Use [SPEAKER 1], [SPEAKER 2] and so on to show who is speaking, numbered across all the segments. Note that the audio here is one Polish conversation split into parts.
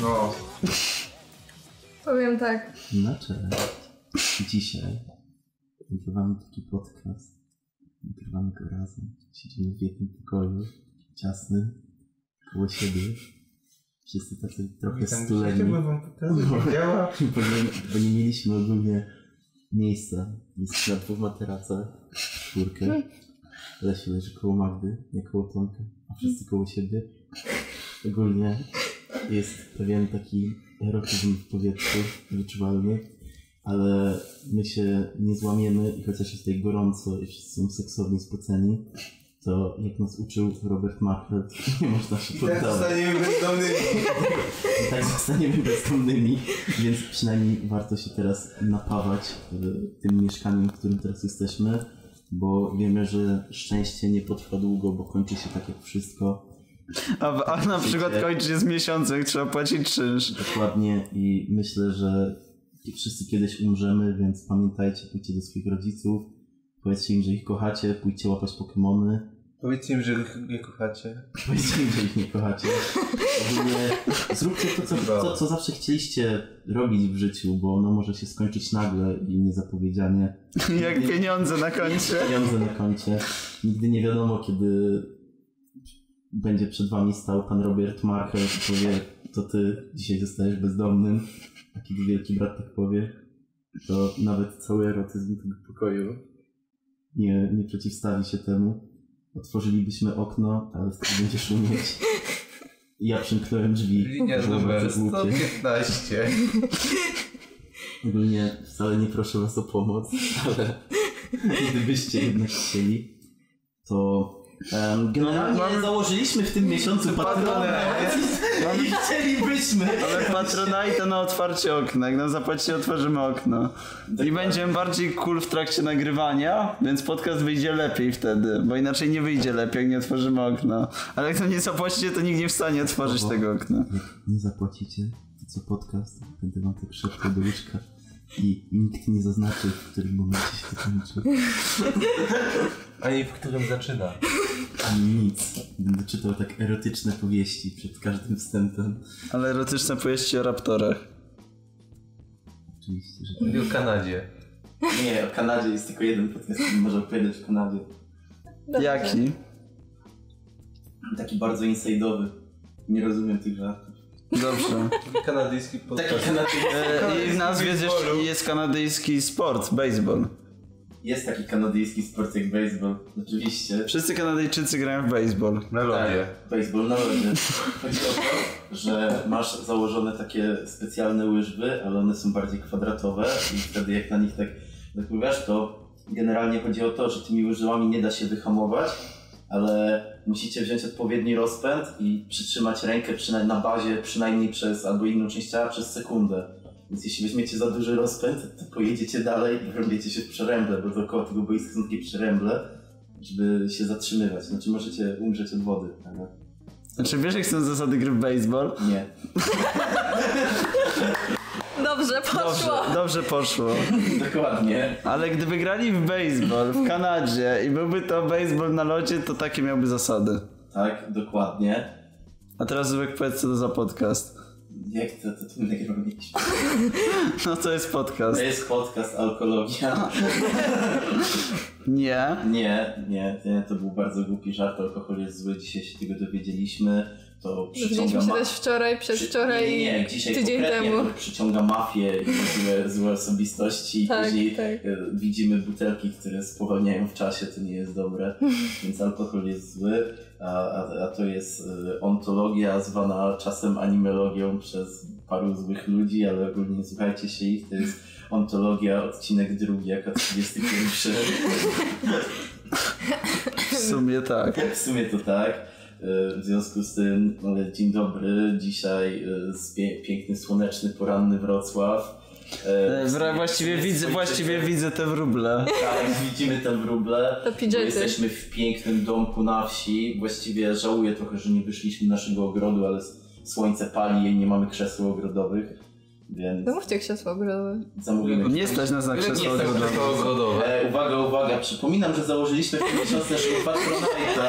[SPEAKER 1] No,
[SPEAKER 2] Powiem tak.
[SPEAKER 3] No cześć. Dzisiaj nagrywamy taki podcast. Nagrywamy go razem. Siedzimy w jednym pokoju, ciasnym, koło siebie. Wszyscy tacy trochę
[SPEAKER 1] witam dzisiaj, chciałbym
[SPEAKER 3] stuleni.
[SPEAKER 1] wam pokazać, jak działa.
[SPEAKER 3] Bo nie, bo nie mieliśmy ogólnie miejsca. Jest na dwóch materacach, czwórkę. Lesie leży koło Magdy, nie koło Tomka, a wszyscy koło siebie. Ogólnie jest pewien taki erotyzm w powietrzu, wyczuwalny, ale my się nie złamiemy i chociaż jest tutaj gorąco i wszyscy są seksownie spoceni, to jak nas uczył Robert Machlet, nie można się
[SPEAKER 1] I tak
[SPEAKER 3] poddawać.
[SPEAKER 1] zostaniemy bezdomnymi.
[SPEAKER 3] I tak zostaniemy bezdomnymi, więc przynajmniej warto się teraz napawać y, tym mieszkaniem, w którym teraz jesteśmy, bo wiemy, że szczęście nie potrwa długo, bo kończy się tak jak wszystko
[SPEAKER 4] A, w- a na przykład kończy się z miesiącem, trzeba płacić czynsz.
[SPEAKER 3] dokładnie i myślę, że wszyscy kiedyś umrzemy, więc pamiętajcie, pójdźcie do swoich rodziców, powiedzcie im, że ich kochacie, pójdźcie łapać Pokemony,
[SPEAKER 1] Powiedzcie im, że je kochacie.
[SPEAKER 3] Powiedzcie mi, że ich nie kochacie. Ogólnie zróbcie to, co,
[SPEAKER 1] Brawo.
[SPEAKER 3] co, co zawsze chcieliście robić w życiu, bo ono może się skończyć nagle i niezapowiedzianie.
[SPEAKER 4] Jak pieniądze na koncie.
[SPEAKER 3] Pieniądze na koncie. Nigdy nie wiadomo, kiedy będzie przed wami stał pan Robert Markel i powie, to ty dzisiaj zostajesz bezdomnym, a kiedy wielki brat tak powie, to nawet cały erotyzm tego pokoju nie, nie przeciwstawi się temu. Otworzylibyśmy okno, ale wtedy będzie szumieć. Ja przymknąłem drzwi.
[SPEAKER 1] Linia
[SPEAKER 3] Było
[SPEAKER 1] numer
[SPEAKER 3] bardzo głupie.
[SPEAKER 1] 115.
[SPEAKER 3] Ogólnie wcale nie proszę was o pomoc, ale gdybyście jednak chcieli, to em, generalnie
[SPEAKER 4] Mamy-
[SPEAKER 3] założyliśmy w tym miesiącu patronę i chcielibyśmy.
[SPEAKER 4] Ale Patronite na otwarcie okna. Jak nam zapłacicie, otworzymy okno. I będziemy bardziej cool w trakcie nagrywania, więc podcast wyjdzie lepiej wtedy. Bo inaczej nie wyjdzie lepiej, jak nie otworzymy okna. Ale jak nam nie zapłacicie, to nikt nie wstanie otworzyć tego okna.
[SPEAKER 3] Jak nie zapłacicie, to co podcast, będę wam tak szeptał do łóżka i nikt nie zaznaczy, w którym momencie się to kończy.
[SPEAKER 1] Ani w którym zaczyna.
[SPEAKER 3] Ani nic. Będę czytał tak erotyczne powieści przed każdym wstępem.
[SPEAKER 4] Ale erotyczne powieści o raptorach.
[SPEAKER 3] Oczywiście, że tak.
[SPEAKER 1] Mówi o Kanadzie.
[SPEAKER 3] Nie, o Kanadzie jest tylko jeden podcast, który może opowiadać o Kanadzie.
[SPEAKER 4] Jaki?
[SPEAKER 3] Taki bardzo inside'owy. Nie rozumiem tych żartów. Tak
[SPEAKER 4] Dobrze.
[SPEAKER 1] Kanadyjski
[SPEAKER 3] Taki
[SPEAKER 1] podcast.
[SPEAKER 3] kanadyjski.
[SPEAKER 4] E, I w nazwie jest jeszcze jest kanadyjski sport, baseball.
[SPEAKER 3] Jest taki kanadyjski sport jak baseball. Oczywiście.
[SPEAKER 4] Wszyscy Kanadyjczycy grają w baseball.
[SPEAKER 1] Melodia.
[SPEAKER 3] Baseball na lodzie. Chodzi o to, że masz założone takie specjalne łyżwy, ale one są bardziej kwadratowe i wtedy jak na nich tak wypływasz, to generalnie chodzi o to, że tymi łyżwami nie da się wyhamować, ale musicie wziąć odpowiedni rozpęd i przytrzymać rękę przyna- na bazie przynajmniej przez albo inną część ciała przez sekundę. Więc jeśli weźmiecie za duży rozpęd, to pojedziecie dalej i wrąbiecie się w przeręble, bo dookoła tego boiska są takie przeręble, żeby się zatrzymywać. Znaczy możecie umrzeć od wody, ale
[SPEAKER 4] Znaczy wiesz jak są zasady gry w baseball?
[SPEAKER 3] nie.
[SPEAKER 2] Dobrze,
[SPEAKER 4] Dobrze,
[SPEAKER 2] poszło.
[SPEAKER 4] dobrze poszło.
[SPEAKER 3] Dokładnie.
[SPEAKER 4] Ale gdyby grali w baseball w Kanadzie i byłby to baseball na lodzie, to takie miałby zasady.
[SPEAKER 3] Tak, dokładnie.
[SPEAKER 4] A teraz Zubek powiedz co to za podcast.
[SPEAKER 3] Nie chcę, to tu nagrywam jakiś
[SPEAKER 4] No to jest
[SPEAKER 3] To
[SPEAKER 4] podcast.
[SPEAKER 3] jest podcast Alkologia.
[SPEAKER 4] Nie.
[SPEAKER 3] Nie, nie, nie, to był bardzo głupi żart. Alkohol jest zły, dzisiaj się tego dowiedzieliśmy. To
[SPEAKER 2] Widzieliśmy
[SPEAKER 3] przyciąga
[SPEAKER 2] się
[SPEAKER 3] ma-
[SPEAKER 2] też wczoraj, przedwczoraj
[SPEAKER 3] nie, nie,
[SPEAKER 2] i
[SPEAKER 3] nie, dzisiaj
[SPEAKER 2] tydzień
[SPEAKER 3] konkretnie
[SPEAKER 2] temu.
[SPEAKER 3] To przyciąga mafię i złe, złe osobistości. I
[SPEAKER 2] Tak,
[SPEAKER 3] później
[SPEAKER 2] tak.
[SPEAKER 3] e, widzimy butelki, które spowalniają w czasie, to nie jest dobre. Więc alkohol jest zły, a, a, a to jest e, ontologia zwana czasem animologią przez paru złych ludzi, ale ogólnie słuchajcie się ich, to jest ontologia, odcinek drugi, jako 31.
[SPEAKER 4] W sumie tak.
[SPEAKER 3] W sumie to tak. E, W związku z tym e, dzień dobry. Dzisiaj e, z pie- piękny, słoneczny, poranny Wrocław. E,
[SPEAKER 4] E, wra- Właściwie widzę, właściwie widzę te wróble.
[SPEAKER 3] Tak, widzimy te wróble.
[SPEAKER 2] To
[SPEAKER 3] Bo
[SPEAKER 2] pidżety.
[SPEAKER 3] jesteśmy w pięknym domku na wsi. Właściwie żałuję trochę, że nie wyszliśmy naszego ogrodu, ale s- słońce pali i nie mamy krzeseł ogrodowych. Więc
[SPEAKER 2] Zamówcie krzesło ogrodowe.
[SPEAKER 3] zamówimy
[SPEAKER 4] Nie stać nas na krzesło
[SPEAKER 1] Nie jestem
[SPEAKER 4] ogrodowe.
[SPEAKER 1] tylko ogrodowe.
[SPEAKER 3] E, uwaga, uwaga, przypominam, że założyliśmy w tym miesiącu naszego Patronite'a.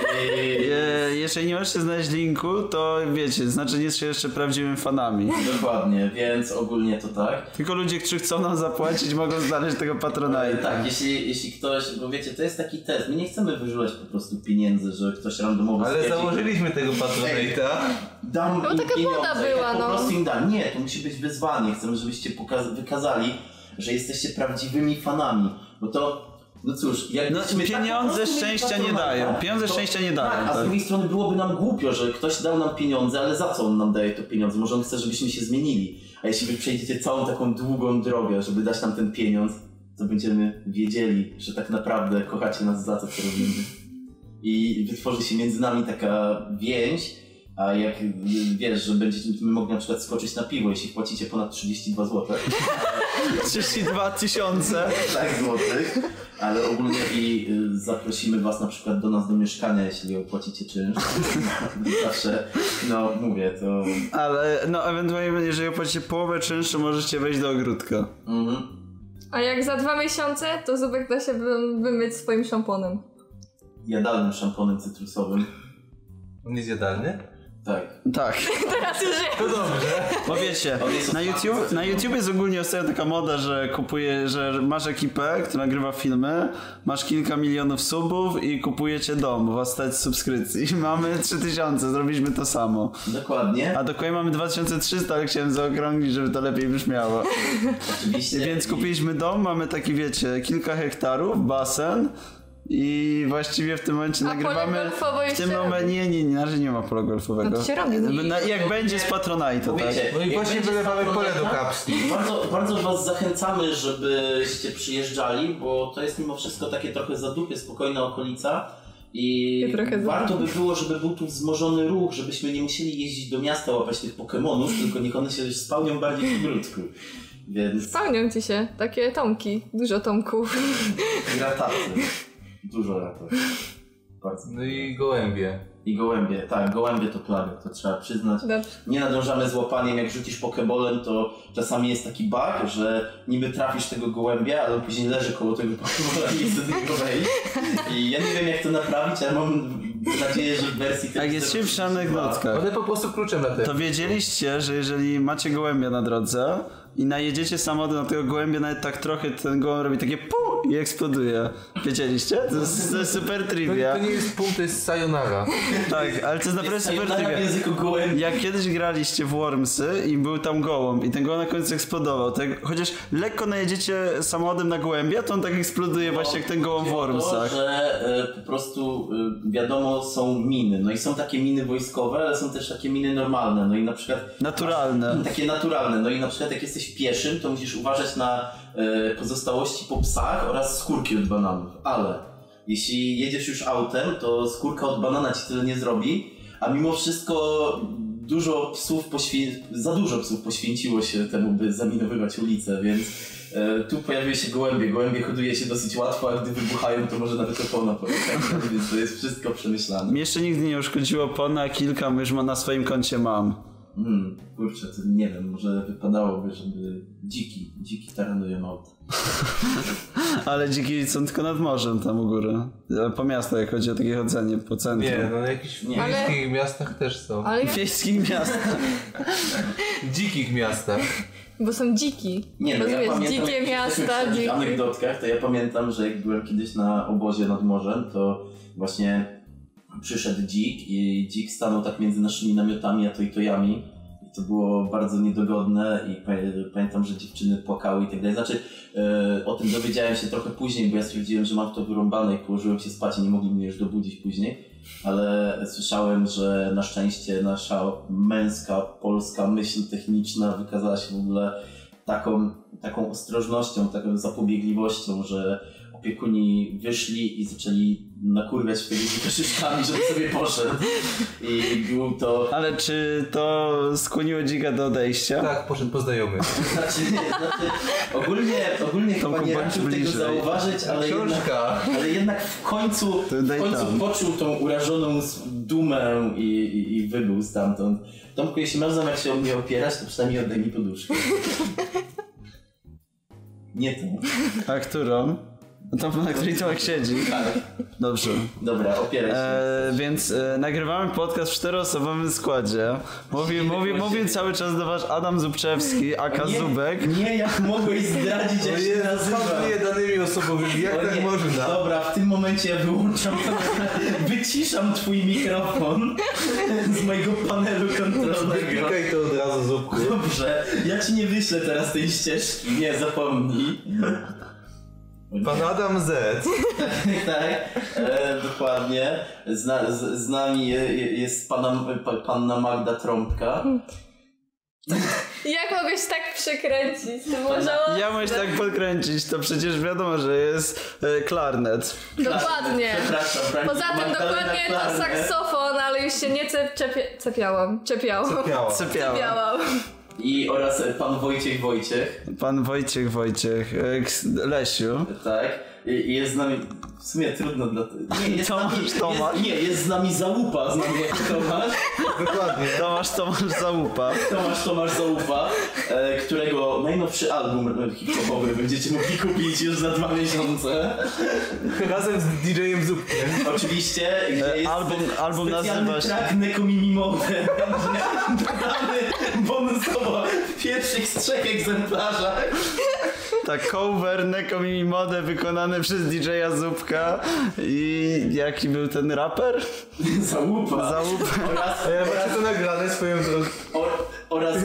[SPEAKER 3] I...
[SPEAKER 4] E, Jeżeli nie możecie znaleźć linku, to wiecie, znaczy nie jesteście jeszcze prawdziwymi fanami.
[SPEAKER 3] Dokładnie, więc ogólnie to tak.
[SPEAKER 4] Tylko ludzie, którzy chcą nam zapłacić, mogą znaleźć tego
[SPEAKER 3] E,
[SPEAKER 4] patronajta.
[SPEAKER 3] Tak, jeśli, jeśli ktoś, bo wiecie, to jest taki test. My nie chcemy wyżywać po prostu pieniędzy, że ktoś randomowo
[SPEAKER 1] Ale
[SPEAKER 3] stwierdzi,
[SPEAKER 1] założyliśmy tego Patronate'a.
[SPEAKER 3] dam
[SPEAKER 2] No
[SPEAKER 3] im
[SPEAKER 2] taka
[SPEAKER 3] pieniądze,
[SPEAKER 2] woda
[SPEAKER 3] ja
[SPEAKER 2] była,
[SPEAKER 3] po
[SPEAKER 2] no.
[SPEAKER 3] prostu im dam. Nie, to musi być wyzwanie. Chcemy, żebyście pokaz- wykazali, że jesteście prawdziwymi fanami, bo to, no cóż, jak
[SPEAKER 4] No,
[SPEAKER 3] byśmy tak
[SPEAKER 4] pieniądze
[SPEAKER 3] po prostu mieli
[SPEAKER 4] szczęścia nie
[SPEAKER 3] patronata,
[SPEAKER 4] dają. Pieniądze szczęścia nie dają,
[SPEAKER 3] Tak, a
[SPEAKER 4] tak.
[SPEAKER 3] z drugiej strony byłoby nam głupio, że ktoś dał nam pieniądze, ale za co on nam daje to pieniądze? Może on chce, żebyśmy się zmienili. A jeśli wy przejdziecie całą taką długą drogę, żeby dać nam ten pieniądz, to będziemy wiedzieli, że tak naprawdę kochacie nas za to, co robimy. I wytworzy się między nami taka więź, a jak y, wiesz, że będziemy mogli na przykład skoczyć na piwo, jeśli płacicie ponad 32 zł.
[SPEAKER 4] 32 tysiące.
[SPEAKER 3] Tak, złotych. Ale ogólnie i y, zaprosimy was na przykład do nas do mieszkania, jeśli opłacicie czynsz. Zawsze, no mówię, to...
[SPEAKER 4] Ale no ewentualnie, jeżeli opłacicie połowę czynszu, możecie wejść do ogródka.
[SPEAKER 3] Mhm.
[SPEAKER 2] A jak za dwa miesiące, to zubek da się wy- wymyć swoim szamponem.
[SPEAKER 3] Jadalnym szamponem cytrusowym.
[SPEAKER 1] On jest jadalny?
[SPEAKER 3] Tak.
[SPEAKER 4] Tak.
[SPEAKER 2] Teraz już jest.
[SPEAKER 1] To dobrze.
[SPEAKER 4] Bo wiecie,
[SPEAKER 3] On jest
[SPEAKER 4] na
[SPEAKER 3] otwarty.
[SPEAKER 4] YouTube, na YouTube jest ogólnie ostatnio taka moda, że kupuje, że masz ekipę, która nagrywa filmy, masz kilka milionów subów i kupujecie dom, bo was stać z subskrypcji. Mamy 3000, zrobiliśmy to samo.
[SPEAKER 3] Dokładnie.
[SPEAKER 4] A dokładnie mamy 2300, ale chciałem zaokrąglić, żeby to lepiej brzmiało.
[SPEAKER 3] Oczywiście.
[SPEAKER 4] Więc
[SPEAKER 3] I-
[SPEAKER 4] kupiliśmy dom, mamy taki, wiecie, kilka hektarów, basen i właściwie w tym momencie
[SPEAKER 2] A pole
[SPEAKER 4] nagrywamy.
[SPEAKER 2] golfowe
[SPEAKER 4] W tym
[SPEAKER 2] jeszcze
[SPEAKER 4] momencie.
[SPEAKER 2] robi.
[SPEAKER 4] Nie, nie, nie, na razie nie ma pola golfowego.
[SPEAKER 2] No to się robi.
[SPEAKER 4] Na- Jak będzie z Patronite'a, tak?
[SPEAKER 3] Wiecie,
[SPEAKER 1] No i
[SPEAKER 3] jak
[SPEAKER 1] właśnie
[SPEAKER 3] będzie
[SPEAKER 1] wylewamy pole do
[SPEAKER 3] Patronite'a,
[SPEAKER 1] kapsli.
[SPEAKER 3] Bardzo, bardzo was zachęcamy, żebyście przyjeżdżali, bo to jest mimo wszystko takie trochę zadupie, spokojna okolica i
[SPEAKER 2] Takie trochę
[SPEAKER 3] warto by było, żeby był tu wzmożony ruch, żebyśmy nie musieli jeździć do miasta łapać tych Pokemonów, tylko niech one się spełnią bardziej w ogródku. Więc
[SPEAKER 2] Spełnią ci się takie tomki, dużo tomków.
[SPEAKER 3] rataty. Dużo ratat. Bardzo.
[SPEAKER 1] No i gołębie.
[SPEAKER 3] I gołębie, tak, gołębie to plaga, to trzeba przyznać.
[SPEAKER 2] Dobrze.
[SPEAKER 3] nie nadążamy z łapaniem, jak rzucisz pokebolem, to czasami jest taki bug, że niby trafisz tego gołębia, ale on później leży koło tego pokebola i nie chce do niego wejść. I ja nie wiem, jak to naprawić, ale mam nadzieję, że w wersji...
[SPEAKER 4] Jak Tak jest się w szanych nockach.
[SPEAKER 1] One Tak. po prostu kluczem
[SPEAKER 4] To
[SPEAKER 1] latają.
[SPEAKER 4] wiedzieliście, że jeżeli macie gołębia na drodze i najedziecie samochodem na tego gołębia, nawet tak trochę ten gołąb robi takie pu i eksploduje. Wiedzieliście? To jest, to jest super
[SPEAKER 1] To,
[SPEAKER 4] trivia.
[SPEAKER 1] to nie jest punkt, to jest sayonara.
[SPEAKER 4] Tak, ale to jest naprawdę super
[SPEAKER 3] Na
[SPEAKER 4] trivia.
[SPEAKER 3] języku gołębi.
[SPEAKER 4] Jak kiedyś graliście w Wormsy i był tam gołąb i ten gołąb na końcu eksplodował, to jak, chociaż lekko najedziecie samochodem na gołębia, to on tak eksploduje właśnie jak ten gołąb w
[SPEAKER 3] Chodzi o
[SPEAKER 4] Wormsach.
[SPEAKER 3] To, że e, po prostu e, wiadomo są miny, no i są takie miny wojskowe, ale są też takie miny normalne, no i na przykład
[SPEAKER 4] Naturalne.
[SPEAKER 3] Takie naturalne. No i na przykład jak jesteś pieszym, to musisz uważać na e, pozostałości po psach oraz skórki od bananów. Ale jeśli jedziesz już autem, to skórka od banana ci tyle nie zrobi, a mimo wszystko dużo psów poświę... za dużo psów poświęciło się temu, by zaminowywać ulicę, więc e, tu pojawiły się gołębie. Gołębie hoduje się dosyć łatwo, a gdy wybuchają, to może nawet opona pojechać, więc to jest wszystko przemyślane.
[SPEAKER 4] Mnie jeszcze nigdy nie uszkodziło pana, kilka już ma na swoim koncie mam.
[SPEAKER 3] Hmm, kurczę, to nie wiem, może wypadałoby, żeby dziki, dziki taranują auta.
[SPEAKER 4] Ale dziki są tylko nad morzem tam u góry. E, Po miastach, jak chodzi o takie chodzenie po centrum.
[SPEAKER 1] Nie, no jakichś w
[SPEAKER 3] Nie.
[SPEAKER 2] Ale-
[SPEAKER 1] wiejskich miastach też są.
[SPEAKER 2] Ale ja,
[SPEAKER 4] W wiejskich miastach.
[SPEAKER 1] Dzikich miastach.
[SPEAKER 2] bo są dziki.
[SPEAKER 3] Nie,
[SPEAKER 2] bo
[SPEAKER 3] no,
[SPEAKER 2] tu
[SPEAKER 3] ja
[SPEAKER 2] jest
[SPEAKER 3] pamiętam,
[SPEAKER 2] dzikie
[SPEAKER 3] jak
[SPEAKER 2] miasta,
[SPEAKER 3] W
[SPEAKER 2] dziki.
[SPEAKER 3] anegdotkach to ja pamiętam, że jak byłem kiedyś na obozie nad morzem, to właśnie przyszedł dzik i dzik stanął tak między naszymi namiotami, a to i tojami. I to było bardzo niedogodne i pa- pamiętam, że dziewczyny płakały i tak dalej. Znaczy, e, o tym dowiedziałem się trochę później, bo ja stwierdziłem, że mam to wyrąbane i położyłem się spać i nie mogli mnie już dobudzić później. Ale słyszałem, że na szczęście nasza męska, polska myśl techniczna wykazała się w ogóle taką, taką ostrożnością, taką zapobiegliwością, że opiekuni wyszli i zaczęli nakurwiać tego dzika szyszkami, żeby sobie poszedł. I był to...
[SPEAKER 4] Ale czy to skłoniło dzika do odejścia?
[SPEAKER 1] Tak, poszedł po znajomych.
[SPEAKER 3] Znaczy, znaczy ogólnie, ogólnie chyba
[SPEAKER 4] Tomku,
[SPEAKER 3] nie
[SPEAKER 4] bądź
[SPEAKER 3] raczył tego
[SPEAKER 4] bliżej.
[SPEAKER 3] zauważyć, ale jednak,
[SPEAKER 1] Książka.
[SPEAKER 3] ale jednak w końcu,
[SPEAKER 4] To
[SPEAKER 3] w
[SPEAKER 4] daj
[SPEAKER 3] końcu
[SPEAKER 4] tam.
[SPEAKER 3] poczuł tą urażoną s- dumę i, i, i wybył stamtąd. Tomku, jeśli masz zamiar się o mnie opierać, to przynajmniej oddaj mi poduszkę. Nie tą.
[SPEAKER 4] A którą? No To na której Tomek siedzi.
[SPEAKER 3] Tak.
[SPEAKER 4] Dobrze.
[SPEAKER 3] Dobra, opieraj się.
[SPEAKER 4] E, więc e, nagrywamy podcast w czteroosobowym składzie. Mówi, mówi, mówi cały czas do was Adam Zubczewski, aka
[SPEAKER 3] Nie,
[SPEAKER 4] Zubek.
[SPEAKER 3] Nie, jak mogłeś zdradzić, jak się nazywa.
[SPEAKER 1] Handluje danymi osobowymi, jak
[SPEAKER 3] O
[SPEAKER 1] tak
[SPEAKER 3] nie.
[SPEAKER 1] można?
[SPEAKER 3] Dobra, w tym momencie ja wyłączam, wyciszam twój mikrofon z mojego panelu kontrolnego.
[SPEAKER 1] Klikaj to od razu, Zupku.
[SPEAKER 3] Dobrze, ja ci nie wyślę teraz tej ścieżki, nie, zapomnij. O nie.
[SPEAKER 1] Pan Adam Z.
[SPEAKER 3] Tak, e, dokładnie. Zna, z, z nami je, je- jest pana, pa, panna Magda Trąbka.
[SPEAKER 2] Jak mogłeś tak przekręcić? To może
[SPEAKER 4] Ja mogę się tak podkręcić, to przecież wiadomo, że jest e, klarnet.
[SPEAKER 2] Dokładnie.
[SPEAKER 3] Przepraszam, Frank-
[SPEAKER 2] Tak. Poza tym
[SPEAKER 3] Magdalena
[SPEAKER 2] dokładnie to
[SPEAKER 3] Klarne.
[SPEAKER 2] saksofon, ale już się nie cep, czepie, cepiałam. Czepiałam.
[SPEAKER 1] Piała.
[SPEAKER 4] Sypiała.
[SPEAKER 2] Cepiałam.
[SPEAKER 3] I oraz pan Wojciech Wojciech,
[SPEAKER 4] Pan Wojciech Wojciech, e, Ks- Lesiu.
[SPEAKER 3] tak? I, i jest z nami. W sumie trudno dla. Nie, jest
[SPEAKER 4] Tomasz,
[SPEAKER 3] z nami,
[SPEAKER 4] Tomasz.
[SPEAKER 3] Jest, nie, jest z nami załupa, z nami jak Tomasz.
[SPEAKER 1] Dokładnie.
[SPEAKER 4] Tomasz Tomasz Załupa.
[SPEAKER 3] Tomasz Tomasz Załupa, e, którego najnowszy album hip-hopowy będziecie mogli kupić już za dwa miesiące.
[SPEAKER 1] Razem z DJ-em Zupkiem.
[SPEAKER 3] Oczywiście, gdzie
[SPEAKER 4] E,
[SPEAKER 3] jest
[SPEAKER 4] album-
[SPEAKER 3] spe-
[SPEAKER 4] album
[SPEAKER 3] specjalny
[SPEAKER 4] nazywa się-
[SPEAKER 3] track Nekomimimone będzie dodany bonusowo w pierwszych z trzech egzemplarzach.
[SPEAKER 4] Tak, cover Neko Mimi Mode wykonany przez DJ-a Zupka i jaki był ten raper?
[SPEAKER 3] Załupa.
[SPEAKER 4] Załupa.
[SPEAKER 3] Oraz
[SPEAKER 1] A ja macie to nagrane swoją drogą.
[SPEAKER 3] O, oraz,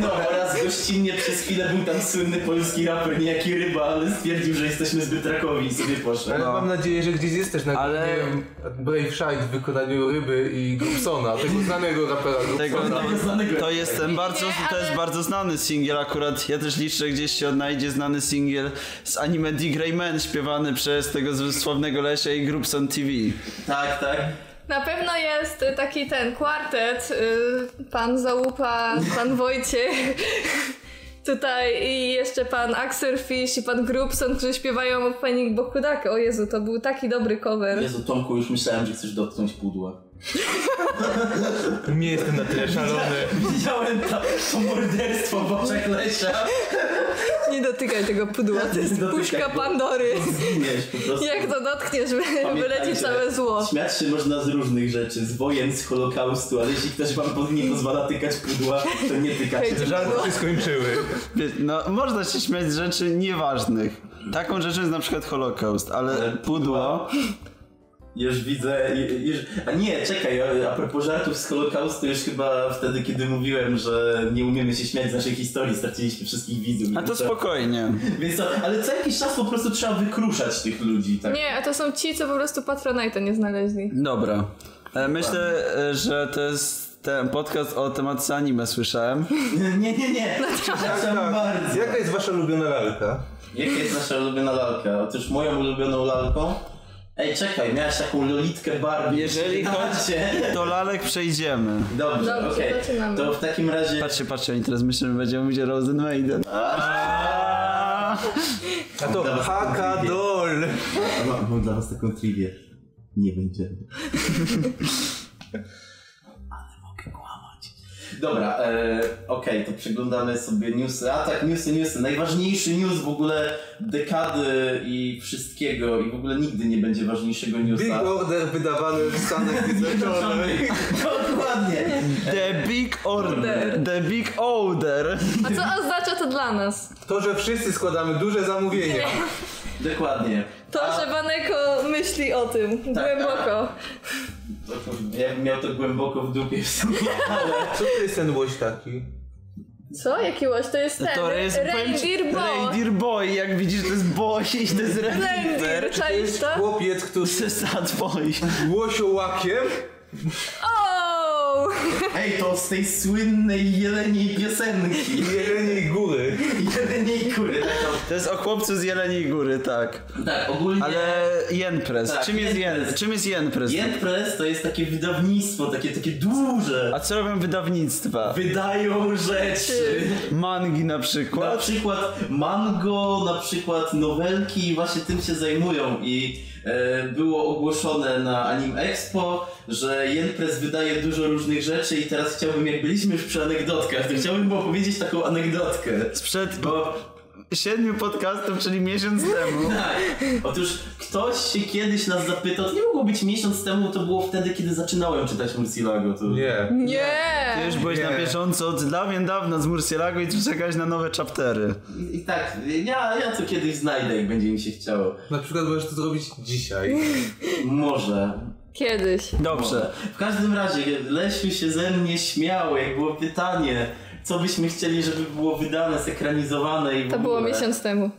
[SPEAKER 3] no, oraz gościnnie przez chwilę był tam słynny polski raper, niejaki Ryba, ale stwierdził, że jesteśmy zbyt rakowi i sobie
[SPEAKER 1] Ale
[SPEAKER 3] poszedł.
[SPEAKER 1] mam nadzieję, że gdzieś jest też nagrane.
[SPEAKER 4] Ale-
[SPEAKER 1] No. Ale... Brave Shine w wykonaniu Ryby i Gubsona, tego znanego rapera
[SPEAKER 4] Tego,
[SPEAKER 1] Gubsona.
[SPEAKER 3] Tego znanego
[SPEAKER 4] To jest ten bardzo,
[SPEAKER 2] Nie,
[SPEAKER 4] to jest
[SPEAKER 2] ale-
[SPEAKER 4] bardzo znany singiel akurat. Ja też liczę, że gdzieś się odnajdzie znany singiel z anime The Grey Man śpiewany przez tego z sławnego Lesia i Grubson TV.
[SPEAKER 3] Tak, tak.
[SPEAKER 2] Na pewno jest y, taki ten kwartet, y, pan Załupa, pan Wojciech tutaj i jeszcze pan Axel Fish i pan Grubson, którzy śpiewają Panic Bokudaka. O Jezu, to był taki dobry cover.
[SPEAKER 3] Jezu, Tomku, już myślałem, że chcesz dotknąć pudła.
[SPEAKER 1] Nie jestem na tyle szalony.
[SPEAKER 3] Widziałem to, to morderstwo w oczach Lesia.
[SPEAKER 2] Nie dotykaj tego pudła, to jest
[SPEAKER 3] Dotykaj
[SPEAKER 2] puszka
[SPEAKER 3] go.
[SPEAKER 2] Pandory.
[SPEAKER 3] Zginiesz po prostu.
[SPEAKER 2] Jak to dotkniesz, wy-
[SPEAKER 3] Pamiętajcie,
[SPEAKER 2] wyleci całe zło.
[SPEAKER 3] Śmiać się można z różnych rzeczy, z wojen, z holokaustu, ale jeśli ktoś wam po- nie pozwala tykać pudła, to nie tykać.
[SPEAKER 2] Hej,
[SPEAKER 1] Żarty się skończyły.
[SPEAKER 4] Wie- No, można się śmiać z rzeczy nieważnych. Taką rzeczą jest na przykład Holokaust, ale pudło.
[SPEAKER 3] Już widzę, ju- już... A nie, czekaj, a- a propos żartów z Holokaustu, już chyba wtedy, kiedy mówiłem, że nie umiemy się śmiać z naszej historii, straciliśmy wszystkich widzów.
[SPEAKER 4] A to
[SPEAKER 3] Więc
[SPEAKER 4] spokojnie.
[SPEAKER 3] Więc to, ale co jakiś czas po prostu trzeba wykruszać tych ludzi, tak?
[SPEAKER 2] Nie, a to są ci, co po prostu Patronite'a nie znaleźli.
[SPEAKER 4] Dobra. E, Myślę, e, że to jest ten podcast o temacie anime słyszałem.
[SPEAKER 3] Nie, nie, nie, nie.
[SPEAKER 2] No tak.
[SPEAKER 3] przepraszam bardzo.
[SPEAKER 1] Jaka jest wasza ulubiona lalka?
[SPEAKER 3] Jaka jest nasza ulubiona lalka? Otóż moją ulubioną lalką... Ej, czekaj, miałaś taką lolitkę Barbie.
[SPEAKER 4] Jeżeli chodzi- Do lalek przejdziemy.
[SPEAKER 3] Dobrze,
[SPEAKER 2] Dobrze,
[SPEAKER 3] okej.
[SPEAKER 2] zaczynamy.
[SPEAKER 3] To w takim razie...
[SPEAKER 4] Patrzcie, patrzcie, oni teraz myślą, że będziemy mówić o Rosen Maiden.
[SPEAKER 1] A to
[SPEAKER 3] Dobra.
[SPEAKER 1] Hakadol.
[SPEAKER 3] Mam, mam dla was taką trivię. Nie będziemy. Ale mogę kłamać. Dobra, e, okej, to przeglądamy sobie newsy. A tak, newsy, newsy. Najważniejszy news w ogóle dekady i wszystkiego i w ogóle nigdy nie będzie ważniejszego
[SPEAKER 1] Big
[SPEAKER 3] newsa.
[SPEAKER 1] Order wydawany w Stanach Zjednoczonych.
[SPEAKER 3] Dokładnie.
[SPEAKER 4] The Big Order. The Big Order.
[SPEAKER 2] A co oznacza to dla nas?
[SPEAKER 1] To, że wszyscy składamy duże zamówienia.
[SPEAKER 3] Dokładnie.
[SPEAKER 2] To, że Baneko myśli o tym
[SPEAKER 3] Tak.
[SPEAKER 2] głęboko.
[SPEAKER 3] To, to, ja bym miał to głęboko w dupie w sumie.
[SPEAKER 1] Co to jest ten łoś taki?
[SPEAKER 2] Co? Jaki łoś? To jest ten.
[SPEAKER 4] To jest
[SPEAKER 2] Reindeer
[SPEAKER 4] powiem ci,
[SPEAKER 2] Bo.
[SPEAKER 4] Reindeer Boy. Jak widzisz, to jest boy i to jest
[SPEAKER 2] Reindeer,
[SPEAKER 4] Reindeer.
[SPEAKER 2] czaisz to?
[SPEAKER 1] Chłopiec, który
[SPEAKER 4] To jest sad boy.
[SPEAKER 1] łosiołakiem
[SPEAKER 2] O!
[SPEAKER 3] Ej, to z tej słynnej jeleniej piosenki.
[SPEAKER 1] i jeleniej góry.
[SPEAKER 3] Jeleniej kury. Tak,
[SPEAKER 4] To jest o chłopcu z Jeleniej Góry, tak.
[SPEAKER 3] to- tak ogólnie...
[SPEAKER 4] Ale Jenpress.
[SPEAKER 3] Tak,
[SPEAKER 4] czym, jest
[SPEAKER 3] Jenpress.
[SPEAKER 4] Jen, czym jest Jenpress?
[SPEAKER 3] Jenpress to jest takie wydawnictwo, takie, takie duże.
[SPEAKER 4] A co robią wydawnictwa?
[SPEAKER 3] Wydają rzeczy.
[SPEAKER 4] Mangi na
[SPEAKER 3] Na
[SPEAKER 4] przykład.
[SPEAKER 3] przykład mango, na przykład nowelki, właśnie tym się zajmują i e, było ogłoszone na Anim Expo, że Jenpress wydaje dużo różnych rzeczy i teraz chciałbym, jak byliśmy już przy anegdotkach, to chciałbym opowiedzieć taką anegdotkę.
[SPEAKER 4] Sprzed
[SPEAKER 3] Bo
[SPEAKER 4] siedmiu podcastów, czyli miesiąc temu.
[SPEAKER 3] tak, otóż ktoś się kiedyś nas zapytał, to nie mogło być miesiąc temu, to było wtedy, kiedy zaczynałem czytać Murcielago. To...
[SPEAKER 1] Nie.
[SPEAKER 4] Ty
[SPEAKER 2] Nie!
[SPEAKER 4] już byłeś na
[SPEAKER 1] Nie.
[SPEAKER 4] bieżąco od dawien dawna z Murcielago i czekałeś na nowe chaptery.
[SPEAKER 3] I tak, ja, ja to kiedyś znajdę, jak będzie mi się chciało.
[SPEAKER 1] Na przykład możesz to zrobić dzisiaj.
[SPEAKER 3] Może,
[SPEAKER 2] Kiedyś.
[SPEAKER 4] Dobrze.
[SPEAKER 3] W każdym razie, Lesiu się ze mnie śmiał, jak było pytanie, co byśmy chcieli, żeby było wydane, zekranizowane i w
[SPEAKER 2] To było
[SPEAKER 3] ogóle.
[SPEAKER 2] miesiąc temu.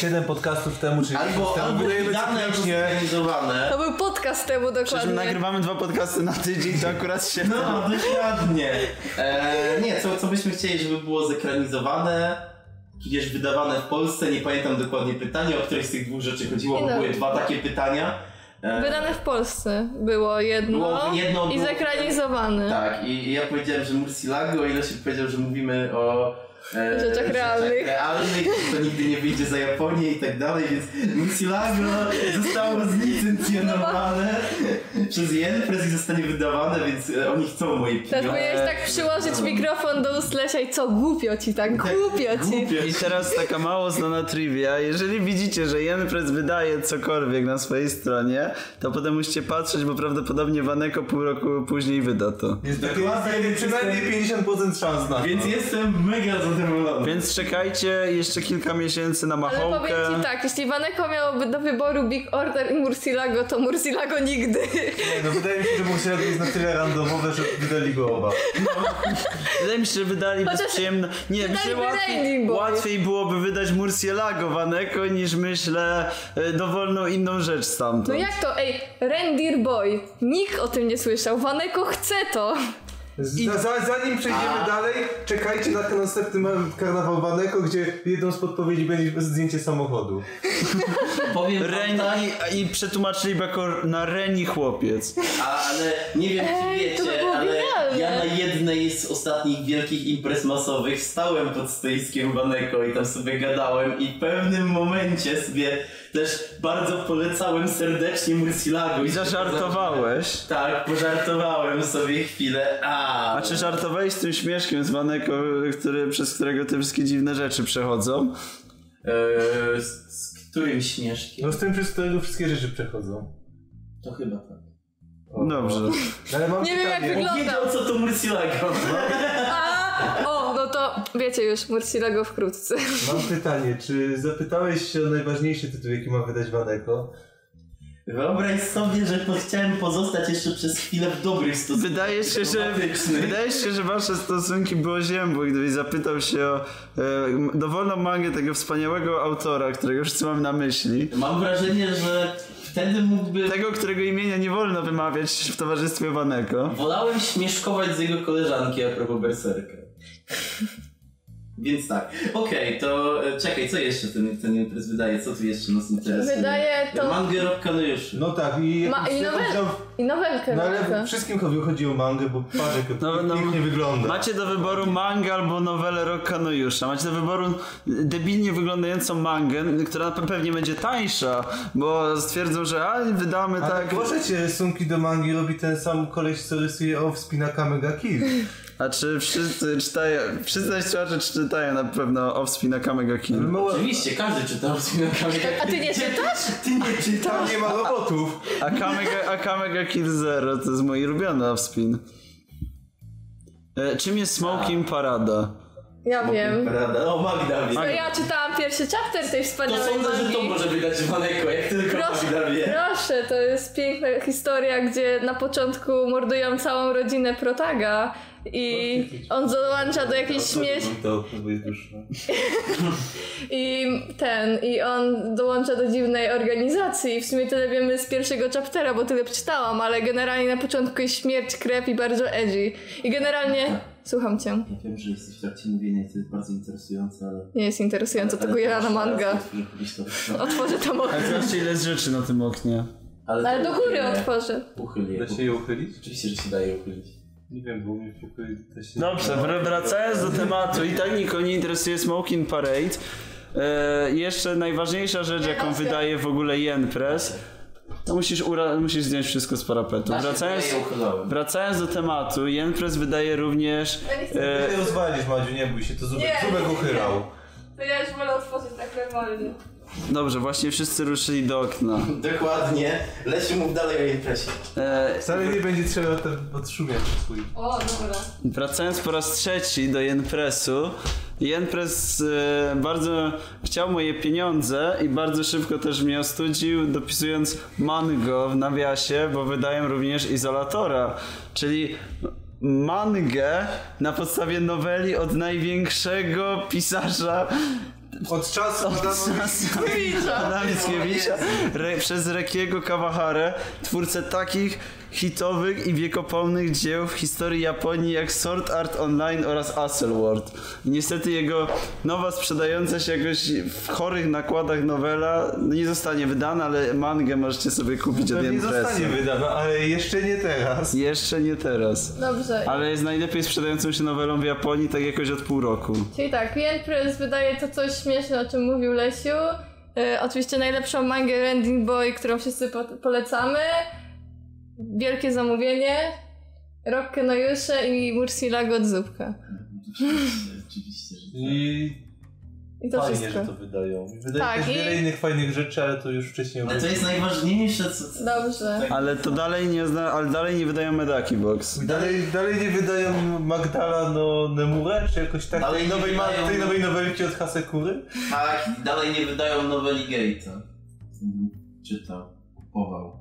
[SPEAKER 1] Siedem podcastów temu, czyli miesiąc
[SPEAKER 3] Albo,
[SPEAKER 1] temu
[SPEAKER 3] albo
[SPEAKER 1] wydajemy
[SPEAKER 3] wydane, albo
[SPEAKER 1] cyklicznie.
[SPEAKER 3] zekranizowane.
[SPEAKER 2] To był podcast temu
[SPEAKER 4] Przecież my
[SPEAKER 2] dokładnie.
[SPEAKER 4] nagrywamy dwa podcasty na tydzień, to akurat się...
[SPEAKER 3] No, dokładnie. E, nie, co, co byśmy chcieli, żeby było zekranizowane, tudzież wydawane w Polsce, nie pamiętam dokładnie pytania, o której z tych dwóch rzeczy chodziło, bo
[SPEAKER 2] Nie no.
[SPEAKER 3] były dwa takie pytania. E,
[SPEAKER 2] Wydane w Polsce było jedno,
[SPEAKER 3] Było jedno,
[SPEAKER 2] i
[SPEAKER 3] było-
[SPEAKER 2] zekranizowane.
[SPEAKER 3] Tak, i, i ja powiedziałem, że Murcielago, ile się powiedział, że mówimy o e,
[SPEAKER 2] Rzeczach realnych.
[SPEAKER 3] realnych, że to nigdy nie wyjdzie za Japonię i tak dalej, więc Murcielago zostało zlicencjonowane przez Jenpress i zostanie wydawane, więc e, oni chcą moje
[SPEAKER 2] Teraz
[SPEAKER 3] pieniądze.
[SPEAKER 2] powinieneś tak przyłożyć mikrofon do ust Lesia i co, głupio ci tak, głupio ci.
[SPEAKER 3] Głupio.
[SPEAKER 4] I teraz taka mało znana trivia. Jeżeli widzicie, że Jenpress wydaje cokolwiek na swojej stronie, to potem musicie patrzeć, bo prawdopodobnie Waneko pół roku później wyda to.
[SPEAKER 1] Jest takie
[SPEAKER 3] Dokładnie,
[SPEAKER 1] jest przynajmniej 50% szans na to.
[SPEAKER 3] Więc jestem mega zadowolony.
[SPEAKER 4] Więc czekajcie jeszcze kilka miesięcy na
[SPEAKER 2] Ale
[SPEAKER 4] machołkę.
[SPEAKER 2] powiem ci tak, jeśli Baneko miałoby do wyboru Big Order i Murcilago, to Murcilago nigdy.
[SPEAKER 1] Nie, no wydaje mi się, że Murcielago jest na tyle randomowe, że wydali go oba.
[SPEAKER 4] Wydaje mi się, że wydali bez
[SPEAKER 2] Chociaż
[SPEAKER 4] przyjemno... Nie,
[SPEAKER 2] wydaliby
[SPEAKER 4] myślę,
[SPEAKER 2] Raining
[SPEAKER 4] łatwiej,
[SPEAKER 2] Boy.
[SPEAKER 4] łatwiej byłoby wydać Murcielago Waneko niż myślę e, dowolną inną rzecz stamtąd.
[SPEAKER 2] No jak to, ej, Reindeer Boy, nikt o tym nie słyszał, Waneko chce to.
[SPEAKER 1] Za, za, zanim przejdziemy dalej, czekajcie na ten następny ma- karnawał Waneko, gdzie jedną z podpowiedzi będzie zdjęcie samochodu.
[SPEAKER 3] Powiem wam tak,
[SPEAKER 4] Reni i przetłumaczyliby jako na Reni chłopiec.
[SPEAKER 3] a- ale nie wiem czy
[SPEAKER 2] Ej,
[SPEAKER 3] wiecie,
[SPEAKER 2] to by było
[SPEAKER 3] ale
[SPEAKER 2] genialne.
[SPEAKER 3] ja na jednej z ostatnich wielkich imprez masowych stałem pod stoiskiem Baneko i tam sobie gadałem i w pewnym momencie sobie też bardzo polecałem serdecznie Murcilago.
[SPEAKER 4] I zażartowałeś.
[SPEAKER 3] Tak, pożartowałem sobie chwilę, a...
[SPEAKER 4] A czy żartowałeś z tym śmieszkiem z Waneko, który, przez którego te wszystkie dziwne rzeczy przechodzą?
[SPEAKER 3] Eee, z, z którym śmieszkiem?
[SPEAKER 1] No z tym, przez którego wszystkie rzeczy przechodzą.
[SPEAKER 3] To chyba tak.
[SPEAKER 4] Dobrze.
[SPEAKER 1] Ale mam
[SPEAKER 2] Nie wiem,
[SPEAKER 1] pytanie.
[SPEAKER 2] jak wygląda.
[SPEAKER 3] Wiedział co to Murcilago.
[SPEAKER 2] O, no to wiecie już, Murcilago wkrótce.
[SPEAKER 1] Mam pytanie, czy zapytałeś się o najważniejszy tytuł, jaki ma wydać Waneko?
[SPEAKER 3] Wyobraź sobie, że po- chciałem pozostać jeszcze przez chwilę w dobrych stosunkach.
[SPEAKER 4] Wydaje się, że,
[SPEAKER 3] dyplomatycznych.
[SPEAKER 4] wydaje się, że wasze stosunki było ziębło, gdybyś zapytał się o e, m- dowolną mangę tego wspaniałego autora, którego wszyscy mam na myśli.
[SPEAKER 3] Mam wrażenie, że wtedy mógłby...
[SPEAKER 4] Tego, którego imienia nie wolno wymawiać w towarzystwie Waneko.
[SPEAKER 3] Wolałem śmieszkować z jego koleżanki a propos berserka. Więc tak. Okej, to e, czekaj, co jeszcze ten, ten imprez wydaje? Co tu jeszcze nas interesuje?
[SPEAKER 2] Wydaje to-
[SPEAKER 3] Mangę Rokkano już.
[SPEAKER 1] No tak, i
[SPEAKER 2] Ma,
[SPEAKER 1] jakiś
[SPEAKER 2] i,
[SPEAKER 1] jakiś
[SPEAKER 2] nowel,
[SPEAKER 1] tam-
[SPEAKER 2] I nowelkę
[SPEAKER 1] No ale
[SPEAKER 2] Weronika.
[SPEAKER 1] wszystkim chodzi, chodzi o mangę, bo Parzek
[SPEAKER 4] No, no.
[SPEAKER 1] pięknie wygląda.
[SPEAKER 4] Macie do wyboru mangę albo nowelę Rocka Nojusza. Macie do wyboru debilnie wyglądającą mangę, która na pe- pewnie będzie tańsza, bo stwierdzą, że a, wydamy
[SPEAKER 1] Ale
[SPEAKER 4] tak.
[SPEAKER 1] Proszę cię, rysunki do mangi robi ten sam koleś, co rysuje Owspi na Kamega Kill.
[SPEAKER 4] A czy wszyscy czytają, wszyscy słuchacze czytają na pewno Offspin na Kamega King.
[SPEAKER 1] Mała-
[SPEAKER 3] Oczywiście, każdy czytał z
[SPEAKER 2] A ty nie czytasz?
[SPEAKER 3] Ty nie czytasz?
[SPEAKER 1] Tam nie ma robotów.
[SPEAKER 4] A Kamega, a Kamega Kill Zero to jest mój ulubiony Offspin. E, czym jest Smoking Parada?
[SPEAKER 2] Ja wiem.
[SPEAKER 3] Rada, o Magda wie.
[SPEAKER 2] No ja czytałam pierwszy chapter tej
[SPEAKER 3] To
[SPEAKER 2] wspaniałej
[SPEAKER 3] sądzę, że to
[SPEAKER 2] magii.
[SPEAKER 3] może wydać Maneko, jak tylko Magda
[SPEAKER 2] Proszę,
[SPEAKER 3] wie.
[SPEAKER 2] proszę, to jest piękna historia, gdzie na początku mordują całą rodzinę Protaga i on dołącza do jakiejś śmiesz...
[SPEAKER 1] To, to jest już...
[SPEAKER 2] I ten, i on dołącza do dziwnej organizacji. W sumie tyle wiemy z pierwszego chaptera, bo tyle przeczytałam, ale generalnie na początku jest śmierć, krew i bardzo edgy. I generalnie... Słucham cię.
[SPEAKER 3] Ja wiem, że jesteś w trakcie mówienia i to jest bardzo interesujące, ale...
[SPEAKER 2] Nie jest interesujące,
[SPEAKER 3] ale-
[SPEAKER 2] tylko
[SPEAKER 3] ale
[SPEAKER 2] ja na
[SPEAKER 3] proszę,
[SPEAKER 2] manga.
[SPEAKER 3] teraz nie wkurzę, żebyś to- No,
[SPEAKER 2] Otworzę tam
[SPEAKER 4] A
[SPEAKER 2] okno.
[SPEAKER 4] zobaczcie ile jest rzeczy na tym oknie.
[SPEAKER 2] No, Ale do góry
[SPEAKER 3] uchyl je,
[SPEAKER 2] otworzę.
[SPEAKER 3] Uchyl je.
[SPEAKER 1] Da się je uchylić?
[SPEAKER 3] Oczywiście, że się daje uchylić.
[SPEAKER 1] Nie wiem, bo mi pokój da się...
[SPEAKER 4] Dobrze, wr- wracając do tematu, i tak nikogo nie interesuje Smoking Parade. E, jeszcze najważniejsza rzecz, jaką wydaje w ogóle Jen Press, to musisz, ura- musisz zdjąć wszystko z parapetu.
[SPEAKER 3] Da się,
[SPEAKER 4] Wracając,
[SPEAKER 3] ja je uchylałem.
[SPEAKER 4] wracając do tematu, Jen Press wydaje również.
[SPEAKER 1] Ty
[SPEAKER 4] E,
[SPEAKER 1] się rozwalisz, Madziu, nie bój się, to Zubek,
[SPEAKER 2] Nie.
[SPEAKER 1] Zubek uchylał.
[SPEAKER 2] To ja już wolę otworzyć tak normalnie.
[SPEAKER 4] dobrze, właśnie wszyscy ruszyli do okna.
[SPEAKER 3] Dokładnie. Leci mów dalej o imprezie.
[SPEAKER 4] E,
[SPEAKER 1] Wcale nie będzie trzeba ten odszumiać swój.
[SPEAKER 2] O, dobra.
[SPEAKER 4] Wracając po raz trzeci do Jenpresu. Jenpres e, bardzo chciał moje pieniądze i bardzo szybko też mnie ostudził, dopisując mango w nawiasie, bo wydają również izolatora, czyli mangę na podstawie noweli od największego pisarza
[SPEAKER 1] Od czasu Adama
[SPEAKER 4] Adama Mickiewicza re, przez Rekiego Kawaharę, twórcę takich hitowych i wiekopomnych dzieł w historii Japonii jak Sword Art Online oraz Asselworld. Niestety jego nowa sprzedająca się jakoś w chorych nakładach nowela no nie zostanie wydana, ale mangę możecie sobie kupić od
[SPEAKER 1] nie
[SPEAKER 4] Impresy.
[SPEAKER 1] zostanie wydana, ale jeszcze nie teraz.
[SPEAKER 4] Jeszcze nie teraz.
[SPEAKER 2] Dobrze.
[SPEAKER 4] Ale jest najlepiej sprzedającą się nowelą w Japonii tak jakoś od pół roku.
[SPEAKER 2] Czyli tak, Jen Press wydaje to coś śmieszne, o czym mówił Lesiu. E, oczywiście najlepszą mangę Rending Boy, którą wszyscy po- polecamy. Wielkie zamówienie. Rokke Nojusze i Mursila Godzubka.
[SPEAKER 3] Oczywiście, Oczywiście, że tak.
[SPEAKER 1] I
[SPEAKER 2] I to
[SPEAKER 1] fajnie,
[SPEAKER 2] wszystko.
[SPEAKER 1] że to wydają. Wydają
[SPEAKER 2] Tak,
[SPEAKER 1] też
[SPEAKER 2] i-
[SPEAKER 1] wiele innych fajnych rzeczy, ale to już wcześniej
[SPEAKER 3] Ale to jest najważniejsze, co... co
[SPEAKER 2] Dobrze.
[SPEAKER 3] tak-
[SPEAKER 4] Ale to dalej nie, zna- ale dalej nie wydają Medaki Box.
[SPEAKER 1] Dalej, dalej nie wydają Magdala no Nemure, czy jakoś tak
[SPEAKER 3] Dalej
[SPEAKER 1] tej
[SPEAKER 3] nie
[SPEAKER 1] nowej,
[SPEAKER 3] wydają-
[SPEAKER 1] ma- tej nowej nowelki od Hasekury?
[SPEAKER 3] Tak, i dalej nie wydają noweli Gate'a. Czytał, kupował.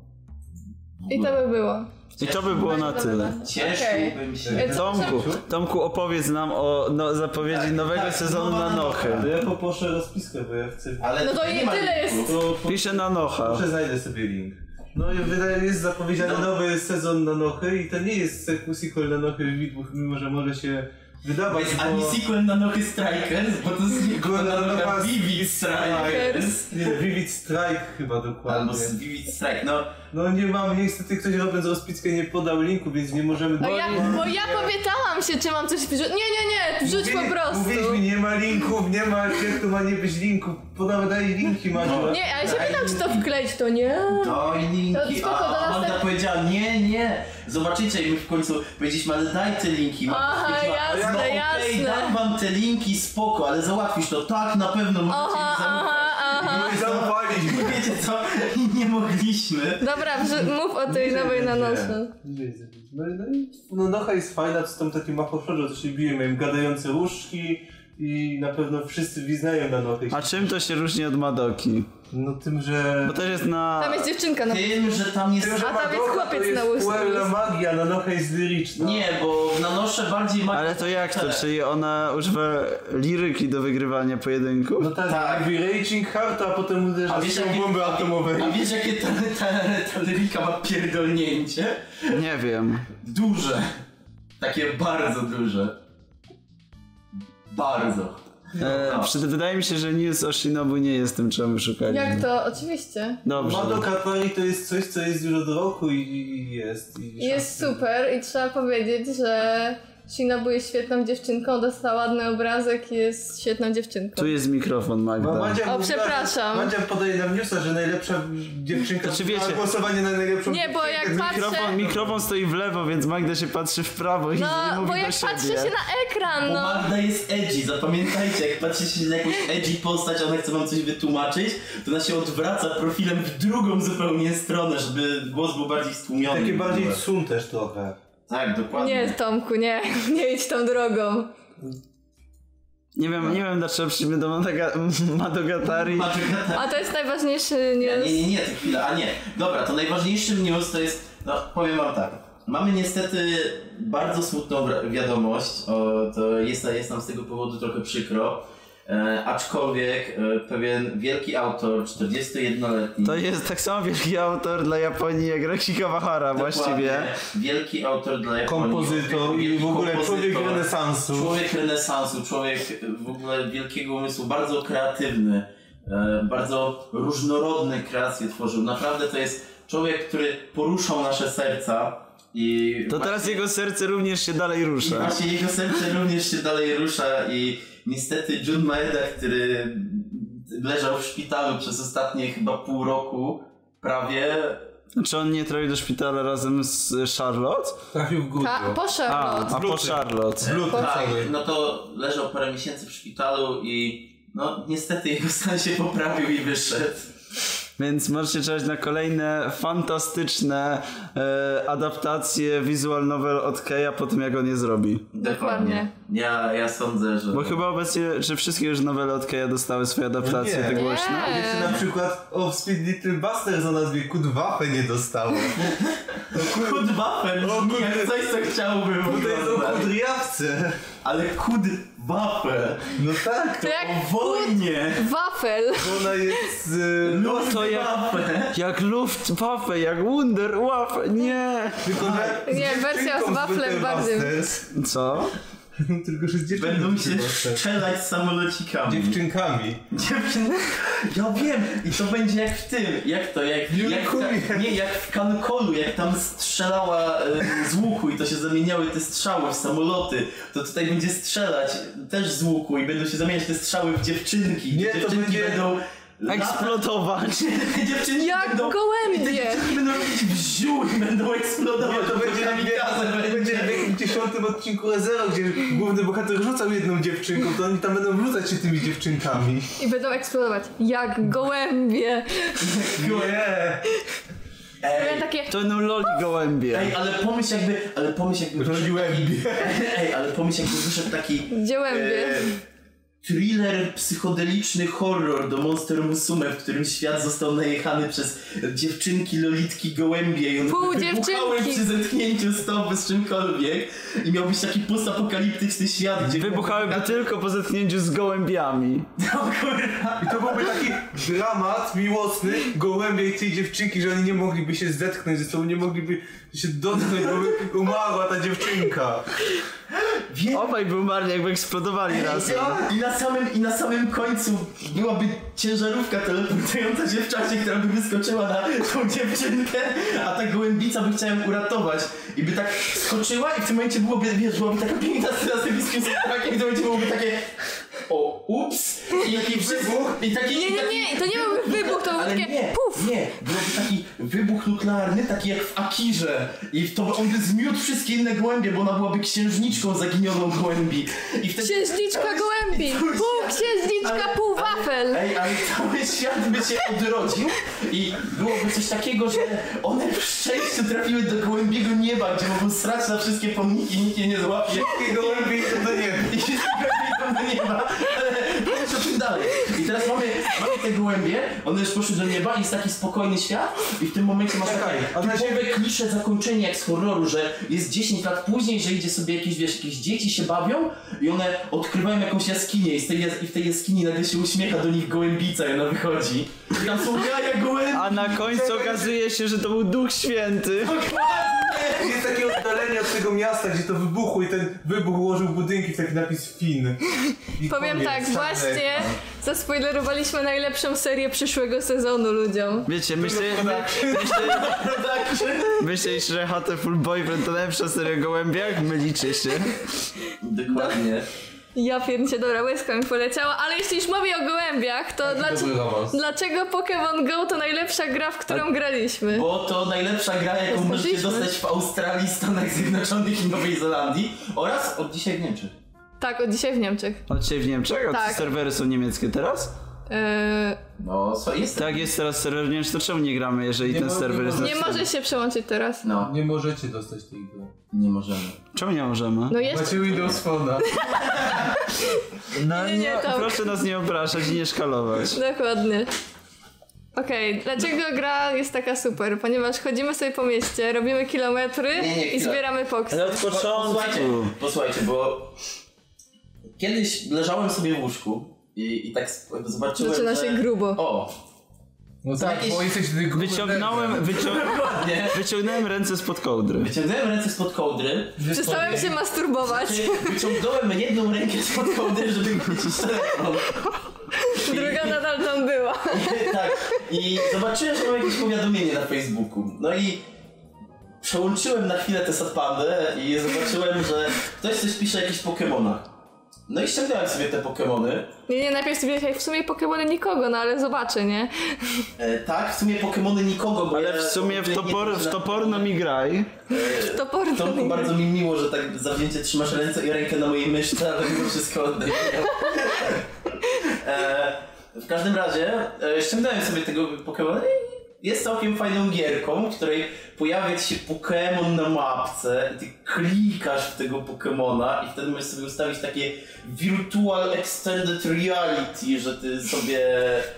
[SPEAKER 3] W
[SPEAKER 2] I
[SPEAKER 3] ogóle.
[SPEAKER 2] to by było.
[SPEAKER 4] I to by było na tyle.
[SPEAKER 2] Okej.
[SPEAKER 3] Cieszyłbym się.
[SPEAKER 2] E,
[SPEAKER 4] Tomku, Tomku, opowiedz nam o no, zapowiedzi
[SPEAKER 3] Tak,
[SPEAKER 4] nowego
[SPEAKER 3] tak,
[SPEAKER 4] sezonu
[SPEAKER 3] nowa
[SPEAKER 4] na
[SPEAKER 1] No
[SPEAKER 4] Nochę.
[SPEAKER 1] ja poproszę rozpiskę, bo ja chcę...
[SPEAKER 3] Ale
[SPEAKER 2] No to
[SPEAKER 3] nie
[SPEAKER 2] i
[SPEAKER 3] ma
[SPEAKER 2] tyle
[SPEAKER 3] linku.
[SPEAKER 2] jest.
[SPEAKER 1] To po-
[SPEAKER 4] Pisze na Nocha.
[SPEAKER 1] Może znajdę sobie link. No i wydaje jest zapowiedziany
[SPEAKER 3] No.
[SPEAKER 1] nowy sezon Nanochy i to nie jest sequel sequel Nanochy Widmów, mimo że może się wydawać,
[SPEAKER 3] Jest
[SPEAKER 1] bo...
[SPEAKER 3] ani sequel na Nochy Strikers, bo to jest sequel na Nochy Vivid Strikers.
[SPEAKER 1] Nie, Vivid Strike chyba dokładnie.
[SPEAKER 3] Albo z Vivid Strike, no.
[SPEAKER 1] No nie mam, niestety ktoś robiąc rozpiskę nie podał linku, więc nie możemy...
[SPEAKER 2] Bo No ja, bo ja powietałam się, czy mam coś wrzucić. Nie, nie, nie, wrzuć
[SPEAKER 1] Mówili-
[SPEAKER 2] po prostu.
[SPEAKER 1] Mówiliśmy, nie ma linków, nie ma, jak tu ma nie być linków, podamy daj linki, Maciu.
[SPEAKER 3] No.
[SPEAKER 2] Nie, ale się pytam, czy to wkleić, to nie.
[SPEAKER 3] Daj linki,
[SPEAKER 2] To spoko, do
[SPEAKER 3] a Amanda
[SPEAKER 2] następ-
[SPEAKER 3] powiedziała nie, nie, zobaczycie i my w końcu powiedzieliśmy, ale daj te linki.
[SPEAKER 2] Aha,
[SPEAKER 3] Powiedziała,
[SPEAKER 2] jasne,
[SPEAKER 3] no, okej,
[SPEAKER 2] jasne.
[SPEAKER 3] dam wam te linki, spoko, ale załatwisz to, tak, na pewno możecie
[SPEAKER 2] Aha,
[SPEAKER 3] mi zaufać.
[SPEAKER 2] aha, aha.
[SPEAKER 1] Nie zaufaliśmy.
[SPEAKER 3] Wiecie co, nie mogliśmy.
[SPEAKER 2] Dobra, wrzu- mów o tej nowej na noszę.
[SPEAKER 1] No, no, i- no Nocha jest fajna, to tam taki machoszorze, co się bije, mają gadające łóżki i na pewno wszyscy wyznają na Nochę.
[SPEAKER 4] A czym to się różni od Madoki?
[SPEAKER 1] No tym, że...
[SPEAKER 4] Bo też jest na...
[SPEAKER 2] Tam jest dziewczynka na
[SPEAKER 3] Tym, że tam jest...
[SPEAKER 1] Tym, że
[SPEAKER 2] A tam jest
[SPEAKER 1] Madoka
[SPEAKER 2] chłopiec
[SPEAKER 1] to jest
[SPEAKER 2] na łóżku.
[SPEAKER 1] puerla magia, na Nocha jest liryczna.
[SPEAKER 3] Nie, bo na nosze bardziej ma...
[SPEAKER 4] Ale to jak to? Czyli ona używa liryki do wygrywania pojedynków?
[SPEAKER 1] No tak,
[SPEAKER 3] Tak.
[SPEAKER 1] mówi raging hard, a potem uderza
[SPEAKER 3] A
[SPEAKER 1] w
[SPEAKER 3] wiesz,
[SPEAKER 1] siłą
[SPEAKER 3] jakie-
[SPEAKER 1] bomby atomowej.
[SPEAKER 3] A wiesz jakie ta, ta, ta lyrika ma pierdolnięcie?
[SPEAKER 4] Nie wiem.
[SPEAKER 3] Duże. Takie bardzo duże. Bardzo. No.
[SPEAKER 4] E, przy, wydaje mi się, że News Oshinobu nie jest tym, czego my szukaliśmy.
[SPEAKER 2] Jak to? Oczywiście.
[SPEAKER 4] Dobrze.
[SPEAKER 1] Mando Katari to jest coś, co jest już od roku i, i jest. I
[SPEAKER 2] Jest super i trzeba powiedzieć, że Shinobu jest świetną dziewczynką, dostała ładny obrazek i jest świetną dziewczynką.
[SPEAKER 4] Tu jest mikrofon,
[SPEAKER 1] Ma-
[SPEAKER 3] Tak.
[SPEAKER 4] Magda.
[SPEAKER 1] Madzia
[SPEAKER 2] O,
[SPEAKER 1] mówiła,
[SPEAKER 2] przepraszam.
[SPEAKER 1] że- Madzia podaje nam newsa, że najlepsza dziewczynka
[SPEAKER 4] Znaczy,
[SPEAKER 1] wygrała
[SPEAKER 4] wiecie-
[SPEAKER 1] głosowanie na najlepszą
[SPEAKER 2] Nie, bo jak
[SPEAKER 4] Mikrofon,
[SPEAKER 2] patrzę...
[SPEAKER 4] mikrofon stoi w lewo, więc Magda się patrzy w prawo i nie
[SPEAKER 2] No,
[SPEAKER 4] mówi
[SPEAKER 2] bo
[SPEAKER 4] do
[SPEAKER 2] jak
[SPEAKER 4] siebie.
[SPEAKER 2] patrzę się na ekran,
[SPEAKER 3] Bo
[SPEAKER 2] no.
[SPEAKER 3] Magda jest edgy, zapamiętajcie, jak patrzycie na jakąś edgy postać, a ona chce wam coś wytłumaczyć, to ona się odwraca profilem w drugą zupełnie stronę, żeby głos był bardziej stłumiony.
[SPEAKER 1] Takie bardziej sun też trochę.
[SPEAKER 3] Tak, dokładnie.
[SPEAKER 2] Nie, Tomku, nie. Nie idź tą drogą.
[SPEAKER 4] Nie wiem, nie wiem dlaczego przyjmę do Madaga- Madogatari.
[SPEAKER 3] Patrz, jak na
[SPEAKER 2] A to jest najważniejszy news.
[SPEAKER 3] Nie, nie, nie, to chwila, a nie. Dobra, to najważniejszym news to jest, no powiem wam tak. Mamy niestety bardzo smutną wi- wiadomość, o, to jest, jest nam z tego powodu trochę przykro. E, aczkolwiek e, pewien wielki autor, 41-letni.
[SPEAKER 4] To jest tak samo wielki autor dla Japonii jak Rexi Kawahara
[SPEAKER 3] dokładnie,
[SPEAKER 4] właściwie.
[SPEAKER 3] Wielki autor dla Japonii.
[SPEAKER 1] Kompozytor i
[SPEAKER 3] wielki
[SPEAKER 1] w ogóle
[SPEAKER 3] kompozytor,
[SPEAKER 1] człowiek renesansu.
[SPEAKER 3] Człowiek renesansu, człowiek e, w ogóle wielkiego umysłu, bardzo kreatywny, e, bardzo różnorodne kreacje tworzył. Naprawdę to jest człowiek, który poruszał nasze serca i.
[SPEAKER 4] To
[SPEAKER 3] właśnie-
[SPEAKER 4] teraz jego serce również się dalej
[SPEAKER 3] i
[SPEAKER 4] rusza.
[SPEAKER 3] właśnie jego serce również się dalej rusza i niestety Jun Maeda, który leżał w szpitalu przez ostatnie chyba pół roku prawie,
[SPEAKER 4] Czy Znaczy, on nie trafił do szpitala razem z Charlotte?
[SPEAKER 1] Trafił w górę.
[SPEAKER 2] Ta, po
[SPEAKER 4] A,
[SPEAKER 2] Charlotte.
[SPEAKER 4] a po
[SPEAKER 1] Wrócę.
[SPEAKER 4] Charlotte.
[SPEAKER 3] tak, no to leżał parę miesięcy w szpitalu i no niestety jego stan się poprawił i wyszedł.
[SPEAKER 4] Więc możecie czekać na kolejne fantastyczne e, adaptacje visual novel od Keja po tym jak on je zrobi.
[SPEAKER 2] Dokładnie.
[SPEAKER 3] Ja, ja sądzę, że...
[SPEAKER 4] Bo chyba obecnie, czy wszystkie już nowele od Keja dostały swoje adaptacje, tak-
[SPEAKER 1] Nie.
[SPEAKER 4] te
[SPEAKER 1] Nie.
[SPEAKER 4] głośne?
[SPEAKER 1] Jeszcze na przykład Offspeed Little Buster za nazwie Kudwafę nie dostało.
[SPEAKER 3] Kud wafel,
[SPEAKER 1] O kurde.
[SPEAKER 3] jak coś co chciałbym
[SPEAKER 1] To jest o
[SPEAKER 3] oglądać.
[SPEAKER 1] kudriawce.
[SPEAKER 3] Ale kud wafel,
[SPEAKER 1] No tak,
[SPEAKER 2] To jak
[SPEAKER 3] o wojnie,
[SPEAKER 2] wafel.
[SPEAKER 1] ona jest... y,
[SPEAKER 3] lud
[SPEAKER 4] to jak-
[SPEAKER 3] wafel.
[SPEAKER 4] Jak Luftwaffe, jak Wunder, Waffe, nie!
[SPEAKER 1] tylko że-
[SPEAKER 2] Nie, wersja z
[SPEAKER 1] dziewczynką
[SPEAKER 2] waflem
[SPEAKER 1] Little
[SPEAKER 2] bardziej.
[SPEAKER 1] Busters. No,
[SPEAKER 4] Co?
[SPEAKER 1] Tylko, że z dziewczynką
[SPEAKER 3] Będą
[SPEAKER 1] Little
[SPEAKER 3] się
[SPEAKER 1] Busters.
[SPEAKER 3] strzelać z samolocikami.
[SPEAKER 1] Dziewczynkami.
[SPEAKER 3] Dziewczyn... Ja wiem! I to będzie jak w tym, jak to, jak, jak ta,
[SPEAKER 1] Unicornie.
[SPEAKER 3] Nie, jak w Cancolu, jak tam strzelała e, z łuku i to się zamieniały te strzały w samoloty, to tutaj będzie strzelać też z łuku i będą się zamieniać te strzały w dziewczynki.
[SPEAKER 1] Nie, to
[SPEAKER 3] dziewczynki
[SPEAKER 1] będzie-
[SPEAKER 3] będą...
[SPEAKER 4] Tak Eksplodować!
[SPEAKER 3] Te dziewczynki
[SPEAKER 2] Jak
[SPEAKER 3] będą... Te
[SPEAKER 2] gołębie.
[SPEAKER 3] dziewczynki będą robić wziół i będą eksplodować.
[SPEAKER 1] Nie, to będzie na
[SPEAKER 3] kamikadze
[SPEAKER 1] będzie w jakimś dziesiątym odcinku Ezero, gdzie główny bohater rzucał jedną dziewczynką, to oni tam będą rzucać się tymi dziewczynkami.
[SPEAKER 2] I będą eksplodować. Jak gołębie.
[SPEAKER 1] Nie!
[SPEAKER 2] Robią
[SPEAKER 3] Ej,
[SPEAKER 2] takie...
[SPEAKER 4] To no loli gołębie.
[SPEAKER 3] ej, ale pomyśl jakby... Ale pomyśl jakby...
[SPEAKER 1] Roliłem
[SPEAKER 3] Ej, ale pomyśl jakby wyszedł taki...
[SPEAKER 2] Dziełębie.
[SPEAKER 3] E, Thriller, psychodeliczny horror do Monster Musume, w którym świat został najechany przez dziewczynki, lolitki, gołębie i one
[SPEAKER 2] Pół
[SPEAKER 3] wybuchały
[SPEAKER 2] dziewczynki.
[SPEAKER 3] przy zetknięciu stopy z czymkolwiek i miał być taki postapokaliptyczny świat, gdzie...
[SPEAKER 4] Wybuchałyby tylko po zetknięciu z gołębiami.
[SPEAKER 3] No kurwa!
[SPEAKER 1] I to byłby taki dramat miłosny gołębiej tej dziewczynki, że oni nie mogliby się zetknąć ze sobą, nie mogliby się dotknąć, bo by umarła ta dziewczynka.
[SPEAKER 3] Wie-
[SPEAKER 4] Obaj by umarli jakby eksplodowali razem.
[SPEAKER 3] I na, samym, I na samym końcu byłaby ciężarówka teleportująca się w czasie, która by wyskoczyła na tą dziewczynkę, a ta gołębica by chciała ją uratować. I by tak skoczyła i w tym momencie byłoby, wiesz, byłaby taka piękna scena z tym bliskim i w tym momencie byłoby takie o, ups, i taki wybuch, i taki...
[SPEAKER 2] Nie, nie, nie, to nie byłby wybuch, to byłby
[SPEAKER 3] Ale
[SPEAKER 2] takie
[SPEAKER 3] nie,
[SPEAKER 2] puf.
[SPEAKER 3] nie, byłby taki wybuch nuklearny, taki jak w Akirze. I to by- on by zmiótł wszystkie inne gołębie, bo ona byłaby księżniczką zaginioną gołębi. I wtedy
[SPEAKER 2] Księżniczka gołębi. Pół księżniczka, pół wafel.
[SPEAKER 3] Ej, ale cały świat by się odrodził i byłoby coś takiego, że one w szczęściu trafiły do głębiego nieba, gdzie mogą srać na wszystkie pomniki i nikt je nie złapie.
[SPEAKER 1] I gołębie idą do nieba.
[SPEAKER 3] I się zgłębią do nieba, ale powiedz o czym dalej. I teraz mamy, mamy te gołębie, one już poszły do nieba i jest taki spokojny świat i w tym momencie masz
[SPEAKER 1] Czekaj, a
[SPEAKER 3] takie
[SPEAKER 1] na
[SPEAKER 3] typowe klisze zakończenie jak z horroru, że jest 10 lat później, że idzie sobie jakieś, wiesz, jakieś dzieci się bawią i one odkrywają jakąś jaskinię i, z tej, jas- i w tej jaskini nagle się uśmiecha do nich gołębica i ona wychodzi. I tam są jaja gołębi.
[SPEAKER 4] A na końcu okazuje się, że to był Duch Święty.
[SPEAKER 3] Dokładnie!
[SPEAKER 1] Wiesz, jest takie oddalenie od tego miasta, gdzie to wybuchło i ten wybuch ułożył budynki w taki napis Fin. I
[SPEAKER 2] Powiem
[SPEAKER 1] koniec,
[SPEAKER 2] tak,
[SPEAKER 1] czarny
[SPEAKER 2] właśnie
[SPEAKER 1] ekran.
[SPEAKER 2] zaspoilerowaliśmy najlepszą serię przyszłego sezonu ludziom.
[SPEAKER 4] Wiecie, myślę, myślisz, że Hateful Boyfriend to najlepsza seria gołębiak? Mylicie się.
[SPEAKER 3] Dokładnie.
[SPEAKER 2] Ja pierdzie, dobra, łezka mi poleciała, ale jeśli już mówię o gołębiach, to
[SPEAKER 1] Dobry
[SPEAKER 2] dlaczego,
[SPEAKER 1] romans.
[SPEAKER 2] dlaczego Pokémon Go to najlepsza gra, w którą graliśmy?
[SPEAKER 3] Bo to najlepsza gra, jaką możecie
[SPEAKER 2] Dostaliśmy.
[SPEAKER 3] dostać w Australii, Stanach Zjednoczonych i Nowej Zelandii oraz od dzisiaj w Niemczech.
[SPEAKER 2] Tak, od dzisiaj w Niemczech.
[SPEAKER 4] Od ciebie w Niemczech? A
[SPEAKER 2] Tak.
[SPEAKER 4] te serwery są niemieckie teraz?
[SPEAKER 2] Eee,
[SPEAKER 3] No, co jest?
[SPEAKER 4] Tak, jest teraz serwer w Niemczech, to czemu nie gramy, jeżeli
[SPEAKER 1] Nie
[SPEAKER 4] ten
[SPEAKER 1] ma-
[SPEAKER 4] serwer jest na
[SPEAKER 2] nie
[SPEAKER 3] Znaczy-
[SPEAKER 2] może się przełączyć teraz.
[SPEAKER 3] No,
[SPEAKER 1] Nie możecie dostać tej gry.
[SPEAKER 3] nie możemy.
[SPEAKER 4] Czemu nie możemy?
[SPEAKER 2] No jeszcze.
[SPEAKER 1] Macie Windows Phone'a.
[SPEAKER 4] No
[SPEAKER 3] Znaczy-
[SPEAKER 2] nie, nie, to-
[SPEAKER 4] proszę nas nie obrażać i nie szkalować.
[SPEAKER 2] Dokładnie. Okej, dlaczego gra jest taka super? Ponieważ chodzimy sobie po mieście, robimy kilometry
[SPEAKER 3] Nie, nie,
[SPEAKER 2] i
[SPEAKER 3] chwila.
[SPEAKER 2] zbieramy poksy.
[SPEAKER 4] Ale od
[SPEAKER 3] Posłuchajcie,
[SPEAKER 4] początku.
[SPEAKER 3] posłuchajcie, bo kiedyś leżałem sobie w łóżku i, i tak sp- zobaczyłem,
[SPEAKER 2] Zaczyna
[SPEAKER 3] że...
[SPEAKER 2] się grubo.
[SPEAKER 3] O,
[SPEAKER 1] No
[SPEAKER 3] tak, bo
[SPEAKER 1] jesteś ty
[SPEAKER 4] Wyciągnąłem, wycią-
[SPEAKER 3] nie?
[SPEAKER 4] wyciągnąłem ręce spod kołdry.
[SPEAKER 3] Wyciągnąłem ręce spod kołdry,
[SPEAKER 2] Przestałem się masturbować,
[SPEAKER 3] wyciągnąłem jedną rękę spod kołdry, żeby chwycić telefon.
[SPEAKER 2] druga nadal tam była.
[SPEAKER 3] tak. I zobaczyłem, że mam jakieś powiadomienie na Facebooku. No i przełączyłem na chwilę tę satpandę i zobaczyłem, że ktoś coś pisze o jakichś Pokemonach. No i ściągnąłem sobie te Pokemony.
[SPEAKER 2] Nie, nie, najpierw sobie myślałem, w sumie Pokemony nikogo, no ale zobaczę, nie?
[SPEAKER 3] E, tak, w sumie Pokemony nikogo, bo
[SPEAKER 4] Ale
[SPEAKER 3] ja
[SPEAKER 4] w sumie w,
[SPEAKER 3] nie-
[SPEAKER 4] topor, w toporno mi graj.
[SPEAKER 2] To porno.
[SPEAKER 3] Tomku, bardzo mi miło, że tak zawzięcie trzymasz ręce i rękę na mojej myszce, ale mimo wszystko oddaję. e, w każdym razie e, ściągnąłem sobie tego Pokemona i jest całkiem fajną gierką, w której pojawia ci się Pokemon na mapce i ty klikasz w tego Pokemona i wtedy możesz sobie ustawić takie virtual extended reality, że ty sobie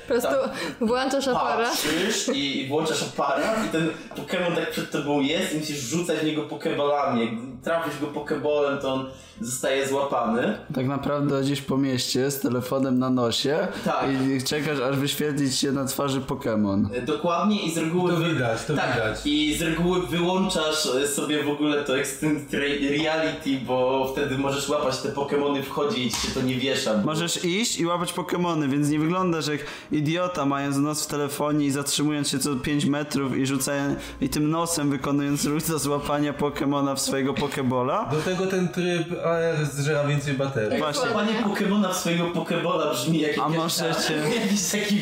[SPEAKER 2] Po prostu
[SPEAKER 3] tam
[SPEAKER 2] włączasz aparat.
[SPEAKER 3] patrzysz i, i włączasz aparat i ten Pokémon tak przed tobą jest i musisz rzucać w niego pokebalami. Jak trafisz go pokebolem, to on zostaje złapany.
[SPEAKER 4] Tak naprawdę gdzieś po mieście z telefonem na nosie
[SPEAKER 3] Tak.
[SPEAKER 4] i czekasz aż wyświetlić się na twarzy Pokémon.
[SPEAKER 3] E, Dokładnie i z reguły...
[SPEAKER 1] To
[SPEAKER 3] wy-
[SPEAKER 1] widać, to
[SPEAKER 3] tak,
[SPEAKER 1] widać.
[SPEAKER 3] i z reguły wyłączasz e, sobie w ogóle to Extended Re- Reality, bo wtedy możesz łapać te Pokémony w chodzie i ci się to nie wiesza.
[SPEAKER 4] Możesz iść i łapać Pokemony, więc nie wyglądasz jak idiota mając nos w telefonie i zatrzymując się co 5 metrów i rzucając i tym nosem wykonując ruch do złapania Pokemona w swojego Pokebola.
[SPEAKER 1] Do tego ten tryb AR zżera więcej baterii.
[SPEAKER 4] Właśnie.
[SPEAKER 3] Panie Pokemona w swojego Pokebola brzmi jak
[SPEAKER 4] A
[SPEAKER 3] jakaś-
[SPEAKER 4] możecie-
[SPEAKER 3] jakiś taki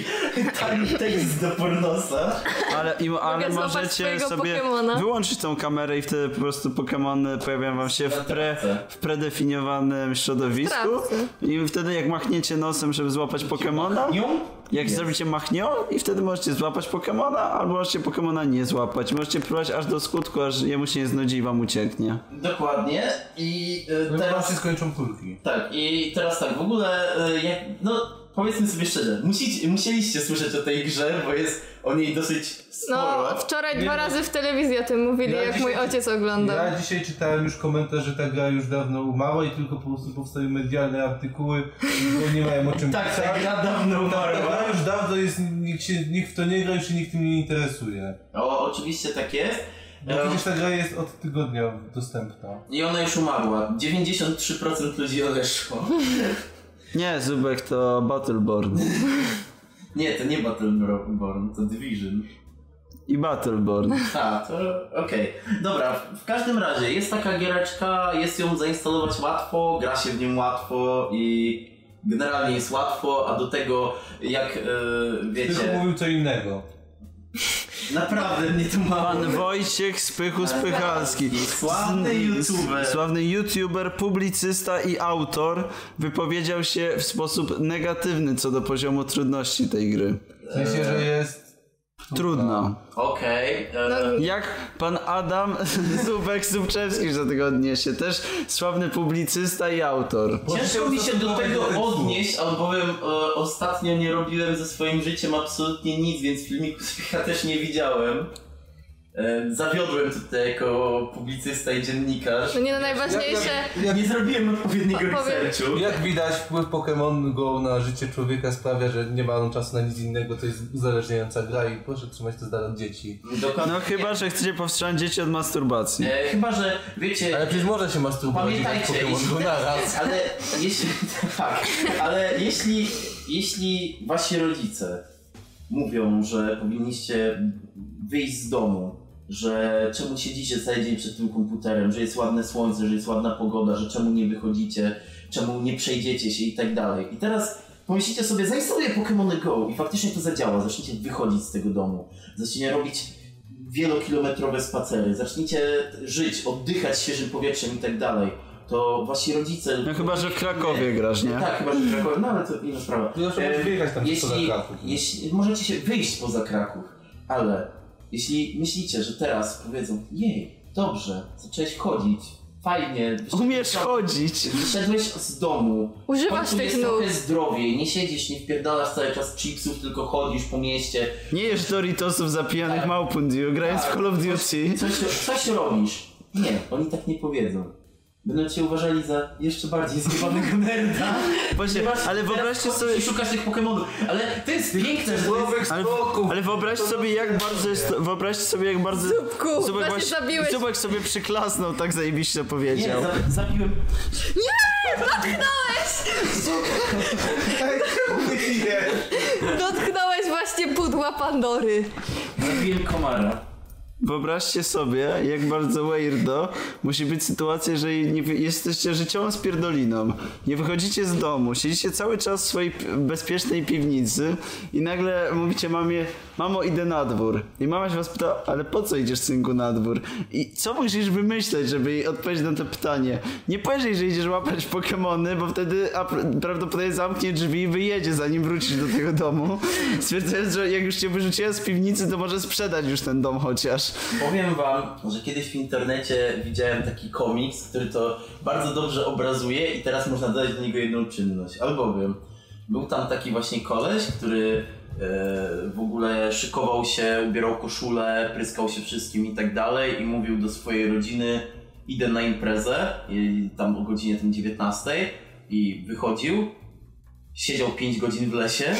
[SPEAKER 3] tani tekst do pornosa.
[SPEAKER 4] Ale, i, ale
[SPEAKER 2] złapać
[SPEAKER 4] możecie
[SPEAKER 2] swojego
[SPEAKER 4] sobie
[SPEAKER 2] Pokemona.
[SPEAKER 4] wyłączyć tą kamerę i wtedy po prostu Pokemony pojawiają wam się w, pre, w predefiniowanym środowisku.
[SPEAKER 2] Sprawcy.
[SPEAKER 4] I wtedy jak machniecie nosem, żeby złapać Pokemona,
[SPEAKER 3] Nią?
[SPEAKER 4] Jak zrobicie machnio i wtedy możecie złapać Pokemona, albo możecie Pokemona nie złapać. Możecie próbować aż do skutku, aż jemu się nie znudzi i wam ucieknie.
[SPEAKER 3] Dokładnie. I e,
[SPEAKER 1] No i teraz
[SPEAKER 3] teraz
[SPEAKER 1] się skończą kulki.
[SPEAKER 3] tak, i teraz tak, w ogóle e, jak, no powiedzmy sobie szczerze, musicie, musieliście słyszeć o tej grze, bo jest o niej dosyć sporo.
[SPEAKER 2] No, wczoraj dwa razy w telewizji o tym mówili,
[SPEAKER 1] Ja
[SPEAKER 2] jak
[SPEAKER 1] dzisiaj-
[SPEAKER 2] mój ojciec
[SPEAKER 3] No
[SPEAKER 2] oglądał.
[SPEAKER 1] Ja dzisiaj czytałem już komentarz, że ta gra już dawno umarła i tylko po prostu powstały medialne artykuły, bo nie mają o czym
[SPEAKER 3] tak, ta gra dawno
[SPEAKER 1] Ta
[SPEAKER 3] umarła.
[SPEAKER 1] gra już dawno jest, nikt, się, nikt w to nie gra, już się nikt tym nie interesuje.
[SPEAKER 3] O, oczywiście tak jest.
[SPEAKER 1] Bo
[SPEAKER 3] E,
[SPEAKER 1] przecież ta gra jest od tygodnia dostępna.
[SPEAKER 3] I ona już umarła. 93% ludzi odeszło.
[SPEAKER 4] Nie, Zubek to Battleborn.
[SPEAKER 3] Nie, to nie Battleborn, to Division.
[SPEAKER 4] I Battleborn.
[SPEAKER 3] A, to okej. Dobra, w każdym razie jest taka giereczka, jest ją zainstalować łatwo, gra się w nią łatwo i generalnie jest łatwo, a do tego jak e,
[SPEAKER 1] Tylko
[SPEAKER 3] wiecie,
[SPEAKER 1] mówił co innego.
[SPEAKER 3] naprawdę mnie tu mało.
[SPEAKER 4] Pan Wojciech Spychu Spychalski.
[SPEAKER 3] Sławny youtuber.
[SPEAKER 4] Sławny youtuber, publicysta i autor wypowiedział się w sposób negatywny co do poziomu trudności tej gry.
[SPEAKER 1] W sensie, że jest...
[SPEAKER 4] Trudno.
[SPEAKER 3] Okej. e,
[SPEAKER 4] Jak pan Adam Zubek Subczewski za tygodnie się też sławny publicysta i autor.
[SPEAKER 3] Ciężko mi się do tego odnieść, albowiem e, ostatnio nie robiłem ze swoim życiem absolutnie nic, więc filmiku z Pycha też nie widziałem. E, zawiodłem tutaj jako publicysta i dziennikarz.
[SPEAKER 2] No nie no, najważniejsze...
[SPEAKER 3] Nie zrobiłem odpowiedniego
[SPEAKER 2] Odpowiedź-
[SPEAKER 3] researchu.
[SPEAKER 1] Jak widać, wpływ Pokémon Go na życie człowieka sprawia, że nie ma on czasu na nic innego, to jest uzależniająca gra i proszę trzymać to z dala od dzieci.
[SPEAKER 3] Dokładnie.
[SPEAKER 4] No chyba, że chcecie powstrzymać dzieci od masturbacji.
[SPEAKER 3] E, chyba, że wiecie...
[SPEAKER 1] Ale przecież można się masturbować i grać w
[SPEAKER 3] Pamiętajcie,
[SPEAKER 1] Pokémon Go na raz.
[SPEAKER 3] Ale jeśli. Tak, ale jeśli, jeśli wasi rodzice mówią, że powinniście wyjść z domu, że czemu siedzicie cały dzień przed tym komputerem, że jest ładne słońce, że jest ładna pogoda, że czemu nie wychodzicie, czemu nie przejdziecie się i tak dalej. I teraz pomyślicie sobie, zainstaluję Pokémon Go i faktycznie to zadziała. Zaczniecie wychodzić z tego domu, zaczniecie robić wielokilometrowe spacery, zaczniecie żyć, oddychać świeżym powietrzem i tak dalej. To wasi rodzice.
[SPEAKER 4] No chyba, że w Krakowie grasz, nie?
[SPEAKER 3] Tak, chyba że w Krakowie, no ale to inna sprawa. E,
[SPEAKER 1] Zawsze możesz no, wyjechać tam poza
[SPEAKER 3] jeśli,
[SPEAKER 1] Kraków.
[SPEAKER 3] jeśli Możecie się wyjść poza Kraków, ale jeśli myślicie, że teraz powiedzą, jej, dobrze, zacząłeś chodzić, fajnie. wyszedłeś-
[SPEAKER 4] Umiesz chodzić.
[SPEAKER 3] Wyszedłeś z domu.
[SPEAKER 2] Używasz
[SPEAKER 3] w końcu
[SPEAKER 2] tych
[SPEAKER 3] jest
[SPEAKER 2] nóg.
[SPEAKER 3] trochę zdrowiej, nie siedzisz, nie wpierdalasz cały czas chipsów, tylko chodzisz po mieście.
[SPEAKER 4] Nie jesz Doritosów zapijanych małpundiu, grając w Call of Duty.
[SPEAKER 3] Coś, coś robisz. Nie, oni tak nie powiedzą. Będą cię uważali za jeszcze bardziej zjebanego nerda.
[SPEAKER 4] Właśnie,
[SPEAKER 3] Masz-
[SPEAKER 4] ale
[SPEAKER 3] teraz
[SPEAKER 4] wyobraźcie
[SPEAKER 3] chodzisz
[SPEAKER 4] sobie...
[SPEAKER 3] i szukasz tych Pokemonów. Ale to jest piękne, że to jest...
[SPEAKER 1] Słowek
[SPEAKER 4] Ale,
[SPEAKER 1] spoków!
[SPEAKER 4] ale wyobraźcie sobie jak bardzo jest, wyobraźcie sobie jak bardzo...
[SPEAKER 2] Zupku, właśnie
[SPEAKER 4] właśnie-
[SPEAKER 2] zabiłeś.
[SPEAKER 4] Zubek sobie przyklasnął, tak zajebiście
[SPEAKER 3] Nie,
[SPEAKER 4] powiedział.
[SPEAKER 3] za- zabiłem.
[SPEAKER 2] Dotknąłeś właśnie pudła Pandory.
[SPEAKER 3] Zabiłem komara.
[SPEAKER 4] Wyobraźcie sobie, jak bardzo weirdo musi być sytuacja, że nie, wy- jesteście życiową spierdoliną, nie wychodzicie z domu, siedzicie cały czas w swojej pi- bezpiecznej piwnicy i nagle mówicie mamie, mamo idę na dwór. I mama się was pyta, ale po co idziesz synku na dwór? I co musisz wymyśleć, żeby jej odpowiedzieć na to pytanie? Nie powiesz jej, że idziesz łapać pokemony, bo wtedy a, pr- prawdopodobnie zamknie drzwi i wyjedzie, zanim wrócisz do tego domu. Stwierdzając, że jak już cię wyrzuciłem z piwnicy, to może sprzedać już ten dom chociaż.
[SPEAKER 3] Powiem wam, że kiedyś w internecie widziałem taki komiks, który to bardzo dobrze obrazuje i teraz można dodać do niego jedną czynność. Albowiem był tam taki właśnie koleś, który e, w ogóle szykował się, ubierał koszulę, pryskał się wszystkim i tak dalej i mówił do swojej rodziny idę na imprezę i tam o godzinie tam 19 i wychodził, siedział 5 godzin w lesie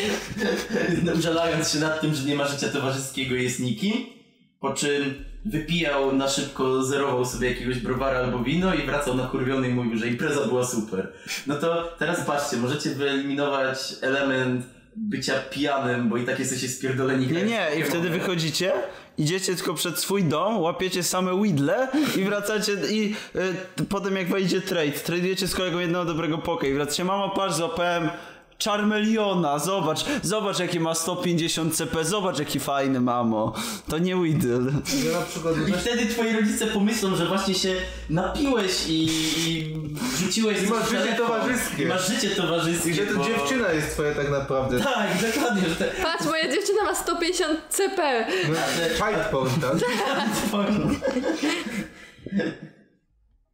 [SPEAKER 3] żalając się nad tym, że nie ma życia towarzyskiego i jest nikim, po czym wypijał na szybko, zerował sobie jakiegoś browara albo wino i wracał nakurwiony i mówił, że impreza była super. No to teraz patrzcie, możecie wyeliminować element bycia pijanym, bo i tak jesteście spierdoleni.
[SPEAKER 4] Nie, nie, i wtedy wychodzicie, idziecie tylko przed swój dom, łapiecie same widle i wracacie i y, t- potem jak wejdzie trade, tradujecie z kolegą jednego dobrego poka i wracacie, mamo patrz, złapałem Charmeliona, zobacz, zobacz jaki ma 150 CP, zobacz jaki fajny mamo, to nie Weedle.
[SPEAKER 1] Ja na przykład
[SPEAKER 3] I wtedy twoi rodzice pomyślą, że właśnie się napiłeś i, i rzuciłeś...
[SPEAKER 1] I masz
[SPEAKER 3] swój
[SPEAKER 1] życie
[SPEAKER 3] telefon.
[SPEAKER 1] towarzyskie.
[SPEAKER 3] I masz życie towarzyskie.
[SPEAKER 1] I że to
[SPEAKER 3] bo-
[SPEAKER 1] dziewczyna jest twoja tak naprawdę.
[SPEAKER 3] Tak, dokładnie, że te...
[SPEAKER 2] Patrz, moja dziewczyna ma 150 CP.
[SPEAKER 1] Fight porn, tak?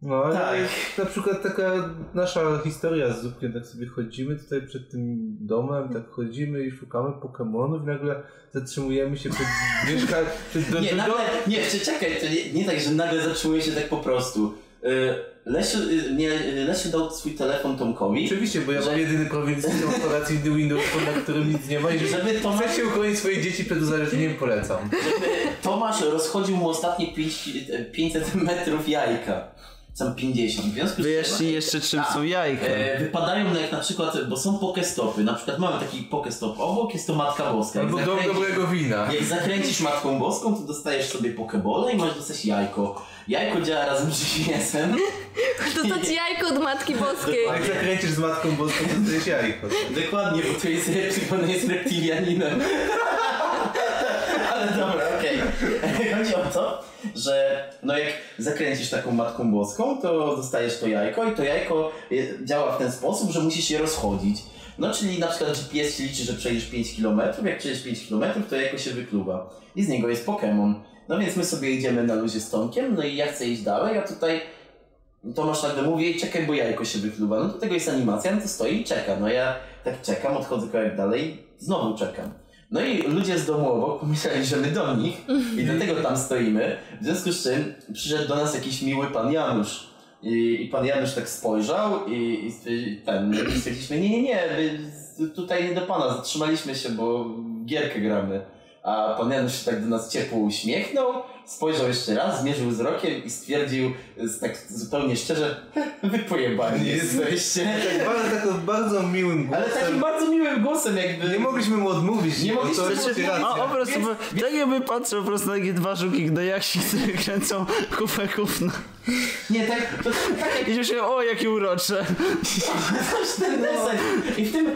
[SPEAKER 1] No, ale
[SPEAKER 3] Tak.
[SPEAKER 1] na przykład taka nasza historia z Zupkiem, tak sobie chodzimy tutaj przed tym domem, tak chodzimy i szukamy Pokemonów, nagle zatrzymujemy się przed mieszkaniem, przed do,
[SPEAKER 3] Nie,
[SPEAKER 1] do,
[SPEAKER 3] nagle, nie, czy- czekaj, to nie, nie tak, że nagle zatrzymuje się tak po prostu. Y, Lesiu, y, nie, y, Lesiu dał swój telefon Tomkowi,
[SPEAKER 1] Oczywiście, bo ja mam
[SPEAKER 3] Że-
[SPEAKER 1] jedyny prowincyjny operacyjny Windows Phone, na którym nic nie ma i że
[SPEAKER 3] żeby Tomasz,
[SPEAKER 1] chcesz się uchronić swoje dzieci przed uzależnieniem, polecam.
[SPEAKER 3] Tomasz rozchodził mu ostatnie pięć, y, 500 metrów jajka. Sam 50. W związku z
[SPEAKER 4] Wyjaśnij
[SPEAKER 3] czym,
[SPEAKER 4] jeszcze czym
[SPEAKER 3] A,
[SPEAKER 4] są jajka.
[SPEAKER 3] E, wypadają no jak na przykład, bo są pokestopy, na przykład mamy taki pokestop obok, jest to Matka Boska. Jak
[SPEAKER 1] Albo dom
[SPEAKER 3] zakręcisz-
[SPEAKER 1] dobrego wina.
[SPEAKER 3] Jak zakręcisz Matką Boską, to dostajesz sobie pokebole i możesz dostać jajko. Jajko działa razem z GPS-em.
[SPEAKER 2] Dostać jajko od Matki Boskiej.
[SPEAKER 1] Jak zakręcisz z Matką Boską, to jesteś jajko.
[SPEAKER 3] Dokładnie, bo to jest reptil, on jest reptilianinem. Ale dobra, okej. Chodzi o to, że no jak zakręcisz taką Matką Boską, to dostajesz to jajko i to jajko je- działa w ten sposób, że musisz je rozchodzić. No czyli na przykład GPS ci liczy, że przejdziesz 5 km, jak przejdziesz 5 km, to jajko się wykluba. I z niego jest Pokémon. No więc my sobie idziemy na luzie z Tomkiem, no i ja chcę iść dalej, a tutaj Tomasz nagle mówi, "Ej, czekaj, bo jajko się wykluwa. No do tego jest animacja, no to stoi i czeka. No ja tak czekam, odchodzę kawałek dalej, znowu czekam. No i ludzie z domu obok pomyśleli, że my do nich i dlatego tam stoimy. W związku z czym przyszedł do nas jakiś miły pan Janusz. I, i pan Janusz tak spojrzał i, i stwierdzi- ten, i stwierdziliśmy, nie, nie, nie, my z- tutaj nie do pana, zatrzymaliśmy się, bo w gierkę gramy. A pan Janusz się tak do nas ciepło uśmiechnął, spojrzał jeszcze raz, zmierzył wzrokiem i stwierdził z, tak zupełnie szczerze, wy pojebani jesteście.
[SPEAKER 1] Tak bardzo, tak bardzo miłym głosem.
[SPEAKER 3] Ale takim bardzo miłym głosem jakby.
[SPEAKER 1] Nie mogliśmy mu odmówić.
[SPEAKER 3] Nie
[SPEAKER 1] bo
[SPEAKER 3] mogliśmy
[SPEAKER 1] to
[SPEAKER 3] mu
[SPEAKER 1] jest
[SPEAKER 3] odmówić.
[SPEAKER 1] racja.
[SPEAKER 4] A po prostu,
[SPEAKER 3] Więc-
[SPEAKER 4] bo- tak jakby patrzył po prostu na takie dwa no żuki gnojaksi, które kręcą kupę gówna.
[SPEAKER 3] Nie, tak, to, tak jak
[SPEAKER 4] I już się, o jakie urocze.
[SPEAKER 3] Coś ten deseń. I w, tym,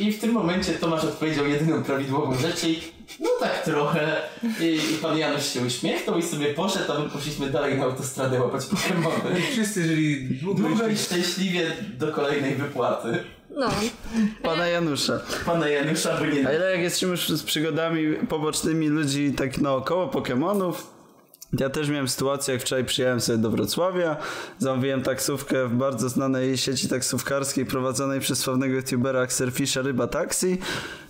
[SPEAKER 3] i, I w tym momencie Tomasz odpowiedział jedyną prawidłową rzecz i no tak trochę. I, i pan Janusz się uśmiechnął i sobie poszedł, a my poszliśmy dalej na autostradę łapać Pokemony.
[SPEAKER 1] Wszyscy żyli długo,
[SPEAKER 3] Długo i
[SPEAKER 1] i-
[SPEAKER 3] szczęśliwie do kolejnej wypłaty.
[SPEAKER 2] No.
[SPEAKER 4] Pana Janusza.
[SPEAKER 3] Pana Janusza by
[SPEAKER 4] A
[SPEAKER 3] nie...
[SPEAKER 4] ile jak jesteśmy już z przygodami pobocznymi ludzi tak naokoło Pokemonów, ja też miałem sytuację, jak wczoraj przyjechałem sobie do Wrocławia, zamówiłem taksówkę w bardzo znanej sieci taksówkarskiej prowadzonej przez sławnego youtubera Axelfisha Ryba Taxi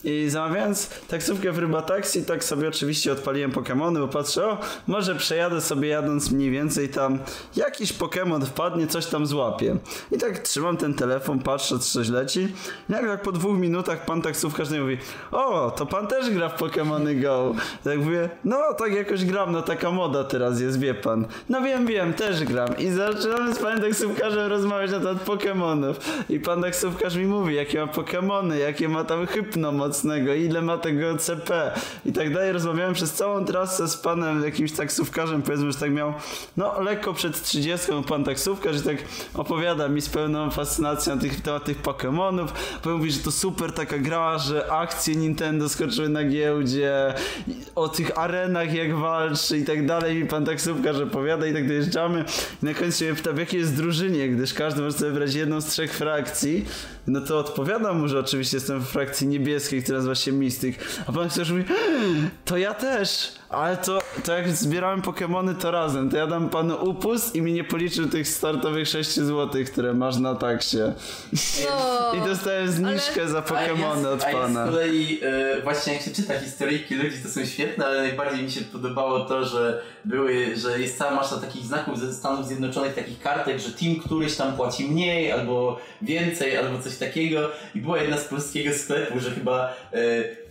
[SPEAKER 4] i zamawiając taksówkę w Ryba Taxi, tak sobie oczywiście odpaliłem Pokemony, bo patrzę, o, może przejadę sobie jadąc mniej więcej tam, jakiś Pokemon wpadnie, coś tam złapię. I tak trzymam ten telefon, patrzę, czy coś leci i nagle tak po dwóch minutach pan taksówkarz do mnie mówi, o, to pan też gra w Pokemony Go. Tak mówię, no tak jakoś gram, no taka moda teraz jest, wie pan. No wiem, wiem, też gram. I zaczynamy z panem taksówkarzem rozmawiać na temat Pokemonów. I pan taksówkarz mi mówi, jakie ma Pokemony, jakie ma tam hypno mocnego, ile ma tego CP i tak dalej. Rozmawiałem przez całą trasę z panem jakimś taksówkarzem, powiedzmy, że tak miał, no lekko przed 30 pan taksówkarz i tak opowiada mi z pełną fascynacją na tych, temat tych Pokemonów, bo mówi, że to super taka gra, że akcje Nintendo skoczyły na giełdzie, i o tych arenach jak walczy i tak dalej. I pan taksówkarz opowiada i tak dojeżdżamy. I na końcu się mnie pyta, w jakiej jest drużynie, gdyż każdy może sobie wybrać jedną z trzech frakcji. No to odpowiadam mu, że oczywiście jestem w frakcji niebieskiej, która nazywa się Mystic. A pan taksówkarz mówi, "Hmm, to ja też, ale to, to jak zbierałem Pokemony to razem, to ja dam panu upust i mi nie policzył tych startowych 6 złotych, które masz na taksie.
[SPEAKER 2] no.
[SPEAKER 4] I dostałem zniżkę za Pokemony od
[SPEAKER 3] a ja
[SPEAKER 4] pana.
[SPEAKER 3] z kolei e, właśnie jak się czyta historyjki ludzi, to są świetne, ale najbardziej mi się podobało to, że były, że jest cała masza takich znaków ze Stanów Zjednoczonych, takich kartek, że team któryś tam płaci mniej, albo więcej, albo coś takiego. I była jedna z polskiego sklepu, że chyba e,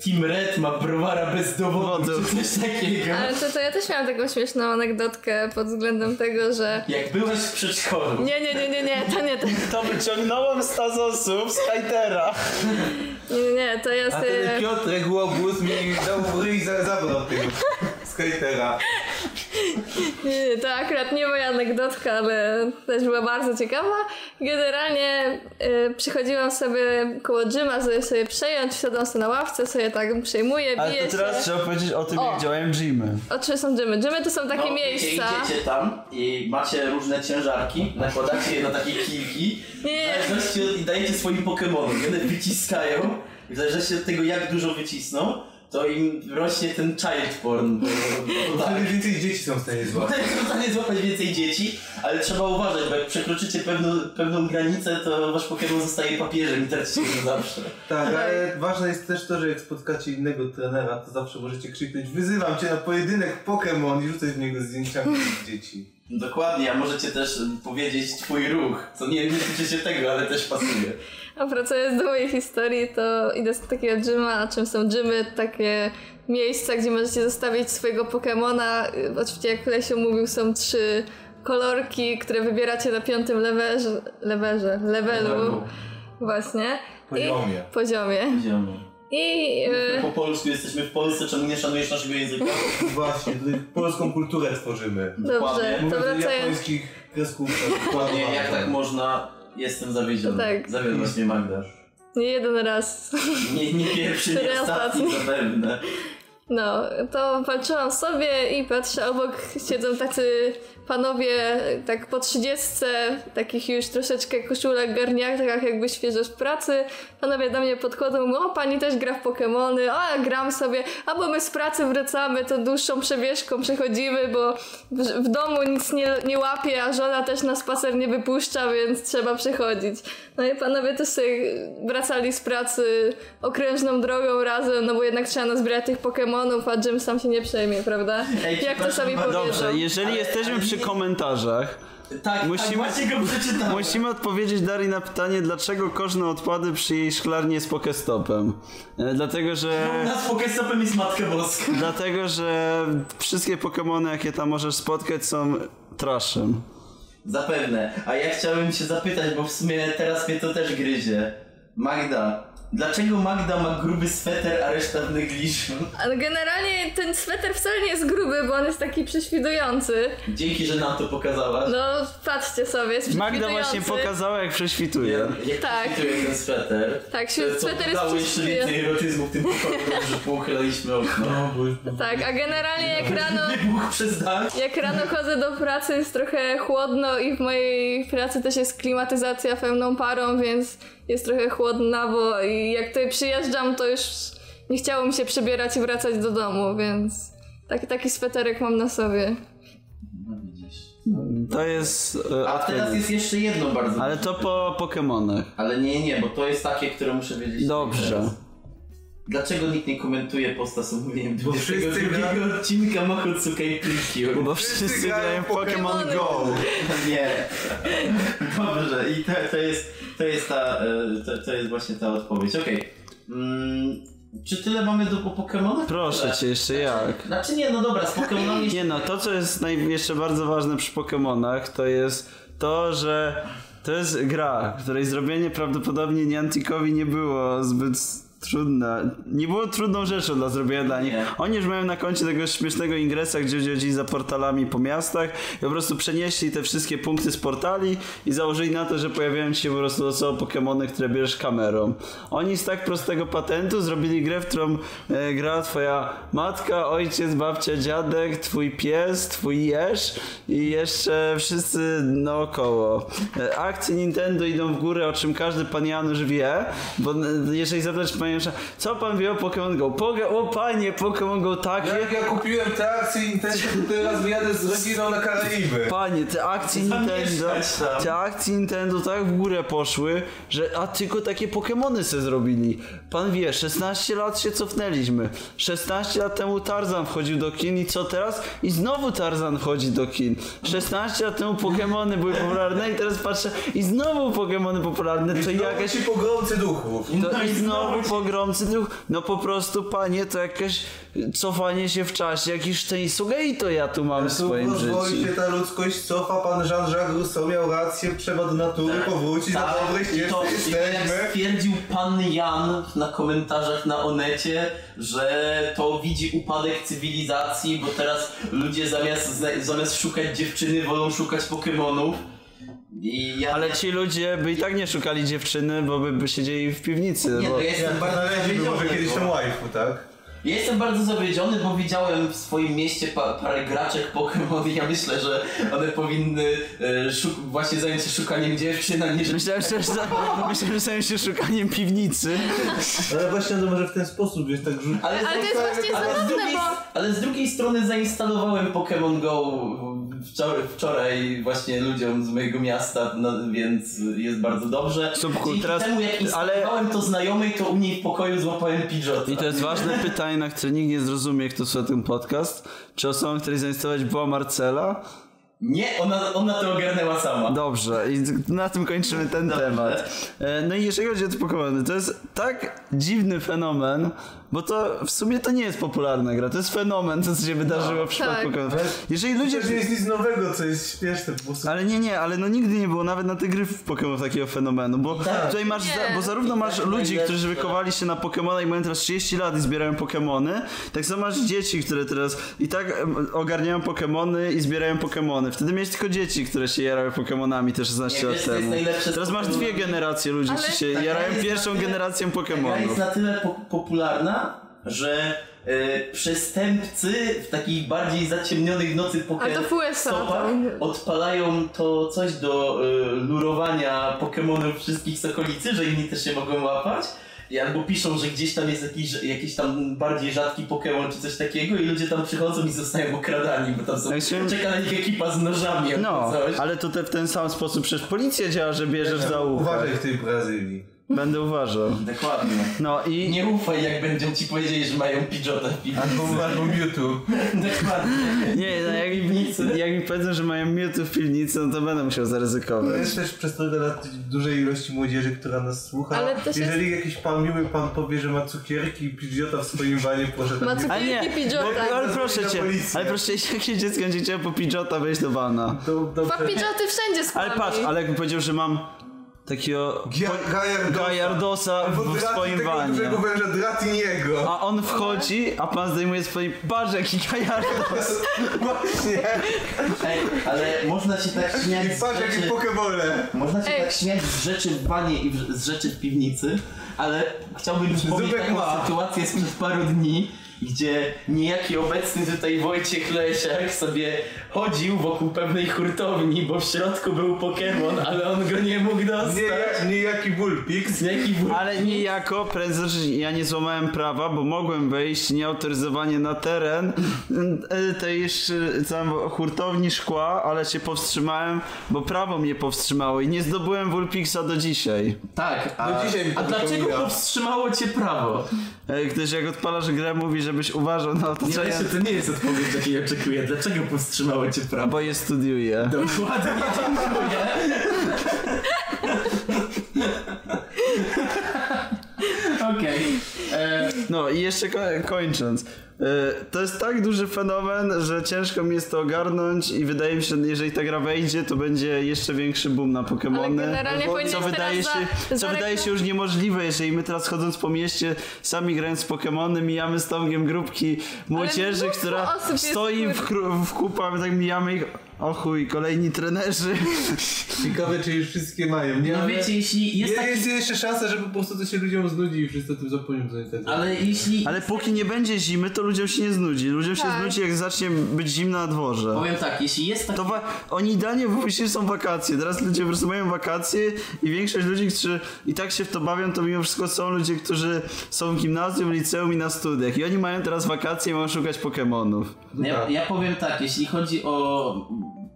[SPEAKER 3] Team Red ma browara bez dowodu,
[SPEAKER 4] Dowodu.
[SPEAKER 3] czy coś takiego.
[SPEAKER 2] Ale to, to ja też miałam taką śmieszną anegdotkę pod względem tego, że...
[SPEAKER 3] Jak byłeś w przedszkolu.
[SPEAKER 2] Nie, nie, nie, nie, nie, to nie to.
[SPEAKER 4] To wyciągnąłem z Tazosów, z Kajtera.
[SPEAKER 2] Nie, nie, nie, to jest...
[SPEAKER 1] A
[SPEAKER 2] y,
[SPEAKER 3] E,
[SPEAKER 1] ten Piotrek Łobuz mi dał w ryj i za- zabrał tego skatera.
[SPEAKER 2] Nie, nie, to akurat nie moja anegdotka, ale też była bardzo ciekawa. Generalnie y, przychodziłam sobie koło dżyma, żeby sobie przejąć, siadłam sobie na ławce, sobie tak przejmuję,
[SPEAKER 4] Ale
[SPEAKER 2] biję
[SPEAKER 4] to teraz
[SPEAKER 2] się.
[SPEAKER 4] trzeba powiedzieć o tym,
[SPEAKER 2] O.
[SPEAKER 4] jak działają gymy.
[SPEAKER 2] O czym są dżymy? Dżymy to są takie
[SPEAKER 3] No,
[SPEAKER 2] miejsca.
[SPEAKER 3] Idzie, idziecie tam i macie różne ciężarki, nakładacie je na takie kijki
[SPEAKER 2] Nie.
[SPEAKER 3] w zależności od, i dajecie swoim Pokemonom. One wyciskają i w zależności od tego jak dużo wycisną, to im rośnie ten child porn. Bo, bo tak.
[SPEAKER 1] Wtedy więcej dzieci są w stanie złapać.
[SPEAKER 3] Tutaj jest w stanie złapać więcej dzieci, ale trzeba uważać, bo jak przekroczycie pewną, pewną granicę, to wasz Pokemon zostaje papieżem i tracicie go zawsze.
[SPEAKER 1] Tak, ale ważne jest też to, że jak spotkacie innego trenera, to zawsze możecie krzyknąć Wyzywam cię na pojedynek Pokémon i rzucać w niego zdjęciami z dzieci.
[SPEAKER 3] Dokładnie, a możecie też powiedzieć twój ruch, co nie, nie tyczy się tego, ale też pasuje.
[SPEAKER 2] A wracając do mojej historii, to idę z takiego dżyma, a czym są dżymy? Takie miejsca, gdzie możecie zostawić swojego Pokemona. Y, Oczywiście, jak Lesiu mówił, są trzy kolorki, które wybieracie na piątym lewerze, lewerze, levelu. Właśnie.
[SPEAKER 1] Poziomie.
[SPEAKER 2] I, poziomie.
[SPEAKER 3] Idziemy.
[SPEAKER 2] I y,
[SPEAKER 3] Po polsku jesteśmy w Polsce, czemu nie szanujesz naszego języka?
[SPEAKER 1] Właśnie, tutaj polską kulturę tworzymy.
[SPEAKER 2] dobrze,
[SPEAKER 3] Dokładnie.
[SPEAKER 2] to
[SPEAKER 1] Mówię do
[SPEAKER 2] wracając.
[SPEAKER 1] japońskich kreskówkach.
[SPEAKER 3] Dokładnie, jak tak można, jestem zawiedziony.
[SPEAKER 2] Tak.
[SPEAKER 3] Zawiodłaś mnie Magda.
[SPEAKER 2] Nie jeden raz.
[SPEAKER 3] Nie, nie pierwszy, nie
[SPEAKER 2] Teraz
[SPEAKER 3] ostatni
[SPEAKER 2] ostatni.
[SPEAKER 3] zapewne.
[SPEAKER 2] No, to walczyłam sobie i patrzę, obok siedzą tacy panowie tak po trzydziestce, takich już troszeczkę koszulek, garniakach, jakby świeżo z pracy, panowie do mnie podchodzą, mówią, o pani też gra w Pokemony, o ja gram sobie, albo my z pracy wracamy, to dłuższą przebieszką przechodzimy, bo w, w domu nic nie, nie łapie, a żona też na spacer nie wypuszcza, więc trzeba przechodzić. No i panowie też sobie wracali z pracy okrężną drogą razem, no bo jednak trzeba nazbierać tych Pokemonów, a Jim sam się nie przejmie, prawda?
[SPEAKER 3] Ej,
[SPEAKER 2] Jak to sami
[SPEAKER 3] przepraszam,
[SPEAKER 2] powiedzą.
[SPEAKER 4] Dobrze, jeżeli
[SPEAKER 3] Ale-
[SPEAKER 4] jesteśmy
[SPEAKER 3] ale
[SPEAKER 4] przy
[SPEAKER 3] nie-
[SPEAKER 4] komentarzach,
[SPEAKER 3] Tak,
[SPEAKER 4] Musimy-
[SPEAKER 3] tak właśnie go przeczytałem.
[SPEAKER 4] musimy odpowiedzieć Dari na pytanie, dlaczego koszną odpady przy jej szklarni jest pokestopem. E, Dlatego, że...
[SPEAKER 3] Nas Pokestopem jest Matka Boska.
[SPEAKER 4] Dlatego, że wszystkie Pokemony, jakie tam możesz spotkać, są traszem.
[SPEAKER 3] Zapewne. A ja chciałbym się zapytać, bo w sumie teraz mnie to też gryzie. Magda. Dlaczego Magda ma gruby sweter, a reszta w negliżu?
[SPEAKER 2] Ale generalnie ten sweter wcale nie jest gruby, bo on jest taki prześwidujący.
[SPEAKER 3] Dzięki, że nam to pokazałaś.
[SPEAKER 2] No, patrzcie sobie, jest
[SPEAKER 4] Magda właśnie
[SPEAKER 2] prześwidujący.
[SPEAKER 4] pokazała, jak prześwituje.
[SPEAKER 3] Jak- Jak
[SPEAKER 2] Tak.
[SPEAKER 3] tak. ten sweter?
[SPEAKER 2] Tak, się-
[SPEAKER 3] To- to
[SPEAKER 2] sweter jest
[SPEAKER 3] dodało jeszcze
[SPEAKER 2] przystojny.
[SPEAKER 3] więcej erotyzmu w tym pokoju, że pouchylaliśmy okno.
[SPEAKER 1] No, bo już był
[SPEAKER 2] Tak, a generalnie jak rano...
[SPEAKER 3] Wybuch przez dach.
[SPEAKER 2] Jak rano chodzę do pracy, jest trochę chłodno i w mojej pracy też jest klimatyzacja pełną parą, więc jest trochę chłodnawo i jak tutaj przyjeżdżam, to już nie chciało mi się przebierać i wracać do domu, więc taki, taki sweterek mam na sobie.
[SPEAKER 3] No widzisz.
[SPEAKER 4] To jest. e,
[SPEAKER 3] A teraz
[SPEAKER 4] odpowiedź.
[SPEAKER 3] jest jeszcze jedno bardzo.
[SPEAKER 4] Ale to po Pokemonach.
[SPEAKER 3] Ale nie, nie, bo to jest takie, które muszę wiedzieć.
[SPEAKER 4] Dobrze.
[SPEAKER 3] teraz. Dlaczego nikt nie komentuje posta z omówieniem
[SPEAKER 1] wszyscy
[SPEAKER 3] dłuższego drugiego odcinka Mahotsuka i Plikio?
[SPEAKER 4] Bo wszyscy grają w Pokemon
[SPEAKER 2] Pokemony.
[SPEAKER 4] Go.
[SPEAKER 3] Nie. Dobrze, i to, to, jest, to jest ta, e, to, to jest właśnie ta odpowiedź. Okej. Mm, czy tyle mamy do o Pokemonach?
[SPEAKER 4] Proszę cię, jeszcze jak.
[SPEAKER 3] Znaczy nie, no dobra, z Pokemonami
[SPEAKER 4] Nie no, to co jest naj... jeszcze bardzo ważne przy Pokemonach, to jest to, że to jest gra, której zrobienie prawdopodobnie Nianticowi nie było zbyt trudne. Nie było trudną rzeczą dla zrobienia dla nich.
[SPEAKER 3] Nie.
[SPEAKER 4] Oni już mają na koncie tego śmiesznego ingresa, gdzie chodzili za portalami po miastach i po prostu przenieśli te wszystkie punkty z portali i założyli na to, że pojawiają ci się po prostu losowo Pokemony, które bierzesz kamerą. Oni z tak prostego patentu zrobili grę, w którą e, gra twoja matka, ojciec, babcia, dziadek, twój pies, twój jeż i jeszcze wszyscy naokoło. E, Akcje Nintendo idą w górę, o czym każdy pan Janusz wie, bo e, jeżeli zadać panie Janusza, co pan wie o Pokémon Go? Poga- o panie, Pokémon Go tak, wie,
[SPEAKER 1] Jak ja kupiłem te akcje Nintendo, to teraz wyjadę z rodziną na Karaiby.
[SPEAKER 4] Panie, te akcje
[SPEAKER 3] Tam
[SPEAKER 4] Nintendo,
[SPEAKER 3] mieszkać tam.
[SPEAKER 4] te akcje Nintendo tak w górę poszły, że a tylko takie Pokemony se zrobili. Pan wie, 16 lat się cofnęliśmy. 16 lat temu Tarzan wchodził do kin i co teraz? I znowu Tarzan wchodzi do kin. 16 lat temu Pokemony były popularne i teraz patrzę i znowu Pokemony popularne, to jakaś
[SPEAKER 1] Jakaś pogromcy duchów.
[SPEAKER 4] to i znowu pogromcy duch. No po prostu, panie, to jakieś cofanie się w czasie, jakiś Shinsuge to ja tu mam w swoim
[SPEAKER 1] Rozwoi
[SPEAKER 4] życiu.
[SPEAKER 1] się ta ludzkość cofa, pan Jean-Jacques Rousseau miał rację, trzeba do natury powrócić, na dobrej
[SPEAKER 3] Tak. i
[SPEAKER 1] ścieżce
[SPEAKER 3] to, i to jak
[SPEAKER 1] jesteśmy.
[SPEAKER 3] stwierdził pan Jan na komentarzach na Onecie, że to widzi upadek cywilizacji, bo teraz ludzie zamiast, zna- zamiast szukać dziewczyny wolą szukać Pokemonów. I ja,
[SPEAKER 4] Ale ci ludzie by i tak nie szukali dziewczyny, bo by, by siedzieli w piwnicy.
[SPEAKER 3] nie,
[SPEAKER 4] bo...
[SPEAKER 3] to ja jestem
[SPEAKER 1] Jak
[SPEAKER 3] bardzo
[SPEAKER 1] znaleźli może
[SPEAKER 3] zawiedziony,
[SPEAKER 1] kiedyś
[SPEAKER 3] bo-
[SPEAKER 1] tam waifu, tak?
[SPEAKER 3] Ja jestem bardzo zawiedziony, bo widziałem w swoim mieście pa- parę graczek Pokémon i ja myślę, że one powinny e, szuk- właśnie zająć się szukaniem dziewczyn, a nie że...
[SPEAKER 4] Myślałem, że, że, myślałem, że zajmą się szukaniem piwnicy.
[SPEAKER 1] Ale właśnie to może w ten sposób, wiesz, tak rzucić.
[SPEAKER 3] Ale,
[SPEAKER 2] Ale to jest właśnie
[SPEAKER 3] ale z,
[SPEAKER 2] zabawne,
[SPEAKER 3] drugiej,
[SPEAKER 2] bo
[SPEAKER 3] ale z drugiej strony zainstalowałem Pokémon Go wczoraj, wczoraj właśnie ludziom z mojego miasta, no, więc jest bardzo dobrze.
[SPEAKER 4] Subku,
[SPEAKER 3] Dzięki
[SPEAKER 4] teraz-
[SPEAKER 3] temu jak instalowałem to znajomej, to u niej w pokoju złapałem pidżota.
[SPEAKER 4] I to jest ważne pytanie, na które nikt nie zrozumie, kto słucha ten podcast. Czy osobą, której zainstalować była Marcela?
[SPEAKER 3] Nie, ona, ona to ogarnęła sama.
[SPEAKER 4] Dobrze, i na tym kończymy ten temat. E, No i jeżeli chodzi o te Pokémony, to jest tak dziwny fenomen, bo to w sumie to nie jest popularna gra, to jest fenomen, to co się wydarzyło w przypadku
[SPEAKER 2] tak.
[SPEAKER 4] Pokémonów. Jeżeli
[SPEAKER 1] To
[SPEAKER 4] ludzie...
[SPEAKER 1] nie jest nic nowego, co jest śmieszne po prostu.
[SPEAKER 4] Ale nie, nie, ale no nigdy nie było nawet na te gry w Pokémon takiego fenomenu, bo tutaj masz, za,
[SPEAKER 2] Nie.
[SPEAKER 4] bo zarówno masz
[SPEAKER 3] tak
[SPEAKER 4] ludzi,
[SPEAKER 3] najlepsze.
[SPEAKER 4] którzy wychowali się na Pokémona i mają teraz 30 lat i zbierają Pokémony, tak samo masz dzieci, które teraz i tak em, ogarniają Pokémony i zbierają Pokémony. Wtedy miałeś tylko dzieci, które się jarały Pokémonami też 16
[SPEAKER 3] Nie,
[SPEAKER 4] lat
[SPEAKER 3] wiesz, co jest
[SPEAKER 4] temu.
[SPEAKER 3] najlepsze z
[SPEAKER 4] Teraz masz
[SPEAKER 3] Pokemonami?
[SPEAKER 4] dwie generacje ludzi,
[SPEAKER 2] Ale-
[SPEAKER 4] którzy się
[SPEAKER 3] Tak,
[SPEAKER 4] jarają
[SPEAKER 3] jest na
[SPEAKER 4] pierwszą
[SPEAKER 3] tyle-
[SPEAKER 4] generacją
[SPEAKER 3] Gra
[SPEAKER 4] Pokémonów.
[SPEAKER 3] jest na tyle po- popularna, że e, przestępcy w takich bardziej zaciemnionych nocy
[SPEAKER 2] Ale to w
[SPEAKER 3] Pokémon
[SPEAKER 2] USA
[SPEAKER 3] stopach
[SPEAKER 2] tam.
[SPEAKER 3] odpalają to coś do e, lurowania Pokemonów wszystkich z okolicy, że inni też się mogą łapać. I albo piszą, że gdzieś tam jest jakiś, jakiś tam bardziej rzadki Pokémon czy coś takiego i ludzie tam przychodzą i zostają okradani, bo tam są,
[SPEAKER 4] Ja chciałem-
[SPEAKER 3] czeka na nich ekipa z nożami albo
[SPEAKER 4] No,
[SPEAKER 3] coś.
[SPEAKER 4] ale to te, w ten sam sposób przecież policja działa, że bierzesz za ucho.
[SPEAKER 1] Uważaj w tej Brazylii.
[SPEAKER 4] Będę uważał.
[SPEAKER 3] Dokładnie.
[SPEAKER 4] No i
[SPEAKER 3] Nie ufaj, jak będą ci powiedzieli, że mają pidżota w piwnicy.
[SPEAKER 1] Albo, albo Mewtwo.
[SPEAKER 3] Dokładnie.
[SPEAKER 4] Nie, no jak,
[SPEAKER 3] Piwnicy.
[SPEAKER 4] jak mi powiedzą, że mają miutu w piwnicy, no to będę musiał
[SPEAKER 1] To
[SPEAKER 4] zaryzykować.
[SPEAKER 1] jest też przestroga dla tej dużej ilości młodzieży, która nas słucha.
[SPEAKER 2] Ale też
[SPEAKER 1] Jeżeli jakiś pan miły pan powie, że ma cukierki i pidżota w swoim wanie, proszę tam
[SPEAKER 2] Ma
[SPEAKER 1] nie-
[SPEAKER 4] A nie,
[SPEAKER 2] cukierki
[SPEAKER 1] Tak.
[SPEAKER 4] bo,
[SPEAKER 2] pidżota.
[SPEAKER 4] ale proszę cię,
[SPEAKER 1] Policja.
[SPEAKER 4] ale proszę cię, jakie dziecko będzie chciało po pidżota wejść do bana.
[SPEAKER 1] to,
[SPEAKER 2] Ma
[SPEAKER 1] dobrze.
[SPEAKER 2] pidżoty wszędzie z
[SPEAKER 4] Ale patrz,
[SPEAKER 2] kłami.
[SPEAKER 4] ale jakby powiedział, że mam takiego
[SPEAKER 1] Gia- Gajardosa.
[SPEAKER 4] Gajardosa
[SPEAKER 1] Albo
[SPEAKER 4] w
[SPEAKER 1] Drati-
[SPEAKER 4] swoim
[SPEAKER 1] tego
[SPEAKER 4] wanie.
[SPEAKER 1] dużego węża Dratiniego.
[SPEAKER 4] A on wchodzi, a pan zdejmuje swoje barze, jaki Gajardos.
[SPEAKER 1] No Właśnie.
[SPEAKER 3] Ej, ale można się tak śmiać
[SPEAKER 1] I
[SPEAKER 3] z
[SPEAKER 1] patrz jakie
[SPEAKER 3] rzeczy,
[SPEAKER 1] pokebole.
[SPEAKER 3] Można się
[SPEAKER 2] Ej.
[SPEAKER 3] tak śmiać z rzeczy w banie i w- z rzeczy w piwnicy, ale chciałbym przypomnieć
[SPEAKER 1] Zubek
[SPEAKER 3] taką
[SPEAKER 1] ma.
[SPEAKER 3] sytuację sprzed paru dni, gdzie niejaki obecny tutaj Wojciech Lesiak sobie chodził wokół pewnej hurtowni, bo w środku był Pokémon, ale on go nie mógł dostać.
[SPEAKER 1] Nie, jak, nie jaki Bullpix.
[SPEAKER 3] Jaki był...
[SPEAKER 4] Ale niejako, prędzej ja nie złamałem prawa, bo mogłem wejść nieautoryzowanie na teren y, tej sz- tam hurtowni szkła, ale się powstrzymałem, bo prawo mnie powstrzymało i nie zdobyłem Vulpixa do dzisiaj.
[SPEAKER 3] Tak, a,
[SPEAKER 1] Do No dzisiaj mi to
[SPEAKER 3] a dlaczego
[SPEAKER 1] przypomina.
[SPEAKER 3] powstrzymało cię prawo?
[SPEAKER 4] Y, Gdyż jak odpalasz grę, mówi, żebyś uważał na to,
[SPEAKER 3] Nie,
[SPEAKER 4] co ja...
[SPEAKER 3] Lesiu, to nie jest odpowiedź, jakiej oczekuję. Dlaczego powstrzymało cię prawo?
[SPEAKER 4] Bo je studiuję.
[SPEAKER 3] Dokładnie, dziękuję. Okej. E,
[SPEAKER 4] No i jeszcze ko kończąc. Y, To jest tak duży fenomen, że ciężko mi jest to ogarnąć i wydaje mi się, że jeżeli ta gra wejdzie, to będzie jeszcze większy boom na Pokemony.
[SPEAKER 2] Ale generalnie
[SPEAKER 4] Bo- co
[SPEAKER 2] powinieneś
[SPEAKER 4] wydaje
[SPEAKER 2] teraz
[SPEAKER 4] się,
[SPEAKER 2] za-
[SPEAKER 4] co
[SPEAKER 2] zareklam-
[SPEAKER 4] wydaje się już niemożliwe, jeżeli my teraz chodząc po mieście, sami grając w Pokemony, mijamy z Tomkiem grupki młodzieży,
[SPEAKER 2] mnóstwo
[SPEAKER 4] która
[SPEAKER 2] osób jest,
[SPEAKER 4] stoi w, kru- w kupach, tak mijamy ich. O chuj, kolejni trenerzy.
[SPEAKER 1] Ciekawe czy już wszystkie mają, nie?
[SPEAKER 3] no
[SPEAKER 1] Ale-
[SPEAKER 3] wiecie, jeśli jest
[SPEAKER 1] Jest,
[SPEAKER 3] taki...
[SPEAKER 1] jest jeszcze szansa, żeby po prostu to się ludziom znudzi i wszyscy o tym zapomnią co niestety.
[SPEAKER 3] Ale jeśli...
[SPEAKER 4] Ale póki nie będzie zimy, to ludziom się nie znudzi. Ludziom się
[SPEAKER 2] Tak.
[SPEAKER 4] znudzi, jak zacznie być zimno na dworze.
[SPEAKER 3] Powiem tak, jeśli jest taki...
[SPEAKER 4] To wa- oni idealnie wymyślili są wakacje. Teraz ludzie po prostu mają wakacje i większość ludzi, którzy i tak się w to bawią, to mimo wszystko są ludzie, którzy są w gimnazjum, liceum i na studiach. I oni mają teraz wakacje i mają szukać Pokemonów.
[SPEAKER 3] Ja, ja powiem tak, jeśli chodzi o,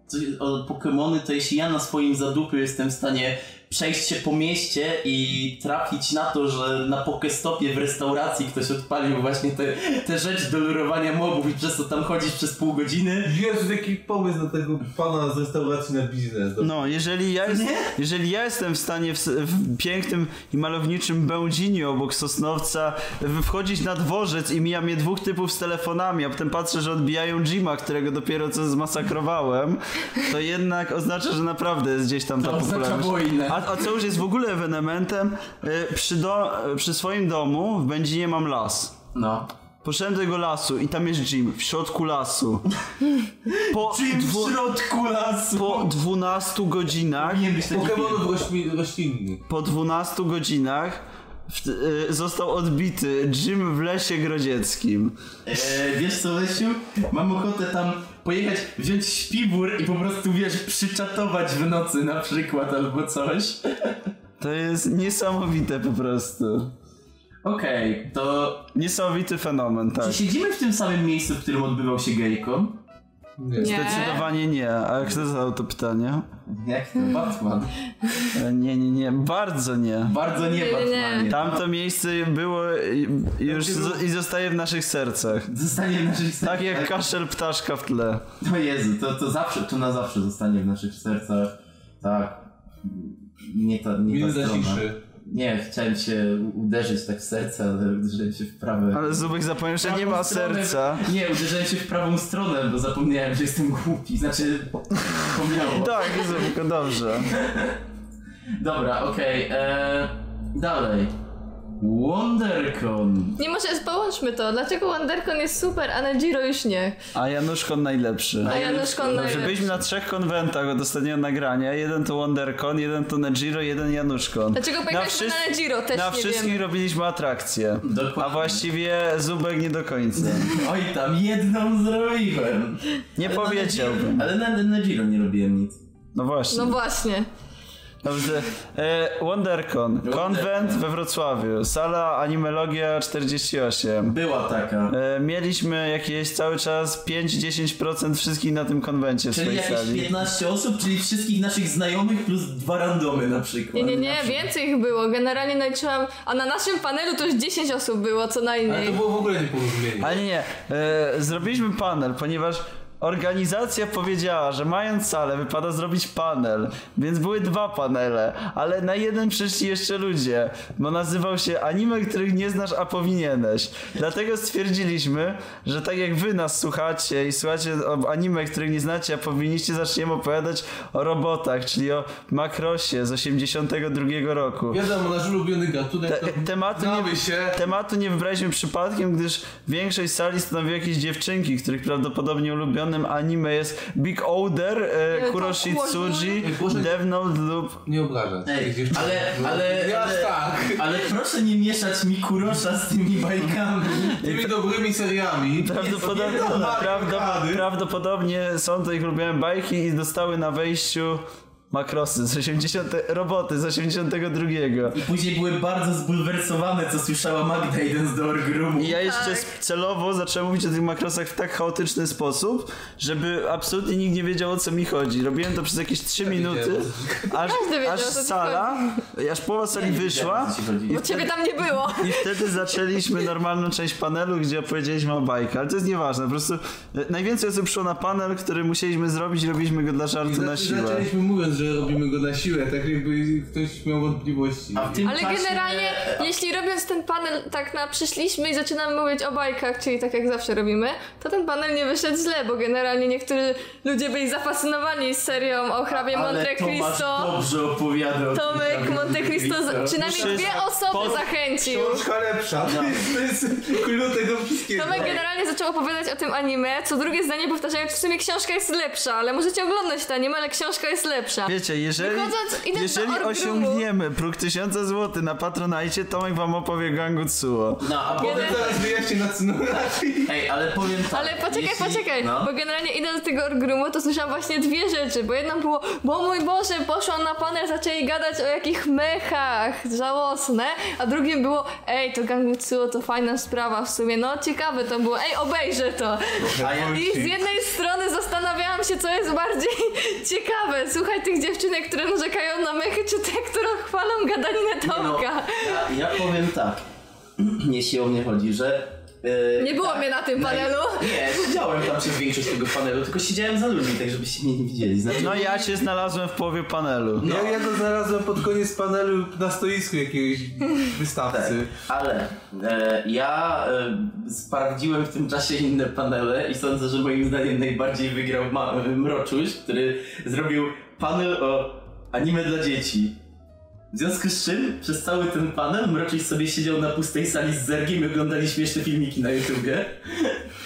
[SPEAKER 3] co- o Pokemony, to jeśli ja na swoim zadupie jestem w stanie przejść się po mieście i trafić na to, że na Pokestopie w restauracji ktoś odpalił właśnie tę te, te rzecz do lurowania mobów i przez to tam chodzić przez pół godziny.
[SPEAKER 1] Jezu, jaki pomysł na tego pana z restauracji na biznes. No.
[SPEAKER 4] No, jeżeli ja, jest, jeżeli ja jestem w stanie w, s- w pięknym i malowniczym Będzinie obok Sosnowca w- wchodzić na dworzec i mijam je dwóch typów z telefonami, a potem patrzę, że odbijają Jima, którego dopiero co zmasakrowałem, to jednak oznacza, że naprawdę jest gdzieś tam ta
[SPEAKER 3] To oznacza
[SPEAKER 4] popularność.
[SPEAKER 3] wojnę.
[SPEAKER 4] A, a co już jest w ogóle ewenementem, y, przy, do, y, przy swoim domu w Będzinie mam las.
[SPEAKER 3] No.
[SPEAKER 4] Poszedłem do tego lasu i tam jest gym, w środku lasu. Po, dwu,
[SPEAKER 3] W środku lasu.
[SPEAKER 4] po 12 godzinach
[SPEAKER 3] Nie być taki
[SPEAKER 1] Pokemonów rośmi- roślinnych.
[SPEAKER 4] po 12 godzinach w, y, został odbity Jim w lesie grodzieckim.
[SPEAKER 3] E, wiesz co, Lesiu? Mam ochotę tam pojechać, wziąć śpiwór i po prostu, wiesz, przyczatować w nocy na przykład albo coś.
[SPEAKER 4] To jest niesamowite po prostu.
[SPEAKER 3] Okej, to
[SPEAKER 4] Niesamowity fenomen, tak.
[SPEAKER 3] czy siedzimy w tym samym miejscu, w którym odbywał się Gejkom?
[SPEAKER 2] Nie.
[SPEAKER 4] Zdecydowanie nie. A kto zadał to pytanie?
[SPEAKER 3] Jak to Batman?
[SPEAKER 4] E, Nie, nie, nie. Bardzo nie.
[SPEAKER 3] Bardzo nie
[SPEAKER 2] Nie, nie,
[SPEAKER 3] Batmanie.
[SPEAKER 2] nie.
[SPEAKER 4] Tamto miejsce było i, i już zo- i zostaje w naszych sercach.
[SPEAKER 3] Zostanie w naszych sercach.
[SPEAKER 4] Tak jak kaszel ptaszka w tle.
[SPEAKER 3] O Jezu, to, to zawsze, to na zawsze zostanie w naszych sercach. Tak. Nie ta, nie ta
[SPEAKER 1] Minuta
[SPEAKER 3] strona.
[SPEAKER 1] ciszy.
[SPEAKER 3] Nie, chciałem się u- uderzyć tak w serce, ale uderzyłem się w prawe.
[SPEAKER 4] Ale Zubek zapomniał, że nie
[SPEAKER 3] prawą
[SPEAKER 4] ma
[SPEAKER 3] stronę-
[SPEAKER 4] serca.
[SPEAKER 3] Nie, uderzyłem się w prawą stronę, bo zapomniałem, że jestem głupi. Znaczy, pomniało.
[SPEAKER 4] Tak, Zubku, dobrze.
[SPEAKER 3] Dobra, okej. e, Dalej. WonderCon.
[SPEAKER 2] Nie może, połączmy to. Dlaczego WonderCon jest super, a na Giro już nie?
[SPEAKER 4] A Januszkon najlepszy.
[SPEAKER 2] A Januszkon
[SPEAKER 4] Że
[SPEAKER 2] najlepszy.
[SPEAKER 4] byliśmy na trzech konwentach od ostatniego nagrania. Jeden to WonderCon, jeden to Nejiro, jeden Januszkon.
[SPEAKER 2] Dlaczego pojechaliśmy na
[SPEAKER 4] wszys-
[SPEAKER 2] Nejiro? Też
[SPEAKER 4] Na
[SPEAKER 2] nie
[SPEAKER 4] wszystkich
[SPEAKER 2] wiem.
[SPEAKER 4] robiliśmy atrakcje.
[SPEAKER 3] Dokładnie.
[SPEAKER 4] A właściwie Zubek nie do końca.
[SPEAKER 3] Oj, tam jedną zrobiłem.
[SPEAKER 2] No.
[SPEAKER 4] Nie
[SPEAKER 3] Ale na
[SPEAKER 4] powiedziałbym.
[SPEAKER 3] Nedziro- Ale na, na Giro nie robiłem nic.
[SPEAKER 4] No właśnie.
[SPEAKER 2] No właśnie.
[SPEAKER 4] Dobrze. E, WonderCon. Konwent we Wrocławiu. Sala Animologia 48.
[SPEAKER 3] Była taka.
[SPEAKER 4] E, mieliśmy jakieś cały czas 5-10% wszystkich na tym konwencie w
[SPEAKER 3] Czyli
[SPEAKER 4] swojej
[SPEAKER 3] jakieś
[SPEAKER 4] sali.
[SPEAKER 3] 15 osób, czyli wszystkich naszych znajomych plus dwa randomy na przykład.
[SPEAKER 2] Nie, nie, nie, więcej ich było. Generalnie naliczyłam, a na naszym panelu to już 10 osób było,
[SPEAKER 1] Ale
[SPEAKER 2] co
[SPEAKER 1] to
[SPEAKER 2] najmniej.
[SPEAKER 1] było w ogóle nieporozumienie.
[SPEAKER 4] Ale nie, nie. E, zrobiliśmy panel, ponieważ organizacja powiedziała, że mając salę wypada zrobić panel, więc były dwa panele, ale na jeden przyszli jeszcze ludzie, bo nazywał się anime, których nie znasz, a powinieneś. Dlatego stwierdziliśmy, że tak jak wy nas słuchacie i słuchacie o anime, których nie znacie, a powinniście, zaczniemy opowiadać o robotach, czyli o makrosie z 82 roku.
[SPEAKER 1] Wiadomo, nasz ulubiony gatunek
[SPEAKER 4] Te-
[SPEAKER 1] to
[SPEAKER 4] tematu
[SPEAKER 1] znamy
[SPEAKER 4] nie-
[SPEAKER 1] się.
[SPEAKER 4] Tematu nie wybraliśmy przypadkiem, gdyż większość sali stanowiły jakieś dziewczynki, których prawdopodobnie ulubionym anime jest Big Oder, e,
[SPEAKER 2] to
[SPEAKER 4] Kuroshi
[SPEAKER 2] Kuroshi.
[SPEAKER 4] Tsuji,
[SPEAKER 1] Kuroshi-
[SPEAKER 4] Death Note lub...
[SPEAKER 1] Nie obrażać.
[SPEAKER 3] Ej,
[SPEAKER 1] tych dziewczyn.
[SPEAKER 3] ale- ale-
[SPEAKER 1] Ja
[SPEAKER 3] ale-
[SPEAKER 1] tak.
[SPEAKER 3] Ale proszę nie mieszać Mikurosza z tymi bajkami.
[SPEAKER 1] Tymi dobrymi seriami.
[SPEAKER 4] Prawdopodobnie,
[SPEAKER 1] nie, no,
[SPEAKER 4] prawdo,
[SPEAKER 1] Arkady.
[SPEAKER 4] prawdopodobnie są to ich ulubione bajki i dostały na wejściu makrosy z 80... roboty z 82.
[SPEAKER 3] I później były bardzo zbulwersowane, co słyszała Magda idąc do orgrumu.
[SPEAKER 4] I ja jeszcze
[SPEAKER 2] Tak.
[SPEAKER 4] sp- celowo zacząłem mówić o tych makrosach w tak chaotyczny sposób, żeby absolutnie nikt nie wiedział o co mi chodzi. Robiłem to przez jakieś 3 minuty,
[SPEAKER 1] wiedziałem,
[SPEAKER 4] aż,
[SPEAKER 2] Każdy wiedział,
[SPEAKER 4] aż
[SPEAKER 2] o co ci
[SPEAKER 4] sala, aż połowa sali wyszła.
[SPEAKER 2] Bo ciebie tam nie było.
[SPEAKER 4] I wtedy zaczęliśmy normalną część panelu, gdzie opowiedzieliśmy o bajkach, ale to jest nieważne, po prostu e, najwięcej osób przyszło na panel, który musieliśmy zrobić i robiliśmy go dla
[SPEAKER 1] I
[SPEAKER 4] żartu na
[SPEAKER 1] zac-
[SPEAKER 4] siłę.
[SPEAKER 1] zaczęliśmy mówiąc, że robimy go na siłę, tak jakby ktoś miał wątpliwości.
[SPEAKER 3] A w tym
[SPEAKER 2] Ale
[SPEAKER 3] czasie...
[SPEAKER 2] generalnie, jeśli robiąc ten panel, tak na przyszliśmy i zaczynamy mówić o bajkach, czyli tak jak zawsze robimy, to ten panel nie wyszedł źle, bo generalnie niektórzy ludzie byli zafascynowani serią o hrabie Monte
[SPEAKER 3] Ale Tomasz
[SPEAKER 2] Cristo.
[SPEAKER 3] dobrze opowiadał. o tym
[SPEAKER 2] Tomek
[SPEAKER 3] hrabie
[SPEAKER 2] Monte Cristo z-
[SPEAKER 4] Muszę-
[SPEAKER 2] przynajmniej dwie
[SPEAKER 4] pod-
[SPEAKER 2] osoby zachęcił.
[SPEAKER 1] Książka lepsza. To jest klucz tego wszystkiego.
[SPEAKER 2] Tomek generalnie zaczął opowiadać o tym anime, co drugie zdanie powtarzając, w sumie książka jest lepsza, ale możecie oglądać to anime, ale książka jest lepsza.
[SPEAKER 4] Wiecie, jeżeli,
[SPEAKER 2] Wychodząc- idąc do
[SPEAKER 4] jeżeli
[SPEAKER 2] orgrumu-
[SPEAKER 4] osiągniemy próg 1000 zł na Patronajcie, Tomek wam opowie Gangu Tsuo.
[SPEAKER 3] No, a potem...
[SPEAKER 1] Potem zaraz wyjaśnię na Tsunami.
[SPEAKER 3] Ej, ale powiem tak.
[SPEAKER 2] Ale poczekaj,
[SPEAKER 3] jeśli-
[SPEAKER 2] poczekaj,
[SPEAKER 3] No.
[SPEAKER 2] bo generalnie idąc do tego orgrumu, to słyszałam właśnie dwie rzeczy, bo jedną było, bo mój Boże, poszłam na panel, zaczęli gadać o jakich mechach, żałosne, a drugim było, ej, to Gangutsuo to fajna sprawa w sumie, no ciekawe to było, ej, obejrzę to.
[SPEAKER 3] A ja...
[SPEAKER 2] I z jednej strony zastanawiałam się, co jest bardziej ciekawe, słuchaj tych dziewczynek, które narzekają na mechy, czy te, które chwalą gadaninę
[SPEAKER 3] no.
[SPEAKER 2] Tomka.
[SPEAKER 3] ja, ja powiem tak, jeśli o mnie chodzi, że... e,
[SPEAKER 2] Nie było
[SPEAKER 3] tak,
[SPEAKER 2] mnie na tym
[SPEAKER 3] naj-
[SPEAKER 2] panelu.
[SPEAKER 3] Nie, siedziałem tam przez większość tego panelu, tylko siedziałem za ludźmi, tak żebyście mnie nie widzieli. Znaczy,
[SPEAKER 4] No ja się znalazłem w połowie panelu.
[SPEAKER 1] Ja, ja to znalazłem pod koniec panelu na stoisku jakiegoś wystawcy.
[SPEAKER 3] Tak, Ale e, ja e, sprawdziłem w tym czasie inne panele i sądzę, że moim zdaniem najbardziej wygrał ma- Mroczuś, który zrobił panel o anime dla dzieci. W związku z czym przez cały ten panel Mroczuś sobie siedział na pustej sali z Zergiem i oglądali śmieszne filmiki na YouTubie.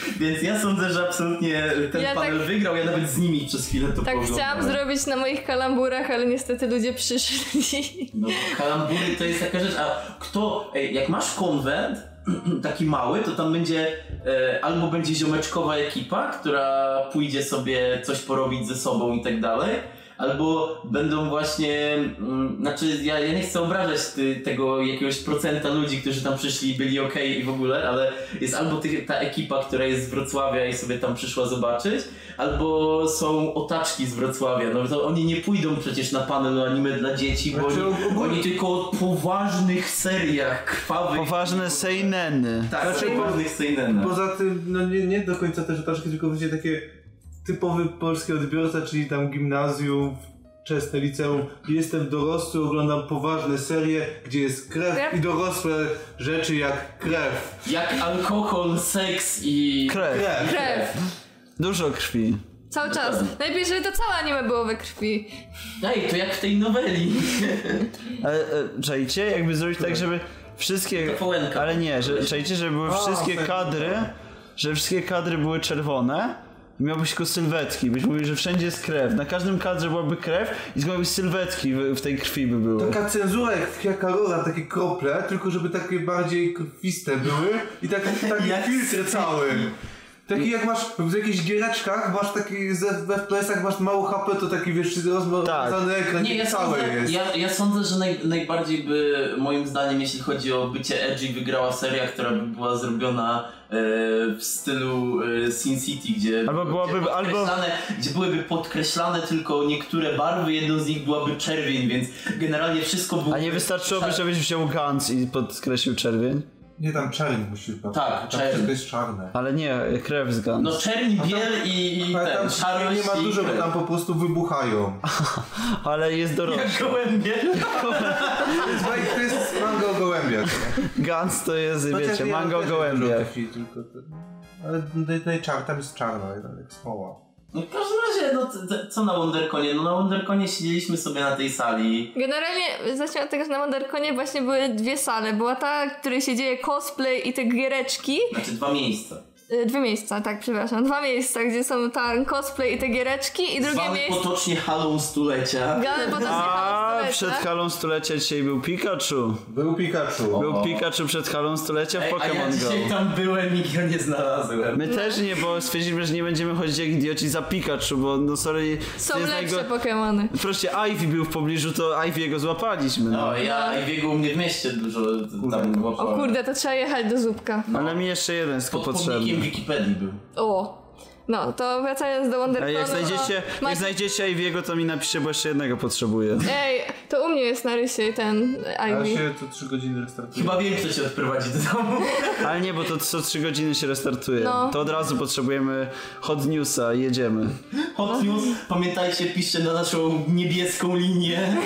[SPEAKER 3] Więc ja sądzę, że absolutnie ten
[SPEAKER 2] Ja
[SPEAKER 3] panel
[SPEAKER 2] tak-
[SPEAKER 3] wygrał, ja nawet z nimi przez chwilę to
[SPEAKER 2] Tak
[SPEAKER 3] pooglądałem.
[SPEAKER 2] chciałam zrobić na moich kalamburach, ale niestety ludzie przyszli.
[SPEAKER 3] No, kalambury to jest taka rzecz, a kto, ej, jak masz konwent, taki mały, to tam będzie e, albo będzie ziomeczkowa ekipa, która pójdzie sobie coś porobić ze sobą i tak dalej, albo będą właśnie, mm, znaczy ja, ja nie chcę obrażać ty, tego jakiegoś procenta ludzi, którzy tam przyszli i byli ok i w ogóle, ale jest albo tych, ta ekipa, która jest z Wrocławia i sobie tam przyszła zobaczyć, albo są otaczki z Wrocławia, no to oni nie pójdą przecież na panel o anime dla dzieci, bo
[SPEAKER 1] Znaczy,
[SPEAKER 3] oni,
[SPEAKER 1] ogólnie-
[SPEAKER 3] oni tylko o poważnych seriach krwawych.
[SPEAKER 4] Poważne seineny.
[SPEAKER 3] Tak,
[SPEAKER 1] Znaczy,
[SPEAKER 3] o poważnych seinenach.
[SPEAKER 1] Poza tym, no nie, nie do końca też otaczki, tylko wiecie takie typowy polski odbiorca, czyli tam gimnazjum, wczesne liceum. Jestem dorosły, oglądam poważne serie, gdzie jest krew,
[SPEAKER 2] Krew?
[SPEAKER 1] i dorosłe rzeczy jak krew.
[SPEAKER 3] Jak alkohol, seks i...
[SPEAKER 4] Krew.
[SPEAKER 1] Krew.
[SPEAKER 2] Krew.
[SPEAKER 4] Dużo krwi.
[SPEAKER 2] Cały czas. Najlepiej, żeby to całe anime było we krwi.
[SPEAKER 3] Ej, to jak w tej noweli.
[SPEAKER 4] Ale e, czekajcie, jakby e, zrobić tak, żeby wszystkie...
[SPEAKER 3] Kołenka.
[SPEAKER 4] Ale nie, że, czajcie, że były
[SPEAKER 1] A,
[SPEAKER 4] wszystkie
[SPEAKER 1] tak.
[SPEAKER 4] kadry, że wszystkie kadry były czerwone i miałbyś tylko sylwetki. Byś mówił, że wszędzie jest krew. Na każdym kadrze byłaby krew i byłaby sylwetki w, w tej krwi by były.
[SPEAKER 1] Taka cenzura jak w Kiakarora, takie krople, tylko żeby takie bardziej krwiste były i tak, taki
[SPEAKER 3] Jak
[SPEAKER 1] filtr cały. Taki jak masz w jakichś giereczkach, masz taki ze- w FPS-ach, masz mało HP, to taki wiesz, rozmazany ekran,
[SPEAKER 3] Tak. Nie, ja
[SPEAKER 1] cały
[SPEAKER 3] sądzę,
[SPEAKER 1] jest.
[SPEAKER 3] Ja, ja sądzę, że naj, najbardziej by, moim zdaniem, jeśli chodzi o bycie edgy, wygrała seria, która by była zrobiona e, w stylu e, Sin City, gdzie,
[SPEAKER 4] Albo byłaby-
[SPEAKER 3] gdzie,
[SPEAKER 4] albo-
[SPEAKER 3] podkreślane- gdzie byłyby podkreślane tylko niektóre barwy, jedną z nich byłaby czerwień, więc generalnie wszystko było...
[SPEAKER 4] A nie wystarczyłoby, żebyś wziął Gans i podkreślił czerwień?
[SPEAKER 1] Nie, tam czerń musisz
[SPEAKER 3] Tak,
[SPEAKER 1] tam
[SPEAKER 3] czerń.
[SPEAKER 1] wszystko jest czarne.
[SPEAKER 4] Ale nie, krew z Gans.
[SPEAKER 3] No czerń, biel i, i
[SPEAKER 1] Ale
[SPEAKER 3] ten,
[SPEAKER 1] tam
[SPEAKER 3] szarość
[SPEAKER 1] nie ma
[SPEAKER 3] i
[SPEAKER 1] dużo, bo
[SPEAKER 3] krew.
[SPEAKER 1] tam po prostu wybuchają.
[SPEAKER 4] Ale jest dorosły.
[SPEAKER 3] Jak gołębie.
[SPEAKER 1] To jest baj- To jest mango o gołębiach.
[SPEAKER 4] Gans No to jest,
[SPEAKER 1] Chociaż
[SPEAKER 4] wiecie,
[SPEAKER 1] ja
[SPEAKER 4] mango o
[SPEAKER 1] też
[SPEAKER 4] gołębiach.
[SPEAKER 1] dużo krwi, tylko to- Ale tutaj- tutaj czar- tam jest czarna, jak smoła.
[SPEAKER 3] No w każdym razie, no t- t- co na Wonderconie? No na Wonderconie siedzieliśmy sobie na tej sali.
[SPEAKER 2] Generalnie zacznę od tego, że na Wonderconie właśnie były dwie sale. Była ta, w której się dzieje cosplay i te giereczki.
[SPEAKER 3] Znaczy dwa miejsca.
[SPEAKER 2] Y, Dwie miejsca, tak, przepraszam. Dwa miejsca, gdzie są ten cosplay i te giereczki i drugie
[SPEAKER 3] Zwane
[SPEAKER 2] miejsce...
[SPEAKER 3] potocznie halą stulecia.
[SPEAKER 2] Gany po to
[SPEAKER 4] A
[SPEAKER 2] zjechałam
[SPEAKER 4] przed halą stulecia dzisiaj był Pikachu.
[SPEAKER 1] Był Pikachu.
[SPEAKER 4] Był Pikachu przed halą stulecia w
[SPEAKER 3] Ej, a ja
[SPEAKER 4] Pokémon Go.
[SPEAKER 3] dzisiaj tam byłem i go nie znalazłem.
[SPEAKER 4] My też nie, bo stwierdziliśmy, że nie będziemy chodzić jak idioci za Pikachu, bo no sorry...
[SPEAKER 2] Są
[SPEAKER 4] to jest
[SPEAKER 2] lepsze
[SPEAKER 4] najgo-
[SPEAKER 2] Pokemony.
[SPEAKER 4] Proszę, Ivy był w pobliżu, to Ivy jego złapaliśmy. No.
[SPEAKER 3] No ja i biegł u mnie w mieście dużo tam
[SPEAKER 2] O
[SPEAKER 3] łapałem.
[SPEAKER 2] kurde, to trzeba jechać do Zupka.
[SPEAKER 4] Ale mi jeszcze jeden jest tylko
[SPEAKER 3] No. Pod
[SPEAKER 4] potrzebny.
[SPEAKER 3] pomnikiem Wikipedii był.
[SPEAKER 2] O. No, to wracając do
[SPEAKER 4] A
[SPEAKER 2] Wonderconu...
[SPEAKER 4] jak znajdziecie,
[SPEAKER 2] to
[SPEAKER 4] jak znajdziecie Iviego, to mi napiszcie, bo jeszcze jednego potrzebuję.
[SPEAKER 2] Ej, to u mnie jest na rysie ten
[SPEAKER 1] Ja
[SPEAKER 2] Ivy.
[SPEAKER 1] się tu 3 godziny restartuje.
[SPEAKER 3] Chyba wiem, kto cię odprowadzi do domu.
[SPEAKER 4] Ale nie, bo to co 3 godziny się restartuje.
[SPEAKER 2] No.
[SPEAKER 4] To od razu potrzebujemy hot newsa i jedziemy.
[SPEAKER 3] Hot News, pamiętajcie, piszcie na naszą niebieską linię.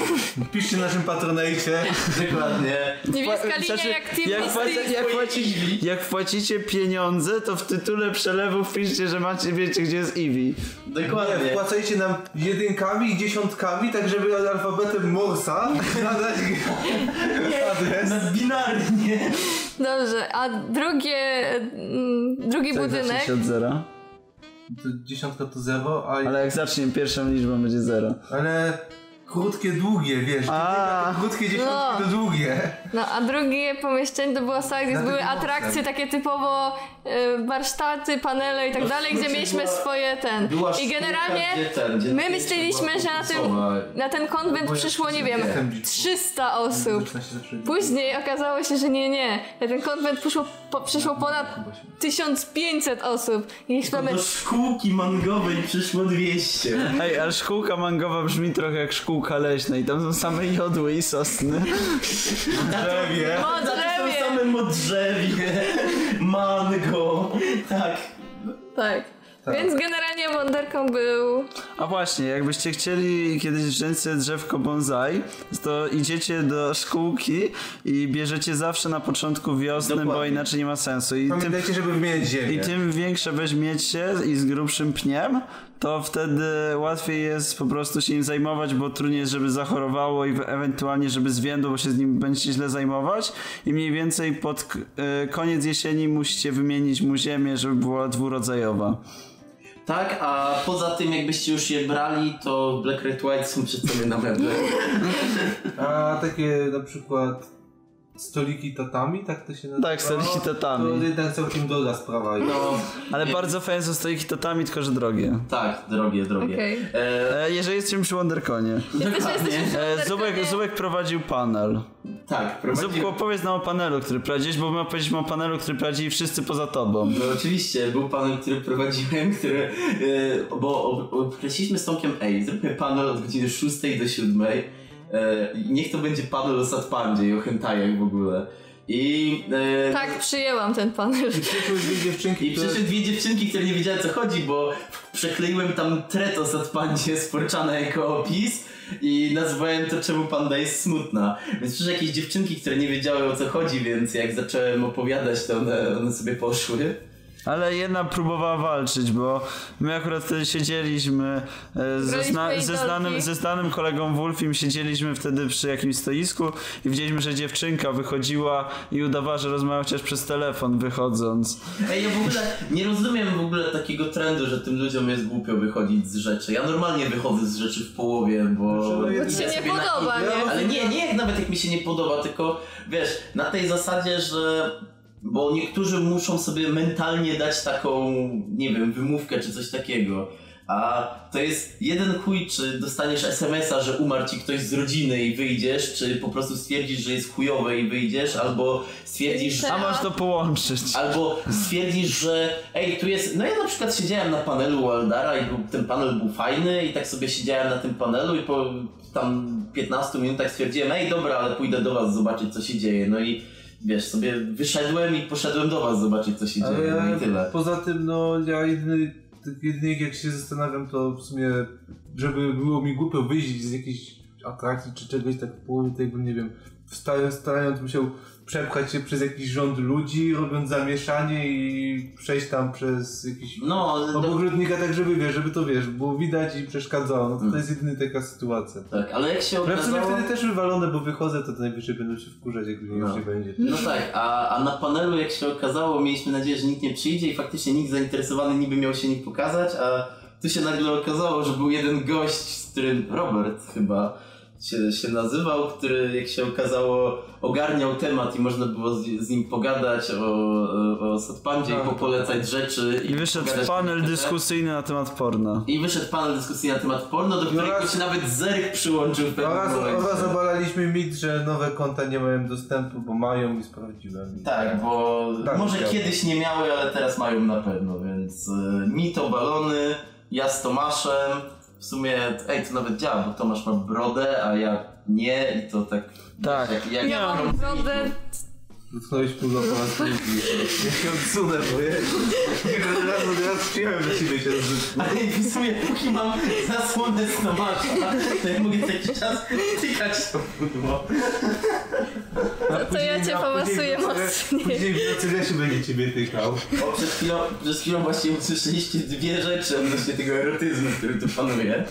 [SPEAKER 1] Piszcie naszym patronajcie.
[SPEAKER 3] Dokładnie.
[SPEAKER 2] Niebieska
[SPEAKER 4] Pła-
[SPEAKER 2] linia
[SPEAKER 4] znaczy,
[SPEAKER 2] jak Team
[SPEAKER 4] jak, płaci,
[SPEAKER 2] Mystic.
[SPEAKER 4] jak, płaci, jak płacicie pieniądze, to w tytule przelewu piszcie, że macie, wiecie, gdzie jest Iwi.
[SPEAKER 1] Nie,
[SPEAKER 3] Dokładnie.
[SPEAKER 1] wpłacajcie nam jedynkami i dziesiątkami, tak żeby alfabetem Morsa nadać adres.
[SPEAKER 3] Na binarnie.
[SPEAKER 2] Dobrze, a drugie, mm, drugi budynek,
[SPEAKER 4] Zacznie Tak, się od zera.
[SPEAKER 1] To dziesiątka to zero, a, ale...
[SPEAKER 4] Ale jak zaczniemy pierwszą liczbą będzie zero.
[SPEAKER 1] krótkie, długie, wiesz.
[SPEAKER 4] A.
[SPEAKER 1] Jedynka to Krótkie dziesiątki
[SPEAKER 2] No.
[SPEAKER 1] to długie.
[SPEAKER 2] no a drugie pomieszczenie to była sala, gdzie
[SPEAKER 1] Na
[SPEAKER 2] były
[SPEAKER 1] tym
[SPEAKER 2] atrakcje
[SPEAKER 1] mostem.
[SPEAKER 2] takie typowo e, warsztaty, panele i tak
[SPEAKER 3] No, w
[SPEAKER 2] dalej, gdzie
[SPEAKER 3] skrócie
[SPEAKER 2] mieliśmy
[SPEAKER 3] była-
[SPEAKER 2] swoje ten.
[SPEAKER 3] Była
[SPEAKER 2] I
[SPEAKER 3] sztuka,
[SPEAKER 2] generalnie
[SPEAKER 3] gdzie ten, gdzie
[SPEAKER 2] my
[SPEAKER 3] gdzie
[SPEAKER 2] myśleliśmy,
[SPEAKER 3] była No,
[SPEAKER 2] że na tym,
[SPEAKER 3] kursowa.
[SPEAKER 2] na ten konwent przyszło, nie wiem,
[SPEAKER 1] Jestem dziś.
[SPEAKER 2] 300 osób.
[SPEAKER 1] Zaczyna się zawsze-
[SPEAKER 2] Później okazało się, że nie, nie. Na ten konwent przyszło, po,
[SPEAKER 3] No,
[SPEAKER 2] przyszło ponad 1500 osób. I
[SPEAKER 3] To
[SPEAKER 2] mamy
[SPEAKER 3] Do szkółki mangowej przyszło 200.
[SPEAKER 4] Ej, ale szkółka mangowa brzmi trochę jak szkółka leśna i tam są same jodły i sosny.
[SPEAKER 1] Drzewie.
[SPEAKER 3] Zatem są
[SPEAKER 2] modlewie.
[SPEAKER 3] same modrzewie, mango, tak.
[SPEAKER 2] Tak. Więc generalnie Wonderką był
[SPEAKER 4] A właśnie, jakbyście chcieli kiedyś wziąć drzewko bonsai, to idziecie do szkółki i bierzecie zawsze na początku wiosny, bo
[SPEAKER 3] Dokładnie.
[SPEAKER 4] inaczej nie ma sensu. I tym,
[SPEAKER 1] Pamiętajcie, żeby wymieniać
[SPEAKER 4] I
[SPEAKER 1] ziemię.
[SPEAKER 4] tym większe weźmiecie i z grubszym pniem, to wtedy łatwiej jest po prostu się nim zajmować, bo trudniej jest, żeby zachorowało i we- ewentualnie, żeby zwiędło, bo się z nim będziecie źle zajmować. I mniej więcej pod k- y, koniec jesieni musicie wymienić mu ziemię, żeby była dwurodzajowa.
[SPEAKER 3] Tak, a poza tym jakbyście już je brali, to Black Red White są przed sobą na meble.
[SPEAKER 1] A takie na przykład stoliki tatami, tak to się nazywa?
[SPEAKER 4] Tak, stoliki tatami.
[SPEAKER 1] To jednak całkiem droga sprawa.
[SPEAKER 3] No,
[SPEAKER 4] Ale bardzo fajne są stoiki tatami, tylko że drogie.
[SPEAKER 3] tak, drogie, drogie.
[SPEAKER 2] Okej.
[SPEAKER 3] E,
[SPEAKER 4] E, jeżeli jesteśmy przy Wonderconie.
[SPEAKER 3] dokładnie.
[SPEAKER 4] E, Zubek, Zubek prowadził panel.
[SPEAKER 3] Tak, prowadzi...
[SPEAKER 4] Zubku, opowiedz nam o panelu, który prowadziłeś, bo my opowiedzieliśmy o panelu, który prowadzili wszyscy poza tobą.
[SPEAKER 3] No oczywiście, był panel, który prowadziłem, który, e, bo ob- określiliśmy z Tomkiem, ej, zróbmy panel od godziny 6 do 7, e, i niech to będzie panel o Satpandzie i o hentajach w ogóle. I e,
[SPEAKER 2] Tak, przyjęłam ten panel.
[SPEAKER 1] Przyszły dwie dziewczynki,
[SPEAKER 3] I
[SPEAKER 1] które...
[SPEAKER 3] przyszły dwie dziewczynki, które nie wiedziały co chodzi, bo przekleiłem tam tretos od pandzie z Porczana jako opis i nazwałem to czemu panda jest smutna. Więc przyszły jakieś dziewczynki, które nie wiedziały o co chodzi, więc jak zacząłem opowiadać, to one, one sobie poszły.
[SPEAKER 4] Ale jedna próbowała walczyć, bo my akurat wtedy siedzieliśmy e, ze,
[SPEAKER 2] Graliśmy
[SPEAKER 4] zna, ze,
[SPEAKER 2] idolki.
[SPEAKER 4] znanym, ze znanym kolegą Wolfim, siedzieliśmy wtedy przy jakimś stoisku i widzieliśmy, że dziewczynka wychodziła i udawała, że rozmawia chociaż przez telefon wychodząc.
[SPEAKER 3] Ej, ja w ogóle nie rozumiem w ogóle takiego trendu, że tym ludziom jest głupio wychodzić z rzeczy. Ja normalnie wychodzę z rzeczy w połowie, bo...
[SPEAKER 1] Że jest-
[SPEAKER 2] Ci no, się nie
[SPEAKER 3] sobie na-
[SPEAKER 2] podoba, nie?
[SPEAKER 3] Ale nie, nie jak nawet jak mi się nie podoba, tylko wiesz, na tej zasadzie, że... Bo niektórzy muszą sobie mentalnie dać taką, nie wiem, wymówkę czy coś takiego. A to jest jeden chuj, czy dostaniesz SMS-a, że umarł ci ktoś z rodziny i wyjdziesz, czy po prostu stwierdzisz, że jest chujowe i wyjdziesz, albo stwierdzisz,
[SPEAKER 4] A masz to połączyć.
[SPEAKER 3] Albo stwierdzisz, że ej, tu jest. No ja na przykład siedziałem na panelu Waldara i był, ten panel był fajny i tak sobie siedziałem na tym panelu i po tam 15 minutach stwierdziłem, ej dobra, ale pójdę do was zobaczyć co się dzieje. No i wiesz, sobie wyszedłem i poszedłem do was zobaczyć co się dzieje.
[SPEAKER 1] Ale
[SPEAKER 3] No i
[SPEAKER 1] ja,
[SPEAKER 3] tyle.
[SPEAKER 1] poza tym, no ja jedyny, tak jedynie jak się zastanawiam, to w sumie, żeby było mi głupio wyjść z jakiejś atrakcji czy czegoś, tak w połowie tej, bym, nie wiem, wstając, starając bym się przepchać się przez jakiś rząd ludzi, robiąc zamieszanie i przejść tam przez jakiś
[SPEAKER 3] No, no
[SPEAKER 1] obogrodnika, tak żeby, wiesz, żeby to, wiesz, było widać i przeszkadzało. No to,
[SPEAKER 3] Mm.
[SPEAKER 1] to jest jedyna taka sytuacja.
[SPEAKER 3] tak, ale jak się
[SPEAKER 1] Ale w sumie
[SPEAKER 3] okazało.
[SPEAKER 1] wtedy też wywalone, bo wychodzę, to najwyżej będę się wkurzać, jak mnie już
[SPEAKER 3] No.
[SPEAKER 1] nie będzie.
[SPEAKER 3] No tak, a, a na panelu jak się okazało, mieliśmy nadzieję, że nikt nie przyjdzie i faktycznie nikt zainteresowany niby miał się nie pokazać, a tu się nagle okazało, że był jeden gość, z którym Robert chyba się, się nazywał, który jak się okazało ogarniał temat i można było z, z nim pogadać o, o Satpandzie i
[SPEAKER 1] Tak.
[SPEAKER 3] popolecać rzeczy.
[SPEAKER 4] I wyszedł
[SPEAKER 3] pogadać
[SPEAKER 4] panel
[SPEAKER 3] na temat.
[SPEAKER 4] dyskusyjny na temat porna.
[SPEAKER 3] I wyszedł panel dyskusyjny na temat porno, do którego
[SPEAKER 1] raz-
[SPEAKER 3] się nawet Zerk przyłączył w pewnym
[SPEAKER 1] Oraz,
[SPEAKER 3] momencie.
[SPEAKER 1] oraz obalaliśmy mit, że nowe konta nie mają dostępu, bo mają i sprawdziłem. I-
[SPEAKER 3] Tak, bo
[SPEAKER 1] Tak,
[SPEAKER 3] może
[SPEAKER 1] chciałbym.
[SPEAKER 3] kiedyś nie miały, ale teraz mają na pewno, więc y, mi to balony, ja z Tomaszem. W sumie, ej, to nawet działa, bo Tomasz ma brodę, a ja nie i to tak...
[SPEAKER 4] Tak.
[SPEAKER 3] Jak, jak
[SPEAKER 2] Ja mam brodę,
[SPEAKER 1] Dotknąłeś pudła po raz drugi. Ja się odsunę, bo ja... Od razu, od razu przyjąłem do ciebie się odsunę.
[SPEAKER 3] Ale w sumie póki mam zasłonę z Tomasza, to ja mogę co jakiś czas tykać to pudło.
[SPEAKER 1] A
[SPEAKER 2] to ja
[SPEAKER 1] później-
[SPEAKER 2] cię
[SPEAKER 1] a później
[SPEAKER 2] pomasuję
[SPEAKER 1] w nocy-
[SPEAKER 2] mocniej.
[SPEAKER 1] Później w nocy Lesiu będzie ciebie tykał.
[SPEAKER 3] O, przed chwilą, przed chwilą właśnie usłyszeliście dwie rzeczy odnośnie tego erotyzmu, który tu panuje.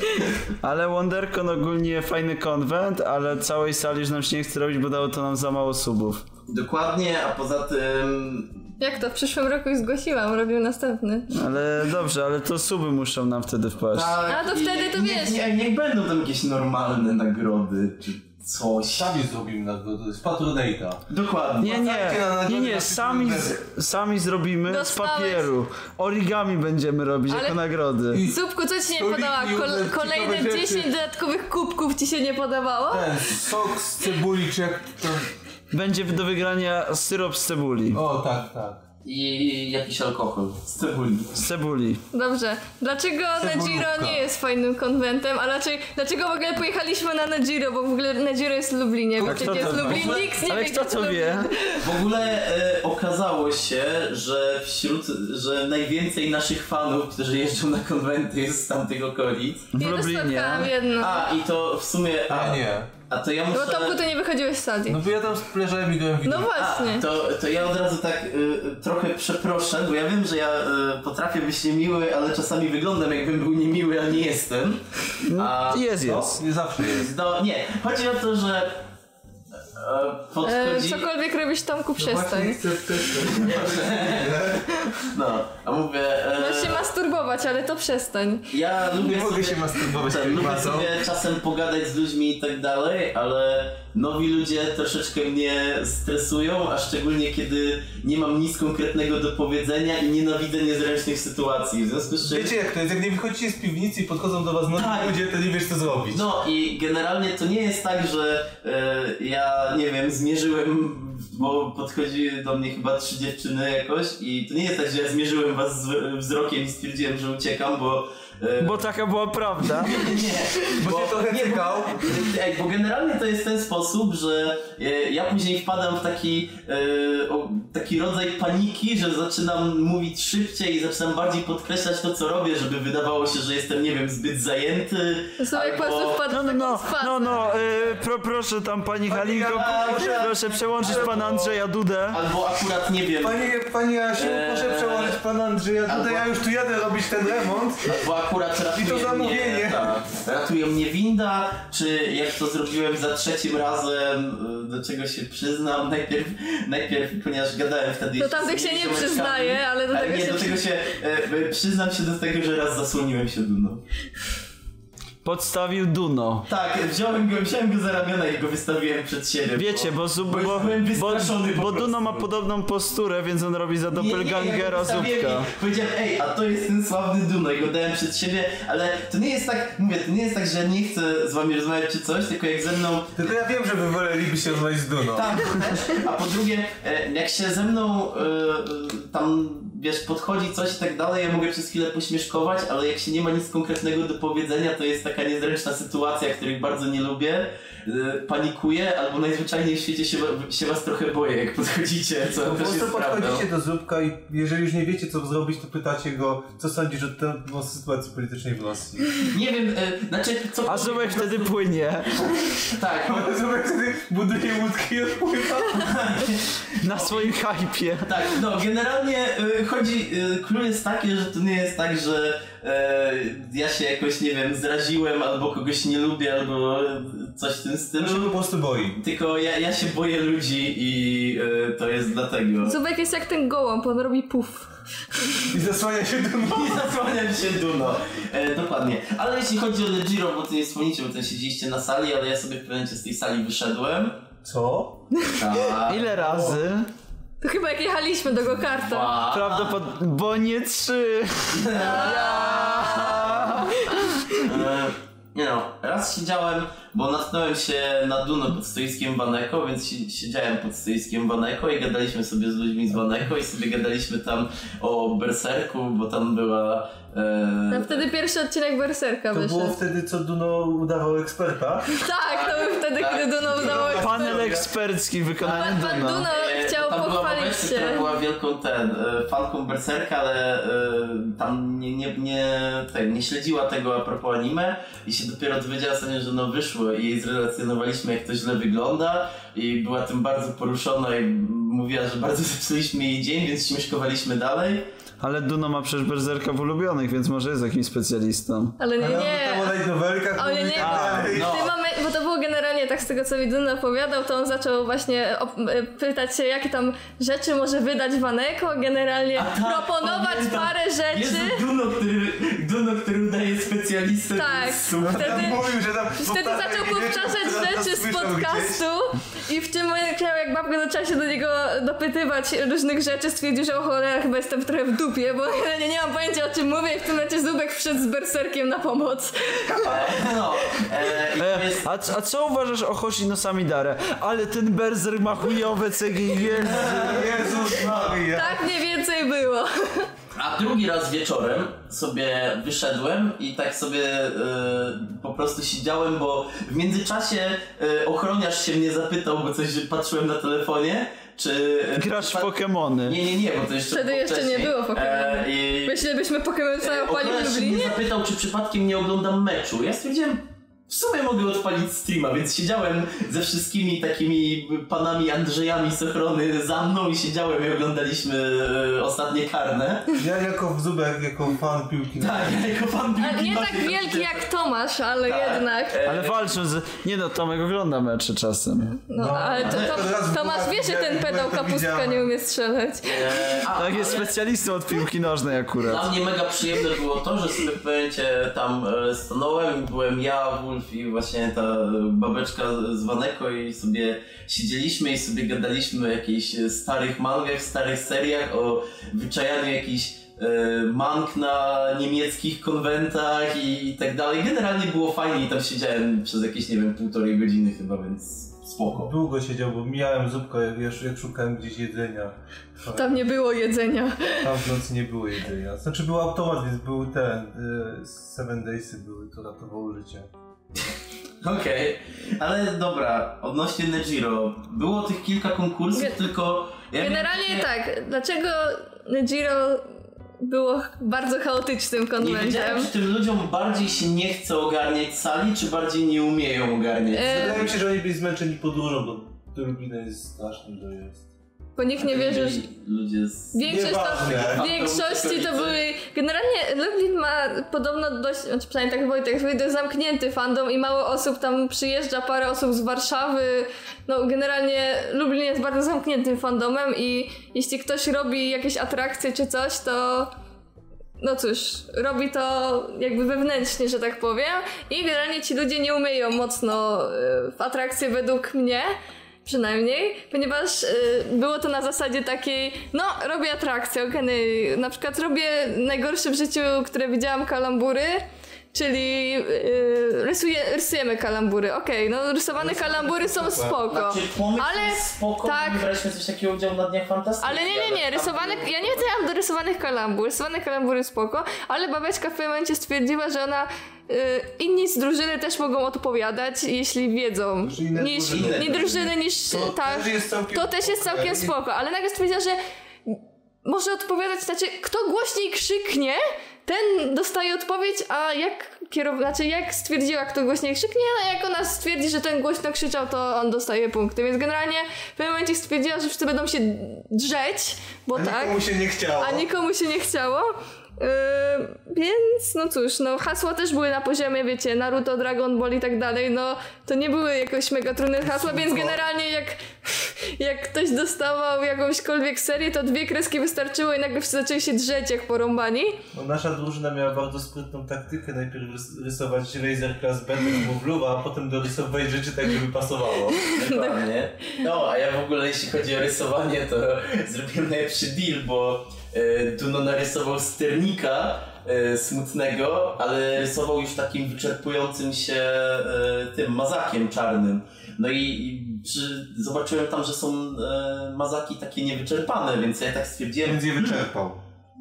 [SPEAKER 4] Ale WonderCon ogólnie fajny konwent, ale całej sali już nam się nie chce robić, bo dało to nam za mało subów.
[SPEAKER 3] Dokładnie, a poza tym
[SPEAKER 2] Jak to? W przyszłym roku już zgłosiłam, robił następny.
[SPEAKER 4] Ale dobrze, ale to suby muszą nam wtedy wpaść.
[SPEAKER 3] Tak,
[SPEAKER 2] A to
[SPEAKER 3] i
[SPEAKER 2] wtedy to
[SPEAKER 3] niech-
[SPEAKER 2] wiesz.
[SPEAKER 3] Niech, niech będą tam jakieś normalne nagrody czy coś.
[SPEAKER 1] Sami zrobimy nagrodę z Patronate'a.
[SPEAKER 3] Dokładnie.
[SPEAKER 4] Nie, nie,
[SPEAKER 1] Wracajcie na
[SPEAKER 4] nie,
[SPEAKER 1] nagrody
[SPEAKER 4] nie,
[SPEAKER 1] na
[SPEAKER 4] sami, z, sami zrobimy z
[SPEAKER 2] Dostałeś.
[SPEAKER 4] papieru. Origami będziemy robić
[SPEAKER 2] Ale-
[SPEAKER 4] jako nagrody.
[SPEAKER 1] I-
[SPEAKER 2] Zupku, co ci nie
[SPEAKER 1] Stoliki,
[SPEAKER 2] podoba? Kol-
[SPEAKER 1] różne
[SPEAKER 2] kolejne
[SPEAKER 1] ciekawe rzeczy.
[SPEAKER 2] 10 dodatkowych kubków ci się nie podobało?
[SPEAKER 4] Tak.
[SPEAKER 1] Ten sok z cebuli, czy jak to...
[SPEAKER 4] Będzie do wygrania syrop z cebuli.
[SPEAKER 1] O, tak, tak.
[SPEAKER 3] I jakiś alkohol z cebuli.
[SPEAKER 4] Z cebuli.
[SPEAKER 2] Dobrze. Dlaczego Nedziro nie jest fajnym konwentem, a raczej dlaczego w ogóle pojechaliśmy na Nedziro, bo w ogóle Nedziro jest w Lublinie, bo
[SPEAKER 4] kto
[SPEAKER 2] przecież jest
[SPEAKER 4] to wie?
[SPEAKER 2] Lublin, nikt nie
[SPEAKER 4] Ale
[SPEAKER 2] wie,
[SPEAKER 4] kto
[SPEAKER 2] gdzie
[SPEAKER 4] to
[SPEAKER 2] Lublin.
[SPEAKER 4] wie?
[SPEAKER 3] W ogóle e, okazało się, że wśród, że najwięcej naszych fanów, którzy jeżdżą na konwenty jest z tamtych okolic.
[SPEAKER 4] W
[SPEAKER 2] Nie, to
[SPEAKER 4] Lublinie.
[SPEAKER 2] spotkałam jedno.
[SPEAKER 3] A i to w sumie. A,
[SPEAKER 1] Ja nie.
[SPEAKER 3] a to ja muszę.
[SPEAKER 2] Bo Tomku, ty nie wychodziłeś z sali.
[SPEAKER 1] No bo ja tam leżałem i byłem
[SPEAKER 2] No
[SPEAKER 1] widoczny.
[SPEAKER 3] A,
[SPEAKER 2] właśnie.
[SPEAKER 3] to, to ja od razu tak y, y, trochę przeproszę, bo ja wiem, że ja y, potrafię być niemiły, ale czasami wyglądam jakbym był niemiły, a nie jestem. A,
[SPEAKER 4] Jest, jest.
[SPEAKER 1] Nie zawsze jest.
[SPEAKER 3] No nie, chodzi o to, że e,
[SPEAKER 2] E,
[SPEAKER 3] podchodzi...
[SPEAKER 2] cokolwiek robisz,
[SPEAKER 4] No
[SPEAKER 2] Tomku, przestań.
[SPEAKER 1] chcę też
[SPEAKER 3] No, a mówię... E,
[SPEAKER 2] Możesz No się masturbować, ale to przestań.
[SPEAKER 3] ja lubię
[SPEAKER 1] Nie mogę
[SPEAKER 3] sobie,
[SPEAKER 1] się masturbować
[SPEAKER 3] ten, Lubię
[SPEAKER 1] kiełbasą.
[SPEAKER 3] sobie czasem pogadać z ludźmi i tak dalej, ale nowi ludzie troszeczkę mnie stresują, a szczególnie kiedy nie mam nic konkretnego do powiedzenia i nienawidzę niezręcznych sytuacji. W związku z czym...
[SPEAKER 1] Wiecie jak to jest, jak nie wychodzicie z piwnicy i podchodzą do was nowi
[SPEAKER 3] Tak.
[SPEAKER 1] ludzie, to nie wiesz co zrobić.
[SPEAKER 3] No i generalnie to nie jest tak, że e, ja nie wiem, zmierzyłem, bo podchodzi do mnie chyba trzy dziewczyny jakoś i to nie jest tak, że ja zmierzyłem was z, wzrokiem i stwierdziłem, że uciekam, bo... e,
[SPEAKER 4] Bo taka była prawda.
[SPEAKER 3] nie,
[SPEAKER 1] Bo cię trochę cykał.
[SPEAKER 3] Ej, bo generalnie to jest ten sposób, że e, ja później wpadam w taki, e, o, taki rodzaj paniki, że zaczynam mówić szybciej i zaczynam bardziej podkreślać to, co robię, żeby wydawało się, że jestem, nie wiem, zbyt zajęty.
[SPEAKER 2] Słuchaj, po prostu wpadł
[SPEAKER 4] No,
[SPEAKER 2] w
[SPEAKER 4] no,
[SPEAKER 2] taką
[SPEAKER 4] no,
[SPEAKER 2] sfazę.
[SPEAKER 4] no, no, y, pro, proszę tam pani Halinko,
[SPEAKER 1] Halinko,
[SPEAKER 4] proszę przełączyć pana Andrzeja Dudę.
[SPEAKER 3] Albo akurat nie wiem,
[SPEAKER 1] Panie, panie Jasiu, proszę
[SPEAKER 3] Eee.
[SPEAKER 1] przełożyć pana Andrzeja, tutaj ja już tu jadę robić ten remont.
[SPEAKER 3] No, bo akurat ratuje
[SPEAKER 1] zamówienie.
[SPEAKER 3] mnie, tak, ratuje mnie winda, czy jak to zrobiłem za trzecim razem, y, do czego się przyznam, najpierw, najpierw ponieważ gadałem wtedy...
[SPEAKER 2] Do
[SPEAKER 3] jeszcze z
[SPEAKER 2] tamtych No tak się
[SPEAKER 3] innymi
[SPEAKER 2] nie
[SPEAKER 3] ziomeczkami,
[SPEAKER 2] przyznaję, ale do tego
[SPEAKER 3] nie,
[SPEAKER 2] się
[SPEAKER 3] do tego się... y, y, Przyznam się do tego, że raz zasłoniłem się dumną.
[SPEAKER 4] Podstawił Duno.
[SPEAKER 3] Tak, wziąłem go, wziąłem go za ramiona i go wystawiłem przed siebie.
[SPEAKER 4] Wiecie, bo, zu-
[SPEAKER 3] bo,
[SPEAKER 4] bo,
[SPEAKER 3] już byłem
[SPEAKER 4] bo,
[SPEAKER 3] wystraszony po
[SPEAKER 4] bo
[SPEAKER 3] prostu.
[SPEAKER 4] Duno ma podobną posturę, więc on robi za doppelgangera
[SPEAKER 3] nie, nie, ja go
[SPEAKER 4] Zupka.
[SPEAKER 3] wystawiłem i Powiedziałem, ej, a to jest ten sławny Duno i go dałem przed siebie, ale to nie jest tak, mówię, to nie jest tak, że nie chcę z wami rozmawiać czy coś, tylko jak ze mną
[SPEAKER 1] Tylko ja wiem, że wy wolelibyście rozmawiać z Duną.
[SPEAKER 3] tak, też. A po drugie, e, jak się ze mną e, e, tam, wiesz, podchodzi coś i tak dalej, ja mogę przez chwilę pośmieszkować, ale jak się nie ma nic konkretnego do powiedzenia, to jest taka niezręczna sytuacja, których bardzo nie lubię, e, panikuję, albo najzwyczajniej w świecie się, wa- się was trochę boję, jak podchodzicie, co
[SPEAKER 1] Po
[SPEAKER 3] też
[SPEAKER 1] prostu
[SPEAKER 3] jest prawdą.
[SPEAKER 1] podchodzicie do Zupka i jeżeli już nie wiecie co zrobić, to pytacie go, co sądzisz o tej o sytuacji politycznej w Rosji.
[SPEAKER 3] Nie wiem, e, znaczy, co...
[SPEAKER 4] A Zubek wtedy płynie
[SPEAKER 3] Tak,
[SPEAKER 1] Zupek wtedy buduje łódki i odpływa.
[SPEAKER 4] na swoim hajpie.
[SPEAKER 3] Tak, no generalnie y, chodzi, y, clue jest takie, że to nie jest tak, że y, ja się jakoś, nie wiem, zraziłem albo kogoś nie lubię albo coś w tym
[SPEAKER 1] On się
[SPEAKER 3] stylu,
[SPEAKER 1] po prostu boi.
[SPEAKER 3] tylko ja, ja się boję ludzi i y, to jest dlatego.
[SPEAKER 2] Zubek jest jak ten gołąb, on robi puf.
[SPEAKER 1] I zasłania się Duną.
[SPEAKER 3] I zasłaniam się Duno. E, dokładnie. Ale jeśli chodzi o Le Giro, bo to nie wspomnicie, bo to siedzieliście na sali, ale ja sobie w pewnym momencie z tej sali wyszedłem.
[SPEAKER 1] Co?
[SPEAKER 3] Ta,
[SPEAKER 4] Ile razy?
[SPEAKER 2] To chyba jak jechaliśmy do gokarta.
[SPEAKER 3] pa.
[SPEAKER 4] Prawdopodobnie. Bo nie trzy.
[SPEAKER 3] E, Nie no, raz siedziałem, bo natknąłem się na Duno pod stoiskiem Baneko, więc si- siedziałem pod stoiskiem Baneko i gadaliśmy sobie z ludźmi z Baneko i sobie gadaliśmy tam o Berserku, bo tam była...
[SPEAKER 2] No
[SPEAKER 3] E,
[SPEAKER 2] wtedy pierwszy odcinek Berserka
[SPEAKER 1] To było
[SPEAKER 2] wyszedł.
[SPEAKER 1] wtedy, co Duno udawał eksperta.
[SPEAKER 2] Tak, to był wtedy,
[SPEAKER 3] Tak.
[SPEAKER 2] kiedy Duno udało
[SPEAKER 4] Panel ekspercki wykonany
[SPEAKER 2] Pan, pan
[SPEAKER 4] Duno.
[SPEAKER 2] Duno
[SPEAKER 3] e,
[SPEAKER 2] chciał
[SPEAKER 3] tam była
[SPEAKER 2] pochwalić
[SPEAKER 3] Babeczka, która
[SPEAKER 2] się.
[SPEAKER 3] była wielką ten, e, fanką Berserka, ale e, tam nie, nie, nie, ten, nie śledziła tego a propos anime i się dopiero dowiedziała sobie, że no wyszło i jej zrelacjonowaliśmy jak to źle wygląda i była tym bardzo poruszona i m- mówiła, że bardzo zepsuliśmy jej dzień, więc śmieszkowaliśmy dalej.
[SPEAKER 4] Ale Duno ma przecież berzerka w ulubionych, więc może jest jakimś specjalistą.
[SPEAKER 2] Ale nie,
[SPEAKER 1] Ale on
[SPEAKER 2] nie.
[SPEAKER 1] tam o nowelkach
[SPEAKER 2] Ale
[SPEAKER 1] mówi,
[SPEAKER 2] nie,
[SPEAKER 1] tak dalej.
[SPEAKER 3] no.
[SPEAKER 2] W tym momencie, bo to było generalnie tak z tego, co mi Dun opowiadał, to on zaczął właśnie op- e, pytać się, jakie tam rzeczy może wydać Waneko, generalnie
[SPEAKER 3] A tak,
[SPEAKER 2] proponować
[SPEAKER 3] pamiętam.
[SPEAKER 2] parę
[SPEAKER 3] Jezu,
[SPEAKER 2] rzeczy.
[SPEAKER 3] Duno, który, Duno, który udaje specjalistę.
[SPEAKER 2] Tak,
[SPEAKER 3] Super.
[SPEAKER 2] wtedy,
[SPEAKER 1] Tam mówił, że tam
[SPEAKER 2] wtedy
[SPEAKER 1] powtarza
[SPEAKER 2] zaczął
[SPEAKER 1] jakieś rzeczy,
[SPEAKER 2] powtarzać
[SPEAKER 1] które tam
[SPEAKER 2] rzeczy z
[SPEAKER 1] słyszał gdzieś.
[SPEAKER 2] podcastu i w tym momencie, jak babka zaczęła się do niego dopytywać różnych rzeczy, stwierdził, że o cholera, chyba jestem trochę w dupie, bo nie, nie mam pojęcia, o czym mówię i w tym momencie Zubek wszedł z berserkiem na pomoc.
[SPEAKER 3] No, e, i to
[SPEAKER 4] E,
[SPEAKER 3] jest...
[SPEAKER 4] a, c- a co uważasz o Hoshino Samidare? Ale ten berzer ma chujowe cegi, jezu.
[SPEAKER 1] Jezus Maria.
[SPEAKER 2] Tak mniej więcej było.
[SPEAKER 3] A drugi raz wieczorem sobie wyszedłem i tak sobie e, po prostu siedziałem, bo w międzyczasie e, ochroniarz się mnie zapytał, bo coś patrzyłem na telefonie, czy... e,
[SPEAKER 4] Grasz w
[SPEAKER 3] pa-
[SPEAKER 4] Pokemony.
[SPEAKER 3] Nie, nie, nie, bo to jeszcze
[SPEAKER 2] Wtedy
[SPEAKER 3] było
[SPEAKER 2] jeszcze nie
[SPEAKER 3] wcześniej.
[SPEAKER 2] było Pokemonów.
[SPEAKER 3] E, i- e,
[SPEAKER 2] Myślelibyśmy Pokémon całą pali
[SPEAKER 3] Ochroniarz
[SPEAKER 2] w
[SPEAKER 3] się mnie
[SPEAKER 2] Lublinie.
[SPEAKER 3] zapytał, czy przypadkiem nie oglądam meczu. Ja stwierdziłem, w sumie mogę odpalić streama, więc siedziałem ze wszystkimi takimi panami Andrzejami z ochrony za mną i siedziałem i oglądaliśmy e, ostatnie karne.
[SPEAKER 1] Ja jako Zubek, jako fan piłki no,
[SPEAKER 3] Tak, jako pan
[SPEAKER 2] Ale
[SPEAKER 3] Bill
[SPEAKER 2] Nie
[SPEAKER 3] Gates.
[SPEAKER 2] tak wielki jak Tomasz, ale
[SPEAKER 3] Tak.
[SPEAKER 2] jednak.
[SPEAKER 3] E,
[SPEAKER 4] Ale walczą z... Nie no, Tomek ogląda mecze czasem.
[SPEAKER 2] No,
[SPEAKER 1] no,
[SPEAKER 2] ale to,
[SPEAKER 1] ale
[SPEAKER 2] to,
[SPEAKER 1] od razu
[SPEAKER 2] Tomasz
[SPEAKER 1] była-
[SPEAKER 2] wie, że
[SPEAKER 1] ja-
[SPEAKER 2] ten
[SPEAKER 1] ja
[SPEAKER 2] pedał
[SPEAKER 1] to
[SPEAKER 2] kapustka
[SPEAKER 1] widziałem.
[SPEAKER 2] nie umie strzelać.
[SPEAKER 3] e, a,
[SPEAKER 4] Tak, jest specjalistą od piłki nożnej
[SPEAKER 3] Dla
[SPEAKER 4] akurat.
[SPEAKER 3] mnie mega przyjemne było to, że sobie w pewnym momencie tam e, stanąłem, byłem ja, Wolf i właśnie ta e, babeczka z Waneko i sobie siedzieliśmy i sobie gadaliśmy o jakichś e, starych mangach, starych seriach, o wyczajaniu jakichś e, mang na niemieckich konwentach i, i tak dalej. Generalnie było fajnie i tam siedziałem przez jakieś, nie wiem, półtorej godziny chyba, więc spoko.
[SPEAKER 1] Długo siedział, bo mijałem Zupka, jak, jak- jak szukałem gdzieś jedzenia. No.
[SPEAKER 2] Tam nie było jedzenia.
[SPEAKER 1] Tam w nocy nie było jedzenia. Znaczy był automat, więc był ten... Y, Seven Daysy były, to ratowało życie.
[SPEAKER 3] Okej, ale dobra, odnośnie Nejiro. Było tych kilka konkursów,
[SPEAKER 2] Ge-
[SPEAKER 3] tylko... ja wiem-
[SPEAKER 2] Generalnie
[SPEAKER 3] nie-
[SPEAKER 2] tak, dlaczego Nejiro było bardzo chaotycznym
[SPEAKER 3] Nie
[SPEAKER 2] konwentem?
[SPEAKER 3] wiedziałem, czy tym ludziom bardziej się nie chce ogarniać sali, czy bardziej nie umieją ogarniać.
[SPEAKER 2] E,
[SPEAKER 1] Wydaje mi się, że oni byli zmęczeni podróżą do turbina jest strasznie, że jest.
[SPEAKER 2] Bo nikt nie wierzy, że...
[SPEAKER 3] Ludzie z...
[SPEAKER 2] Większość
[SPEAKER 1] Nieważne.
[SPEAKER 2] to, w większości to były. Generalnie Lublin ma podobno dość, znaczy przynajmniej tak Wojtek wyjdzie zamknięty fandom i mało osób tam przyjeżdża, parę osób z Warszawy. No generalnie Lublin jest bardzo zamkniętym fandomem i jeśli ktoś robi jakieś atrakcje czy coś, to no cóż, robi to jakby wewnętrznie, że tak powiem. I generalnie ci ludzie nie umieją mocno y, w atrakcje według mnie. Przynajmniej, ponieważ y, było to na zasadzie takiej, no robię atrakcję, okej, na przykład robię najgorsze w życiu, które widziałam kalambury, czyli y, rysuje, rysujemy kalambury, okej, no rysowane kalambury są spoko,
[SPEAKER 3] Znaczy, pomysł
[SPEAKER 2] No. ale
[SPEAKER 3] jest spoko,
[SPEAKER 2] tak.
[SPEAKER 3] tak. braliśmy coś takiego udział na Dniach Fantastyki.
[SPEAKER 2] ale nie, nie, nie,
[SPEAKER 3] tam
[SPEAKER 2] rysowane,
[SPEAKER 3] były-
[SPEAKER 2] ja nie chciałam do rysowanych kalambur, rysowane kalambury spoko, ale babeczka w pewnym momencie stwierdziła, że ona, y, inni z drużyny też mogą odpowiadać, jeśli wiedzą,
[SPEAKER 1] Znaczy inne
[SPEAKER 2] niż,
[SPEAKER 1] drużyny.
[SPEAKER 2] nie drużyny, niż
[SPEAKER 1] To
[SPEAKER 2] ta,
[SPEAKER 1] też jest całkiem
[SPEAKER 2] Tak, to też jest
[SPEAKER 1] okej.
[SPEAKER 2] całkiem spoko, ale nagle stwierdziła, że może odpowiadać, znaczy kto głośniej krzyknie, ten dostaje odpowiedź, a jak kierow... znaczy jak stwierdziła, kto głośniej krzyknie, a jak ona stwierdzi, że ten głośno krzyczał, to on dostaje punkty. Więc generalnie w pewnym momencie stwierdziła, że wszyscy będą się drzeć, bo
[SPEAKER 1] A
[SPEAKER 2] tak,
[SPEAKER 1] nikomu się nie chciało.
[SPEAKER 2] a nikomu się nie chciało. Yy, więc no cóż, no hasła też były na poziomie, wiecie, Naruto, Dragon Ball i tak dalej, no to nie były jakoś mega trudne hasła, więc generalnie jak, jak ktoś dostawał jakąśkolwiek serię, to dwie kreski wystarczyło i nagle wszyscy zaczęli się drzeć jak porąbani.
[SPEAKER 1] No, nasza drużyna miała bardzo sprytną taktykę. Najpierw rys- rysować laser class B lub Bluwa, a potem dorysować rzeczy tak, żeby pasowało.
[SPEAKER 3] Dokładnie. No, a ja w ogóle jeśli chodzi o rysowanie, to zrobiłem najlepszy deal, bo e, Duno narysował sternika e, smutnego, ale rysował już takim wyczerpującym się e, tym mazakiem czarnym. No i, i przy, zobaczyłem tam, że są e, mazaki takie niewyczerpane, więc ja tak stwierdziłem,
[SPEAKER 1] Więc je wyczerpał.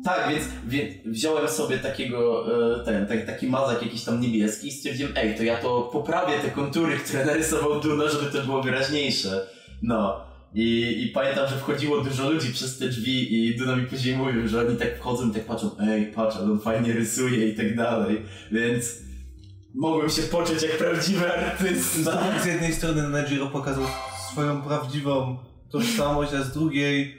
[SPEAKER 3] tak, więc wie, wziąłem sobie takiego, e, ten, tak- taki mazak jakiś tam niebieski i stwierdziłem, ej, to ja to poprawię te kontury, które narysował Duno, żeby to było wyraźniejsze. No. I, I pamiętam, że wchodziło dużo ludzi przez te drzwi i Duno mi później mówił, że oni tak wchodzą i tak patrzą, ej, patrz, ale on fajnie rysuje i tak dalej. Więc mogłem się poczuć jak prawdziwy artysta.
[SPEAKER 1] Z jednej strony Najiro pokazał swoją prawdziwą tożsamość, a z drugiej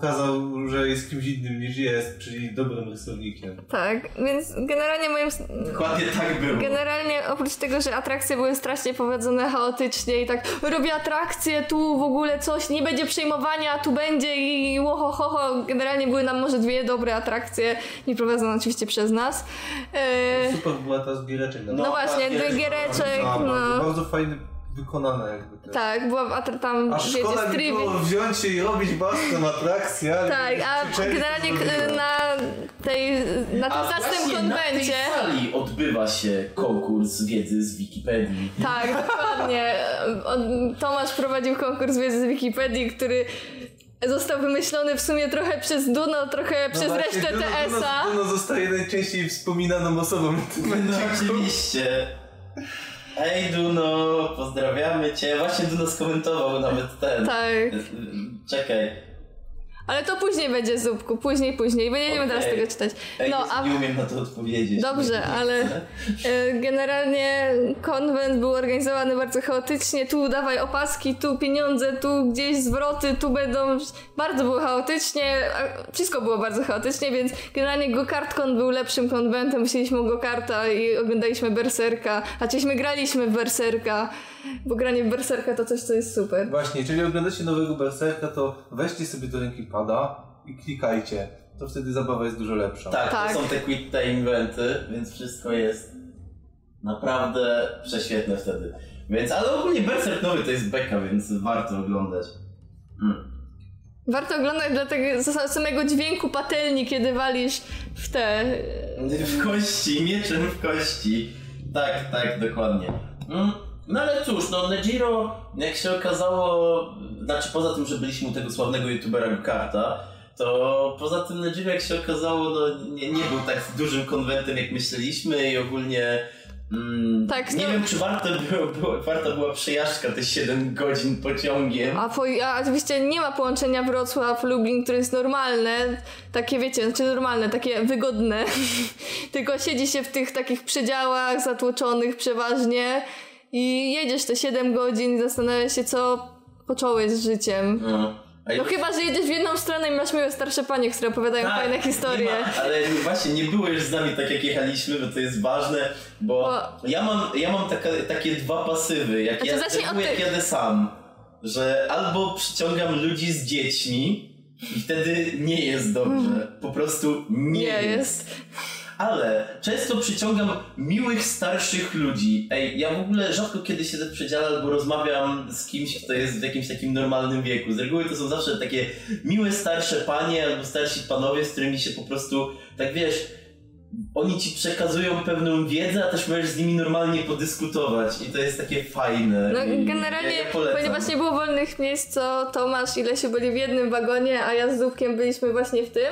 [SPEAKER 1] pokazał, że jest kimś innym niż jest, czyli dobrym rysownikiem.
[SPEAKER 2] Tak, więc generalnie moim...
[SPEAKER 3] Dokładnie tak było.
[SPEAKER 2] Generalnie oprócz tego, że atrakcje były strasznie prowadzone chaotycznie i tak robię atrakcje, tu w ogóle coś, nie będzie przejmowania, tu będzie i łohohoho. Generalnie były nam może dwie dobre atrakcje, nie prowadzone oczywiście przez nas. E,
[SPEAKER 1] Super była ta zbiereczek.
[SPEAKER 2] no,
[SPEAKER 3] No,
[SPEAKER 2] właśnie,
[SPEAKER 3] atrakcje-
[SPEAKER 2] drygiereczek,
[SPEAKER 1] bardzo,
[SPEAKER 2] no.
[SPEAKER 1] bardzo fajnie wykonana jakby też.
[SPEAKER 2] Tak, była atr- tam,
[SPEAKER 1] A
[SPEAKER 2] wiecie,
[SPEAKER 1] szkoda by
[SPEAKER 2] stribi.
[SPEAKER 1] było wziąć się i robić własną atrakcję, ale
[SPEAKER 2] Tak, a
[SPEAKER 1] krzyczeli, to
[SPEAKER 2] generalnie
[SPEAKER 1] zrobiło.
[SPEAKER 2] k- na tej, na tym
[SPEAKER 3] właśnie
[SPEAKER 2] zacnym
[SPEAKER 3] na
[SPEAKER 2] konwencie.
[SPEAKER 3] tej sali odbywa się konkurs wiedzy z Wikipedii.
[SPEAKER 2] Tak, dokładnie. On, Tomasz prowadził konkurs wiedzy z Wikipedii, który został wymyślony w sumie trochę przez Duno, trochę
[SPEAKER 1] No
[SPEAKER 2] przez
[SPEAKER 1] właśnie,
[SPEAKER 2] resztę
[SPEAKER 1] Duno-
[SPEAKER 2] TS-a.
[SPEAKER 1] Duno, Duno zostaje najczęściej wspominaną osobą w tym
[SPEAKER 3] No
[SPEAKER 1] odcinku.
[SPEAKER 3] oczywiście. Ej Duno, pozdrawiamy cię. Właśnie Duno skomentował nawet ten.
[SPEAKER 2] Tak,
[SPEAKER 3] Czekaj.
[SPEAKER 2] ale to później będzie Zupku, później, później, bo nie będziemy teraz
[SPEAKER 3] Okej.
[SPEAKER 2] tego czytać.
[SPEAKER 3] Ej,
[SPEAKER 2] No, a
[SPEAKER 3] nie umiem na to odpowiedzieć.
[SPEAKER 2] Dobrze, ale e, generalnie konwent był organizowany bardzo chaotycznie. Tu dawaj opaski, tu pieniądze, tu gdzieś zwroty, tu będą. Bardzo było chaotycznie. a Wszystko było bardzo chaotycznie, więc generalnie Gokartkon był lepszym konwentem. Musieliśmy Gokarta i oglądaliśmy Berserka. Znaczyśmy graliśmy w Berserka, bo granie w Berserka to coś, co jest super.
[SPEAKER 1] Właśnie, jeżeli oglądacie nowego Berserka, to weźcie sobie do ręki pada i klikajcie. To wtedy zabawa jest dużo lepsza.
[SPEAKER 3] Tak,
[SPEAKER 2] Tak.
[SPEAKER 3] to są te quit time eventy, więc wszystko jest naprawdę prześwietne wtedy. Więc, ale ogólnie Berserk nowy to jest beka, więc warto oglądać. Mm.
[SPEAKER 2] Warto oglądać dla tego za samego dźwięku patelni, kiedy walisz w te.
[SPEAKER 3] W kości, mieczem w kości. Tak, tak, dokładnie. Mm, No ale cóż, no Nejiro, jak się okazało, znaczy poza tym, że byliśmy u tego sławnego youtubera Gukarta, to poza tym Nejiro, jak się okazało, no nie, nie był tak dużym konwentem, jak myśleliśmy i ogólnie... Mm,
[SPEAKER 2] Tak,
[SPEAKER 3] nie
[SPEAKER 2] no-
[SPEAKER 3] wiem, czy warto, było, było, warto była przejażdżka te 7 godzin pociągiem.
[SPEAKER 2] A, po, a oczywiście nie ma połączenia Wrocław-Lublin, które jest normalne, takie wiecie, znaczy normalne, takie wygodne. Tylko siedzi się w tych takich przedziałach zatłoczonych przeważnie i jedziesz te 7 godzin i zastanawiasz się, co począłeś z życiem.
[SPEAKER 3] No. A
[SPEAKER 2] No
[SPEAKER 3] jak-
[SPEAKER 2] chyba, że jedziesz w jedną stronę i masz miłe starsze panie, które opowiadają
[SPEAKER 3] Tak,
[SPEAKER 2] fajne
[SPEAKER 3] nie
[SPEAKER 2] historie.
[SPEAKER 3] ma- ale właśnie nie byłeś z nami tak jak jechaliśmy, bo to jest ważne, bo
[SPEAKER 2] Bo-
[SPEAKER 3] ja mam, ja mam taka, takie dwa pasywy, jak,
[SPEAKER 2] Znaczy,
[SPEAKER 3] ja,
[SPEAKER 2] zacznij
[SPEAKER 3] jak,
[SPEAKER 2] od
[SPEAKER 3] jak
[SPEAKER 2] tych-
[SPEAKER 3] jadę sam, że albo przyciągam ludzi z dziećmi i wtedy nie jest dobrze, po prostu nie,
[SPEAKER 2] Mm. Nie
[SPEAKER 3] jest.
[SPEAKER 2] jest.
[SPEAKER 3] Ale często przyciągam miłych, starszych ludzi. Ej, ja w ogóle rzadko kiedy siedzę w przedziale albo rozmawiam z kimś, kto jest w jakimś takim normalnym wieku. Z reguły to są zawsze takie miłe, starsze panie albo starsi panowie, z którymi się po prostu, tak wiesz, oni ci przekazują pewną wiedzę, a też możesz z nimi normalnie podyskutować. I to jest takie fajne.
[SPEAKER 2] No
[SPEAKER 3] I
[SPEAKER 2] generalnie,
[SPEAKER 3] ja, ja polecam.
[SPEAKER 2] ponieważ nie było wolnych miejsc, to Tomasz i Lesiu byli w jednym wagonie, a ja z Dubkiem byliśmy właśnie w tym.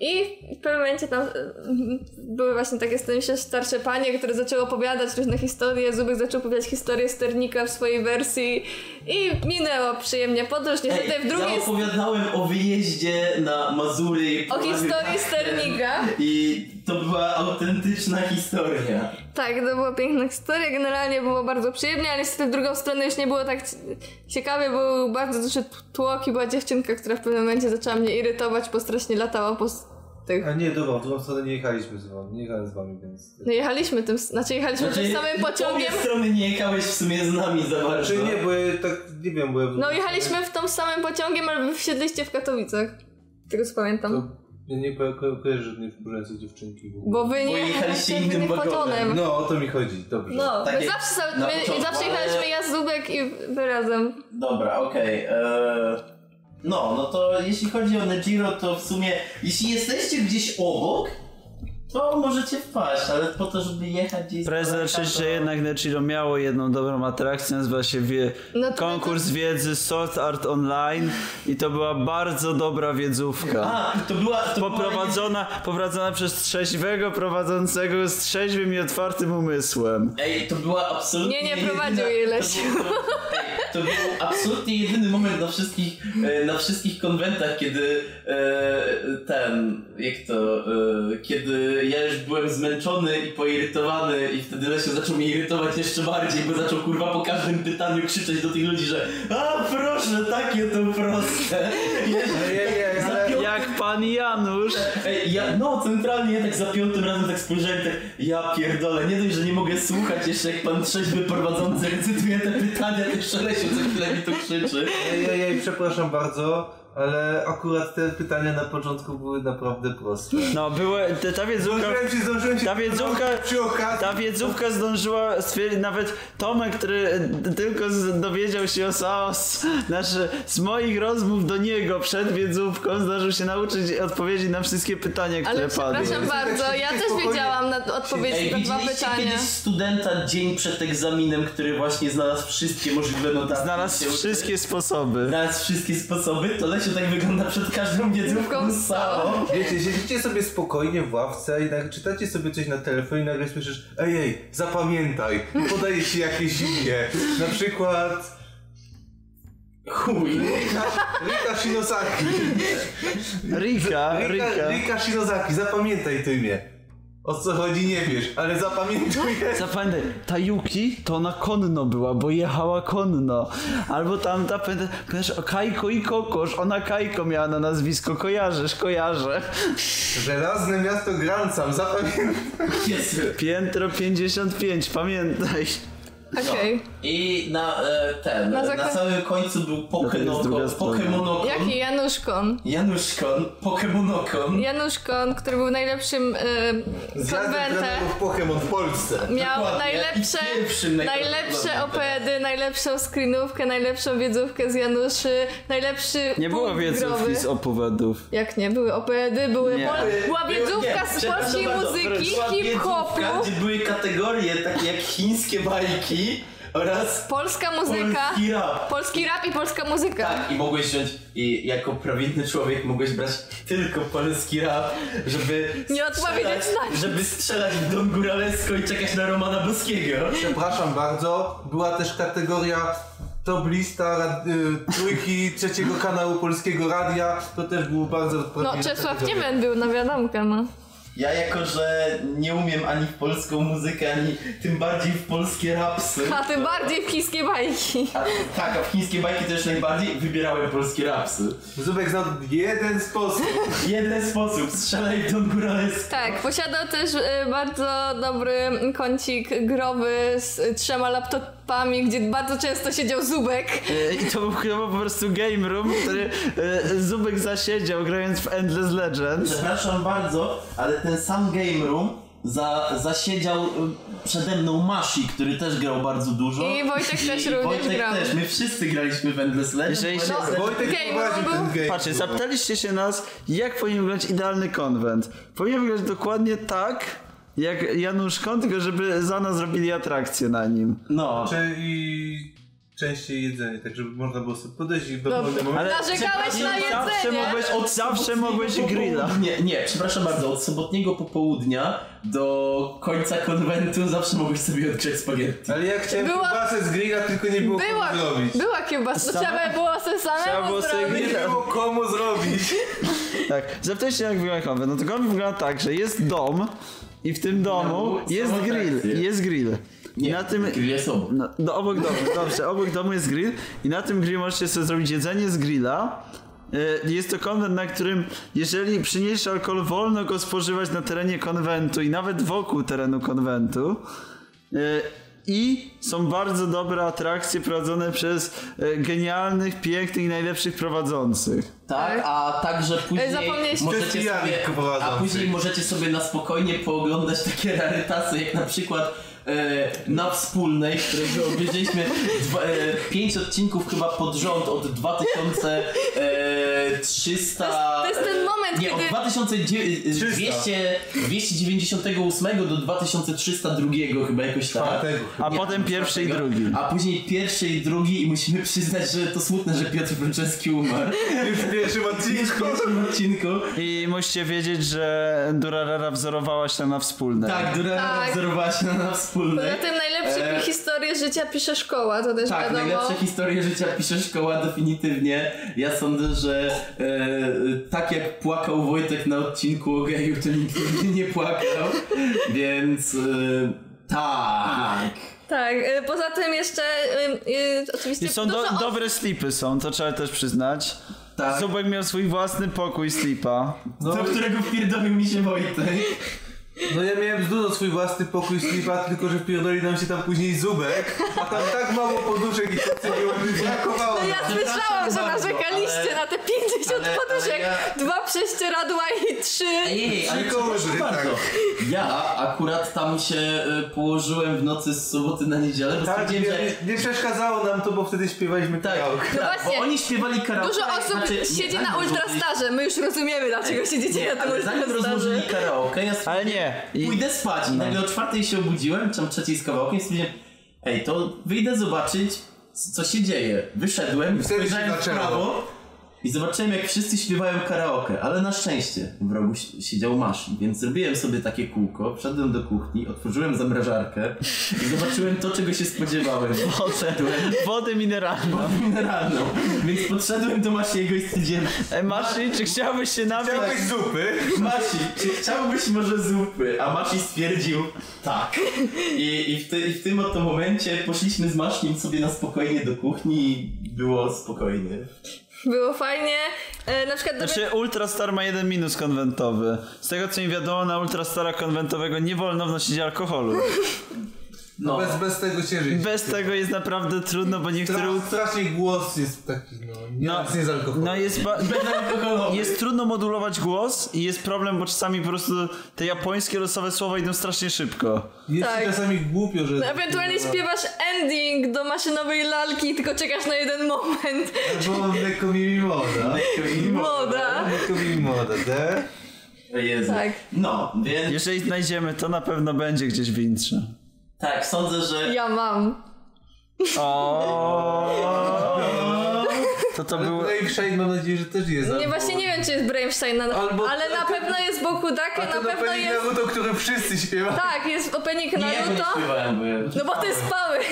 [SPEAKER 2] I w pewnym momencie tam e, były właśnie takie, zdaje mi się, starsze panie, które zaczęły opowiadać różne historie. Zubek zaczął opowiadać historię Sternika w swojej wersji i minęła przyjemnie podróż. Niestety
[SPEAKER 3] Ej,
[SPEAKER 2] w drugiej...
[SPEAKER 3] ja opowiadałem o wyjeździe na Mazury.
[SPEAKER 2] O historii
[SPEAKER 3] Sternika.
[SPEAKER 2] Sternika.
[SPEAKER 3] I to była autentyczna historia.
[SPEAKER 2] Tak, to była piękna historia, generalnie było bardzo przyjemnie, ale niestety w drugą stronę już nie było tak ci- ciekawie, był bardzo duży tłok i była dziewczynka, która w pewnym momencie zaczęła mnie irytować, bo strasznie latała po s- tych...
[SPEAKER 1] A nie, dobra, w drugą stronę nie jechaliśmy z wami, nie jechałem z wami, więc...
[SPEAKER 2] No jechaliśmy tym, znaczy jechaliśmy tym samym
[SPEAKER 3] Z
[SPEAKER 2] pociągiem,
[SPEAKER 3] obie strony nie jechałeś w sumie z nami za bardzo.
[SPEAKER 1] Czy Znaczy, nie, bo ja tak, nie wiem, bo ja... w
[SPEAKER 2] no
[SPEAKER 1] drugą
[SPEAKER 2] jechaliśmy w tym samym pociągiem, ale wy wsiedliście w Katowicach, tego co pamiętam.
[SPEAKER 1] stronę- To ja nie ko- ko- kojarzę żadnej wkurzającej dziewczynki. w ogóle.
[SPEAKER 2] Bo wy
[SPEAKER 3] Bo
[SPEAKER 2] nie
[SPEAKER 3] jechaliście
[SPEAKER 2] jechaliście
[SPEAKER 3] innym
[SPEAKER 2] innym
[SPEAKER 3] wagonem.
[SPEAKER 2] pociągiem.
[SPEAKER 1] No, o to mi chodzi, dobrze.
[SPEAKER 2] No,
[SPEAKER 3] Tak
[SPEAKER 2] my
[SPEAKER 3] jak
[SPEAKER 2] zawsze, sa-
[SPEAKER 3] na
[SPEAKER 2] my,
[SPEAKER 3] początku,
[SPEAKER 2] zawsze
[SPEAKER 3] ale-
[SPEAKER 2] jechaliśmy ja, Zubek i wy razem.
[SPEAKER 3] Dobra, okej. eee, No, no to jeśli chodzi o Nejiro, to w sumie jeśli jesteście gdzieś obok, to możecie wpaść, ale po to, żeby jechać gdzieś...
[SPEAKER 4] Prawie znaczy, że jednak Nechiro miało jedną dobrą atrakcję, nazywa się wie...
[SPEAKER 2] No to-
[SPEAKER 4] konkurs wiedzy Sword Art Online i to była bardzo dobra wiedzówka.
[SPEAKER 3] A, to była... To Była...
[SPEAKER 4] Poprowadzona, poprowadzona przez trzeźwego prowadzącego z trzeźwym i otwartym umysłem.
[SPEAKER 3] Ej, to była absolutnie
[SPEAKER 2] Nie, nie
[SPEAKER 3] jedyna-
[SPEAKER 2] prowadził jej Lesiu.
[SPEAKER 3] To, był- ej, to był absolutnie jedyny moment na wszystkich, e, na wszystkich konwentach, kiedy e, ten, jak to, e, kiedy ja już byłem zmęczony i poirytowany i wtedy Lesio zaczął mnie irytować jeszcze bardziej, bo zaczął kurwa po każdym pytaniu krzyczeć do tych ludzi, że a proszę, takie to proste. Jeż-
[SPEAKER 1] Ja, ja, ja,
[SPEAKER 3] za piątym
[SPEAKER 4] Jak pan Janusz.
[SPEAKER 3] Ej, ja, no centralnie ja tak za piątym razem tak spojrzałem, tak ja pierdolę, nie dość, że nie mogę słuchać jeszcze jak pan trzeźwy prowadzący recytuje te pytania, to jeszcze Lesiu co chwilę mi tu krzyczy.
[SPEAKER 1] ja, ja, ja, przepraszam bardzo, ale akurat te pytania na początku były naprawdę proste. Tak.
[SPEAKER 4] No, były, te- ta wiedzówka...
[SPEAKER 1] Zdążyłem się, zdążyłem się...
[SPEAKER 4] Ta wiedzówka-
[SPEAKER 1] Przy okazji...
[SPEAKER 4] Ta wiedzówka zdążyła stwierdzić, nawet Tomek, który d- tylko z, dowiedział się o Saos, znaczy z moich rozmów do niego przed wiedzówką zdążył się nauczyć odpowiedzi na wszystkie pytania, które
[SPEAKER 2] Ale
[SPEAKER 4] padły.
[SPEAKER 2] przepraszam
[SPEAKER 1] Tak
[SPEAKER 2] bardzo,
[SPEAKER 1] się
[SPEAKER 2] ja
[SPEAKER 1] dzisiaj
[SPEAKER 2] też
[SPEAKER 1] spokojnie-
[SPEAKER 2] wiedziałam na odpowiedzi
[SPEAKER 3] Ej,
[SPEAKER 2] na dwa
[SPEAKER 3] widzieliście
[SPEAKER 2] pytania.
[SPEAKER 3] kiedyś studenta dzień przed egzaminem, który właśnie znalazł wszystkie możliwe notatki.
[SPEAKER 4] Znalazł
[SPEAKER 3] Się-
[SPEAKER 4] wszystkie sposoby.
[SPEAKER 3] Znalazł wszystkie sposoby, to Lesio tak wygląda przed każdą wiedzówką samo.
[SPEAKER 1] Wiecie, siedzicie sobie spokojnie w ławce i tak czytacie sobie coś na telefonie i nagle słyszysz Ej, ej, zapamiętaj! I podaje ci jakieś imię. Na przykład...
[SPEAKER 3] Chuj.
[SPEAKER 1] Rika Shinozaki.
[SPEAKER 4] Rika,
[SPEAKER 1] Rika,
[SPEAKER 4] Rika.
[SPEAKER 1] Rika Shinozaki, zapamiętaj to imię. O co chodzi nie wiesz, ale zapamiętuj.
[SPEAKER 4] Zapamiętaj, ta Yuki to ona konno była, bo jechała konno. Albo tamta, pamiętaj, pamiętasz, o Kajko i Kokosz, ona Kajko miała na nazwisko, kojarzysz, kojarzę.
[SPEAKER 1] Żelazne miasto Gransam, zapamiętaj.
[SPEAKER 3] Jezu.
[SPEAKER 4] Piętro 55, pamiętaj.
[SPEAKER 2] Okej.
[SPEAKER 3] I na e, ten,
[SPEAKER 2] Na
[SPEAKER 3] na,
[SPEAKER 2] zakres-
[SPEAKER 3] samym końcu był
[SPEAKER 4] druga
[SPEAKER 3] Pokemonokon.
[SPEAKER 4] strona.
[SPEAKER 3] Pokemonokon.
[SPEAKER 2] Jaki Januszkon?
[SPEAKER 3] Januszkon, Pokemonokon.
[SPEAKER 2] Januszkon, który był najlepszym y, konwentem,
[SPEAKER 1] trenerów Pokémon w Polsce.
[SPEAKER 2] miał
[SPEAKER 3] Dokładnie.
[SPEAKER 2] najlepsze,
[SPEAKER 3] I pierwszym
[SPEAKER 2] najlepsze
[SPEAKER 3] najprawdopodobniej.
[SPEAKER 2] opedy, najlepszą screenówkę, najlepszą wiedzówkę z Januszy, najlepszy
[SPEAKER 4] Nie było
[SPEAKER 2] punkt
[SPEAKER 4] wiedzówki
[SPEAKER 2] growy.
[SPEAKER 4] z opowiadów.
[SPEAKER 2] Jak nie? Były opedy, były
[SPEAKER 4] Nie.
[SPEAKER 2] pol- była
[SPEAKER 3] Było-
[SPEAKER 2] wiedzówka
[SPEAKER 3] nie,
[SPEAKER 2] z
[SPEAKER 3] przepraszam
[SPEAKER 2] polskiej
[SPEAKER 3] bardzo,
[SPEAKER 2] muzyki,
[SPEAKER 3] była
[SPEAKER 2] hip-hopu,
[SPEAKER 3] wiedzówka, Gdzie były kategorie takie jak chińskie bajki oraz
[SPEAKER 2] polska muzyka,
[SPEAKER 3] polski rap.
[SPEAKER 2] polski rap i polska muzyka.
[SPEAKER 3] Tak, i mogłeś wziąć, i jako prawidłny człowiek mogłeś brać tylko polski rap, żeby
[SPEAKER 2] Nie tak. odpowiedzieć
[SPEAKER 3] strzelać-
[SPEAKER 2] na nic.
[SPEAKER 3] żeby strzelać w Don Góralesko i czekać na Romana Boskiego.
[SPEAKER 1] Przepraszam bardzo, była też kategoria top lista rad- y, trójki trzeciego kanału Polskiego Radia. To też było bardzo
[SPEAKER 2] No,
[SPEAKER 1] odpowiednie
[SPEAKER 2] Czesław
[SPEAKER 1] kategorie.
[SPEAKER 2] Niemen był na wiadomkę, no.
[SPEAKER 3] Ja jako, że nie umiem ani w polską muzykę, ani tym bardziej w polskie rapsy.
[SPEAKER 2] A tym bardziej w chińskie bajki.
[SPEAKER 3] A, tak, a w chińskie bajki też najbardziej wybierałem polskie rapsy.
[SPEAKER 1] Zubek znał jeden sposób.
[SPEAKER 3] Jeden sposób, strzelaj do góralski.
[SPEAKER 2] Tak, posiadał też e, bardzo dobry kącik growy z e, trzema laptopami, gdzie bardzo często siedział Zubek.
[SPEAKER 4] E, I to był chyba po prostu game room, który e, Zubek zasiedział grając w Endless Legends.
[SPEAKER 3] Przepraszam bardzo, ale ten sam game room za, zasiedział y, przede mną Mashi, który też grał bardzo dużo.
[SPEAKER 2] I Wojtek też
[SPEAKER 3] i
[SPEAKER 2] również
[SPEAKER 3] Wojtek
[SPEAKER 2] grał.
[SPEAKER 3] też, my wszyscy graliśmy w Endless Legend.
[SPEAKER 4] Jeżeli się-
[SPEAKER 3] Endless Legend-
[SPEAKER 1] Wojtek
[SPEAKER 2] Game
[SPEAKER 1] prowadził
[SPEAKER 2] Room
[SPEAKER 1] ten
[SPEAKER 2] był-
[SPEAKER 1] game.
[SPEAKER 4] Patrzcie,
[SPEAKER 1] room.
[SPEAKER 4] zapytaliście się nas, jak powinien wyglądać idealny konwent. Powinien wyglądać dokładnie tak, jak Janusz Kąt, tylko żeby za nas zrobili atrakcję na nim.
[SPEAKER 3] No.
[SPEAKER 1] Czy i częściej jedzenie, tak żeby można było sobie podejść i w dowolnym momencie.
[SPEAKER 4] Ale
[SPEAKER 2] Narzekałeś na
[SPEAKER 4] zawsze
[SPEAKER 2] jedzenie!
[SPEAKER 4] mogłeś, od zawsze mogłeś grilla.
[SPEAKER 3] Nie, nie, przepraszam bardzo, od sobotniego popołudnia do końca konwentu zawsze mogłeś sobie odgrzać spaghetti.
[SPEAKER 1] Ale ja chciałem
[SPEAKER 2] Była-
[SPEAKER 1] kiełbasę z grilla, tylko nie było
[SPEAKER 2] Była,
[SPEAKER 1] komu zrobić.
[SPEAKER 2] była kiełbasa, to
[SPEAKER 4] Sama-
[SPEAKER 2] trzeba było sobie
[SPEAKER 4] Trzeba
[SPEAKER 2] samemu
[SPEAKER 4] było sobie
[SPEAKER 2] zrobić.
[SPEAKER 1] Nie
[SPEAKER 4] grilla.
[SPEAKER 1] było komu zrobić.
[SPEAKER 4] Tak, zapytaliście jak wygląda konwent. No to konwent wygląda tak, że jest dom i w tym domu
[SPEAKER 3] No,
[SPEAKER 4] jest
[SPEAKER 3] są atrakcje.
[SPEAKER 4] grill, jest grill. I
[SPEAKER 3] Nie,
[SPEAKER 4] na tym...
[SPEAKER 3] grill jest obok.
[SPEAKER 4] No, no obok domu, dobrze, obok domu jest grill i na tym grillu możecie sobie zrobić jedzenie z grilla. E, Jest to konwent, na którym jeżeli przyniesiesz alkohol, wolno go spożywać na terenie konwentu i nawet wokół terenu konwentu. E, I są bardzo dobre atrakcje prowadzone przez e, genialnych, pięknych i najlepszych prowadzących.
[SPEAKER 3] Tak, a także później
[SPEAKER 2] Zapomnieliście-
[SPEAKER 1] Wszyscy
[SPEAKER 3] możecie sobie,
[SPEAKER 1] Janek prowadzący.
[SPEAKER 3] a później możecie sobie na spokojnie pooglądać takie rarytasy, jak na przykład e, na wspólnej, którego obejrzeliśmy dwa, e, pięć odcinków chyba pod rząd od 2300...
[SPEAKER 2] To jest- to jest ten moment,
[SPEAKER 3] nie,
[SPEAKER 2] kiedy-
[SPEAKER 3] od e, 2298 do 2302 chyba jakoś tak.
[SPEAKER 1] Czwartego.
[SPEAKER 4] A
[SPEAKER 3] Nie,
[SPEAKER 4] potem pierwszy i
[SPEAKER 3] czwartego.
[SPEAKER 4] drugi.
[SPEAKER 3] A później pierwszy i drugi i musimy przyznać, że to smutne, że Piotr Brzeski umarł.
[SPEAKER 1] Już w pierwszym odcinku.
[SPEAKER 3] pierwszym odcinku.
[SPEAKER 4] I musicie wiedzieć, że Durarara wzorowała się na wspólnej.
[SPEAKER 3] Tak, Dura
[SPEAKER 2] Tak.
[SPEAKER 3] wzorowała się na wspólnej.
[SPEAKER 2] Poza tym najlepsze
[SPEAKER 3] E,
[SPEAKER 2] historie życia pisze szkoła, to też
[SPEAKER 3] Tak,
[SPEAKER 2] wiadomo.
[SPEAKER 3] najlepsze historie życia pisze szkoła definitywnie. Ja sądzę, że e, tak jak płakał Wojtek na odcinku o geju, to nikt nigdy nie płakał. Więc e, tak.
[SPEAKER 2] Tak, y, poza tym jeszcze y, y, oczywiście
[SPEAKER 4] I są do,
[SPEAKER 2] dużo
[SPEAKER 4] dobre slipy są, to trzeba też przyznać.
[SPEAKER 3] Tak.
[SPEAKER 4] Zubek miał swój własny pokój slipa.
[SPEAKER 3] Do którego wpierdolił mi się Wojtek.
[SPEAKER 1] No ja miałem z Dudą swój własny pokój slipa, tylko że wpierdoli nam się tam później zubek, a tam tak mało poduszek i tacy było, że brakowało
[SPEAKER 2] No ja
[SPEAKER 1] nam.
[SPEAKER 2] słyszałam, że
[SPEAKER 3] bardzo,
[SPEAKER 2] narzekaliście
[SPEAKER 3] ale-
[SPEAKER 2] na te 50
[SPEAKER 3] ale- ale
[SPEAKER 2] poduszek,
[SPEAKER 3] ja-
[SPEAKER 2] dwa prześcieradła i trzy.
[SPEAKER 3] Ej, ale
[SPEAKER 1] Trzy
[SPEAKER 3] przepraszam
[SPEAKER 1] kołdry,
[SPEAKER 3] bardzo.
[SPEAKER 1] tak.
[SPEAKER 3] Ja akurat tam się y, położyłem w nocy z soboty na niedzielę, bo
[SPEAKER 1] Tak, nie,
[SPEAKER 3] stwierdziłem, że...
[SPEAKER 1] nie No, przeszkadzało nam to, bo wtedy śpiewaliśmy
[SPEAKER 3] Tak,
[SPEAKER 1] karaoke.
[SPEAKER 3] tak,
[SPEAKER 2] właśnie.
[SPEAKER 3] bo oni śpiewali karaoke.
[SPEAKER 2] Dużo osób
[SPEAKER 3] znaczy, nie,
[SPEAKER 2] siedzi
[SPEAKER 3] zanim
[SPEAKER 2] na ultrastarze, my już rozumiemy dlaczego siedzicie
[SPEAKER 3] Nie,
[SPEAKER 2] na tym
[SPEAKER 3] ale zanim
[SPEAKER 2] ultrastarze.
[SPEAKER 3] rozłożyli karaoke, ja
[SPEAKER 4] Ale
[SPEAKER 3] stwierdziłem,
[SPEAKER 4] nie. I,
[SPEAKER 3] pójdę spać. I nagle o czwartej się obudziłem, czy tam trzeciej z kawałkiem, i stwierdziłem, ej, to wyjdę zobaczyć, c- co się dzieje. Wyszedłem,
[SPEAKER 1] Wtedy się
[SPEAKER 3] spojrzałem w
[SPEAKER 1] zaczęło.
[SPEAKER 3] prawo i zobaczyłem, jak wszyscy śpiewają karaoke, ale na szczęście w rogu si- siedział maszyn, więc zrobiłem sobie takie kółko, wszedłem do kuchni, otworzyłem zamrażarkę i zobaczyłem to, czego się spodziewałem.
[SPEAKER 4] wodę, wodę mineralną.
[SPEAKER 3] Mineralną. Więc podszedłem do Masiego i stwierdziłem,
[SPEAKER 4] E, Maszy, czy chciałbyś się napić?
[SPEAKER 1] Chciałbyś zupy?
[SPEAKER 3] Masi, czy chciałbyś może zupy? A Masi stwierdził tak. I, i, w, ty, i w tym oto momencie poszliśmy z Masznim sobie na spokojnie do kuchni i było spokojnie.
[SPEAKER 2] Było fajnie. E, na przykład
[SPEAKER 4] Znaczy Ultrastar ma jeden minus konwentowy. Z tego co mi wiadomo, na Ultrastara konwentowego nie wolno wnosić alkoholu.
[SPEAKER 3] No.
[SPEAKER 1] Bez, bez tego się żyć.
[SPEAKER 4] Bez tego jest naprawdę trudno, bo niektóre...
[SPEAKER 1] Stra,
[SPEAKER 4] ul-
[SPEAKER 1] strasznie głos jest taki, no, nie,
[SPEAKER 4] No,
[SPEAKER 1] nie z alkoholem.
[SPEAKER 4] no jest... Ba-
[SPEAKER 3] Bezalkoholowy.
[SPEAKER 4] Jest trudno modulować głos i jest problem, bo czasami po prostu te japońskie losowe słowa idą strasznie szybko.
[SPEAKER 1] jest
[SPEAKER 2] tak.
[SPEAKER 1] ci czasami głupio, że... No,
[SPEAKER 2] Ewentualnie
[SPEAKER 3] No.
[SPEAKER 2] śpiewasz ending do maszynowej lalki, tylko czekasz na jeden moment.
[SPEAKER 1] Bo lekko mi moda.
[SPEAKER 2] Moda.
[SPEAKER 1] Lekko mi moda, tak?
[SPEAKER 3] O Jezu.
[SPEAKER 2] Tak.
[SPEAKER 3] No, więc
[SPEAKER 4] Jeżeli znajdziemy, to na pewno będzie gdzieś w intrze.
[SPEAKER 3] tak, sądzę, że...
[SPEAKER 2] Ja mam.
[SPEAKER 4] O, To to było...
[SPEAKER 1] Blake Shade No mam nadzieję, że też jest.
[SPEAKER 2] Nie,
[SPEAKER 1] albo-
[SPEAKER 2] właśnie nie wiem, czy jest Brainstein, na,
[SPEAKER 1] Albo-
[SPEAKER 2] ale na pewno jest
[SPEAKER 1] A
[SPEAKER 2] Bokudake,
[SPEAKER 1] to
[SPEAKER 2] na pewno
[SPEAKER 1] pewnie
[SPEAKER 2] jest...
[SPEAKER 1] Naruto, które wszyscy śpiewają.
[SPEAKER 2] Tak, jest opening
[SPEAKER 3] Nie, ja go nie
[SPEAKER 2] Naruto.
[SPEAKER 3] śpiewałem, bo ja...
[SPEAKER 2] No bo ty spałeś.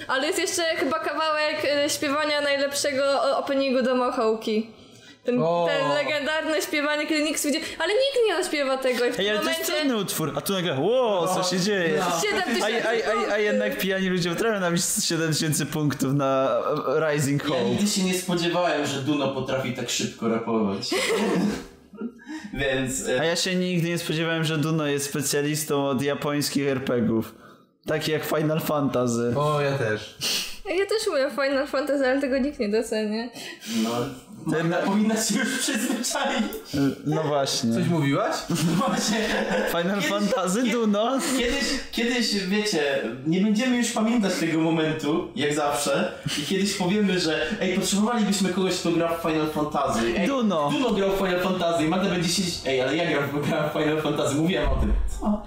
[SPEAKER 2] y, Ale jest jeszcze chyba kawałek e, śpiewania najlepszego o- openingu do Mochołki. Ten,
[SPEAKER 1] O.
[SPEAKER 2] ten legendarne śpiewanie, kiedy nikt widzi, ale nikt nie śpiewa tego i w
[SPEAKER 4] Ej,
[SPEAKER 2] tym
[SPEAKER 4] ale to jest
[SPEAKER 2] momencie
[SPEAKER 4] trudny utwór, a tu nagle, ło, co się dzieje?
[SPEAKER 3] No.
[SPEAKER 2] 7
[SPEAKER 4] A,
[SPEAKER 2] tysięcy
[SPEAKER 4] a, a, a jednak pijani ludzie potrafią nabić 7000 punktów na e, Rising
[SPEAKER 3] Ja
[SPEAKER 4] Hope.
[SPEAKER 3] nigdy się nie spodziewałem, że Duno potrafi tak szybko rapować. Więc
[SPEAKER 4] A
[SPEAKER 3] e,
[SPEAKER 4] ja się nigdy nie spodziewałem, że Duno jest specjalistą od japońskich RPGów. Takie jak Final Fantasy.
[SPEAKER 1] O, ja też.
[SPEAKER 2] Ja też mówię Final Fantasy, ale tego nikt nie docenia.
[SPEAKER 3] no, Magda powinna się już przyzwyczaić.
[SPEAKER 4] No właśnie.
[SPEAKER 1] Coś mówiłaś?
[SPEAKER 3] Właśnie.
[SPEAKER 4] Final
[SPEAKER 3] Kiedyś-
[SPEAKER 4] Fantasy Duno?
[SPEAKER 3] Kiedyś, kiedyś, wiecie, nie będziemy już pamiętać tego momentu, jak zawsze, i kiedyś powiemy, że ej, potrzebowalibyśmy kogoś, kto gra w Final Fantasy. Ej,
[SPEAKER 4] Duno.
[SPEAKER 3] Duno grał w Final Fantasy i Magda będzie siedzieć, ej, ale ja grałem grałem w Final Fantasy, mówiłem o tym. Co?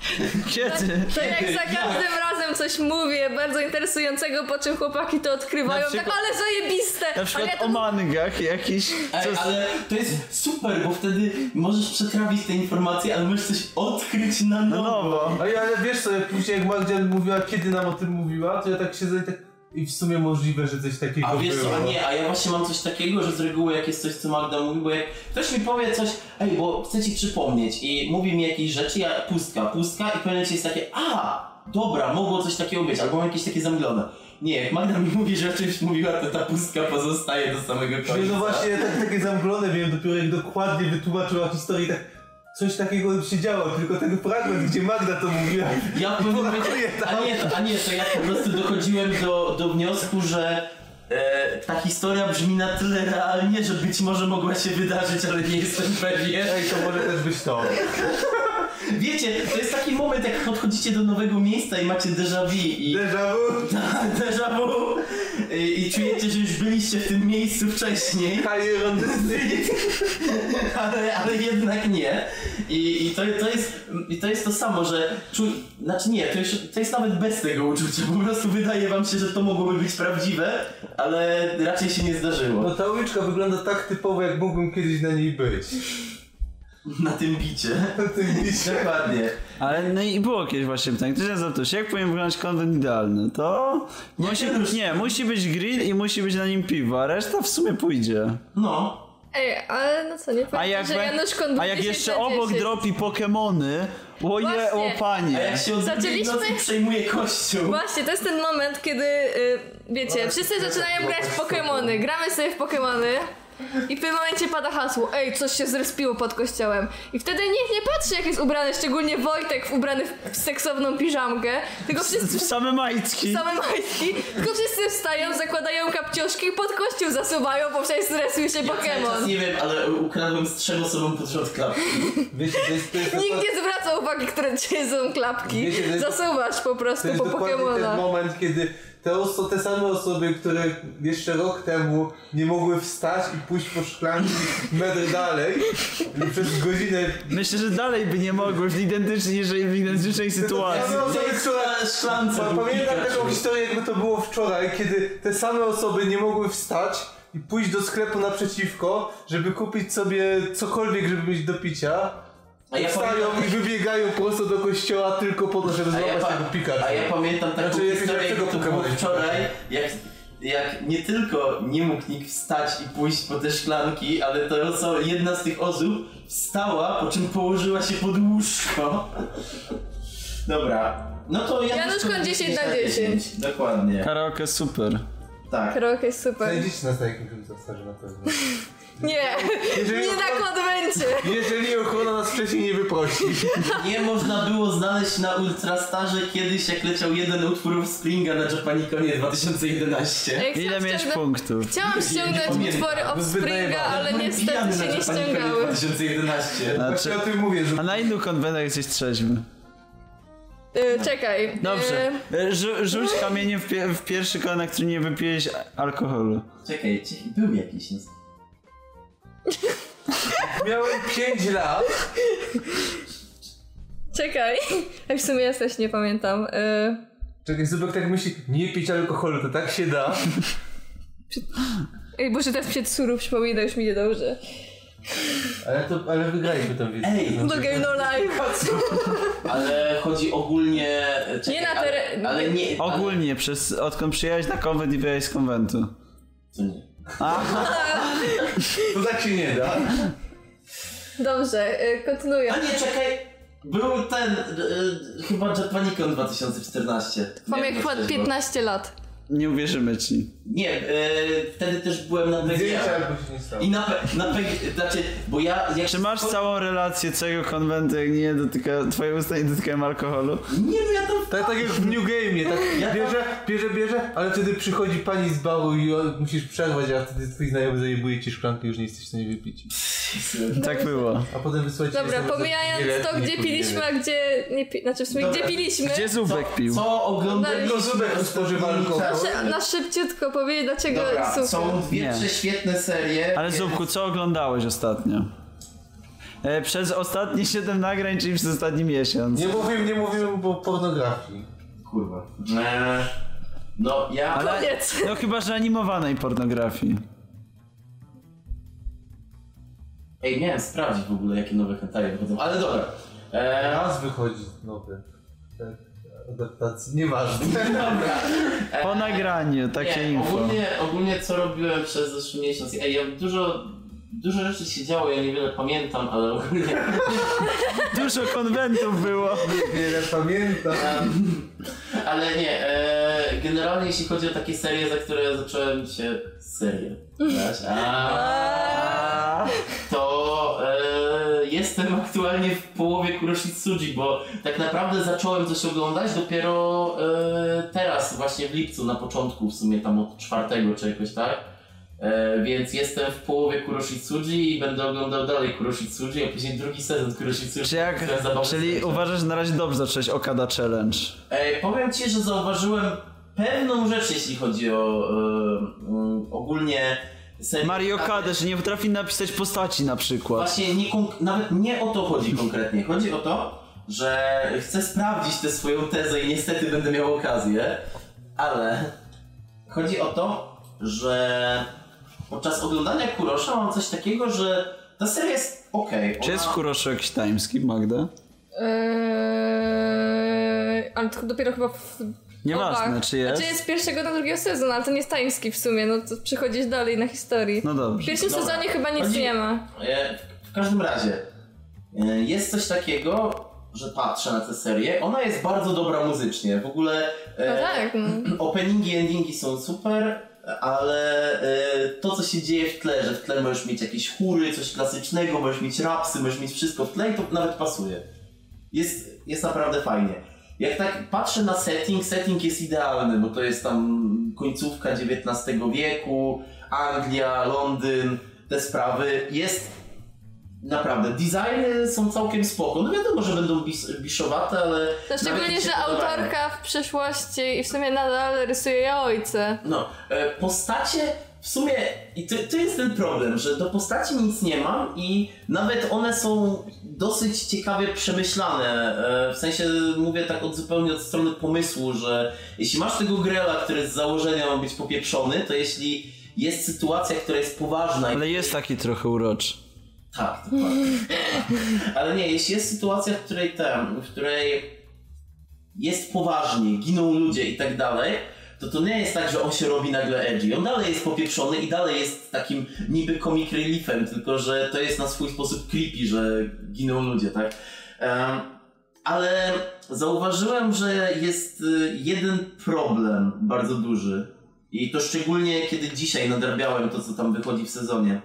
[SPEAKER 4] Kiedy?
[SPEAKER 2] To jak za każdym razem coś mówię bardzo interesującego, po czym chłopaki to odkrywają,
[SPEAKER 4] Na przykład-
[SPEAKER 2] tak ale zajebiste!
[SPEAKER 4] Na
[SPEAKER 2] ale ja
[SPEAKER 4] przykład
[SPEAKER 2] to
[SPEAKER 4] o mangach jakiś.
[SPEAKER 3] Ej,
[SPEAKER 4] Co,
[SPEAKER 3] ale to jest super, bo wtedy możesz przetrawić te informacje, ale możesz coś odkryć na
[SPEAKER 4] no
[SPEAKER 3] nowo.
[SPEAKER 4] nowo.
[SPEAKER 1] A ja, ale wiesz co, jak później jak Magda mówiła, kiedy nam o tym mówiła, to ja tak siedzę i tak... I w sumie możliwe, że coś takiego
[SPEAKER 3] A wiesz
[SPEAKER 1] było.
[SPEAKER 3] co, a nie, a ja właśnie mam coś takiego, że z reguły jak jest coś, co Magda mówi, bo jak ktoś mi powie coś, ej, bo chcę ci przypomnieć i mówi mi jakieś rzeczy, ja pustka, pustka i w pewnym momencie jest takie, a, dobra, mogło coś takiego być, albo mam jakieś takie zamglone. Nie, jak Magda mi mówi, że o czymś mówiła, to ta pustka pozostaje do samego końca.
[SPEAKER 1] Nie, no właśnie, ja tak, takie zamglone wiem, dopiero jak dokładnie wytłumaczyła historię, tak coś takiego się działo, tylko ten fragment, gdzie Magda to mówiła.
[SPEAKER 3] Ja w pewnym momencie,
[SPEAKER 1] Brakuje tam.
[SPEAKER 3] a nie, to- a nie, to ja po prostu dochodziłem do, do wniosku, że e, ta historia brzmi na tyle realnie, że być może mogła się wydarzyć, ale nie jestem pewien.
[SPEAKER 1] Ej, to może też być to.
[SPEAKER 3] Wiecie, to jest taki moment, jak podchodzicie do nowego miejsca i macie déjà vu i
[SPEAKER 1] Déjà vu?
[SPEAKER 3] déjà vu i, i czujecie, że już byliście w tym miejscu wcześniej,
[SPEAKER 1] Tak. Kajeron
[SPEAKER 3] ale, ale jednak nie. I, i, to, to jest, I to jest to samo, że czu... znaczy nie, to, już, to jest nawet bez tego uczucia, po prostu wydaje wam się, że to mogłoby być prawdziwe, ale raczej się nie zdarzyło.
[SPEAKER 1] No ta uliczka wygląda tak typowo, jak mógłbym kiedyś na niej być.
[SPEAKER 3] Na tym bicie.
[SPEAKER 1] Na tym liście.
[SPEAKER 3] Dokładnie.
[SPEAKER 4] Ale no i było kiedyś właśnie pytanie, ktoś nas zapytał się, jak powinien wyglądać kontent idealny? To musi, nie, musi być grill i musi być na nim piwo, a reszta w sumie pójdzie.
[SPEAKER 3] No.
[SPEAKER 2] Ej, ale no co, nie
[SPEAKER 4] A
[SPEAKER 2] powiem,
[SPEAKER 4] jak,
[SPEAKER 2] że
[SPEAKER 4] be-
[SPEAKER 2] Janusz Kon
[SPEAKER 4] a jak
[SPEAKER 2] 10
[SPEAKER 4] jeszcze
[SPEAKER 2] na
[SPEAKER 4] obok
[SPEAKER 2] 10.
[SPEAKER 4] dropi Pokemony, oje, o
[SPEAKER 2] Właśnie.
[SPEAKER 3] A
[SPEAKER 4] panie.
[SPEAKER 3] jak się od drugiej
[SPEAKER 2] Zaczęliśmy-
[SPEAKER 3] nocy przejmuje kościół.
[SPEAKER 2] Właśnie, to jest ten moment, kiedy, y, wiecie, wszyscy zaczynają grać w Pokemony, gramy sobie w Pokemony i w tym momencie pada hasło, ej, coś się zrespiło pod kościołem. I wtedy nikt nie patrzy, jak jest ubrany, szczególnie Wojtek w- ubrany w seksowną piżamkę, tylko wszyscy...
[SPEAKER 4] Same majtki.
[SPEAKER 2] Same majtki, tylko wszyscy wstają, zakładają kapciuszki i pod kościół zasuwają, bo przecież zrespił się
[SPEAKER 3] Cały czas
[SPEAKER 2] Pokémon.
[SPEAKER 3] nie wiem, ale ukradłem z trzem osobom pod rząd klapki.
[SPEAKER 1] Wiecie, to jest, to jest,
[SPEAKER 2] Nikt
[SPEAKER 1] dokład-
[SPEAKER 2] nie zwraca uwagi, które dzisiaj są klapki.
[SPEAKER 1] Wiecie, to jest-
[SPEAKER 2] Zasuwasz po
[SPEAKER 1] to
[SPEAKER 2] prostu
[SPEAKER 1] jest
[SPEAKER 2] po
[SPEAKER 1] dokładnie ten
[SPEAKER 2] Pokemona.
[SPEAKER 1] moment, kiedy te, oso, te same osoby, które jeszcze rok temu nie mogły wstać i pójść po szklanki metr dalej, przez godzinę
[SPEAKER 4] Myślę, że dalej by nie mogły w identycznej, że w identycznej sytuacji.
[SPEAKER 1] Te osoby, które-
[SPEAKER 3] Szlance
[SPEAKER 1] Pa-
[SPEAKER 3] był
[SPEAKER 1] Pamiętam
[SPEAKER 3] Pikachu.
[SPEAKER 1] taką historię, jakby to było wczoraj, kiedy te same osoby nie mogły wstać i pójść do sklepu naprzeciwko, żeby kupić sobie cokolwiek, żeby mieć do picia.
[SPEAKER 3] A ja
[SPEAKER 1] Wstają
[SPEAKER 3] pamiętam-
[SPEAKER 1] i wybiegają prosto do kościoła tylko po to, żeby
[SPEAKER 3] A ja,
[SPEAKER 1] złapać
[SPEAKER 3] pa-
[SPEAKER 1] tego Pikachu.
[SPEAKER 3] a ja pamiętam taką
[SPEAKER 1] Znaczy, jakiegoś
[SPEAKER 3] historię, jak
[SPEAKER 1] lepszego
[SPEAKER 3] to było
[SPEAKER 1] Pokemona.
[SPEAKER 3] wczoraj, jak, jak nie tylko nie mógł nikt wstać i pójść po te szklanki, ale to co jedna z tych osób wstała, po czym położyła się pod łóżko. Dobra, no to ja...
[SPEAKER 2] Janusz Koń 10 na 10.
[SPEAKER 3] Dokładnie,
[SPEAKER 4] Karaoke super.
[SPEAKER 3] tak.
[SPEAKER 2] Krok jest super.
[SPEAKER 1] Znajdziecie nas na jakimś zastarze na pewno.
[SPEAKER 2] Nie,
[SPEAKER 1] Jeżeli,
[SPEAKER 2] nie na
[SPEAKER 1] ochrona,
[SPEAKER 2] konwencie.
[SPEAKER 1] jeżeli ochrona nas wcześniej nie wyprosi.
[SPEAKER 3] Nie można było znaleźć na Ultrastarze kiedyś, jak leciał jeden utwór Springa na Japanikonie 2011.
[SPEAKER 2] Ej,
[SPEAKER 4] Ile
[SPEAKER 2] chciałam
[SPEAKER 4] miałeś
[SPEAKER 2] ściągnąć-
[SPEAKER 4] punktów?
[SPEAKER 2] Chciałam ściągnąć
[SPEAKER 3] pamiętam.
[SPEAKER 2] utwory Offspringa, ale
[SPEAKER 3] Byłem pijany
[SPEAKER 2] niestety się
[SPEAKER 3] na
[SPEAKER 2] nie
[SPEAKER 3] Japanikonie
[SPEAKER 2] ściągały.
[SPEAKER 3] 2011.
[SPEAKER 1] Właśnie o tym mówię, że
[SPEAKER 4] A na innych konwentach jesteś trzeźwy.
[SPEAKER 2] Y, czekaj. y,
[SPEAKER 4] Dobrze. Rzu- rzuć kamieniem w, pie- w pierwszy kolan, na który nie wypiłeś a- alkoholu.
[SPEAKER 3] Czekaj, czy- był jakiś nas.
[SPEAKER 1] miałem 5 lat.
[SPEAKER 2] czekaj. Ej, w sumie ja też nie pamiętam. Y,
[SPEAKER 1] Czekaj, Zubek tak myśli, nie pić alkoholu, to tak się da.
[SPEAKER 2] Ej, Boże, teraz przed suru przypomina, już mi niedobrze.
[SPEAKER 1] Ale, to, ale wygraliśmy tę wiedzę.
[SPEAKER 3] Ej,
[SPEAKER 2] Do Game No Life.
[SPEAKER 3] Ale chodzi ogólnie. Czekaj,
[SPEAKER 2] Nie na teren-
[SPEAKER 3] Ale, ale nie.
[SPEAKER 4] Ogólnie, przez, odkąd przyjechałeś na konwent i wyjechałeś z konwentu.
[SPEAKER 3] Ale, to nie.
[SPEAKER 1] To tak się nie da.
[SPEAKER 3] Znaczy,
[SPEAKER 2] Dobrze, y, kontynuuję.
[SPEAKER 3] A nie, czekaj! Był ten, y, chyba Japanicon 2014.
[SPEAKER 2] Mam
[SPEAKER 3] Nie,
[SPEAKER 2] jak
[SPEAKER 3] to
[SPEAKER 2] płat
[SPEAKER 3] też było.
[SPEAKER 2] 15 lat.
[SPEAKER 4] Nie uwierzymy ci.
[SPEAKER 3] Nie, y, wtedy też byłem na
[SPEAKER 1] Zdjęcia
[SPEAKER 3] PGA.
[SPEAKER 1] albo się nie stało.
[SPEAKER 3] I na, pe- na PGA, znaczy, bo ja... Jak
[SPEAKER 4] Czy masz całą relację całego konwentu, jak nie dotyka, twoje usta nie dotykają alkoholu?
[SPEAKER 3] Nie, no ja tam...
[SPEAKER 1] Tak, tak jak w New Game'ie, tak bierze, bierze, bierze, ale wtedy przychodzi pani z baru i o- musisz przerwać, a wtedy twój znajomy zajebuje ci szklankę już nie jesteś w stanie wypić.
[SPEAKER 4] Tak było.
[SPEAKER 1] A potem wysłać
[SPEAKER 2] Dobra, pomijając to, gdzie piliśmy, a gdzie nie pi... Znaczy w sumie,
[SPEAKER 3] Dobra.
[SPEAKER 2] gdzie piliśmy.
[SPEAKER 4] Gdzie Zubek pił?
[SPEAKER 3] Co oglądaliśmy?
[SPEAKER 1] Tylko zubek
[SPEAKER 3] ostatnimi
[SPEAKER 1] spożywa alkohol.
[SPEAKER 3] czasy?
[SPEAKER 2] Proszę, na szybciutko powiedzieć, dlaczego
[SPEAKER 3] Dobra, są
[SPEAKER 2] słucham.
[SPEAKER 3] dwie,
[SPEAKER 4] Nie.
[SPEAKER 3] trzy świetne serie.
[SPEAKER 4] Ale
[SPEAKER 3] Kiedy-
[SPEAKER 4] Zubku, co oglądałeś ostatnio? E, przez ostatnie 7 nagrań, czyli przez ostatni miesiąc.
[SPEAKER 1] Nie mówimy, nie mówimy o pornografii.
[SPEAKER 3] Kurwa. Eee, no ja...
[SPEAKER 4] Ale-
[SPEAKER 2] Koniec.
[SPEAKER 4] No chyba, że animowanej pornografii.
[SPEAKER 3] Ej, miałem sprawdzić w ogóle, jakie nowe hentai wychodzą, ale dobra. Eee,
[SPEAKER 1] Raz wychodzi nowy. tak, Adaptacji, nieważne.
[SPEAKER 3] no dobra.
[SPEAKER 4] Po nagraniu, takie
[SPEAKER 3] Eee, Nie,
[SPEAKER 4] info.
[SPEAKER 3] Ogólnie, ogólnie co robiłem przez zeszły miesiąc? Ej, ja dużo... Dużo rzeczy się działo, ja niewiele pamiętam, ale ogólnie...
[SPEAKER 4] Dużo konwentów było.
[SPEAKER 1] Wiele pamiętam.
[SPEAKER 3] Ale nie, e, generalnie jeśli chodzi o takie serie, za które zacząłem się serio brać, a,
[SPEAKER 4] A,
[SPEAKER 3] to e, jestem aktualnie w połowie Kuroshitsuji, bo tak naprawdę zacząłem coś oglądać dopiero e, teraz, właśnie w lipcu, na początku w sumie tam od czwartego czy jakoś tak. E, więc jestem w połowie Kuroshitsuji i będę oglądał dalej Kuroshitsuji, a później drugi sezon Kuroshitsuji.
[SPEAKER 4] czy jak,
[SPEAKER 3] To jest zabawne
[SPEAKER 4] czyli
[SPEAKER 3] zdjęcie.
[SPEAKER 4] uważasz, że na razie dobrze zacząłeś Okada Challenge.
[SPEAKER 3] E, powiem ci, że zauważyłem pewną rzecz, jeśli chodzi o e, m, ogólnie serię.
[SPEAKER 4] Mario Okada, że nie potrafi napisać postaci na przykład.
[SPEAKER 3] Właśnie nie, konk- nawet nie o to chodzi konkretnie. Chodzi o to, że chcę sprawdzić tę swoją tezę i niestety będę miał okazję, ale chodzi o to, że podczas oglądania Kurosza mam coś takiego, że ta seria jest okej.
[SPEAKER 4] Czy jest
[SPEAKER 3] ona-
[SPEAKER 4] w Kuroszu jakiś timeskip, Magda?
[SPEAKER 2] Eee, ale to dopiero chyba w
[SPEAKER 4] Nieważne,
[SPEAKER 2] obach.
[SPEAKER 4] czy jest.
[SPEAKER 2] Znaczy jest z pierwszego do drugiego sezonu, ale to nie jest timeskip w sumie, no to przechodzisz dalej na historii.
[SPEAKER 4] No
[SPEAKER 2] W
[SPEAKER 4] dobrze.
[SPEAKER 2] pierwszym
[SPEAKER 3] Dobra.
[SPEAKER 2] sezonie chyba nic
[SPEAKER 3] Chodzi-
[SPEAKER 2] nie ma.
[SPEAKER 3] E, W każdym razie, e, jest coś takiego, że patrzę na tę serię. Ona jest bardzo dobra muzycznie. W ogóle
[SPEAKER 2] No
[SPEAKER 4] Eee,
[SPEAKER 3] e,
[SPEAKER 2] tak, no.
[SPEAKER 3] openingi i endingi są super, ale e, to, co się dzieje w tle, że w tle możesz mieć jakieś chóry, coś klasycznego, możesz mieć rapsy, możesz mieć wszystko w tle i to nawet pasuje. Jest, jest naprawdę fajnie. Jak tak patrzę na setting, setting jest idealny, bo to jest tam końcówka XIX wieku, Anglia, Londyn, te sprawy. Jest naprawdę, designy są całkiem spoko. No wiadomo, że będą bis biszowate, ale...
[SPEAKER 2] To
[SPEAKER 3] nawet mi
[SPEAKER 2] szczególnie,
[SPEAKER 3] się
[SPEAKER 2] że
[SPEAKER 3] podobają.
[SPEAKER 2] autorka w przeszłości i w sumie nadal rysuje ja ojce.
[SPEAKER 3] No, e, postacie w sumie, i to, to jest ten problem, że do postaci nic nie mam i nawet one są dosyć ciekawie przemyślane. E, w sensie mówię tak od zupełnie od strony pomysłu, że jeśli masz tego grela, który z założenia ma być popieprzony, to jeśli jest sytuacja, która jest poważna i
[SPEAKER 4] Ale jest taki trochę uroczy.
[SPEAKER 3] tak, dokładnie. Ale nie, jeśli jest sytuacja, w której ten, w której jest poważnie, giną ludzie i tak dalej, to to nie jest tak, że on się robi nagle edgy. On dalej jest popieprzony i dalej jest takim niby comic reliefem, tylko że to jest na swój sposób creepy, że giną ludzie, tak? Em, ale zauważyłem, że jest y, jeden problem bardzo duży. I to szczególnie kiedy dzisiaj nadrabiałem to, co tam wychodzi w sezonie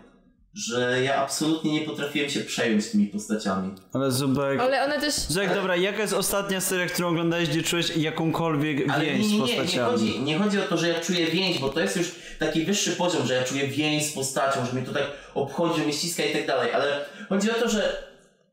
[SPEAKER 3] że ja absolutnie nie potrafiłem się przejąć tymi postaciami.
[SPEAKER 4] Ale Zubek...
[SPEAKER 2] Ale one też...
[SPEAKER 4] Zubek, dobra, jaka jest ostatnia seria, którą oglądałeś, gdzie czułeś jakąkolwiek
[SPEAKER 3] Ale
[SPEAKER 4] więź
[SPEAKER 3] nie, nie,
[SPEAKER 4] z
[SPEAKER 3] nie, nie,
[SPEAKER 4] postaciami?
[SPEAKER 3] chodzi, nie chodzi o to, że ja czuję więź, bo to jest już taki wyższy poziom, że ja czuję więź z postacią, że mnie to tak obchodzi, że mnie ściska i tak dalej, ale chodzi o to, że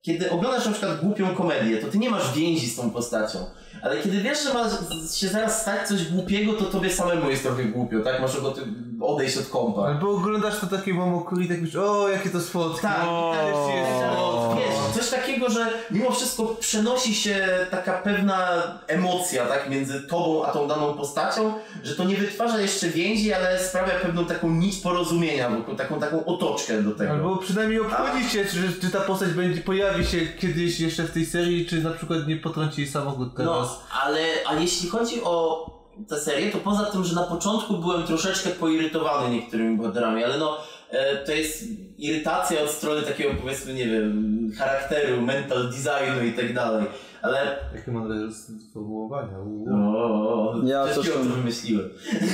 [SPEAKER 3] kiedy oglądasz na przykład głupią komedię, to ty nie masz więzi z tą postacią, ale kiedy wiesz, że ma z- się zaraz stać coś głupiego, to tobie samemu jest trochę głupio, tak? Masz ochotę odejść od kompa.
[SPEAKER 1] Albo oglądasz to takie mamokuli i tak myślisz, o jakie to słodkie.
[SPEAKER 3] Tak,
[SPEAKER 4] O.
[SPEAKER 3] i tak jest, ale wiesz, coś takiego, że mimo wszystko przenosi się taka pewna emocja, tak, między tobą a tą daną postacią, że to nie wytwarza jeszcze więzi, ale sprawia pewną taką nić porozumienia, wokół- taką, taką otoczkę do tego.
[SPEAKER 1] Albo przynajmniej obchodzi się, czy, czy ta postać będzie, pojawi się kiedyś jeszcze w tej serii, czy na przykład nie potrąci jej samochód
[SPEAKER 3] No,
[SPEAKER 1] teraz.
[SPEAKER 3] ale a jeśli chodzi o tę serię, to poza tym, że na początku byłem troszeczkę poirytowany niektórymi bohaterami, ale no e, to jest irytacja od strony takiego powiedzmy, nie wiem, charakteru, mental designu i tak dalej. Ale
[SPEAKER 1] Jakie mądre sformułowania. uuu.
[SPEAKER 3] o,
[SPEAKER 4] Ja
[SPEAKER 3] przed
[SPEAKER 4] też
[SPEAKER 3] chwilą to
[SPEAKER 4] mam.
[SPEAKER 3] wymyśliłem.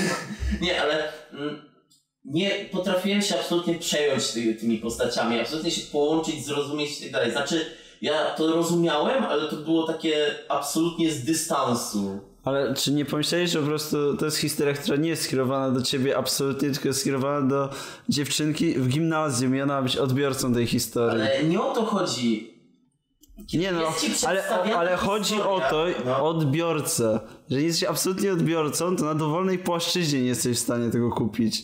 [SPEAKER 3] nie, ale mm, nie potrafiłem się absolutnie przejąć ty, tymi postaciami, absolutnie się połączyć, zrozumieć i tak dalej. Znaczy, ja to rozumiałem, ale to było takie absolutnie z dystansu.
[SPEAKER 4] Ale czy nie pomyślałeś, że po prostu to jest historia, która nie jest skierowana do ciebie absolutnie, tylko jest skierowana do dziewczynki w gimnazjum i ona ma być odbiorcą tej historii.
[SPEAKER 3] Ale nie o to chodzi.
[SPEAKER 4] Nie no,
[SPEAKER 3] Jest ci
[SPEAKER 4] ale,
[SPEAKER 3] przedstawiana
[SPEAKER 4] ale chodzi o
[SPEAKER 3] historia.
[SPEAKER 4] to,
[SPEAKER 3] No.
[SPEAKER 4] o odbiorcę. Jeżeli jesteś absolutnie odbiorcą, to na dowolnej płaszczyźnie nie jesteś w stanie tego kupić.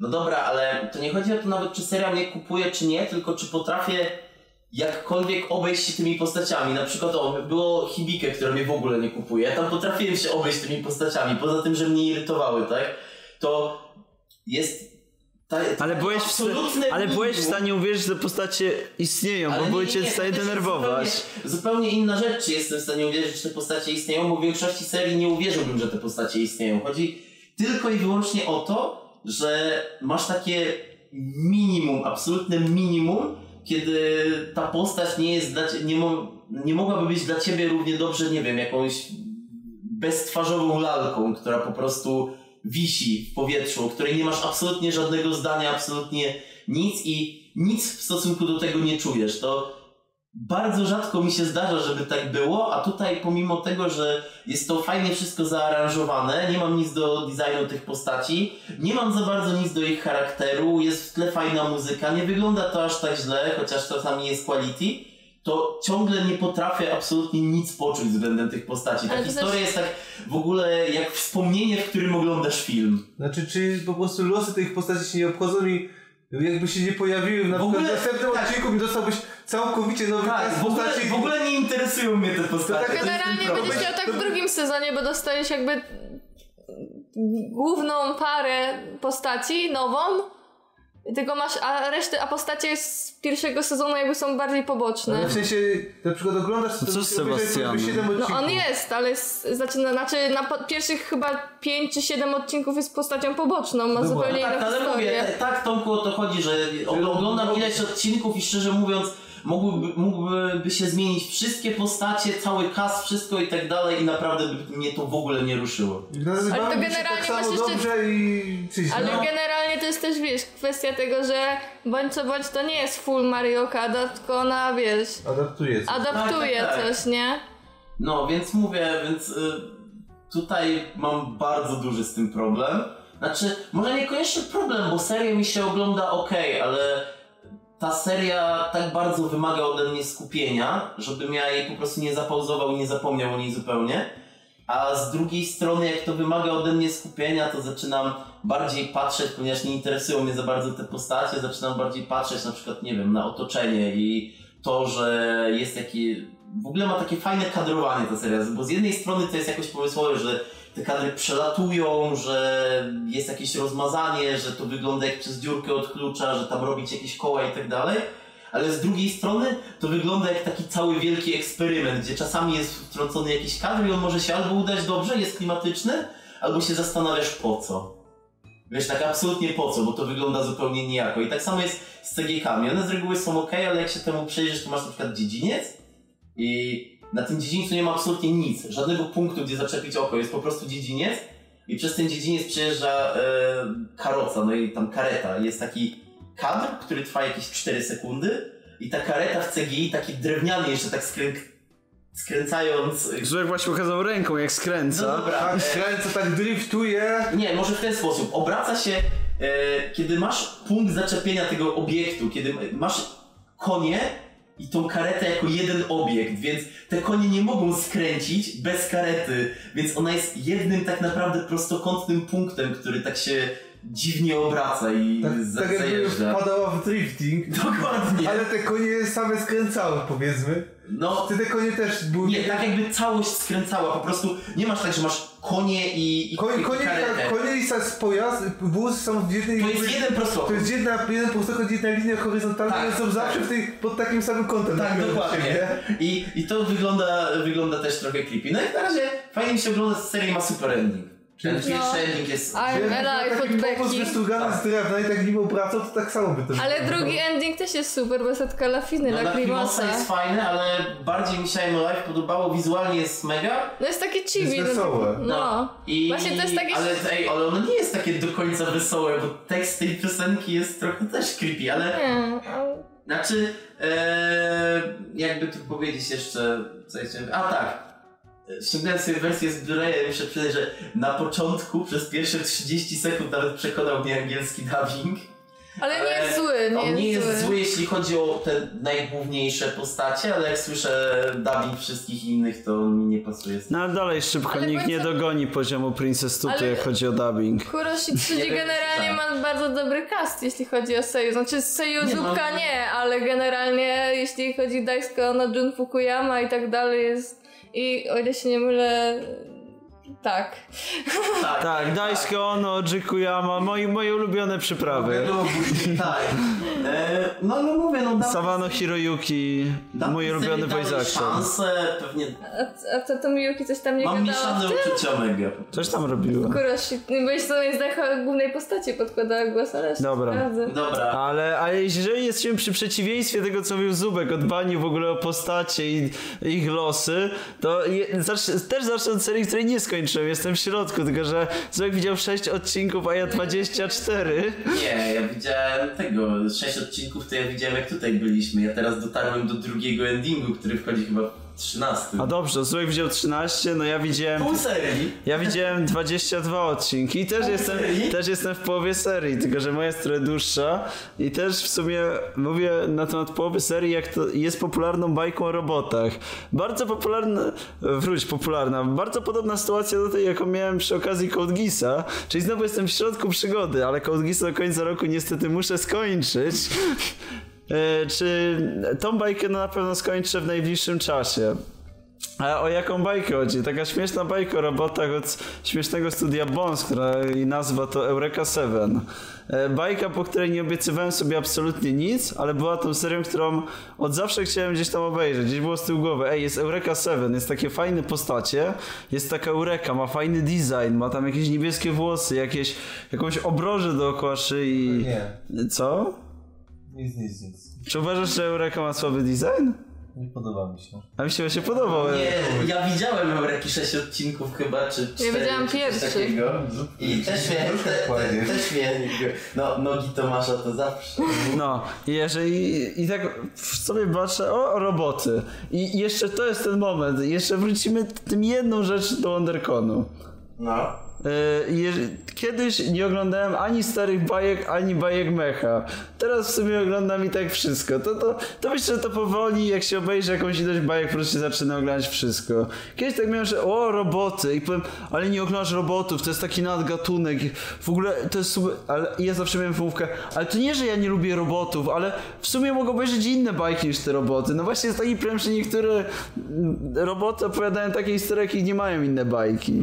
[SPEAKER 3] No dobra, ale to nie chodzi o to nawet, czy serial mnie kupuje, czy nie, tylko czy potrafię jakkolwiek obejść się tymi postaciami. Na przykład o, było Hibike, która mnie w ogóle nie kupuje. Ja tam potrafiłem się obejść tymi postaciami, poza tym, że mnie irytowały, tak? To jest... Ta, ta
[SPEAKER 4] Ale byłeś, w, sta-
[SPEAKER 3] absolutne
[SPEAKER 4] ale byłeś w
[SPEAKER 3] minimum.
[SPEAKER 4] stanie uwierzyć, że te postacie istnieją,
[SPEAKER 3] Ale
[SPEAKER 4] bo
[SPEAKER 3] nie,
[SPEAKER 4] były
[SPEAKER 3] nie,
[SPEAKER 4] cię
[SPEAKER 3] nie,
[SPEAKER 4] w stanie
[SPEAKER 3] to też jest
[SPEAKER 4] denerwować.
[SPEAKER 3] Zupełnie, zupełnie inna rzecz, czy jestem w stanie uwierzyć, że te postacie istnieją, bo w większości serii nie uwierzyłbym, że te postacie istnieją. Chodzi tylko i wyłącznie o to, że masz takie minimum, absolutne minimum, kiedy ta postać nie jest dla cie- nie, mo, nie mogłaby być dla ciebie równie dobrze, nie wiem, jakąś beztwarzową lalką, która po prostu wisi w powietrzu, o której nie masz absolutnie żadnego zdania, absolutnie nic i nic w stosunku do tego nie czujesz. To bardzo rzadko mi się zdarza, żeby tak było, a tutaj pomimo tego, że jest to fajnie wszystko zaaranżowane, nie mam nic do designu tych postaci, nie mam za bardzo nic do ich charakteru, jest w tle fajna muzyka, nie wygląda to aż tak źle, chociaż czasami jest quality, to ciągle nie potrafię absolutnie nic poczuć względem tych postaci. Ta
[SPEAKER 2] Ale to
[SPEAKER 3] historia
[SPEAKER 2] też-
[SPEAKER 3] jest tak w ogóle jak wspomnienie, w którym oglądasz film.
[SPEAKER 1] Znaczy, czy po prostu losy tych postaci się nie obchodzą i jakby się nie pojawiły na
[SPEAKER 3] W
[SPEAKER 1] przykład
[SPEAKER 3] ogóle-
[SPEAKER 1] w następnym
[SPEAKER 3] tak.
[SPEAKER 1] odcinku dostałbyś całkowicie nowy
[SPEAKER 3] Tak,
[SPEAKER 1] klas
[SPEAKER 3] w ogóle,
[SPEAKER 1] postaci.
[SPEAKER 3] w ogóle nie interesują mnie te postacie.
[SPEAKER 1] To tak-
[SPEAKER 2] Generalnie
[SPEAKER 1] to-
[SPEAKER 2] będziesz miał tak w drugim sezonie, bo dostajesz jakby główną parę postaci, nową. Tylko masz, a reszty, a postacie z pierwszego sezonu jakby są bardziej
[SPEAKER 1] No,
[SPEAKER 2] poboczne.
[SPEAKER 1] w sensie, na przykład oglądasz
[SPEAKER 4] No co z Sebastianem?
[SPEAKER 2] No on jest, ale jest, znaczy, na, znaczy na po, pierwszych chyba 5 czy 7 odcinków jest postacią poboczną, ma
[SPEAKER 1] Dobra.
[SPEAKER 2] zupełnie
[SPEAKER 3] No tak,
[SPEAKER 2] inną
[SPEAKER 3] ale mówię,
[SPEAKER 2] historię.
[SPEAKER 3] t- tak Tomku o to chodzi, że ogl- oglądam ileś odcinków i szczerze mówiąc mógłby, mógłby się zmienić wszystkie postacie, cały kas, wszystko i tak dalej i naprawdę by mnie to w ogóle nie ruszyło.
[SPEAKER 1] Ale to
[SPEAKER 2] generalnie
[SPEAKER 1] generalnie tak
[SPEAKER 2] masz
[SPEAKER 1] samo
[SPEAKER 2] jeszcze-
[SPEAKER 1] dobrze i czyś,
[SPEAKER 2] Ale
[SPEAKER 1] no.
[SPEAKER 2] generalnie to jest też, wiesz, kwestia tego, że bądź co bądź to nie jest full Mario Kada, tylko ona, wiesz,
[SPEAKER 1] Adaptuje się.
[SPEAKER 2] adaptuje
[SPEAKER 3] tak, tak.
[SPEAKER 2] coś, nie?
[SPEAKER 3] No, więc mówię, więc y, tutaj mam bardzo duży z tym problem. Znaczy, może niekoniecznie problem, bo serię mi się ogląda ok, ale ta seria tak bardzo wymaga ode mnie skupienia, żebym ja jej po prostu nie zapauzował i nie zapomniał o niej zupełnie. A z drugiej strony, jak to wymaga ode mnie skupienia, to zaczynam bardziej patrzeć, ponieważ nie interesują mnie za bardzo te postacie, zaczynam bardziej patrzeć na przykład, nie wiem, na otoczenie i to, że jest taki. W ogóle ma takie fajne kadrowanie ta seria, bo z jednej strony to jest jakoś pomysłowe, że te kadry przelatują, że jest jakieś rozmazanie, że to wygląda jak przez dziurkę od klucza, że tam robić jakieś koła i tak dalej. Ale z drugiej strony to wygląda jak taki cały wielki eksperyment, gdzie czasami jest wtrącony jakiś kadr i on może się albo udać dobrze, jest klimatyczny, albo się zastanawiasz po co. Wiesz, tak absolutnie po co, bo to wygląda zupełnie nijako. I tak samo jest z CGK-ami. One z reguły są ok, ale jak się temu przejrzysz, to masz na przykład dziedziniec i na tym dziedzińcu nie ma absolutnie nic, żadnego punktu, gdzie zaczepić oko. Jest po prostu dziedziniec i przez ten dziedziniec przejeżdża e, karoca, no i tam kareta. Jest taki kadr, który trwa jakieś 4 sekundy i ta kareta w CGI, taki drewniany jeszcze tak skręk, skręcając...
[SPEAKER 4] Żurek właśnie pokazał ręką, jak skręca.
[SPEAKER 3] dobra,
[SPEAKER 1] Tak, kręcę, tak driftuje.
[SPEAKER 3] Nie, może w ten sposób. Obraca się, e, kiedy masz punkt zaczepienia tego obiektu, kiedy masz konie i tą karetę jako jeden obiekt, więc te konie nie mogą skręcić bez karety, więc ona jest jednym tak naprawdę prostokątnym punktem, który tak się dziwnie obraca i
[SPEAKER 1] Tak,
[SPEAKER 3] za-
[SPEAKER 1] tak jakby
[SPEAKER 3] zajeżdża.
[SPEAKER 1] wpadała w drifting.
[SPEAKER 3] Dokładnie.
[SPEAKER 1] Ale te konie same skręcały, powiedzmy.
[SPEAKER 3] No,
[SPEAKER 1] Ty te konie też były...
[SPEAKER 3] nie, tak jakby całość skręcała, po prostu nie masz tak, że masz konie i, i,
[SPEAKER 1] Konie,
[SPEAKER 3] i
[SPEAKER 1] konie,
[SPEAKER 3] karetę.
[SPEAKER 1] konie i sa- pojazd, wóz są w jednej...
[SPEAKER 3] To jest jeden
[SPEAKER 1] To
[SPEAKER 3] prostokąt.
[SPEAKER 1] jest jedna, jeden prostokąt, jedna linia horyzontalna,
[SPEAKER 3] Tak,
[SPEAKER 1] ale są
[SPEAKER 3] tak.
[SPEAKER 1] zawsze w tej, pod takim samym kątem.
[SPEAKER 3] Tak,
[SPEAKER 1] Jakby od
[SPEAKER 3] dokładnie.
[SPEAKER 1] siebie.
[SPEAKER 3] I, I to wygląda, wygląda też trochę creepy. No i na razie fajnie mi się ogląda, seria ma super ending. Ten
[SPEAKER 1] Czyli-
[SPEAKER 3] pierwszy ending jest...
[SPEAKER 2] I'm alive
[SPEAKER 1] taki
[SPEAKER 2] od
[SPEAKER 1] popus
[SPEAKER 2] Becky.
[SPEAKER 1] wystrugany z drewna i tak nim pracą, to tak samo by to
[SPEAKER 2] Ale
[SPEAKER 1] wyglądało.
[SPEAKER 2] drugi ending też jest super, bez setka lafiny,
[SPEAKER 3] No,
[SPEAKER 2] no,
[SPEAKER 3] na Klimosa
[SPEAKER 2] lakrimosa.
[SPEAKER 3] jest fajny, ale bardziej mi się I'm Alive podobało, wizualnie jest mega.
[SPEAKER 2] No jest takie chibi.
[SPEAKER 1] Jest
[SPEAKER 2] no,
[SPEAKER 1] wesołe.
[SPEAKER 2] no.
[SPEAKER 3] I,
[SPEAKER 2] Właśnie to jest takie...
[SPEAKER 3] Ale, ej, ale ono nie jest takie do końca wesołe, bo tekst tej piosenki jest trochę też creepy, ale...
[SPEAKER 2] Nie, ale-
[SPEAKER 3] Znaczy, e, jakby tu powiedzieć jeszcze, co ja chciałem... A tak, ściągnąłem sobie wersję z Blu-raya i muszę przyznać, że na początku przez pierwsze 30 sekund nawet przekonał mnie angielski dubbing.
[SPEAKER 2] ale nie
[SPEAKER 3] Ale
[SPEAKER 2] jest zły, nie
[SPEAKER 3] On nie
[SPEAKER 2] jest,
[SPEAKER 3] jest zły, jeśli chodzi o te najgłówniejsze postacie, ale jak słyszę dubbing wszystkich innych, to on mi nie pasuje.
[SPEAKER 4] No ale dalej szybko,
[SPEAKER 2] Ale
[SPEAKER 4] nikt nie
[SPEAKER 2] końca-
[SPEAKER 4] dogoni poziomu Princess Tutu,
[SPEAKER 2] Ale-
[SPEAKER 4] jak chodzi o dubbing.
[SPEAKER 2] Kuroshi 3
[SPEAKER 3] Nie, tak.
[SPEAKER 2] generalnie ma bardzo dobry cast, jeśli chodzi o Seju. Znaczy z Seju
[SPEAKER 3] Nie, no.
[SPEAKER 2] Zupka nie, ale generalnie jeśli chodzi Daisuke na Jun Fukuyama i tak dalej jest... I o ile się nie mylę... Tak.
[SPEAKER 3] Tak,
[SPEAKER 4] Tak, Daisuke Ono, Jikuyama, moi, moje ulubione przyprawy.
[SPEAKER 3] No, tak. E, no, no mówię, no dubbing-
[SPEAKER 4] Sawano Hiroyuki,
[SPEAKER 3] dubbing
[SPEAKER 4] mój
[SPEAKER 3] sobie
[SPEAKER 4] ulubiony
[SPEAKER 3] dałem
[SPEAKER 4] voice actor.
[SPEAKER 3] szansę, pewnie
[SPEAKER 2] A, a co to Miyuki coś tam nie
[SPEAKER 3] Mam
[SPEAKER 2] gadała w
[SPEAKER 3] mieszane
[SPEAKER 2] tym?
[SPEAKER 3] uczucia mega.
[SPEAKER 4] Coś tam robiła.
[SPEAKER 2] Kuroshi, no bo jeszcze jest taka głównej postaci podkładała głos, ale jeszcze
[SPEAKER 4] Dobra.
[SPEAKER 2] sprawdzę.
[SPEAKER 3] Dobra.
[SPEAKER 4] Ale, ale jeżeli jesteśmy przy przeciwieństwie tego, co mówił Zubek, o dbaniu w ogóle o postacie i ich losy, to je, zacz, też zacznę od serii, której nie skończyłem. Jestem w środku, tylko że Zubek widział 6 odcinków, a ja 24.
[SPEAKER 3] Nie, ja widziałem tego, sześć odcinków to ja widziałem jak tutaj byliśmy. Ja teraz dotarłem do drugiego endingu, który wchodzi chyba w 13.
[SPEAKER 4] A dobrze, Zubek widział 13, no ja widziałem...
[SPEAKER 3] Pół serii.
[SPEAKER 4] Ja widziałem 22 odcinki i też jestem,
[SPEAKER 3] serii?
[SPEAKER 4] też jestem w połowie serii, tylko że moja jest trochę dłuższa i też w sumie mówię na temat połowy serii, jak to jest popularną bajką o robotach. Bardzo popularna, wróć, popularna, bardzo podobna sytuacja do tej, jaką miałem przy okazji Code Geassa, czyli znowu jestem w środku przygody, ale Code Geassa do końca roku niestety muszę skończyć. E, Czy tą bajkę no, na pewno skończę w najbliższym czasie? A o jaką bajkę chodzi? Taka śmieszna bajka o robotach od śmiesznego studia Bones, która i nazwa to Eureka Seven. E, Bajka, po której nie obiecywałem sobie absolutnie nic, ale była tą serią, którą od zawsze chciałem gdzieś tam obejrzeć. Gdzieś było z tyłu głowy, ej, jest Eureka Seven, jest takie fajne postacie, jest taka Eureka, ma fajny design, ma tam jakieś niebieskie włosy, jakieś, jakąś obrożę dookoła szyi.
[SPEAKER 1] No Nie,
[SPEAKER 4] Co?
[SPEAKER 1] nic, nic, nic.
[SPEAKER 4] Czy uważasz, że Eureka ma słaby design?
[SPEAKER 1] Nie podoba mi się.
[SPEAKER 4] A mi się właśnie podobał.
[SPEAKER 3] Nie, ja widziałem Eureki 6 odcinków chyba, czy 4.
[SPEAKER 2] widziałam
[SPEAKER 3] czy coś
[SPEAKER 2] pierwszy.
[SPEAKER 3] Takiego. I też mnie, te, te, też mnie, no nogi Tomasza to zawsze.
[SPEAKER 4] No, i jeżeli i tak w sobie patrzę, o roboty. I jeszcze to jest ten moment, jeszcze wrócimy tym jedną rzecz do WonderConu.
[SPEAKER 3] No.
[SPEAKER 4] Yy, jeż- Kiedyś nie oglądałem ani starych bajek, ani bajek mecha. Teraz w sumie oglądam i tak wszystko. To, to, to myślę, że to powoli, jak się obejrzy jakąś ilość bajek, po prostu się zaczyna oglądać wszystko. Kiedyś tak miałem, że o, roboty. I powiem, ale nie oglądasz robotów, to jest taki nadgatunek. W ogóle to jest super. Ale i ja zawsze miałem wymówkę, ale to nie, że ja nie lubię robotów, ale w sumie mogę obejrzeć inne bajki niż te roboty. No właśnie jest taki problem, że niektóre mm, roboty opowiadają takie historie, jakich nie mają inne bajki.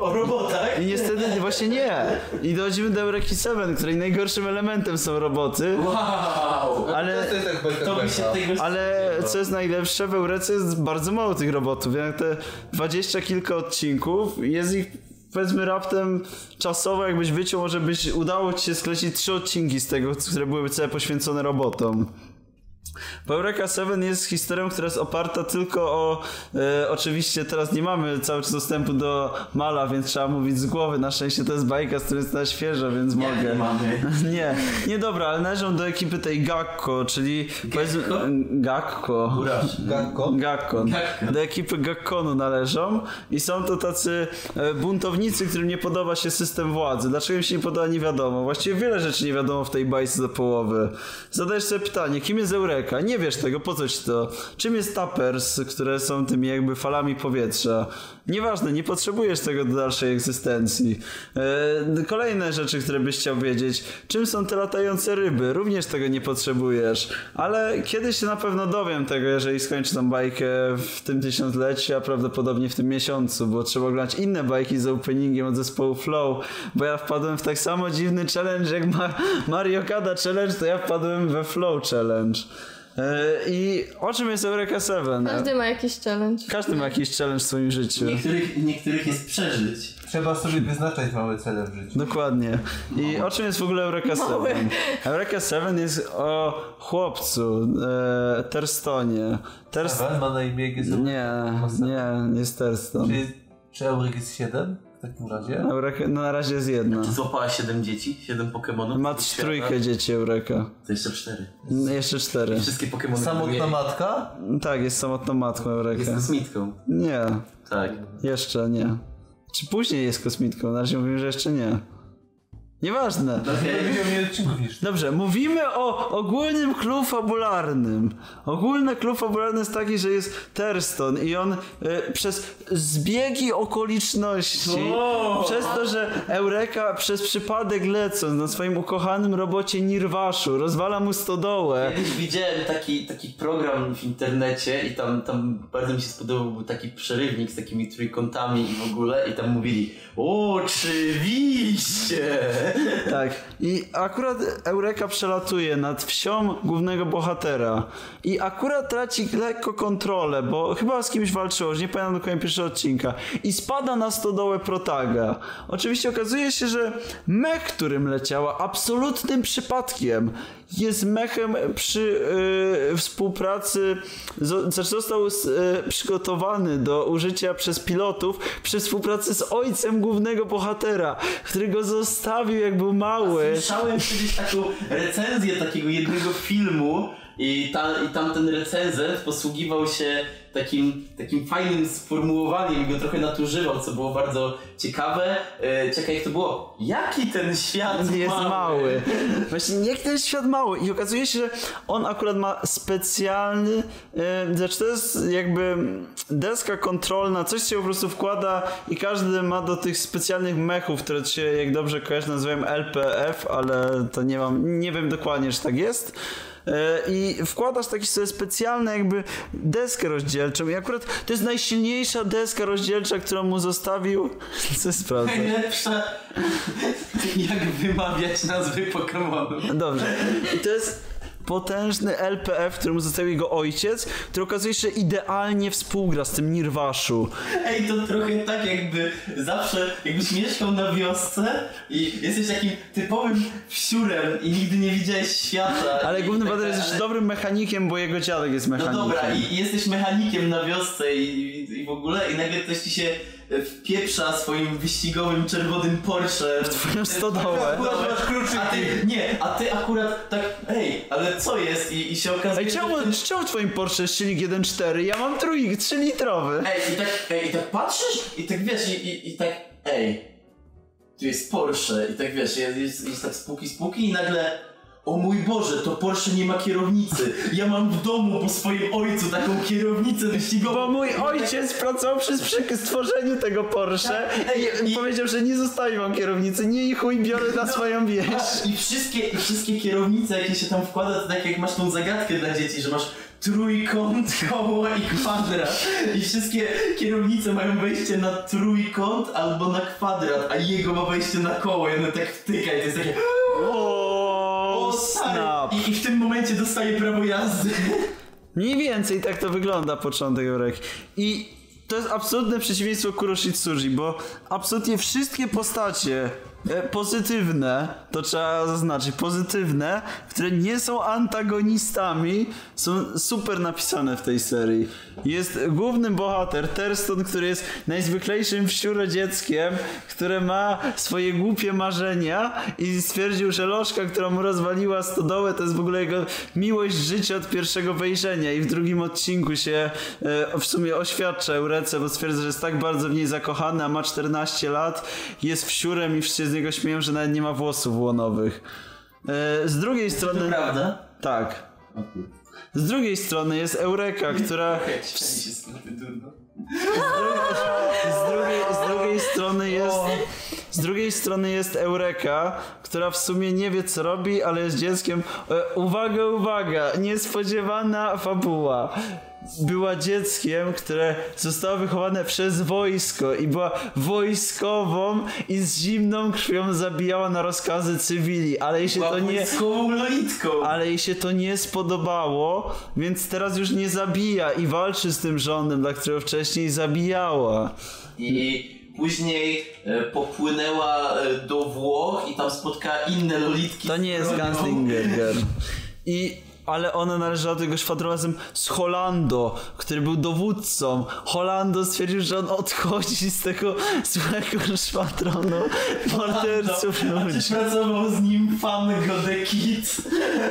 [SPEAKER 3] O robotach?
[SPEAKER 4] I niestety właśnie nie. I dochodzimy do Eureki 7, której najgorszym elementem są roboty.
[SPEAKER 3] Wow!
[SPEAKER 4] Ale,
[SPEAKER 1] To jest tak bajka
[SPEAKER 3] To mi się
[SPEAKER 1] bajka.
[SPEAKER 3] tego...
[SPEAKER 4] ale co jest najlepsze, w Eurece jest bardzo mało tych robotów. Jak te dwadzieścia kilka odcinków, jest ich powiedzmy raptem czasowo, jakbyś wyciął, może byś udało ci się sklecić trzy odcinki z tego, które byłyby całe poświęcone robotom. Bo Eureka 7 jest historią, która jest oparta tylko o. E, oczywiście teraz nie mamy cały czas dostępu do mala, więc trzeba mówić z głowy. Na szczęście to jest bajka, z której jest na świeżo, więc
[SPEAKER 3] Nie,
[SPEAKER 4] mogę.
[SPEAKER 3] nie mamy.
[SPEAKER 4] Nie, nie dobra, ale należą do ekipy tej Gakko, czyli powiedzmy Gakko.
[SPEAKER 3] Uraż.
[SPEAKER 1] Gakko?
[SPEAKER 4] Gakkon.
[SPEAKER 3] Gakkon.
[SPEAKER 4] Do ekipy Gakkonu należą i są to tacy e, buntownicy, którym nie podoba się system władzy. Dlaczego im się nie podoba, nie wiadomo. Właściwie wiele rzeczy nie wiadomo w tej bajce do połowy. Zadajesz sobie pytanie, kim jest Eureka? Nie wiesz tego, po co ci to? Czym jest Tappers, które są tymi jakby falami powietrza? Nieważne, nie potrzebujesz tego do dalszej egzystencji. E, kolejne rzeczy, które byś chciał wiedzieć. Czym są te latające ryby? Również tego nie potrzebujesz. Ale kiedyś się na pewno dowiem tego, jeżeli skończę tą bajkę w tym tysiącleciu, a prawdopodobnie w tym miesiącu, bo trzeba oglądać inne bajki z openingiem od zespołu Flow, bo ja wpadłem w tak samo dziwny challenge jak ma Mario Kada Challenge, to ja wpadłem we Flow Challenge. E, I o czym jest Eureka 7?
[SPEAKER 2] Każdy ma jakiś challenge.
[SPEAKER 4] Każdy ma jakiś challenge w swoim życiu.
[SPEAKER 3] Niektórych, niektórych jest przeżyć.
[SPEAKER 1] Trzeba sobie wyznaczać małe cele w życiu.
[SPEAKER 4] Dokładnie. I o czym jest w ogóle Eureka 7? Eureka 7 jest o chłopcu, e, Terstonie. Terst...
[SPEAKER 1] Ewan ma na imię GZ.
[SPEAKER 4] Nie, nie, jest Terston.
[SPEAKER 1] Czy, czy Eurek jest 7 w takim razie?
[SPEAKER 4] Eureka, no na razie jest jedna.
[SPEAKER 3] Złapała 7 dzieci, 7 Pokemonów.
[SPEAKER 4] Ma
[SPEAKER 3] Świata.
[SPEAKER 4] trójkę dzieci Eureka.
[SPEAKER 3] To jeszcze 4.
[SPEAKER 4] N- Jeszcze cztery.
[SPEAKER 3] Wszystkie Pokemony.
[SPEAKER 1] Samotna
[SPEAKER 3] które-
[SPEAKER 1] matka?
[SPEAKER 4] Tak, jest samotną matką Eureka.
[SPEAKER 3] Jest kosmitką.
[SPEAKER 4] Nie,
[SPEAKER 3] Tak.
[SPEAKER 4] jeszcze nie. Czy później jest kosmitką? Na razie mówimy, że jeszcze nie. Nieważne.
[SPEAKER 3] No,
[SPEAKER 1] Nie widział mnie odcinków niż
[SPEAKER 4] Dobrze, mówimy o ogólnym clue fabularnym. Ogólny clue fabularny jest taki, że jest Terston i on e, przez zbiegi okoliczności, przez to, że Eureka przez przypadek lecąc na swoim ukochanym robocie Nirwaszu rozwala mu stodołę.
[SPEAKER 3] Kiedyś widziałem taki, taki program w internecie i tam, tam bardzo mi się spodobał był taki przerywnik z takimi trójkątami i w ogóle i tam mówili Oczywiście!
[SPEAKER 4] Tak. I akurat Eureka przelatuje nad wsią głównego bohatera. I akurat traci lekko kontrolę, bo chyba z kimś walczyło, już nie pamiętam dokładnie pierwszego odcinka. I spada na stodołę Protaga. Oczywiście okazuje się, że mech, którym leciała, absolutnym przypadkiem jest mechem przy y, współpracy, zo- znaczy został s- y, przygotowany do użycia przez pilotów przy współpracy z ojcem głównego bohatera, który go zostawił jak był mały.
[SPEAKER 3] Słyszałem kiedyś taką recenzję takiego jednego filmu i, ta, i tamten recenzent posługiwał się takim, takim fajnym sformułowaniem i go trochę nadużywał, co było bardzo ciekawe. E, czekaj, jak to było? Jaki ten świat
[SPEAKER 4] Jest mały. Właśnie jak ten świat mały. I okazuje się, że on akurat ma specjalny. Yy, znaczy to jest jakby deska kontrolna, coś się po prostu wkłada i każdy ma do tych specjalnych mechów, które się jak dobrze kojarzy nazywają LPF, ale to nie mam. Nie wiem dokładnie, czy tak jest. E, i wkładasz taki sobie specjalny jakby deskę rozdzielczą i akurat to jest najsilniejsza deska rozdzielcza, którą mu zostawił co jest prawda.
[SPEAKER 3] Najlepsze, jak wymawiać nazwy Pokemonów.
[SPEAKER 4] Dobrze. I to jest potężny LPF, któremu został jego ojciec, który okazuje się że idealnie współgra z tym Nirwaszu.
[SPEAKER 3] Ej, to trochę tak jakby zawsze, jakbyś mieszkał na wiosce i jesteś takim typowym wsiurem i nigdy nie widziałeś świata.
[SPEAKER 4] Ale
[SPEAKER 3] I
[SPEAKER 4] główny
[SPEAKER 3] tak
[SPEAKER 4] bohater jest
[SPEAKER 3] dalej.
[SPEAKER 4] jeszcze dobrym mechanikiem, bo jego dziadek jest
[SPEAKER 3] No
[SPEAKER 4] mechanikiem.
[SPEAKER 3] dobra, i, i jesteś mechanikiem na wiosce i, i- i w ogóle i nagle ktoś ci się e, wpieprza swoim wyścigowym czerwonym Porsche w
[SPEAKER 4] Twoją stodołę.
[SPEAKER 1] Akurat masz kluczyki.
[SPEAKER 3] A ty, nie, a ty akurat tak, ej, ale co jest? I, i się okazuje,
[SPEAKER 4] Ej,
[SPEAKER 3] że
[SPEAKER 4] czemu,
[SPEAKER 3] ten-
[SPEAKER 4] czemu w twoim Porsche jest silnik 1.4? Ja mam trójk, 3 litrowy.
[SPEAKER 3] Ej, i tak, ej, i tak patrzysz i tak wiesz, i, i, i tak, ej, tu jest Porsche i tak wiesz, jest, jest, jest tak spółki, spółki i nagle, o mój Boże, to Porsche nie ma kierownicy. Ja mam w domu po swoim ojcu taką kierownicę wyścigową.
[SPEAKER 4] Bo mój ojciec pracował przy przy stworzeniu tego Porsche i,
[SPEAKER 3] Tak, Ej, i- No.
[SPEAKER 4] powiedział, że nie zostawi wam kierownicy, nie i chuj biorę na swoją wieś.
[SPEAKER 3] I wszystkie, I wszystkie kierownice, jakie się tam wkłada, to tak jak masz tą zagadkę dla dzieci, że masz trójkąt, koło i kwadrat. I wszystkie kierownice mają wejście na trójkąt albo na kwadrat, a jego ma wejście na koło i one tak wtyka i to jest takie
[SPEAKER 4] O,
[SPEAKER 3] o
[SPEAKER 4] snap.
[SPEAKER 3] stary! I, I w tym momencie dostaje prawo jazdy.
[SPEAKER 4] Mniej więcej tak to wygląda początek Eureki. I to jest absolutne przeciwieństwo Kuroshitsuji, bo absolutnie wszystkie postacie e, pozytywne, to trzeba zaznaczyć, pozytywne, które nie są antagonistami, są super napisane w tej serii. Jest główny bohater, Terston, który jest najzwyklejszym wsiurodzieckiem, które ma swoje głupie marzenia i stwierdził, że lożka, która mu rozwaliła stodołę, to jest w ogóle jego miłość życia od pierwszego wejrzenia i w drugim odcinku się e, w sumie oświadcza Eurece, bo stwierdza, że jest tak bardzo w niej zakochany, a ma 14 lat, jest wsiurem i wszyscy z niego śmieją, że nawet nie ma włosów łonowych. E, z drugiej strony...
[SPEAKER 3] Prawda?
[SPEAKER 4] Tak. Z drugiej strony jest Eureka, która...
[SPEAKER 3] Okej, się z tym durno.
[SPEAKER 4] Z drugiej, z drugiej strony jest. Z drugiej strony jest Eureka, która w sumie nie wie co robi, ale jest dzieckiem. E, uwaga, uwaga! Niespodziewana fabuła. Była dzieckiem, które zostało wychowane przez wojsko i była wojskową i z zimną krwią zabijała na rozkazy cywili, ale jej się to nie.
[SPEAKER 3] Łapłyskową lolitką.
[SPEAKER 4] Ale jej się to nie spodobało, więc teraz już nie zabija i walczy z tym rządem, dla którego wcześniej zabijała.
[SPEAKER 3] I Później e, popłynęła e, do Włoch i tam spotkała inne lolitki.
[SPEAKER 4] To
[SPEAKER 3] z
[SPEAKER 4] nie jest
[SPEAKER 3] bronią.
[SPEAKER 4] Gunslinger. I, ale ona należała do tego szwadronu razem z Holando, który był dowódcą. Holando stwierdził, że on odchodzi z tego złego szwadronu morderców
[SPEAKER 3] A czy
[SPEAKER 4] ludzi.
[SPEAKER 3] pracował z nim fan Godekit? Kid?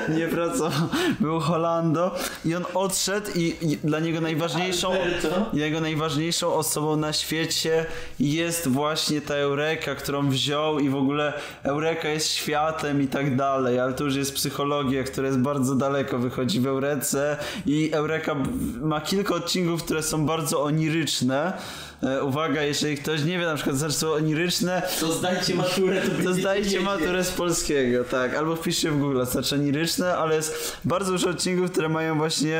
[SPEAKER 4] Nie pracował. Był Holando i on odszedł i, i dla niego najważniejszą...
[SPEAKER 3] Alberto?
[SPEAKER 4] Jego najważniejszą osobą na świecie jest właśnie ta Eureka, którą wziął i w ogóle Eureka jest światem i tak dalej, ale to już jest psychologia, która jest bardzo daleko, wychodzi w Eurece i Eureka b- ma kilka odcinków, które są bardzo oniryczne. E, uwaga, jeżeli ktoś nie wie na przykład znaczy słowo oniryczne,
[SPEAKER 3] To zdajcie maturę, to
[SPEAKER 4] to
[SPEAKER 3] będziecie
[SPEAKER 4] zdajcie
[SPEAKER 3] wiedzieć.
[SPEAKER 4] maturę z polskiego, tak. Albo wpiszcie w Google znaczenie ryczne, ale jest bardzo dużo odcinków, które mają właśnie...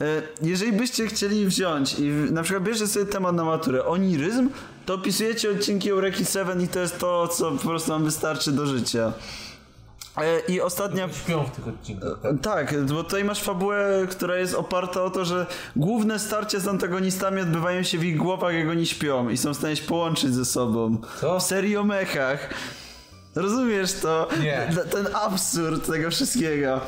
[SPEAKER 4] E, jeżeli byście chcieli wziąć i w- na przykład bierzecie sobie temat na maturę oniryzm, to pisujecie odcinki Eureki 7 i to jest to, co po prostu wam wystarczy do życia. E, I ostatnia...
[SPEAKER 1] Śpią w tych odcinkach.
[SPEAKER 4] Tak, bo tutaj masz fabułę, która jest oparta o to, że główne starcie z antagonistami odbywają się w ich głowach, jak oni śpią i są w stanie się połączyć ze sobą.
[SPEAKER 1] Co?
[SPEAKER 4] W serii o mechach. Rozumiesz to?
[SPEAKER 1] Nie.
[SPEAKER 4] Dla- Ten absurd tego wszystkiego.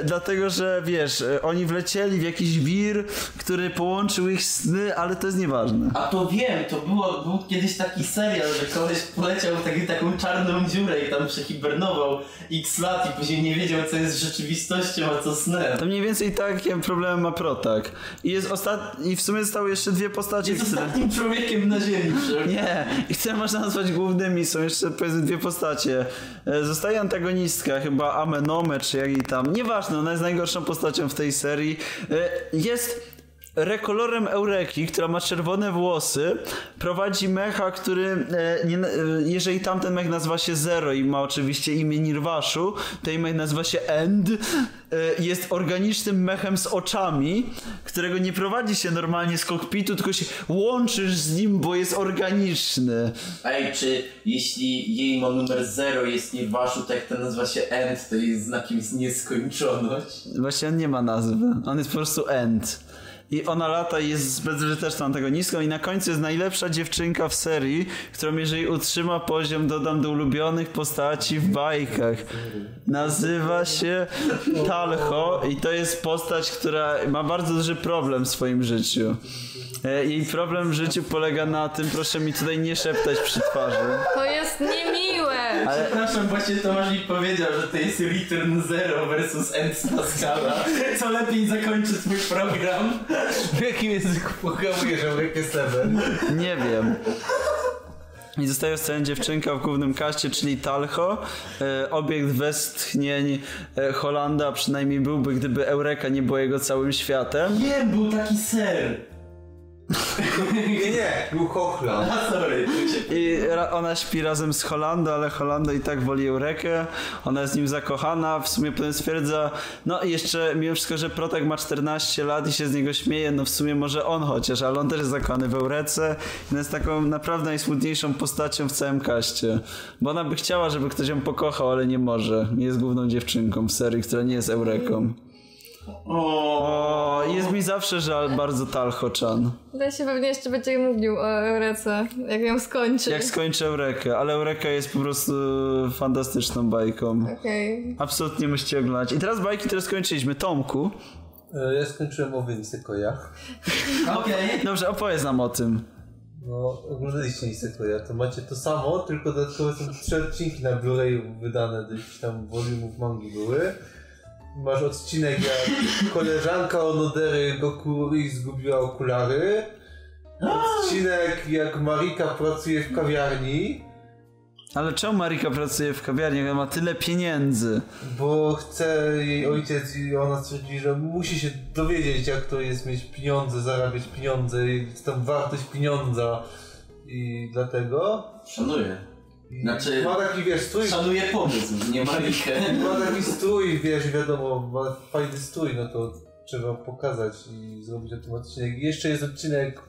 [SPEAKER 4] E, Dlatego, że wiesz, e, oni wlecieli w jakiś wir, który połączył ich sny, ale to jest nieważne.
[SPEAKER 3] A to wiem, to było, był kiedyś taki serial, że koleś poleciał w taki, taką czarną dziurę i tam przehibernował x lat i później nie wiedział co jest rzeczywistością, a co snem.
[SPEAKER 4] To mniej więcej takie problemy ma Protak. I jest ostat... I w sumie zostały jeszcze dwie postacie,
[SPEAKER 3] Jest
[SPEAKER 4] które...
[SPEAKER 3] ostatnim człowiekiem na ziemi, że...
[SPEAKER 4] Nie, i które można nazwać głównymi, są jeszcze powiedzmy dwie postacie. E, Zostaje antagonistka, chyba Amenome, czy jak jej tam. Nieważne, ona jest najgorszą postacią w tej serii. E, Jest rekolorem Eureki, która ma czerwone włosy, prowadzi mecha, który, e, nie, na- e, jeżeli tamten mech nazywa się Zero i ma oczywiście imię Nirwaszu, to jej mech nazywa się End, e, jest organicznym mechem z oczami, którego nie prowadzi się normalnie z kokpitu, tylko się łączysz z nim, bo jest organiczny.
[SPEAKER 3] Ej, czy jeśli jej ma numer 0 jest nie waszu, tak to nazywa się end, to jest znakiem z nieskończoność.
[SPEAKER 4] Właśnie on nie ma nazwy, on jest po prostu End. I ona lata i jest bezużyteczną antagonistką i na końcu jest najlepsza dziewczynka w serii, którą jeżeli utrzyma poziom, dodam do ulubionych postaci w bajkach. Nazywa się Talho i to jest postać, która ma bardzo duży problem w swoim życiu. E, Jej problem w życiu polega na tym, proszę mi tutaj nie szeptać przy twarzy.
[SPEAKER 2] To jest niemiłe!
[SPEAKER 4] Ale-
[SPEAKER 3] Przepraszam, właśnie Tomasz mi powiedział, że to jest return 0 versus end z Pascala. Co lepiej zakończy twój program?
[SPEAKER 1] W jakim języku programujesz Eurekę 7?
[SPEAKER 4] Nie wiem. I zostaje scena dziewczynka w głównym kaście, czyli Talho. E, obiekt westchnień e, Holanda przynajmniej byłby, gdyby Eureka nie była jego całym światem.
[SPEAKER 3] Nie, był taki ser.
[SPEAKER 1] Nie, nie, był Hochland.
[SPEAKER 3] A sorry, tu się
[SPEAKER 4] I ra- ona śpi razem z Holando, ale Holando i tak woli Eurekę. Ona jest nim zakochana. W sumie potem stwierdza, no i jeszcze mimo wszystko, że Protek ma 14 lat i się z niego śmieje, no w sumie może on chociaż, ale on też jest zakochany w Eurece. I Ona jest taką naprawdę najsmutniejszą postacią w całym kaście. Bo ona by chciała, żeby ktoś ją pokochał, ale nie może. Jest główną dziewczynką w serii, która nie jest Eureką.
[SPEAKER 3] O,
[SPEAKER 4] O, jest mi zawsze żal bardzo Talho-chan.
[SPEAKER 2] Będę się pewnie jeszcze będzie mówił o Eurece, jak ją skończy.
[SPEAKER 4] Jak skończę Eurekę, ale Eureka jest po prostu fantastyczną bajką.
[SPEAKER 2] Okej.
[SPEAKER 4] Absolutnie musicie oglądać. I teraz bajki, które skończyliśmy. Tomku,
[SPEAKER 1] E, Ja skończyłem o Winsekojach.
[SPEAKER 3] okej.
[SPEAKER 4] dobrze, opowiedz nam o tym.
[SPEAKER 1] No, oglądaliście Winsekoja, to macie to samo, tylko dodatkowo są trzy odcinki na Blu-rayu wydane, do jakichś tam volumów mangi były. Masz odcinek jak koleżanka Onodery Gokuri zgubiła okulary. Odcinek jak Marika pracuje w kawiarni,
[SPEAKER 4] Ale czemu Marika pracuje w kawiarni, jak ona ma tyle pieniędzy?
[SPEAKER 1] bo chce jej ojciec i ona stwierdzi, że musi się dowiedzieć jak to jest mieć pieniądze, zarabiać pieniądze, i jest tam wartość pieniądza i dlatego.
[SPEAKER 3] Szanuję. Znaczy-
[SPEAKER 1] Ma taki wiesz, strój
[SPEAKER 3] Szanuję pomysł, nie Marikę.
[SPEAKER 1] ma taki strój, wiesz, wiadomo, ma fajny strój, no to trzeba pokazać i zrobić o tym odcinek. I jeszcze jest odcinek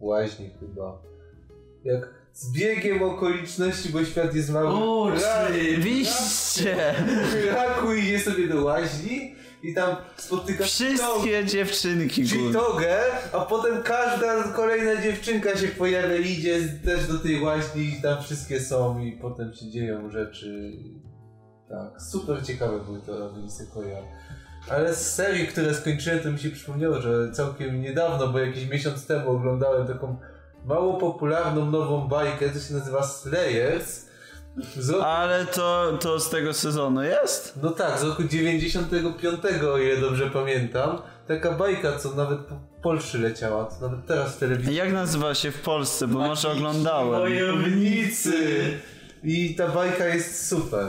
[SPEAKER 1] w łaźni chyba. Jak z biegiem okoliczności, bo świat jest mały.
[SPEAKER 4] Oczywiście!
[SPEAKER 1] Rakuj je sobie do łaźni i tam spotyka
[SPEAKER 4] Wszystkie dziewczynki
[SPEAKER 1] Czyli
[SPEAKER 4] góry.
[SPEAKER 1] togę, a potem każda kolejna dziewczynka się pojawia i idzie z- też do tej łaźni i tam wszystkie są i potem się dzieją rzeczy. Tak, super ciekawe były to Robin Sequoia. Ale z serii, które skończyłem, to mi się przypomniało, że całkiem niedawno, bo jakiś miesiąc temu oglądałem taką mało popularną nową bajkę, to się nazywa Slayers. Z roku,
[SPEAKER 4] Ale to, to z tego sezonu jest?
[SPEAKER 1] no tak, z roku 95, o ile dobrze pamiętam. Taka bajka, co nawet po Polsce leciała, co nawet teraz w telewizji.
[SPEAKER 4] Jak nazywa się w Polsce? Bo może oglądałem.
[SPEAKER 1] Wojownicy! I ta bajka jest super.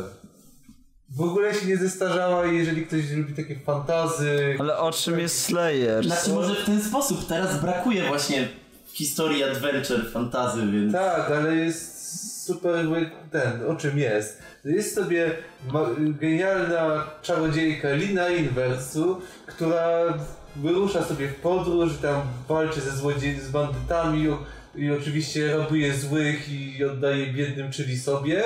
[SPEAKER 1] W ogóle się nie zestarzała i jeżeli ktoś lubi takie fantazy...
[SPEAKER 4] Ale o czym jest Slayers?
[SPEAKER 3] Znaczy może w ten sposób, teraz brakuje właśnie historii adventure, fantazy, więc...
[SPEAKER 1] Tak, ale jest super bo ten, o czym jest. Jest sobie ma- genialna czarodziejka Lina Inversu, która wyrusza sobie w podróż, tam walczy ze złodziejami, z bandytami i oczywiście rabuje złych i oddaje biednym, czyli sobie.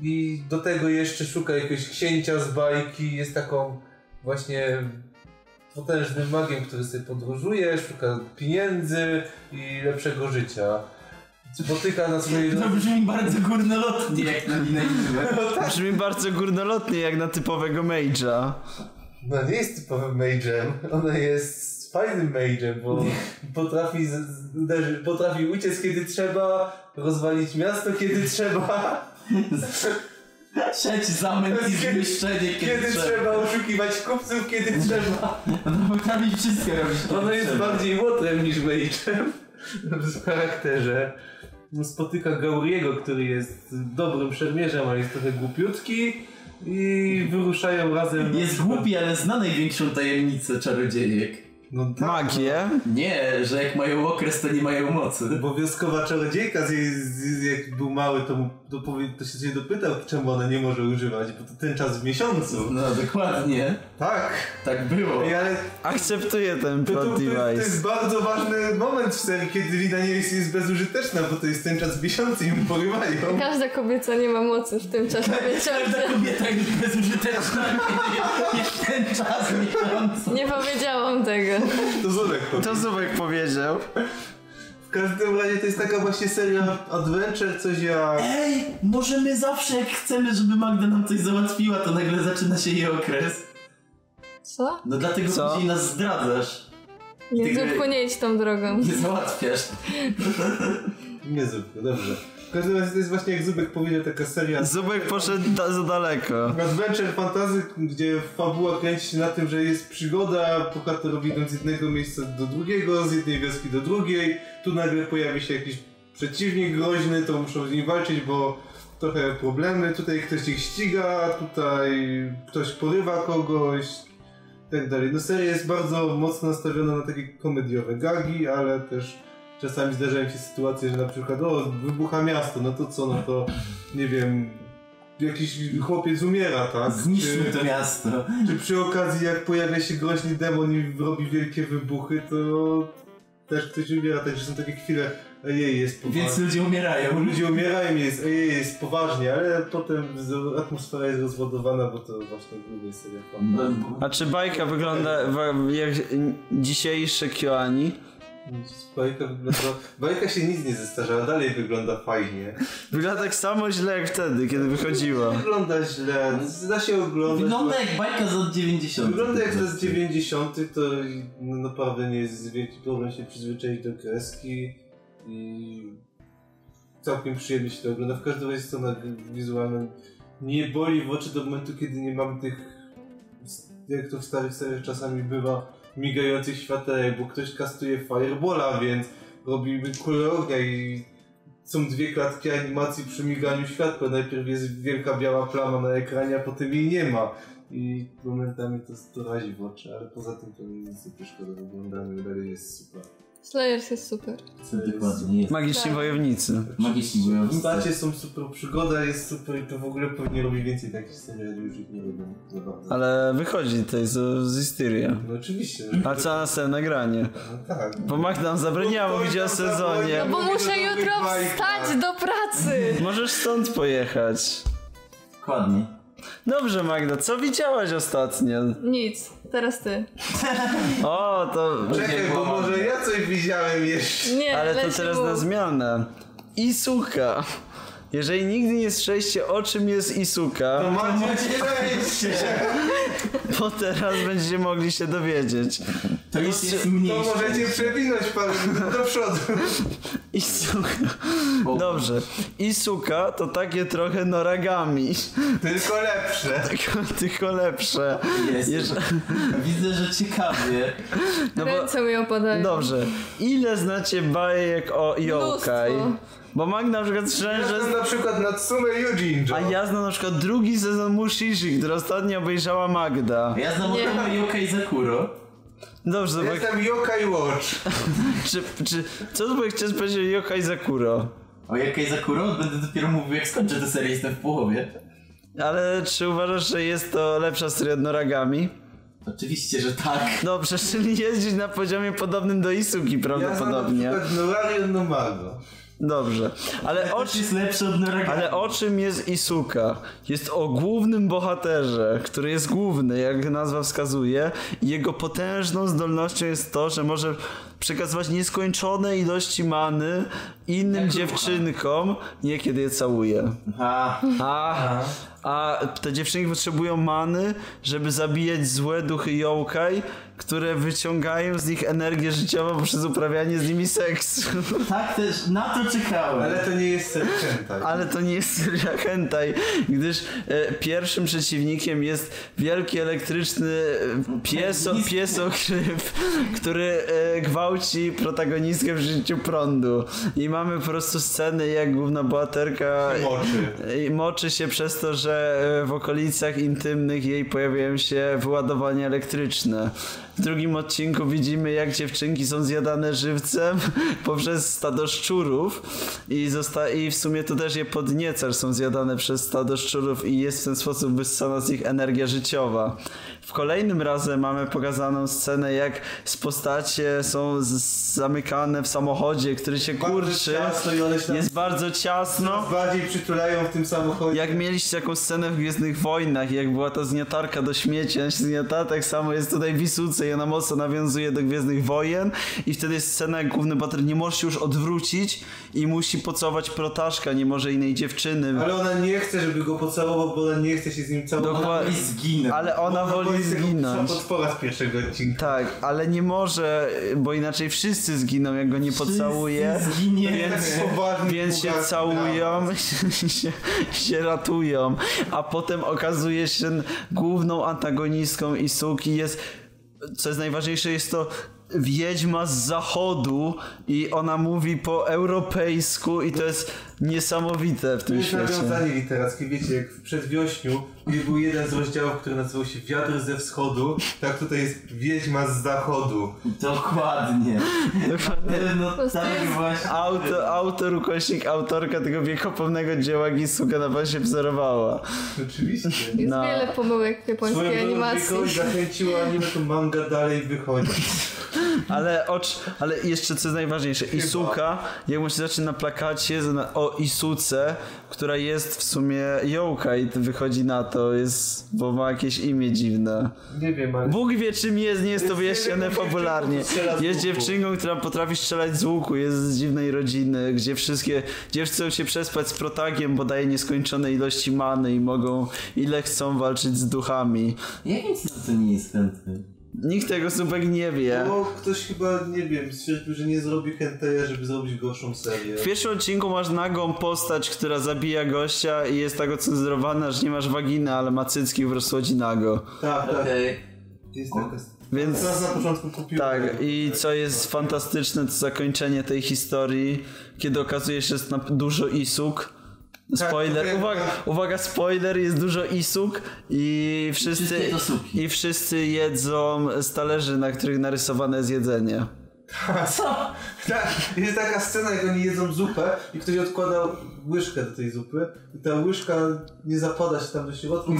[SPEAKER 1] I do tego jeszcze szuka jakiegoś księcia z bajki, jest taką właśnie potężnym magiem, który sobie podróżuje, szuka pieniędzy i lepszego życia. Spotyka na swojej
[SPEAKER 3] To brzmi bardzo górnolotnie jak na linę
[SPEAKER 4] Brzmi bardzo górnolotnie jak na typowego mage'a.
[SPEAKER 1] No nie jest typowym mage'em, ona jest fajnym mage'em, bo potrafi, z, z, uderzy- potrafi uciec kiedy trzeba, rozwalić miasto kiedy trzeba,
[SPEAKER 3] Sieć, zamęt i
[SPEAKER 1] Kiedy-
[SPEAKER 3] zniszczenie, kiedy,
[SPEAKER 1] kiedy trzeba, oszukiwać kupców kiedy trzeba.
[SPEAKER 3] No potrafi wszystko robić. kiedy
[SPEAKER 1] Ona jest
[SPEAKER 3] trzeba.
[SPEAKER 1] bardziej łotrem niż mage'em w charakterze. no, Spotyka Gauriego, który jest dobrym szermierzem, ale jest trochę głupiutki i wyruszają razem.
[SPEAKER 3] Jest głupi, ale zna największą tajemnicę czarodziejek.
[SPEAKER 1] No tak.
[SPEAKER 4] Magię?
[SPEAKER 3] Nie, że jak mają okres, to nie mają mocy.
[SPEAKER 1] Obowiązkowa czarodziejka, z jej, z, z, jak był mały, to, mu, to, powie, to się nie dopytał, czemu ona nie może używać, bo to ten czas w miesiącu.
[SPEAKER 3] No dokładnie,
[SPEAKER 1] Tak.
[SPEAKER 3] tak było.
[SPEAKER 1] Ej, ale
[SPEAKER 4] Akceptuję ten
[SPEAKER 1] to, to,
[SPEAKER 4] plot
[SPEAKER 1] to, jest- to jest
[SPEAKER 4] device.
[SPEAKER 1] bardzo ważny moment w serii, kiedy Lina nie jest, jest bezużyteczna, bo to jest ten czas w miesiącu i ją porywają.
[SPEAKER 2] Każda kobieta nie ma mocy w tym czasie miesiąca.
[SPEAKER 3] Każda kobieta jest bezużyteczna, jest ten czas miesiąca.
[SPEAKER 2] Nie powiedziałam tego.
[SPEAKER 1] To Zurek powie.
[SPEAKER 4] To Zubek powiedział.
[SPEAKER 1] W każdym razie to jest taka właśnie seria adventure, coś jak...
[SPEAKER 3] Ej, może my zawsze jak chcemy, żeby Magda nam coś załatwiła, to nagle zaczyna się jej okres.
[SPEAKER 2] Co?
[SPEAKER 3] No dlatego
[SPEAKER 4] Co?
[SPEAKER 3] później nas zdradzasz.
[SPEAKER 2] Nie,
[SPEAKER 3] Ty-
[SPEAKER 2] Zupku, nie idź tą drogą.
[SPEAKER 3] Nie załatwiasz.
[SPEAKER 1] Nie Zubku, dobrze. W każdym razie to jest właśnie jak Zubek powiedział, taka seria...
[SPEAKER 4] Zubek poszedł da- za daleko.
[SPEAKER 1] Adventure fantasy, gdzie fabuła kręci się na tym, że jest przygoda, bohaterowie idą z jednego miejsca do drugiego, z jednej wioski do drugiej, tu nagle pojawi się jakiś przeciwnik groźny, to muszą z nim walczyć, bo trochę problemy, tutaj ktoś ich ściga, tutaj ktoś porywa kogoś, i tak dalej. No seria jest bardzo mocno nastawiona na takie komediowe gagi, ale też czasami zdarzają się sytuacje, że na przykład o, wybucha miasto, no to co, no to nie wiem, jakiś chłopiec umiera, tak?
[SPEAKER 3] Zniszczmy
[SPEAKER 1] Czy-
[SPEAKER 3] to miasto.
[SPEAKER 1] czy przy okazji, jak pojawia się groźny demon i robi wielkie wybuchy, to też ktoś umiera, także są takie chwile, ojej, jest
[SPEAKER 3] Więc
[SPEAKER 1] poważnie.
[SPEAKER 3] ludzie
[SPEAKER 1] Bo
[SPEAKER 3] umierają.
[SPEAKER 1] ludzie umierają i jest, ojej, jest poważnie, ale potem z- atmosfera jest rozładowana, bo to właśnie głównie seria fan.
[SPEAKER 4] A czy Znaczy, bajka wygląda wa- jak dzisiejsze Kyoani?
[SPEAKER 1] Bajka wygląda... Bajka się nic nie zestarzała, dalej wygląda fajnie.
[SPEAKER 4] Wygląda tak samo źle jak wtedy, kiedy wychodziła.
[SPEAKER 1] Wygląda źle, da się oglądać.
[SPEAKER 3] Wygląda jak bajka z lat 90.
[SPEAKER 1] Wygląda jak z 90. to naprawdę nie jest wielki problem się przyzwyczaić do kreski i całkiem przyjemnie się to ogląda. W każdym razie strona wizualna nie boli w oczy do momentu, kiedy nie mam tych, jak to w starych seriach czasami bywa, migających światełek, bo ktoś kastuje Firebola, więc robimy kulę ognia i są dwie klatki animacji przy miganiu światła. Najpierw jest wielka biała plama na ekranie, a potem jej nie ma. I momentami to, to razi w oczy, ale poza tym to nic nie przeszkadza w oglądaniu, dalej jest super.
[SPEAKER 2] Slayers jest super.
[SPEAKER 3] Dokładnie. Jest.
[SPEAKER 4] Magiczni
[SPEAKER 2] Tak.
[SPEAKER 4] wojownicy.
[SPEAKER 3] Magiczni mówią.
[SPEAKER 1] Stacie są super, przygoda jest super i to w ogóle powinien robić więcej takich serii, ale już ich nie robią. za bardzo.
[SPEAKER 4] Ale wychodzi tutaj z, z Istyria.
[SPEAKER 1] No oczywiście.
[SPEAKER 4] A co na następne granie?
[SPEAKER 1] No tak.
[SPEAKER 4] Bo Magdam zabraniało
[SPEAKER 1] Bo
[SPEAKER 4] mówić o
[SPEAKER 1] to tam
[SPEAKER 4] sezonie.
[SPEAKER 1] było-
[SPEAKER 2] Bo
[SPEAKER 1] Mówię
[SPEAKER 2] muszę
[SPEAKER 1] do
[SPEAKER 2] jutro
[SPEAKER 1] dobrych bajek,
[SPEAKER 2] wstać
[SPEAKER 1] tak.
[SPEAKER 2] do pracy!
[SPEAKER 4] Możesz stąd pojechać.
[SPEAKER 3] Dokładnie.
[SPEAKER 4] Dobrze Magda, co widziałaś ostatnio?
[SPEAKER 2] Nic, teraz ty.
[SPEAKER 4] O, to...
[SPEAKER 1] Czekaj, bo może ja coś widziałem jeszcze.
[SPEAKER 2] Nie,
[SPEAKER 4] Ale to
[SPEAKER 2] leci
[SPEAKER 4] teraz
[SPEAKER 2] mu.
[SPEAKER 4] na zmianę. Isuka. Jeżeli nigdy nie słyszeliście o czym jest Isuka...
[SPEAKER 1] To macie szczęście.
[SPEAKER 4] Bo teraz będziecie mogli się dowiedzieć.
[SPEAKER 3] To już
[SPEAKER 4] Jest-
[SPEAKER 3] jest
[SPEAKER 1] To
[SPEAKER 3] mniej.
[SPEAKER 1] możecie przewinąć parę minut do przodu.
[SPEAKER 4] Isuka. Dobrze. Isuka to takie trochę noragami.
[SPEAKER 1] Tylko lepsze.
[SPEAKER 4] Tylko, tylko lepsze.
[SPEAKER 3] Jest.
[SPEAKER 4] Jeż-
[SPEAKER 3] Widzę, że ciekawie.
[SPEAKER 4] No bo,
[SPEAKER 2] Ręce mi opadają.
[SPEAKER 4] dobrze. Ile znacie bajek o yokai?
[SPEAKER 2] Mnóstwo.
[SPEAKER 4] Bo Mag na przykład szczerze...
[SPEAKER 1] Zresztą na przykład Natsume Yujinjo.
[SPEAKER 4] A ja znam na przykład drugi sezon Mushishi, który ostatnio obejrzała Magda.
[SPEAKER 3] Ja znam
[SPEAKER 2] Nie.
[SPEAKER 3] tylko Yuka i Zakuro.
[SPEAKER 4] Dobrze, bo
[SPEAKER 1] Jestem Yokai Watch.
[SPEAKER 4] czy, czy, co by chciał powiedzieć o yokai Zakuro?
[SPEAKER 3] O Yuka i Zakuro będę dopiero mówił jak skończę tę serię, jestem w połowie.
[SPEAKER 4] Ale czy uważasz, że jest to lepsza seria od noragami?
[SPEAKER 3] Oczywiście, że tak.
[SPEAKER 4] Dobrze, czyli No, jeździć na poziomie podobnym do Isuki
[SPEAKER 1] Ja znam na
[SPEAKER 4] prawdopodobnie.
[SPEAKER 1] przykład Norario Nomago.
[SPEAKER 4] Dobrze. Ale o,
[SPEAKER 3] Oczy jest lepszy od Noragami.
[SPEAKER 4] ale o czym jest Isuka? Jest o głównym bohaterze, który jest główny, jak nazwa wskazuje. I Jego potężną zdolnością jest to, że może przekazywać nieskończone ilości many innym
[SPEAKER 3] Jak
[SPEAKER 4] dziewczynkom, niekiedy je całuje.
[SPEAKER 3] Aha.
[SPEAKER 4] A, a te dziewczynki potrzebują many, żeby zabijać złe duchy yokai, które wyciągają z nich energię życiową poprzez uprawianie z nimi seksu.
[SPEAKER 3] Tak też, na to czekałem.
[SPEAKER 1] Ale to nie jest serczętaj.
[SPEAKER 4] Ale to nie jest seria hentai, gdyż e, pierwszym przeciwnikiem jest wielki elektryczny e, pieso, piesokryp, który e, gwałci protagonistkę w życiu prądu. I mamy po prostu sceny, jak główna bohaterka...
[SPEAKER 1] Moczy.
[SPEAKER 4] I moczy się przez to, że e, w okolicach intymnych jej pojawiają się wyładowania elektryczne. W drugim odcinku widzimy, jak dziewczynki są zjadane żywcem poprzez stado szczurów i, zosta- i w sumie to też je podnieca, że są zjadane przez stado szczurów i jest w ten sposób wyssana z nich energia życiowa. W kolejnym razem mamy pokazaną scenę, jak z postacie są z- zamykane w samochodzie, który się
[SPEAKER 1] Bardzo
[SPEAKER 4] kurczy.
[SPEAKER 1] ciasno i one się tam
[SPEAKER 4] Jest bardzo ciasno.
[SPEAKER 1] bardziej przytulają w tym samochodzie.
[SPEAKER 4] Jak mieliście taką scenę w Gwiezdnych Wojnach, jak była ta zgniatarka do śmieci, ona się zgniata, tak samo jest tutaj w Wisuce i ona mocno nawiązuje do Gwiezdnych Wojen i wtedy jest scena, jak główny bohater nie może się już odwrócić i musi pocałować protaszka, nie może innej dziewczyny.
[SPEAKER 1] Ale ona nie chce, żeby go pocałował, bo ona nie chce się z nim całować.
[SPEAKER 4] Dokładnie.
[SPEAKER 3] I zginę.
[SPEAKER 4] Ale ona woli zginąć.
[SPEAKER 1] potwora z pierwszego odcinka.
[SPEAKER 4] Tak, ale nie może, bo inaczej wszyscy zginą, jak go nie pocałuje.
[SPEAKER 3] Wszyscy Zginie.
[SPEAKER 1] Więc, tak poważny,
[SPEAKER 4] Więc się
[SPEAKER 1] bogacki dramat.
[SPEAKER 4] całują, się, się ratują, a potem okazuje się że główną antagonistką Isuki jest, co jest najważniejsze, jest to wiedźma z zachodu i ona mówi po europejsku i to jest niesamowite w
[SPEAKER 1] To
[SPEAKER 4] tym
[SPEAKER 1] jest
[SPEAKER 4] świecie.
[SPEAKER 1] nawiązanie literackie, wiecie, jak w przedwiośniu gdzie był jeden z rozdziałów, który nazywał się Wiatr ze wschodu, tak tutaj jest Wiedźma z zachodu.
[SPEAKER 3] Dokładnie. No
[SPEAKER 2] prostu
[SPEAKER 3] tak
[SPEAKER 2] jest-
[SPEAKER 3] właśnie.
[SPEAKER 4] Autor, autor, ukośnik, autorka tego wiekopomnego dzieła Gisuka na was się wzorowała.
[SPEAKER 1] Oczywiście.
[SPEAKER 2] Jest
[SPEAKER 4] No.
[SPEAKER 2] wiele pomyłek w japońskiej
[SPEAKER 1] Swoją drogą
[SPEAKER 2] animacji.
[SPEAKER 1] Jacobi zachęciło anime, to manga dalej wychodzi.
[SPEAKER 4] Ale, ocz, ale jeszcze co jest najważniejsze, Isuka, jak mu się zaczyna na plakacie zna- o Isuce, która jest w sumie Joka i wychodzi na to, jest, bo ma jakieś imię dziwne.
[SPEAKER 1] Nie wiem, ale...
[SPEAKER 4] Bóg wie czym jest, nie jest to
[SPEAKER 1] Jest
[SPEAKER 4] wyjaśnione
[SPEAKER 1] dziewczynką,
[SPEAKER 4] fabularnie.
[SPEAKER 1] która strzela z łuku.
[SPEAKER 4] Jest dziewczynką, która potrafi strzelać z łuku, jest z dziwnej rodziny, gdzie wszystkie gdzie chcą się przespać z protagiem, bo daje nieskończone ilości many i mogą ile chcą walczyć z duchami.
[SPEAKER 3] Jakim cudem nie jest chętny?
[SPEAKER 4] Nikt tego subek nie wie.
[SPEAKER 1] Bo No, ktoś chyba, nie wiem, stwierdził, że nie zrobi henteja, żeby zrobić gorszą serię.
[SPEAKER 4] W pierwszym odcinku masz nagą postać, która zabija gościa i jest tak ocenzurowana, że nie masz waginy, ale ma cycki po prostu chodzi nago.
[SPEAKER 1] Tak, tak.
[SPEAKER 3] Okej.
[SPEAKER 1] Jest taka...
[SPEAKER 4] Więc
[SPEAKER 1] Teraz na początku kupiłem.
[SPEAKER 4] tak, i co jest fantastyczne, to zakończenie tej historii, kiedy okazuje się, że jest na dużo isuk.
[SPEAKER 1] Tak,
[SPEAKER 4] Spoiler,
[SPEAKER 1] tak.
[SPEAKER 4] uwaga, uwaga, spoiler, jest dużo isuk i wszyscy,
[SPEAKER 3] Wszystkie to suki.
[SPEAKER 4] i wszyscy jedzą z talerzy, na których narysowane jest jedzenie.
[SPEAKER 1] Co? Tak, jest taka scena, jak oni jedzą zupę i ktoś odkładał łyżkę do tej zupy i ta łyżka nie zapada się tam do środka.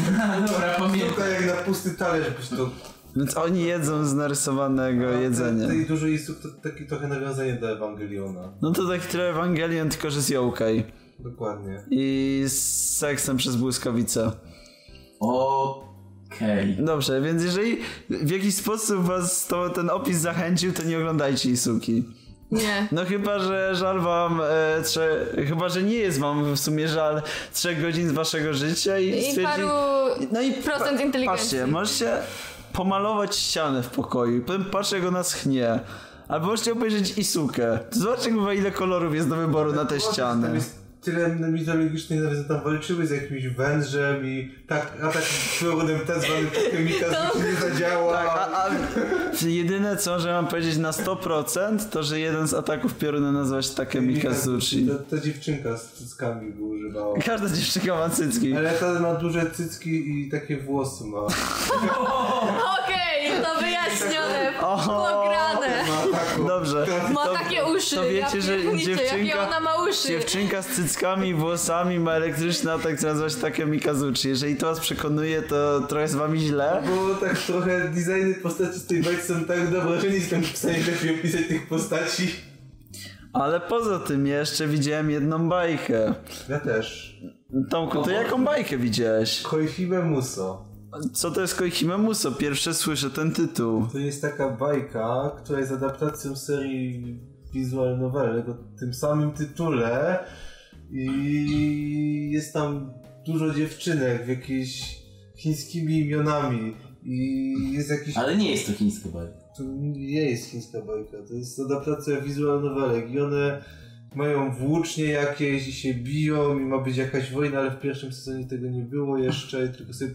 [SPEAKER 5] Dobra, pamiętam.
[SPEAKER 1] Tylko jak na pusty talerz byś to...
[SPEAKER 4] Więc oni jedzą z
[SPEAKER 1] No,
[SPEAKER 4] narysowanego jedzenia.
[SPEAKER 1] Tej dużej jest to takie trochę nawiązanie do Ewangeliona.
[SPEAKER 4] No to tak trochę Ewangelion, tylko że z Yokai.
[SPEAKER 1] Dokładnie.
[SPEAKER 4] I z seksem przez błyskawicę.
[SPEAKER 3] Okej.
[SPEAKER 4] Dobrze, więc jeżeli w jakiś sposób was to, ten opis zachęcił, to nie oglądajcie Isuki.
[SPEAKER 2] Nie.
[SPEAKER 4] No chyba, że żal wam, e, trze, chyba, że nie jest wam w sumie żal trzech godzin z waszego życia i,
[SPEAKER 2] I
[SPEAKER 4] stwierdzi...
[SPEAKER 2] paru
[SPEAKER 4] No i
[SPEAKER 2] procent inteligencji.
[SPEAKER 4] Patrzcie, możecie pomalować ścianę w pokoju, potem patrz jak ona schnie. Albo możecie obejrzeć Isukę. To Zobaczcie chyba ile kolorów jest do wyboru na te
[SPEAKER 1] Boże, Tam
[SPEAKER 4] ściany.
[SPEAKER 1] jest tyle mitologicznych nawiązań, tam walczyły z jakimś wężem i tak, atak przewodem ten zwany chemika
[SPEAKER 2] To-
[SPEAKER 1] nie zadziała.
[SPEAKER 4] Tak, A, a jedyne co, że mam powiedzieć na 100% to, że jeden z ataków pioruna nazywa się Takemika Sushi.
[SPEAKER 1] Ta, ta dziewczynka z cyckami go używała.
[SPEAKER 4] Każda dziewczynka ma cycki.
[SPEAKER 1] Ale ta ma duże cycki i takie włosy ma.
[SPEAKER 2] Okej, to wyjaśnione,
[SPEAKER 4] O,
[SPEAKER 2] pograne.
[SPEAKER 1] Ma taką.
[SPEAKER 4] Dobrze.
[SPEAKER 2] Ma
[SPEAKER 4] To-
[SPEAKER 2] takie uszy,
[SPEAKER 4] to wiecie, że
[SPEAKER 2] ja pierniczę, jakie
[SPEAKER 4] dziewczynka-
[SPEAKER 2] ona ma uszy.
[SPEAKER 4] Dziewczynka z cyckami, włosami ma elektryczny atak, co nazywa się Takemi Kazuchi. Jeżeli to was przekonuje, to trochę z wami źle.
[SPEAKER 1] Bo tak trochę designy postaci z tej bajki są tak dobre, że nie jestem w stanie lepiej opisać tych postaci.
[SPEAKER 4] Ale poza tym jeszcze widziałem jedną bajkę.
[SPEAKER 1] Ja też.
[SPEAKER 4] Tomku, to jaką bajkę widziałeś?
[SPEAKER 1] Koifime Muso.
[SPEAKER 4] Co to jest Koikime Muso? Pierwsze słyszę ten tytuł.
[SPEAKER 1] To jest taka bajka, która jest adaptacją serii Visual Novel o tym samym tytule i jest tam dużo dziewczynek w jakiejś chińskimi imionami i jest jakiś...
[SPEAKER 3] Ale nie jest to chińska bajka.
[SPEAKER 1] To nie jest chińska bajka, to jest adaptacja Visual Novelek i one mają włócznie jakieś i się biją i ma być jakaś wojna, ale w pierwszym sezonie tego nie było jeszcze i tylko sobie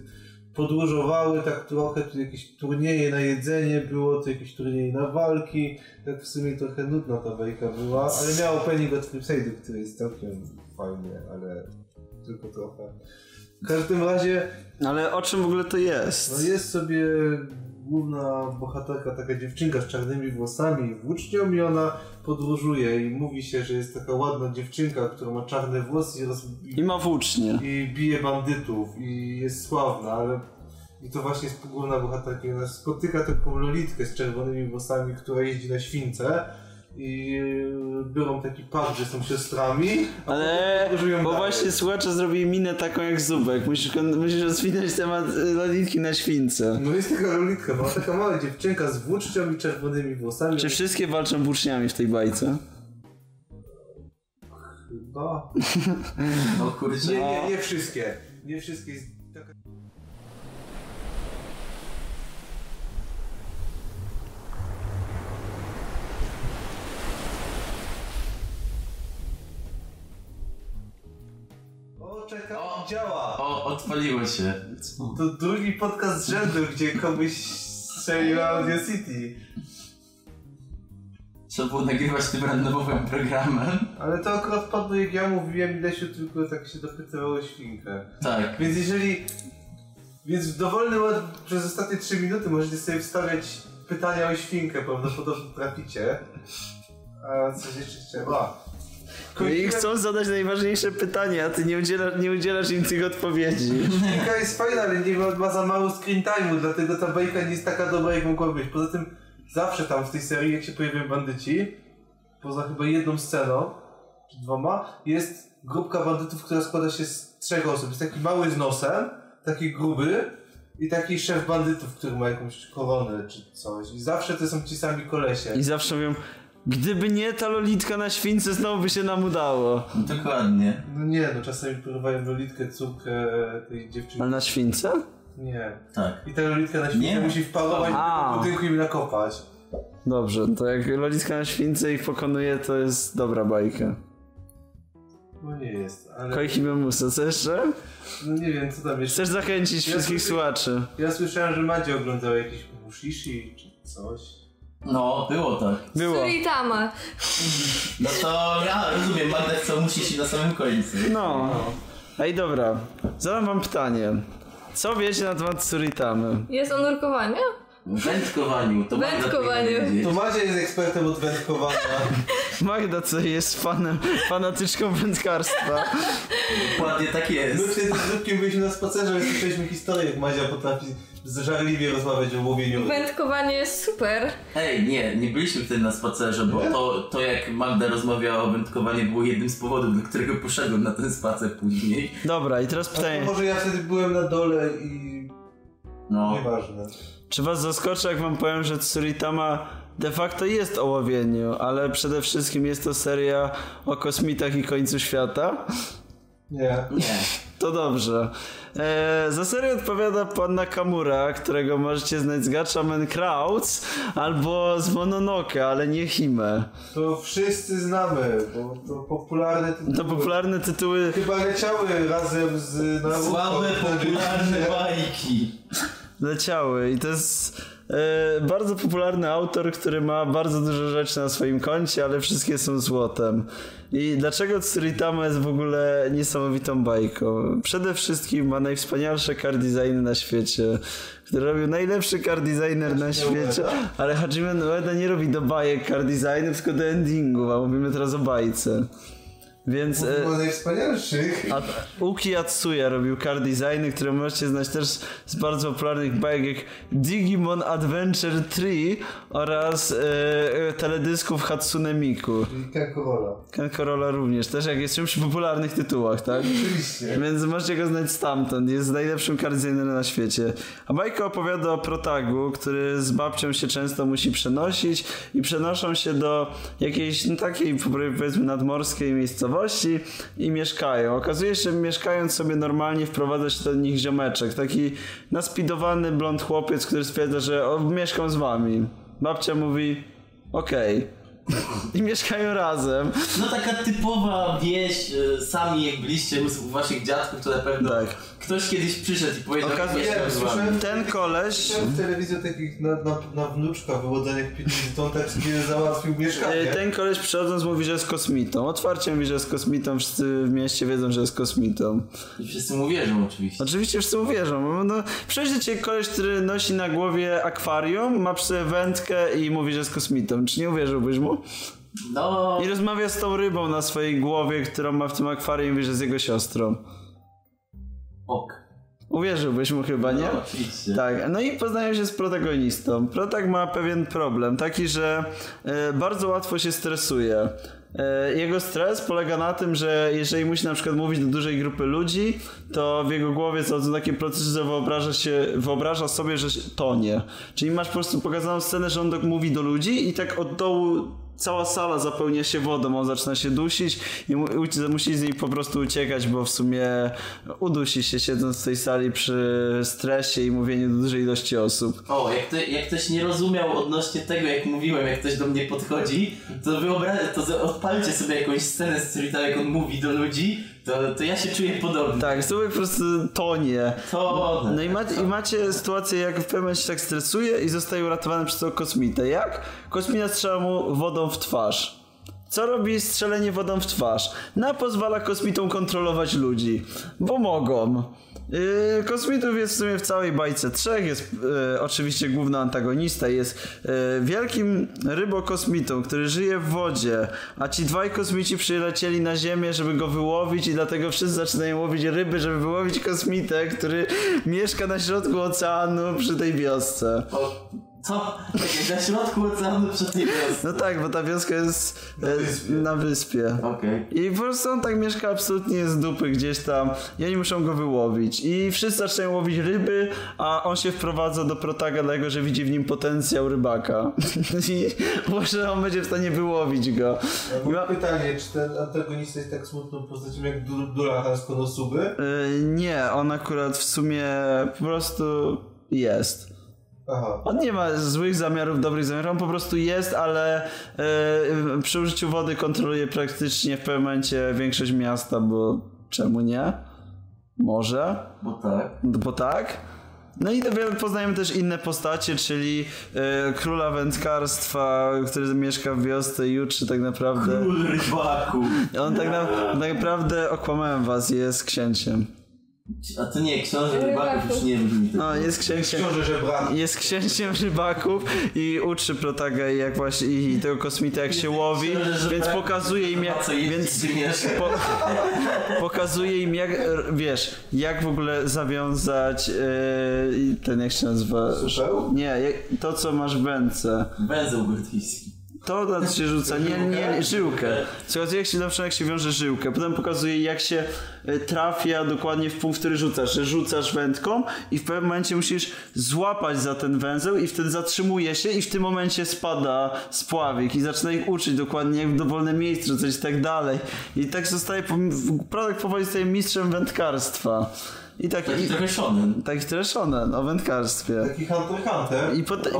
[SPEAKER 1] podłużowały tak trochę, tu jakieś turnieje na jedzenie było, tu jakieś turnieje na walki, tak w sumie trochę nudna ta bajka była, ale miała opening od Flipside'u, który jest całkiem fajny, ale tylko trochę. W każdym razie
[SPEAKER 4] Ale o czym w ogóle to
[SPEAKER 1] no
[SPEAKER 4] jest?
[SPEAKER 1] jest sobie główna bohaterka, taka dziewczynka z czarnymi włosami i włócznią i ona podróżuje i mówi się, że jest taka ładna dziewczynka, która ma czarne włosy i, roz...
[SPEAKER 4] I
[SPEAKER 1] i,
[SPEAKER 4] ma włócznie.
[SPEAKER 1] i bije bandytów i jest sławna, ale i to właśnie jest główna bohaterka. I Ona spotyka taką lolitkę z czerwonymi włosami, która jeździ na śwince i yy, biorą taki pakt, że są siostrami, a
[SPEAKER 4] Ale,
[SPEAKER 1] potem podróżują
[SPEAKER 4] bo
[SPEAKER 1] dalej.
[SPEAKER 4] właśnie słuchacze zrobili minę taką jak Zubek. Musisz, kon- musisz rozwinąć temat y, loditki na śwince.
[SPEAKER 1] No jest taka lolitka, ma taka mała dziewczynka z włócznią i czerwonymi włosami.
[SPEAKER 4] Czy wszystkie walczą włóczniami w tej bajce?
[SPEAKER 1] Chyba...
[SPEAKER 5] No kurczę.
[SPEAKER 1] Nie, nie, nie wszystkie. Nie wszystkie. Jest taka... O, czekaj,
[SPEAKER 3] O.
[SPEAKER 1] działa.
[SPEAKER 3] O, odpaliło się.
[SPEAKER 1] To drugi podcast z rzędu, gdzie komuś strzeliła Audio City.
[SPEAKER 3] Trzeba było nagrywać tym randomowym programem.
[SPEAKER 1] Ale to akurat padło jak ja mówiłem, Ilesiu tylko tak się dopytywało świnkę.
[SPEAKER 3] Tak.
[SPEAKER 1] Więc jeżeli. Więc w dowolnym od... przez ostatnie 3 minuty możecie sobie wstawiać pytania o świnkę, prawdopodobnie traficie. A coś jeszcze chciałem. A.
[SPEAKER 4] No I
[SPEAKER 1] Kończyłem-
[SPEAKER 4] chcą zadać najważniejsze pytania, a ty nie udzielasz, nie udzielasz im tych odpowiedzi.
[SPEAKER 1] Świnka jest fajna, ale nie ma, ma za mało screen time'u, dlatego ta bajka nie jest taka dobra, jak mogła być. Poza tym zawsze tam w tej serii, jak się pojawiają bandyci, poza chyba jedną sceną, czy dwoma, jest grupka bandytów, która składa się z trzech osób. Jest taki mały z nosem, taki gruby i taki szef bandytów, który ma jakąś koronę czy coś. I zawsze to są ci sami kolesie.
[SPEAKER 4] I zawsze mówią, gdyby nie ta lolitka na śwince, znowu by się nam udało.
[SPEAKER 3] Dokładnie.
[SPEAKER 1] No nie, no czasami porywają lolitkę, córkę e, tej dziewczyny.
[SPEAKER 4] Ale na śwince?
[SPEAKER 1] Nie.
[SPEAKER 3] Tak.
[SPEAKER 1] I ta lolitka na
[SPEAKER 3] Nie.
[SPEAKER 1] świecie musi wparować
[SPEAKER 4] A.
[SPEAKER 1] do budynku i im nakopać.
[SPEAKER 4] Dobrze, to jak lolitka na śwince ich pokonuje, to jest dobra bajka.
[SPEAKER 1] No nie jest, ale
[SPEAKER 4] Koichimy musa, co jeszcze?
[SPEAKER 1] no nie wiem co tam jeszcze.
[SPEAKER 4] Chcesz zachęcić
[SPEAKER 1] Ja
[SPEAKER 4] wszystkich
[SPEAKER 1] sobie-
[SPEAKER 4] słuchaczy.
[SPEAKER 1] Ja słyszałem, że Madzie oglądał jakiś Mushishi czy coś.
[SPEAKER 3] No, było tak.
[SPEAKER 4] Było.
[SPEAKER 2] Suritama.
[SPEAKER 3] No to ja rozumiem, Magda co musi się na samym końcu.
[SPEAKER 4] No. Ej, dobra. Zadam wam pytanie. Co wiecie na temat Suritamy?
[SPEAKER 2] Jest on nurkowania?
[SPEAKER 3] Wędkowaniu. To Magda
[SPEAKER 2] Wędkowaniu.
[SPEAKER 3] powinna wiedzieć.
[SPEAKER 1] To Macie No jest ekspertem od wędkowania.
[SPEAKER 4] Magda co jest fanem, fanatyczką wędkarstwa.
[SPEAKER 3] Dokładnie tak
[SPEAKER 1] My
[SPEAKER 3] jest.
[SPEAKER 1] przed zróbkiem byliśmy na spacerze i słyszeliśmy historię, jak Madzia potrafi żarliwie rozmawiać o łowieniu.
[SPEAKER 2] Wędkowanie jest super.
[SPEAKER 3] Ej, nie, nie byliśmy wtedy na spacerze, bo to, to jak Magda rozmawiała o wędkowaniu było jednym z powodów, dla którego poszedłem na ten spacer później.
[SPEAKER 4] Dobra, i teraz
[SPEAKER 1] A to
[SPEAKER 4] pytanie.
[SPEAKER 1] Znaczy, może ja wtedy byłem na dole i...
[SPEAKER 3] No.
[SPEAKER 1] Nieważne.
[SPEAKER 4] Czy was zaskoczy, jak wam powiem, że Tsuritama de facto jest o łowieniu, ale przede wszystkim jest to seria o kosmitach i końcu świata?
[SPEAKER 1] Nie.
[SPEAKER 3] Nie.
[SPEAKER 4] To dobrze. E, za serię odpowiada pan Nakamura, którego możecie znać z Gatchaman Crowds albo z Mononoke, ale nie Hime.
[SPEAKER 1] To wszyscy znamy, bo to popularne tytuły.
[SPEAKER 4] To popularne tytuły
[SPEAKER 1] Chyba leciały razem z... Naruto.
[SPEAKER 3] Słabe, popularne bajki.
[SPEAKER 4] leciały i to jest e, bardzo popularny autor, który ma bardzo dużo rzeczy na swoim koncie, ale wszystkie są złotem. I dlaczego Tsuritama jest w ogóle niesamowitą bajką? Przede wszystkim ma najwspanialsze car designy na świecie, który robił najlepszy car designer na świecie, ale Hajime Ueda nie robi do bajek car designu, tylko do endingu, a mówimy teraz o bajce. Więc... e,
[SPEAKER 1] Chyba najwspanialszych.
[SPEAKER 4] a Uki Atsuya robił car designy, które możecie znać też z bardzo popularnych bajek jak Digimon Adventure 3 oraz e, e, teledysków Hatsune Miku.
[SPEAKER 1] I Kankorola.
[SPEAKER 4] Kankorola również, też jak jest przy popularnych tytułach, tak?
[SPEAKER 1] Oczywiście.
[SPEAKER 4] Więc możecie go znać stamtąd. Jest najlepszym kardynerem na świecie. A Majka opowiada o protagu, który z babcią się często musi przenosić i przenoszą się do jakiejś no, takiej powiedzmy nadmorskiej miejscowości i mieszkają. Okazuje się, że mieszkając sobie normalnie wprowadza się do nich ziomeczek. Taki naspidowany blond chłopiec, który stwierdza, że o, mieszkam z wami. Babcia mówi okej. I mieszkają razem.
[SPEAKER 3] No taka typowa wieś, e, sami jak byliście u, u waszych dziadków, to na pewno
[SPEAKER 4] Tak.
[SPEAKER 3] ktoś kiedyś przyszedł i powiedział,
[SPEAKER 4] Okazuje-
[SPEAKER 3] że z wami.
[SPEAKER 1] Słyszałem-
[SPEAKER 4] Ten koleś...
[SPEAKER 1] Słyszałem w telewizji o takich na, na, na wnuczka wyłodzanych pieniędzy, to on tak sobie załatwił
[SPEAKER 4] E,
[SPEAKER 1] mieszkanie.
[SPEAKER 4] Ten koleś przychodząc mówi, że jest kosmitą. Otwarcie mówi, że jest kosmitą. Wszyscy w mieście wiedzą, że jest kosmitą.
[SPEAKER 3] I wszyscy mu wierzą oczywiście.
[SPEAKER 4] Oczywiście wszyscy uwierzą. No, przejdzie cię koleś, który nosi na głowie akwarium, ma przy sobie wędkę i mówi, że jest kosmitą. Czy nie uwierzyłbyś mu?
[SPEAKER 3] No,
[SPEAKER 4] I rozmawia z tą rybą na swojej głowie, którą ma w tym akwarium i mówi, że jest jego siostrą.
[SPEAKER 3] ok.
[SPEAKER 4] Uwierzyłbyś mu chyba, nie?
[SPEAKER 3] No, oczywiście.
[SPEAKER 4] Tak, no i poznają się z protagonistą. Protag ma pewien problem, taki, że e, bardzo łatwo się stresuje. E, jego stres polega na tym, że jeżeli musi na przykład mówić do dużej grupy ludzi, to w jego głowie zachodzą takie procesy, że wyobraża, się, wyobraża sobie, że się tonie. Czyli masz po prostu pokazaną scenę, że on do, mówi do ludzi i tak od dołu cała sala zapełnia się wodą, on zaczyna się dusić i mu, uci- musi z niej po prostu uciekać, bo w sumie udusi się siedząc w tej sali przy stresie i mówieniu do dużej ilości osób.
[SPEAKER 3] O, jak, to, jak ktoś nie rozumiał odnośnie tego, jak mówiłem, jak ktoś do mnie podchodzi, to wyobraźcie, to z- odpalcie sobie jakąś scenę z Cyrita, jak on mówi do ludzi, to, to ja się czuję podobny.
[SPEAKER 4] Tak, to po prostu tonie.
[SPEAKER 3] To...
[SPEAKER 4] No i, macie- i macie sytuację, jak w pewnym momencie się tak stresuje i zostaje uratowany przez tego kosmitę. Jak? Kosmita strzela mu wodą w twarz. Co robi strzelenie wodą w twarz? Na pozwala kosmitom kontrolować ludzi, bo mogą. Yy, kosmitów jest w sumie w całej bajce trzech, jest yy, oczywiście główny antagonista, jest yy, wielkim rybokosmitą, który żyje w wodzie, a ci dwaj kosmici przylecieli na ziemię, żeby go wyłowić i dlatego wszyscy zaczynają łowić ryby, żeby wyłowić kosmitę, który mieszka na środku oceanu przy tej wiosce.
[SPEAKER 3] O, co? Tak jak na środku oceanu przy tej wiosce.
[SPEAKER 4] No tak, bo ta wioska jest na wyspie. Na wyspie.
[SPEAKER 3] Okej.
[SPEAKER 4] I po prostu on tak mieszka absolutnie z dupy gdzieś tam i oni muszą go wyłowić. I wszyscy zaczynają łowić ryby, a on się wprowadza do protaga dlatego, że widzi w nim potencjał rybaka. I może on będzie w stanie wyłowić go.
[SPEAKER 1] Ja Mam pytanie, czy ten antagonista jest tak smutną postacią jak Dur- Durahan z Konosuby?
[SPEAKER 4] Yy, nie, on akurat w sumie po prostu jest.
[SPEAKER 1] Aha.
[SPEAKER 4] On nie ma złych zamiarów, dobrych zamiarów, on po prostu jest, ale yy, przy użyciu wody kontroluje praktycznie w pewnym momencie większość miasta, bo czemu nie? Może.
[SPEAKER 3] Bo tak.
[SPEAKER 4] No bo tak. No i dowie- poznajemy też inne postacie, czyli e, króla wędkarstwa, który mieszka w wiosce Juczy tak naprawdę.
[SPEAKER 3] Król rybaku.
[SPEAKER 4] On tak, na, tak naprawdę okłamałem was, jest księciem.
[SPEAKER 3] A to nie, książę rybaków już nie brzmi. tak.
[SPEAKER 4] No, jest księciem.
[SPEAKER 1] Książę żebrak.
[SPEAKER 4] Jest księciem rybaków i uczy Protagę jak właśnie i tego kosmita jak się łowi, więc pokazuje im jak,
[SPEAKER 3] Co jest,
[SPEAKER 4] więc
[SPEAKER 3] gdzie mieszka.
[SPEAKER 4] po, pokazuje im jak, r- wiesz, jak w ogóle zawiązać yy, i ten jak się nazywa?
[SPEAKER 1] Słyszał?
[SPEAKER 4] Nie, jak, to co masz w ręce.
[SPEAKER 3] Węzeł gordyjski.
[SPEAKER 4] To na co się rzuca, nie, nie, żyłkę. Słuchajcie, jak się na przykład jak się wiąże żyłkę, potem pokazuje jak się e, trafia dokładnie w punkt, który rzucasz, że rzucasz wędką i w pewnym momencie musisz złapać za ten węzeł i wtedy zatrzymuje się i w tym momencie spada spławik i zaczyna ich uczyć dokładnie jak w dowolne miejsce rzucać i tak dalej. I tak zostaje, pom- produkt powoli staje mistrzem wędkarstwa. I tak,
[SPEAKER 3] Taki
[SPEAKER 4] i,
[SPEAKER 3] trochę shonen.
[SPEAKER 4] tak treszone o wędkarstwie.
[SPEAKER 1] Taki Hunter x Hunter.
[SPEAKER 4] I potem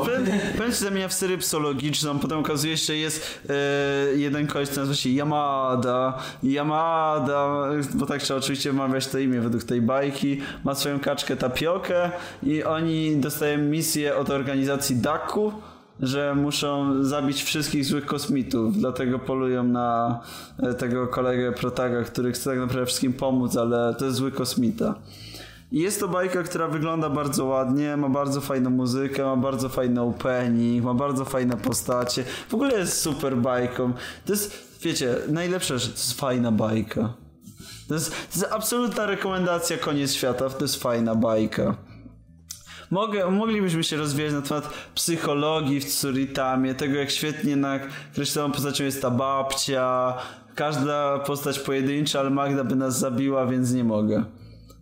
[SPEAKER 4] powiem się zamienia w syrypsologiczną, potem okazuje się, że jest e, jeden koleś, który nazywa się Yamada, Yamada, bo tak trzeba oczywiście wymawiać to imię według tej bajki, ma swoją kaczkę tapiokę i oni dostają misję od organizacji DAKU, że muszą zabić wszystkich złych kosmitów, dlatego polują na e, tego kolegę Protaga, który chce tak naprawdę wszystkim pomóc, ale to jest zły kosmita. I Jest to bajka, która wygląda bardzo ładnie, ma bardzo fajną muzykę, ma bardzo fajny opening, ma bardzo fajne postacie. W ogóle jest super bajką. To jest, wiecie, najlepsza rzecz, to jest fajna bajka. To jest, to jest absolutna rekomendacja Koniec Świata, to jest fajna bajka. Mogę, moglibyśmy się rozwijać na temat psychologii w Tsuritamie, tego jak świetnie nakreśloną postacią jest ta babcia, każda postać pojedyncza, ale Magda by nas zabiła, więc nie mogę.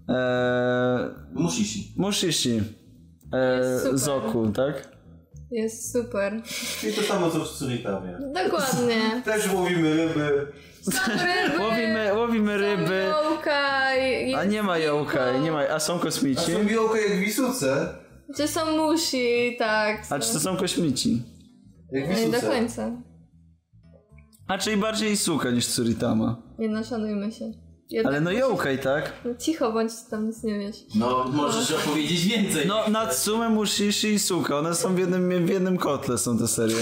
[SPEAKER 4] Eee,
[SPEAKER 3] Musi się.
[SPEAKER 4] Mushishi.
[SPEAKER 2] Jest
[SPEAKER 4] Eee,
[SPEAKER 2] super.
[SPEAKER 4] Zoku, tak?
[SPEAKER 2] Jest super.
[SPEAKER 1] Czyli to samo co w Suritamie.
[SPEAKER 2] Dokładnie.
[SPEAKER 1] Też łowimy ryby.
[SPEAKER 2] Są ryby,
[SPEAKER 4] Łowimy, łowimy ryby.
[SPEAKER 2] są jołka i- i-
[SPEAKER 4] A nie ma yokai, nie ma. A są
[SPEAKER 1] A
[SPEAKER 4] kosmici?
[SPEAKER 1] są białka jak wisuce.
[SPEAKER 2] Czy są musi, tak.
[SPEAKER 4] A czy to są kosmici?
[SPEAKER 1] Jak
[SPEAKER 2] Nie do
[SPEAKER 1] wisuce.
[SPEAKER 2] końca.
[SPEAKER 4] A czyli bardziej suka niż Tsuritama.
[SPEAKER 2] Nie no, szanujmy się. Jednak
[SPEAKER 4] Ale no yokai, tak?
[SPEAKER 2] No Cicho bądź, tam nic nie wiesz.
[SPEAKER 3] No, możesz opowiedzieć więcej.
[SPEAKER 4] No, Natsume, Mushishi i Suka, one są w jednym, w jednym kotle, są te serie.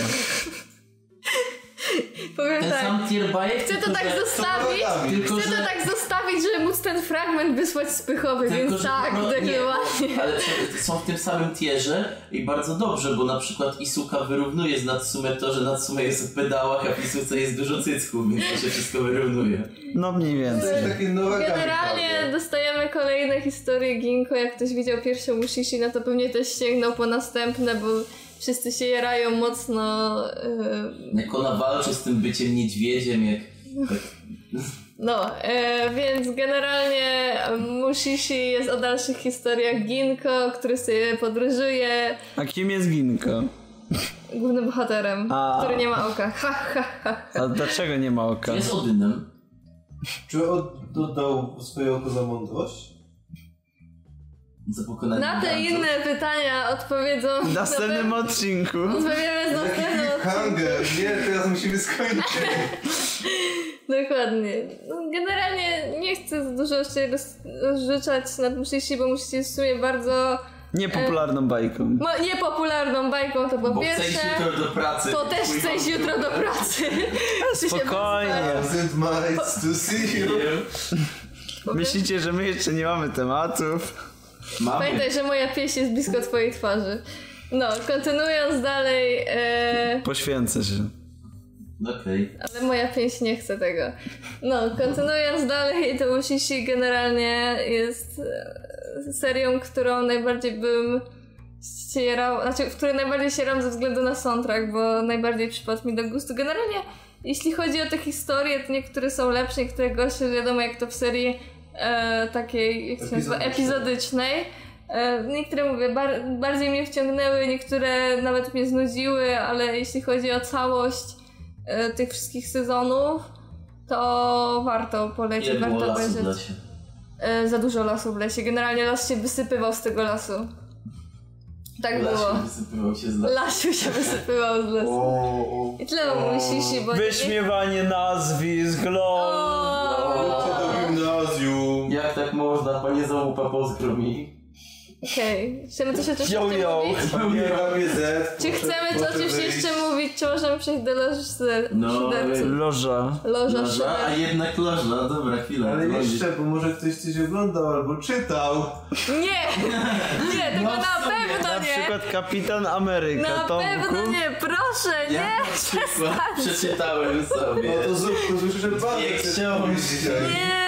[SPEAKER 2] Powiem
[SPEAKER 5] Ten
[SPEAKER 2] tak.
[SPEAKER 5] sam tier bajek.
[SPEAKER 2] Chcę to
[SPEAKER 5] tylko
[SPEAKER 2] tak
[SPEAKER 5] że-
[SPEAKER 2] zostawić.
[SPEAKER 5] Tylko,
[SPEAKER 2] Chcę
[SPEAKER 5] że-
[SPEAKER 2] to tak zostawić, żeby móc ten fragment wysłać spychowy,
[SPEAKER 3] Tylko,
[SPEAKER 2] więc
[SPEAKER 3] że-
[SPEAKER 2] tak,
[SPEAKER 3] no, nie,
[SPEAKER 2] zdecydowanie.
[SPEAKER 3] Ale są- są w tym samym tierze i bardzo dobrze, bo na przykład Isuka wyrównuje z Natsume to, że Natsume jest w pedałach, a w Isuce jest dużo cycków, więc to się wszystko wyrównuje.
[SPEAKER 4] No mniej więcej.
[SPEAKER 1] Takie nowe tak.
[SPEAKER 2] Generalnie dostajemy kolejne historie Ginko. Jak ktoś widział pierwszą Mushishi, no to pewnie też sięgnął po następne, bo wszyscy się jarają mocno. Yy,
[SPEAKER 3] Jak ona walczy z tym byciem niedźwiedziem, jak... jak
[SPEAKER 2] no, yy, więc generalnie Mushishi jest o dalszych historiach Ginko, który sobie podróżuje
[SPEAKER 4] A kim jest Ginka?
[SPEAKER 2] głównym bohaterem,
[SPEAKER 4] A.
[SPEAKER 2] który nie ma oka. Ha, ha, ha.
[SPEAKER 4] A dlaczego nie ma oka?
[SPEAKER 3] jest Odynem.
[SPEAKER 1] Czy oddał swoje oko za mądrość?
[SPEAKER 3] Za pokonanie
[SPEAKER 2] Na te
[SPEAKER 3] gigantów.
[SPEAKER 2] inne pytania odpowiedzą.
[SPEAKER 4] W
[SPEAKER 2] na
[SPEAKER 4] następnym
[SPEAKER 2] pewno-
[SPEAKER 4] odcinku.
[SPEAKER 2] Odpowiemy z
[SPEAKER 1] Taki
[SPEAKER 2] następnym odcinkiem.
[SPEAKER 1] cliffhanger. Nie, teraz musimy skończyć.
[SPEAKER 2] Dokładnie. No, generalnie nie chcę za dużo się roz- rozrzeczać nad Mushishi, bo Mushishi jest w sumie bardzo
[SPEAKER 4] Niepopularną bajką.
[SPEAKER 2] mo- niepopularną bajką, to po
[SPEAKER 3] Bo chce
[SPEAKER 2] pierwsze.
[SPEAKER 3] iść jutro do pracy.
[SPEAKER 2] To też
[SPEAKER 3] Chuj
[SPEAKER 2] chcę iść
[SPEAKER 3] wam
[SPEAKER 2] jutro do pracy. Czy się
[SPEAKER 4] Spokojnie.
[SPEAKER 2] postaram.
[SPEAKER 1] Isn't my to see you.
[SPEAKER 3] Nie.
[SPEAKER 4] Myślicie, że my jeszcze nie mamy tematów?
[SPEAKER 3] Mamy.
[SPEAKER 2] Pamiętaj, że moja pieśń jest blisko twojej twarzy. No, kontynuując dalej, e,
[SPEAKER 4] Poświęcę się.
[SPEAKER 3] No Okej.
[SPEAKER 2] ale moja pięść nie chce tego. No, kontynuując dalej, to Mushishi generalnie jest e, serią, którą najbardziej bym ścierał, znaczy, w której najbardziej sieram ze względu na soundtrack, bo najbardziej przypadł mi do gustu. Generalnie, jeśli chodzi o te historie, to niektóre są lepsze, niektóre gorsze, wiadomo, jak to w serii e, takiej, jak się nazywa,
[SPEAKER 1] Epizodycznej.
[SPEAKER 2] epizodycznej. E, niektóre, mówię, bar- bardziej mnie wciągnęły, niektóre nawet mnie znudziły, ale jeśli chodzi o całość e, tych wszystkich sezonów, to warto polecić,
[SPEAKER 3] Ile było
[SPEAKER 2] Tak, warto
[SPEAKER 3] lasu dla
[SPEAKER 2] obejrzeć.
[SPEAKER 3] ciebie?
[SPEAKER 2] E, za dużo lasu w lesie. Generalnie las się wysypywał z tego lasu. Tak było.
[SPEAKER 3] Lasie wysypywał się z lasu.
[SPEAKER 2] Lasiu się wysypywał z lasu. I tyle o Musisi, bo...
[SPEAKER 4] Wyśmiewanie nazwisk, lol.
[SPEAKER 2] O!
[SPEAKER 1] Chodźcie do gimnazjum.
[SPEAKER 3] Jak tak można? Panie Załupa pozdrowi.
[SPEAKER 2] Okej. Chcemy coś jeszcze
[SPEAKER 4] Yo, yo.
[SPEAKER 2] mówić? Czy chcemy coś jeszcze, jeszcze mówić, czy możemy przejść do loży
[SPEAKER 3] No,
[SPEAKER 4] Loża.
[SPEAKER 2] Loża
[SPEAKER 3] Loża, a
[SPEAKER 2] szyderców.
[SPEAKER 3] jednak loża, dobra, chwila.
[SPEAKER 1] Ale
[SPEAKER 3] logi.
[SPEAKER 1] jeszcze, bo może ktoś coś oglądał albo czytał.
[SPEAKER 2] Nie! Nie, tego na pewno
[SPEAKER 4] No Na
[SPEAKER 2] nie!
[SPEAKER 4] przykład Kapitan Ameryka,
[SPEAKER 2] Na
[SPEAKER 4] Tomku.
[SPEAKER 2] pewno nie, proszę,
[SPEAKER 3] Ja
[SPEAKER 2] nie!
[SPEAKER 3] na przykład Przeczytałem sobie.
[SPEAKER 1] No to zrób, to słyszę, że bardzo
[SPEAKER 3] Nie
[SPEAKER 1] chcę
[SPEAKER 3] chciałem.
[SPEAKER 1] mówić dzisiaj.
[SPEAKER 2] Nie!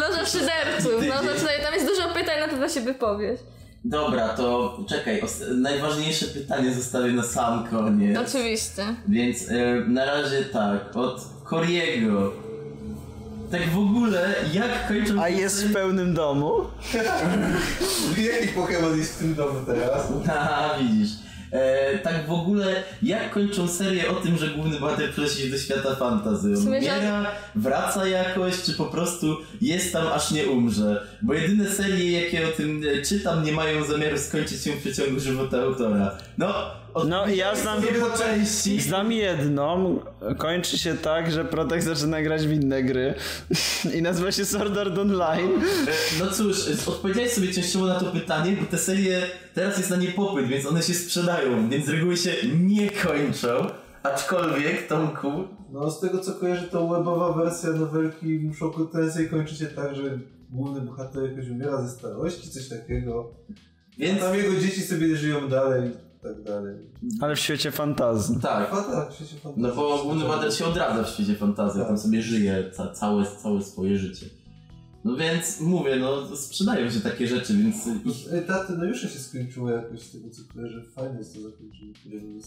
[SPEAKER 2] Loża szyderców, loża szyderców, tam jest dużo pytań, na pewno się wypowiesz.
[SPEAKER 3] Dobra, to czekaj, os- najważniejsze pytanie zostawię na sam koniec.
[SPEAKER 2] Oczywiście.
[SPEAKER 3] Więc e, na razie tak, od Koriego. Tak w ogóle, jak kończą
[SPEAKER 4] A jest w pełnym domu?
[SPEAKER 1] Jaki Pokémon jest w tym domu teraz?
[SPEAKER 3] A, widzisz. E, tak w ogóle, jak kończą serię o tym, że główny bohater przenosi się do świata fantazy?
[SPEAKER 2] W
[SPEAKER 3] On
[SPEAKER 2] sumie
[SPEAKER 3] umiera, wraca jakoś, czy po prostu jest tam, aż nie umrze? Bo jedyne serie, jakie o tym e, czytam, nie mają zamiaru skończyć się w przeciągu żywota autora. No, od...
[SPEAKER 4] No ja znam,
[SPEAKER 3] sobie po części.
[SPEAKER 4] znam jedną. Kończy się tak, że Protek zaczyna grać w inne gry. I nazywa się Sword Art Online.
[SPEAKER 3] No cóż, e, odpowiedziałeś sobie częściowo na to pytanie, bo te serie teraz jest na nie popyt, więc one się sprzedają, więc z reguły się nie kończą. Aczkolwiek, Tomku,
[SPEAKER 1] No z tego co kojarzę, to webowa wersja nowelki Mushoku Tensei kończy się tak, że główny bohater jakoś umiera ze starości, coś takiego.
[SPEAKER 3] więc
[SPEAKER 1] Tam jego dzieci sobie żyją dalej i tak dalej.
[SPEAKER 4] Ale w świecie fantazji.
[SPEAKER 3] tak.
[SPEAKER 1] A tak, się się fantazja.
[SPEAKER 3] No bo główny bohater się odradza w świecie fantazji, tam sobie żyje ca całe, całe swoje życie. No więc mówię, no sprzedają się takie rzeczy, więc ich
[SPEAKER 1] Ej, Taty, no już się skończyło jakoś z tego co kojarzę. Fajne jest to zakończenie.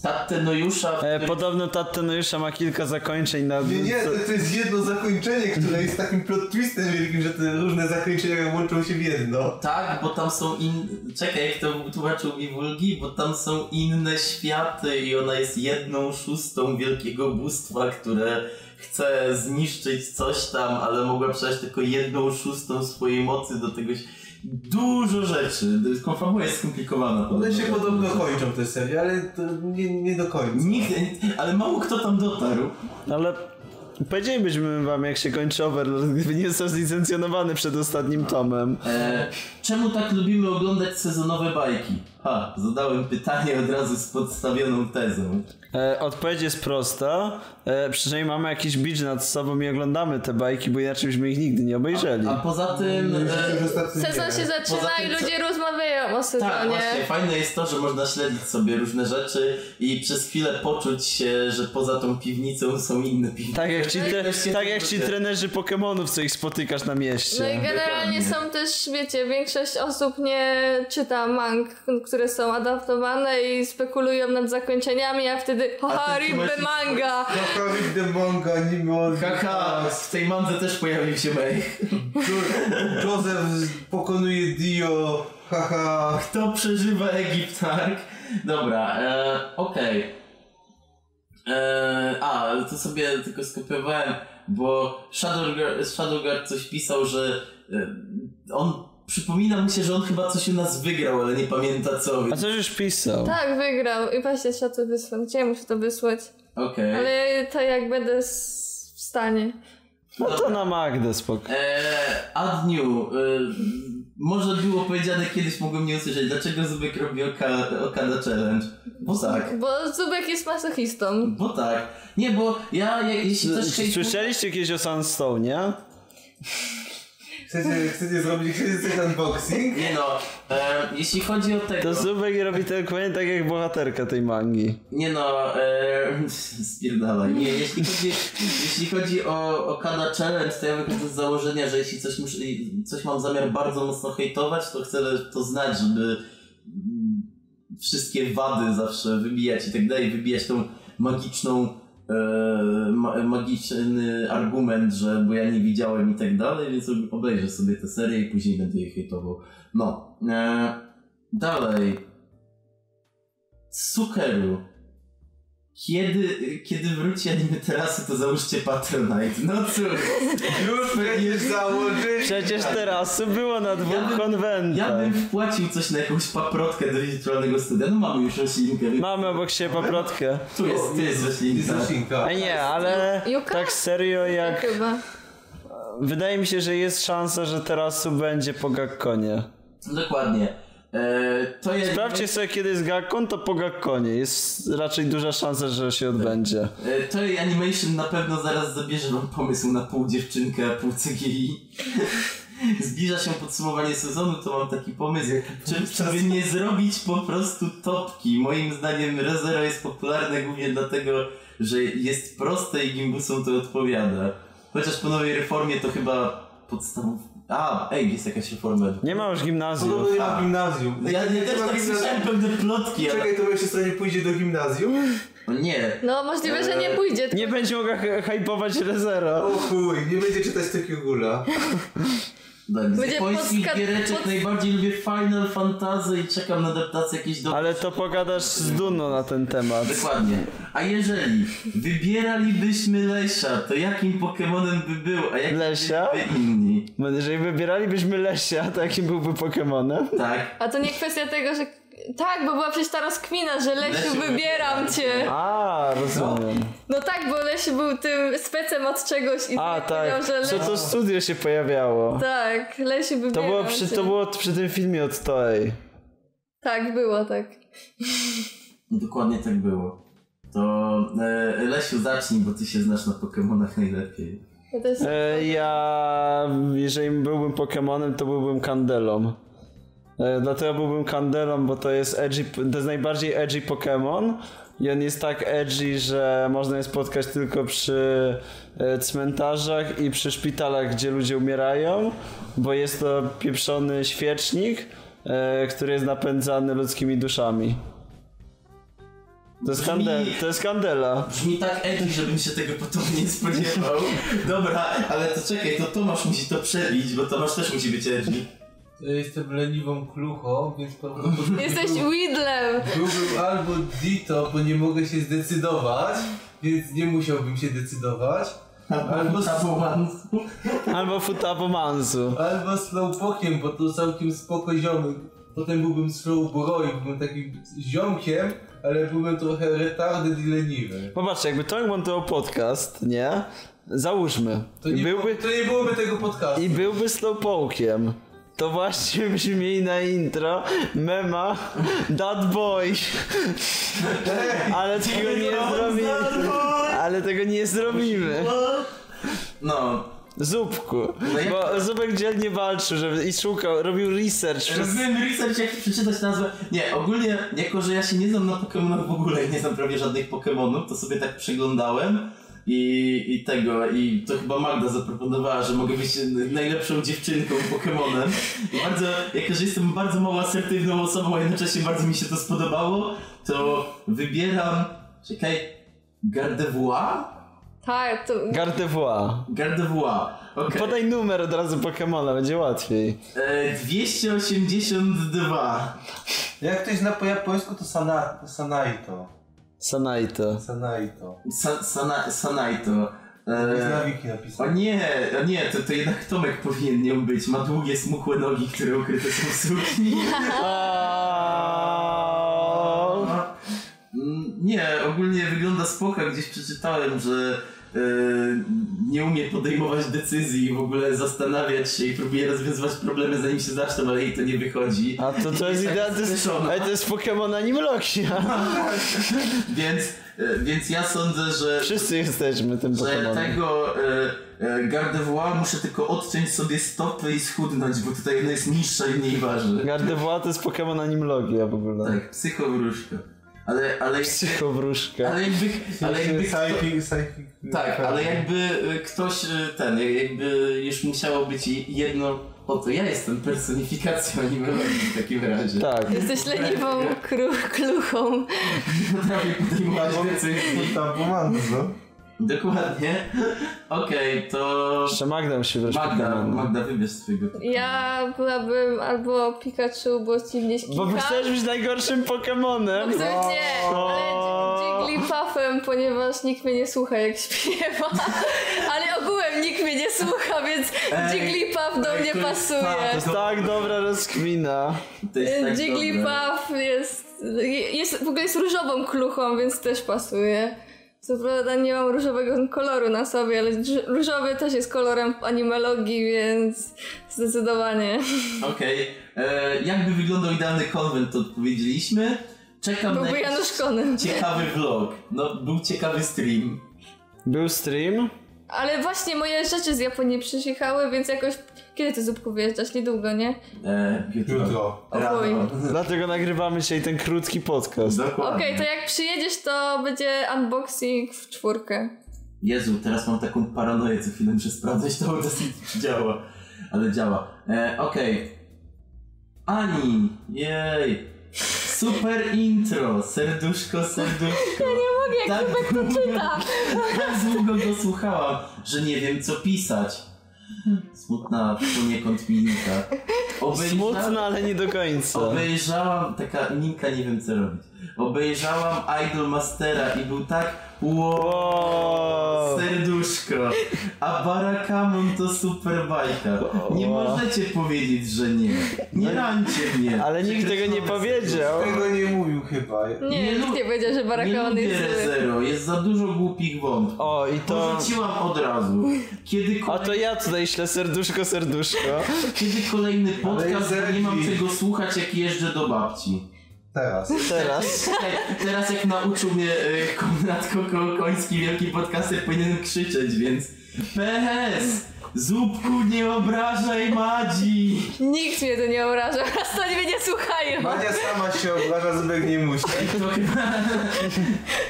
[SPEAKER 3] tatę Nojusza...
[SPEAKER 4] E, podobno Tattenojusza ma kilka zakończeń na...
[SPEAKER 1] Nie, nie, to, to jest jedno zakończenie, które jest takim plot twistem wielkim, że te różne zakończenia łączą się w jedno.
[SPEAKER 3] Tak, bo tam są in... Czekaj, jak to tłumaczył mi Wulgi, bo tam są inne światy i ona jest jedną szóstą wielkiego bóstwa, które chce zniszczyć coś tam, ale mogła przejść tylko jedną szóstą swojej mocy do tegoś... Dużo rzeczy. Konfabula jest skomplikowana.
[SPEAKER 1] One się podobno
[SPEAKER 3] Dużo.
[SPEAKER 1] kończą te serie, ale to nie, nie do końca.
[SPEAKER 3] Nikt, ale mało kto tam dotarł.
[SPEAKER 4] Ale powiedzielibyśmy wam, jak się kończy Overlord, gdyby nie został zlicencjonowany przed ostatnim tomem.
[SPEAKER 3] E, czemu tak lubimy oglądać sezonowe bajki? Ha, zadałem pytanie od razu z podstawioną tezą.
[SPEAKER 4] E, odpowiedź jest prosta. E, przynajmniej mamy jakiś bicz nad sobą i oglądamy te bajki, bo inaczej byśmy ich nigdy nie obejrzeli.
[SPEAKER 3] A poza tym... E,
[SPEAKER 1] Już ostatnio
[SPEAKER 2] Sezon
[SPEAKER 1] nie.
[SPEAKER 2] się zaczyna
[SPEAKER 3] Poza
[SPEAKER 2] i
[SPEAKER 3] tym, co-
[SPEAKER 2] ludzie rozmawiają o
[SPEAKER 3] tak, właśnie,
[SPEAKER 2] sezonie.
[SPEAKER 3] fajne jest to, że można śledzić sobie różne rzeczy i przez chwilę poczuć się, że poza tą piwnicą są inne piwnice.
[SPEAKER 4] Tak jak ci, te,
[SPEAKER 3] Ktoś się
[SPEAKER 4] tak jak ci
[SPEAKER 3] zwróci.
[SPEAKER 4] trenerzy Pokemonów, co ich spotykasz na
[SPEAKER 2] No i
[SPEAKER 4] mieście.
[SPEAKER 2] generalnie są też, wiecie, większość osób nie czyta mang, które są adaptowane i spekulują nad zakończeniami, a wtedy haha,
[SPEAKER 3] ty
[SPEAKER 2] ribbe
[SPEAKER 3] masz-
[SPEAKER 2] manga!
[SPEAKER 1] Naprawić The Manga, anime od...
[SPEAKER 3] Haha, w tej mandze też pojawił się May.
[SPEAKER 1] Jo- Joseph pokonuje Dio, haha.
[SPEAKER 3] Kto przeżywa Egipt, tak? Dobra, e, okej. E, A, ale to sobie tylko skopiowałem, bo Shadowguard, Shadowguard coś pisał, że e, on przypomina mu się, że on chyba coś u nas wygrał, ale nie pamięta co.
[SPEAKER 4] A
[SPEAKER 3] więc-
[SPEAKER 4] coś już pisał.
[SPEAKER 2] Tak, wygrał. I właśnie trzeba to wysłać. Gdzie ja muszę to wysłać?
[SPEAKER 3] Okej.
[SPEAKER 2] Ale to jak będę s- w stanie.
[SPEAKER 4] No to na Magdę spoko.
[SPEAKER 3] E, Adniu, e, może było powiedziane kiedyś, mogłem nie usłyszeć, dlaczego Zubek robi oka, Okada Challenge? Bo tak.
[SPEAKER 2] Bo Zubek jest masochistą.
[SPEAKER 3] Bo tak. Nie, bo ja, ja jeśli
[SPEAKER 4] S-
[SPEAKER 3] ktoś
[SPEAKER 4] s- Słyszeliście kiedyś o Sunstone, nie?
[SPEAKER 1] Chcecie, chcecie zrobić chcecie coś unboxing?
[SPEAKER 3] Nie no, e, jeśli chodzi o tego...
[SPEAKER 4] To Zubek robi to dokładnie tak jak bohaterka tej mangi.
[SPEAKER 3] Nie no, e, spierdalaj. Nie, jeśli chodzi, jeśli chodzi o, o Kada Challenge, to ja wychodzę z założenia, że jeśli coś, muszę, coś mam zamiar bardzo mocno hejtować, to chcę to znać, żeby mm, wszystkie wady zawsze wybijać i tak dalej, wybijać tą magiczną e, ma, magiczny argument, że bo ja nie widziałem i tak dalej, więc obejrzę sobie tę serię i później będę je hejtował. No, e, dalej. Sukeru. Kiedy, kiedy wróci anime terasu, to załóżcie Patronite. No cóż,
[SPEAKER 1] Już będziesz założyć.
[SPEAKER 4] Przecież terasu było na dwóch
[SPEAKER 3] bym- ja
[SPEAKER 4] konwentach.
[SPEAKER 3] bym wpłacił coś na jakąś paprotkę do wirtualnego studia. No mamy już roślinkę. więc-
[SPEAKER 4] Mamy obok siebie paprotkę.
[SPEAKER 3] Tu jest, tu jest
[SPEAKER 1] Jest
[SPEAKER 3] roślinka.
[SPEAKER 1] roślinka.
[SPEAKER 4] A nie, ale
[SPEAKER 2] Juka?
[SPEAKER 4] tak serio jak...
[SPEAKER 2] Chyba.
[SPEAKER 4] Wydaje mi się, że jest szansa, że terasu będzie po Gakkonie.
[SPEAKER 3] Dokładnie. E, to jest.
[SPEAKER 4] Sprawdźcie sobie, kiedy jest Gakkon, to po Gakkonie. Jest raczej duża szansa, że się odbędzie.
[SPEAKER 3] E, Toy Animation na pewno zaraz zabierze wam pomysł na pół dziewczynkę, a pół CGI. Zbliża się podsumowanie sezonu, to mam taki pomysł. Czy, czy by nie zrobić po prostu topki? Moim zdaniem ReZero jest popularne głównie dlatego, że jest proste i gimbusom to odpowiada. Chociaż po nowej reformie to chyba podstawów... A, ej, jest jakaś reforma.
[SPEAKER 4] Nie ma już gimnazjum.
[SPEAKER 1] Podobno nie ma
[SPEAKER 3] A.
[SPEAKER 1] gimnazjum.
[SPEAKER 3] Ja, ja
[SPEAKER 1] Nie
[SPEAKER 3] też
[SPEAKER 1] ma
[SPEAKER 3] tak
[SPEAKER 1] gimnazjum.
[SPEAKER 3] słyszałem pewne plotki, ale...
[SPEAKER 1] Czekaj, to jeszcze strony pójdzie do gimnazjum?
[SPEAKER 3] O nie,
[SPEAKER 2] No możliwe, że nie pójdzie.
[SPEAKER 4] Nie będzie mogła hy- hypować Rezero.
[SPEAKER 1] O chuj, nie będzie czytać takiego gula.
[SPEAKER 3] Tak, z
[SPEAKER 2] Będzie
[SPEAKER 3] polskich
[SPEAKER 2] podska-
[SPEAKER 3] giereczek
[SPEAKER 2] pod-
[SPEAKER 3] najbardziej lubię Final Fantasy i czekam na adaptację jakiejś do...
[SPEAKER 4] Ale to pogadasz z Duno na ten temat.
[SPEAKER 3] Dokładnie. A jeżeli wybieralibyśmy Lesia, to jakim Pokemonem by był, a jakim
[SPEAKER 4] Lesia?
[SPEAKER 3] byliby inni?
[SPEAKER 4] Jeżeli wybieralibyśmy Lesia, to jakim byłby Pokemonem?
[SPEAKER 3] Tak.
[SPEAKER 2] A to nie kwestia tego, że... Tak, bo była przecież ta rozkmina, że Lesiu,
[SPEAKER 3] Lesiu, tak.
[SPEAKER 2] wybieram cię.
[SPEAKER 4] A, rozumiem.
[SPEAKER 2] No tak, bo Lesiu był tym specem od czegoś i
[SPEAKER 4] A, tak.
[SPEAKER 2] powiedział, że
[SPEAKER 4] Co
[SPEAKER 2] Lesiu...
[SPEAKER 4] to studio się pojawiało?
[SPEAKER 2] Tak, Lesiu, wybieram
[SPEAKER 4] To było przy,
[SPEAKER 2] cię.
[SPEAKER 4] to było przy tym filmie od Toei.
[SPEAKER 2] Tak, było, tak.
[SPEAKER 3] No Dokładnie tak było. To e, Lesiu zacznij, bo ty się znasz na Pokemonach najlepiej.
[SPEAKER 2] Ja też...
[SPEAKER 4] E, ja, jeżeli byłbym Pokemonem, to byłbym Kandelą. E, dlatego byłbym Kandelą, bo to jest edgy, to jest najbardziej edgy Pokemon. I on jest tak edgy, że można je spotkać tylko przy e, cmentarzach i przy szpitalach, gdzie ludzie umierają, bo jest to pieprzony świecznik, e, który jest napędzany ludzkimi duszami. To jest,
[SPEAKER 3] Brzmi-
[SPEAKER 4] kandel, to jest kandela.
[SPEAKER 3] Brzmi tak edgy, żebym się tego potem nie spodziewał. Dobra, ale to czekaj, to Tomasz musi to przebić, bo Tomasz też musi być edgy.
[SPEAKER 1] Ja jestem leniwą kluchą, więc prawdopodobnie
[SPEAKER 2] Jesteś Widlem!
[SPEAKER 1] byłbym albo Dito, bo nie mogę się zdecydować, więc nie musiałbym się decydować. Albo,
[SPEAKER 3] Tabuans.
[SPEAKER 4] Albo Futabo Manzu.
[SPEAKER 1] albo Slowpokiem, bo to całkiem spoko ziomy. Potem byłbym Slowbroy, byłbym takim ziomkiem, ale byłbym trochę retarded i leniwy.
[SPEAKER 4] Popatrzcie, jakby Tomek montował podcast, nie? Załóżmy.
[SPEAKER 1] To nie,
[SPEAKER 4] byłby,
[SPEAKER 1] to nie byłoby tego podcastu.
[SPEAKER 4] I byłby slowpoke'iem. To właśnie byśmy mieli na intro mema That Boy. Ale tego nie zrobimy. Ale tego nie zrobimy.
[SPEAKER 3] No,
[SPEAKER 4] Zupku.
[SPEAKER 3] No jak-
[SPEAKER 4] Bo Zupek dzielnie walczył żeby, i szukał, robił research. Przez...
[SPEAKER 3] Robiłem research, jak przeczytać nazwę. Nie, ogólnie, jako że ja się nie znam na Pokemonach w ogóle i nie znam prawie żadnych Pokemonów, to sobie tak przeglądałem i, i tego, i to chyba Magda zaproponowała, że mogę być n- najlepszą dziewczynką Pokemonem. I bardzo, jako że jestem bardzo mało asertywną osobą, a jednocześnie bardzo mi się to spodobało, to wybieram, czekaj, Gardevoir?
[SPEAKER 2] Tak, to...
[SPEAKER 4] Gardevoir.
[SPEAKER 3] Gardevoir, okej.
[SPEAKER 4] Podaj numer od razu Pokemona, będzie łatwiej.
[SPEAKER 3] E, 282.
[SPEAKER 1] Jak ktoś zna po japońsku, to sana, Sanaito.
[SPEAKER 4] Sanaito.
[SPEAKER 1] Sanaito.
[SPEAKER 3] Sa, sana, Sanaito.
[SPEAKER 1] To jest
[SPEAKER 3] E,
[SPEAKER 1] na wiki napisane.
[SPEAKER 3] O nie, o nie, to, to jednak Tomek powinien nią być. Ma długie, smukłe nogi, które ukryte są w sukni.
[SPEAKER 4] Aaaa.
[SPEAKER 3] Mm, Nie, ogólnie wygląda spoko. Gdzieś przeczytałem, że e, nie umie podejmować decyzji i w ogóle zastanawiać się i próbuje rozwiązywać problemy zanim się zaczną, ale jej to nie wychodzi.
[SPEAKER 4] A to, to jest
[SPEAKER 3] Jest
[SPEAKER 4] idea,
[SPEAKER 3] taka
[SPEAKER 4] to jest,
[SPEAKER 3] spieszona.
[SPEAKER 4] ale to jest Pokemon Animloxia.
[SPEAKER 3] Więc, e, więc ja sądzę, że...
[SPEAKER 4] Wszyscy jesteśmy tym
[SPEAKER 3] że tak-
[SPEAKER 4] Pokemonem.
[SPEAKER 3] tego e, e, Gardevoir muszę tylko odciąć sobie stopy i schudnąć, bo tutaj ona jest niższa i mniej waży.
[SPEAKER 4] Gardevoir to jest Pokemon Animlogia w ogóle.
[SPEAKER 3] Tak, psychowróżka. Ale, ale,
[SPEAKER 4] Psychowróżka.
[SPEAKER 3] ale jakby, ale jakby kto,
[SPEAKER 1] Psychic, psychic.
[SPEAKER 3] tak, ale jakby e, ktoś e, ten, e, jakby już musiało być i- jedno, o to ja jestem personifikacją animologii w takim razie.
[SPEAKER 4] Tak.
[SPEAKER 2] Jesteś leniwą kru- kluchą.
[SPEAKER 3] Potrafię podejmować
[SPEAKER 2] Tak.
[SPEAKER 3] decyzji.
[SPEAKER 1] Tabumanzo.
[SPEAKER 3] Dokładnie. Okej, to
[SPEAKER 4] Jeszcze Magdam się wreszcie
[SPEAKER 3] Magda,
[SPEAKER 2] no.
[SPEAKER 4] Pokemon.
[SPEAKER 3] Magda wybierz swojego.
[SPEAKER 2] Ja byłabym albo Pikachu, bo dziwnie
[SPEAKER 4] Bo by chciałeś być najgorszym
[SPEAKER 2] No
[SPEAKER 4] Pokemonem.
[SPEAKER 2] chcę być nie, ale Jigglypuffem, ponieważ nikt mnie nie słucha jak śpiewa. Ale ogółem nikt mnie nie słucha, więc
[SPEAKER 3] Ej,
[SPEAKER 2] Jigglypuff do
[SPEAKER 3] ej,
[SPEAKER 2] mnie
[SPEAKER 3] to jest tak, to
[SPEAKER 2] pasuje.
[SPEAKER 3] jest
[SPEAKER 4] Tak, dobra rozkmina.
[SPEAKER 3] To jest tak dobre.
[SPEAKER 2] Jigglypuff jest, jest, w ogóle jest różową kluchą, więc też pasuje. Co prawda nie mam różowego koloru na sobie, ale drz- różowy też jest kolorem animologii, więc zdecydowanie.
[SPEAKER 3] Okej. e, Jak by wyglądał idealny konwent, to odpowiedzieliśmy. Czekam na
[SPEAKER 2] Byłby
[SPEAKER 3] jakiś
[SPEAKER 2] Janusz Konem.
[SPEAKER 3] ciekawy vlog. No, był ciekawy stream.
[SPEAKER 4] Był stream.
[SPEAKER 2] Ale właśnie moje rzeczy z Japonii przyjechały, więc jakoś... Kiedy ty, Zupku, wyjeżdżasz? Niedługo, nie?
[SPEAKER 3] E, jutro.
[SPEAKER 1] Jutro.
[SPEAKER 3] Rano.
[SPEAKER 4] Dlatego nagrywamy dzisiaj ten krótki podcast.
[SPEAKER 3] Dokładnie.
[SPEAKER 2] Okej, to jak przyjedziesz, to będzie unboxing w czwórkę.
[SPEAKER 3] Jezu, teraz mam taką paranoję co chwilę, muszę sprawdzać to Audacity, czy działa. Ale działa. E, Okej. Ani, jej. Super intro, serduszko, serduszko. Ja nie mogę, jak tak długo, to czyta. Tak długo go słuchałam, że nie wiem co pisać. Smutna poniekąd minka. Obejrzałem-
[SPEAKER 4] Smutno, ale nie do końca.
[SPEAKER 3] Obejrzałam, taka Ninka nie wiem co robić. Obejrzałam Idol Mastera i był tak wow,
[SPEAKER 4] O,
[SPEAKER 3] serduszko. A Barakamon to super bajka. Nie
[SPEAKER 4] Wow.
[SPEAKER 3] możecie powiedzieć, że nie. Nie rańcie mnie.
[SPEAKER 4] No ale nikt tego nie powiedział.
[SPEAKER 1] Tego nie mówił chyba.
[SPEAKER 2] Nie,
[SPEAKER 3] Nie
[SPEAKER 2] nikt
[SPEAKER 3] lu-
[SPEAKER 2] nie powiedział, że
[SPEAKER 3] Nie
[SPEAKER 2] Barakaon
[SPEAKER 3] lubię
[SPEAKER 2] jest zły.
[SPEAKER 3] Rezero, jest za dużo głupich wątków.
[SPEAKER 4] O, i to...
[SPEAKER 3] Porzuciłam od razu. Kiedy,
[SPEAKER 4] A
[SPEAKER 3] kolej...
[SPEAKER 4] to ja tutaj ślę serduszko, serduszko.
[SPEAKER 3] Kiedy kolejny podcast,
[SPEAKER 1] jest
[SPEAKER 3] nie mam
[SPEAKER 1] zerki.
[SPEAKER 3] czego słuchać jak jeżdżę do babci.
[SPEAKER 1] Teraz.
[SPEAKER 4] Teraz.
[SPEAKER 3] Ej, Teraz jak nauczył mnie y, Konrad Kokokoński, wielki podcaster, powinienem krzyczeć, więc PS! Zupku, nie obrażaj Madzi!
[SPEAKER 2] Nikt mnie to nie obrażał, raz to mnie nie słuchają.
[SPEAKER 1] Mania sama się obraża, Zubek nie musi.
[SPEAKER 3] I to chyba...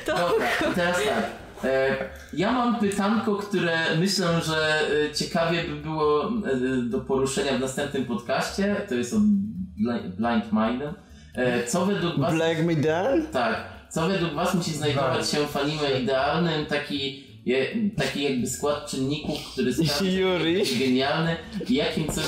[SPEAKER 2] To-
[SPEAKER 3] Dobra, i No, teraz tak. E, ja mam pytanko, które myślę, że e, ciekawie by było e, do poruszenia w następnym podcaście. To jest od Bli- Blind Mindem. E, co według was...
[SPEAKER 4] Black me down?
[SPEAKER 3] Tak. Co według Was musi znajdować się w anime idealnym? Taki, je, taki jakby skład czynników, który sprawdza
[SPEAKER 4] Yuri.
[SPEAKER 3] jest genialny. I jakim co...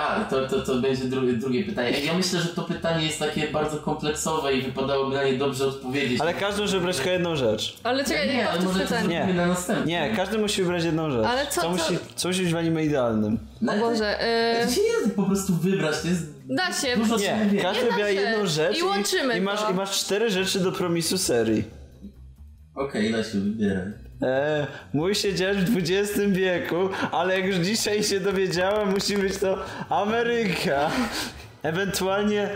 [SPEAKER 3] A, to, to, to będzie drugie, drugie pytanie. Ja myślę, że to pytanie jest takie bardzo kompleksowe i wypadałoby na nie dobrze odpowiedzieć.
[SPEAKER 4] Ale każdy może wybrać tylko jedną rzecz.
[SPEAKER 2] Ale czekaj, nie,
[SPEAKER 3] nie, ale
[SPEAKER 2] powtórz
[SPEAKER 3] może to
[SPEAKER 2] pytanie.
[SPEAKER 4] nie.
[SPEAKER 3] zrobimy na następnym.
[SPEAKER 4] Nie, każdy musi wybrać jedną rzecz.
[SPEAKER 2] Ale co- co-
[SPEAKER 4] musi, co musi być w anime idealnym?
[SPEAKER 3] No,
[SPEAKER 2] O Boże,
[SPEAKER 3] To, to
[SPEAKER 2] y...
[SPEAKER 3] się nie da po prostu wybrać, to jest
[SPEAKER 2] da się.
[SPEAKER 3] dużo
[SPEAKER 4] Nie,
[SPEAKER 3] nie.
[SPEAKER 4] każdy
[SPEAKER 2] Jedna
[SPEAKER 4] wybiera
[SPEAKER 2] rzecz.
[SPEAKER 4] jedną rzecz
[SPEAKER 2] I łączymy
[SPEAKER 4] i masz,
[SPEAKER 2] to.
[SPEAKER 4] i masz cztery rzeczy do promisu serii.
[SPEAKER 3] Okej, da się wybierać.
[SPEAKER 4] E, mój się dziać w XX wieku, ale jak już dzisiaj się dowiedziałem, musi być to Ameryka. Ewentualnie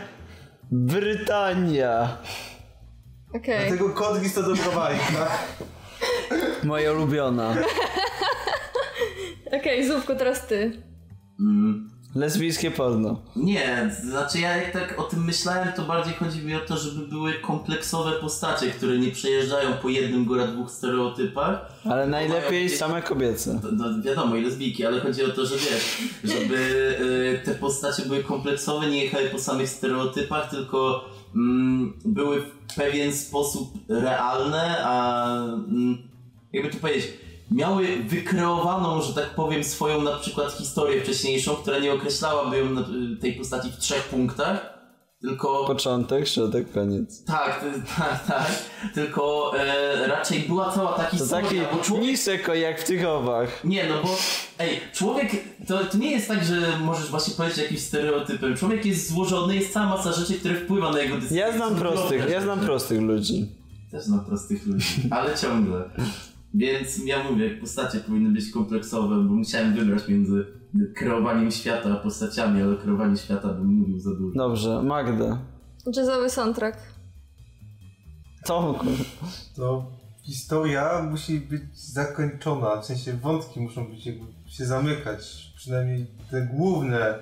[SPEAKER 4] Brytania.
[SPEAKER 2] Okej.
[SPEAKER 1] Tego kodgis to dobra bajka.
[SPEAKER 4] Moja ulubiona.
[SPEAKER 2] Okej, Zupku, teraz ty.
[SPEAKER 4] Lesbijskie porno.
[SPEAKER 3] Nie, znaczy ja jak tak o tym myślałem, to bardziej chodzi mi o to, żeby były kompleksowe postacie, które nie przejeżdżają po jednym góra dwóch stereotypach.
[SPEAKER 4] Ale najlepiej
[SPEAKER 3] jakieś-
[SPEAKER 4] same kobiece.
[SPEAKER 3] No, no, wiadomo, i lesbijki, ale chodzi o to, że wiesz, żeby y, te postacie były kompleksowe, nie jechały po samych stereotypach, tylko mm, były w pewien sposób realne, a mm, jakby to powiedzieć, miały wykreowaną, że tak powiem, swoją na przykład historię wcześniejszą, która nie określałaby ją na, tej postaci w trzech punktach, tylko...
[SPEAKER 4] Początek, środek, koniec.
[SPEAKER 3] Tak, to- tak, tak. Tylko e, raczej była cała ta
[SPEAKER 4] To
[SPEAKER 3] historia,
[SPEAKER 4] taki
[SPEAKER 3] bo człowiek...
[SPEAKER 4] nisek o jak w tych owach.
[SPEAKER 3] Nie, no bo, ej, człowiek, to, to nie jest tak, że możesz właśnie powiedzieć jakimś stereotypem. Człowiek jest złożony, jest cała masa rzeczy, które wpływa na jego decyzję.
[SPEAKER 4] Ja znam
[SPEAKER 3] Są
[SPEAKER 4] prostych,
[SPEAKER 3] drobne
[SPEAKER 4] ja znam
[SPEAKER 3] rzeczy.
[SPEAKER 4] prostych ludzi.
[SPEAKER 3] Też znam prostych ludzi, ale ciągle. Więc ja mówię, postacie powinny być kompleksowe, bo musiałem wybrać między kreowaniem świata a postaciami, ale kreowanie świata bym mówił za dużo.
[SPEAKER 4] Dobrze, Magda.
[SPEAKER 2] Jazzowy soundtrack.
[SPEAKER 4] Tomku.
[SPEAKER 1] To historia musi być zakończona, w sensie wątki muszą być jakby się zamykać, przynajmniej te główne,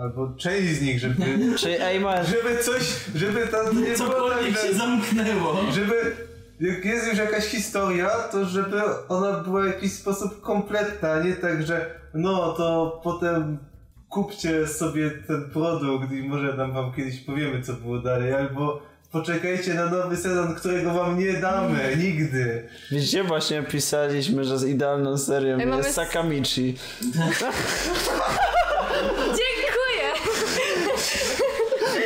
[SPEAKER 1] albo część z nich, żeby,
[SPEAKER 4] Czyli ej, masz
[SPEAKER 1] żeby coś, żeby ta nie było tak,
[SPEAKER 3] Cokolwiek się
[SPEAKER 1] że,
[SPEAKER 3] zamknęło.
[SPEAKER 1] żeby jak jest już jakaś historia, to żeby ona była w jakiś sposób kompletna, a nie tak, że no to potem kupcie sobie ten produkt i może nam wam kiedyś powiemy co było dalej, albo poczekajcie na nowy sezon, którego wam nie damy nigdy.
[SPEAKER 4] Widzicie, właśnie pisaliśmy, że z idealną serią
[SPEAKER 2] mamy
[SPEAKER 4] jest
[SPEAKER 2] s-
[SPEAKER 4] Sakamichi.
[SPEAKER 2] Dziękuję!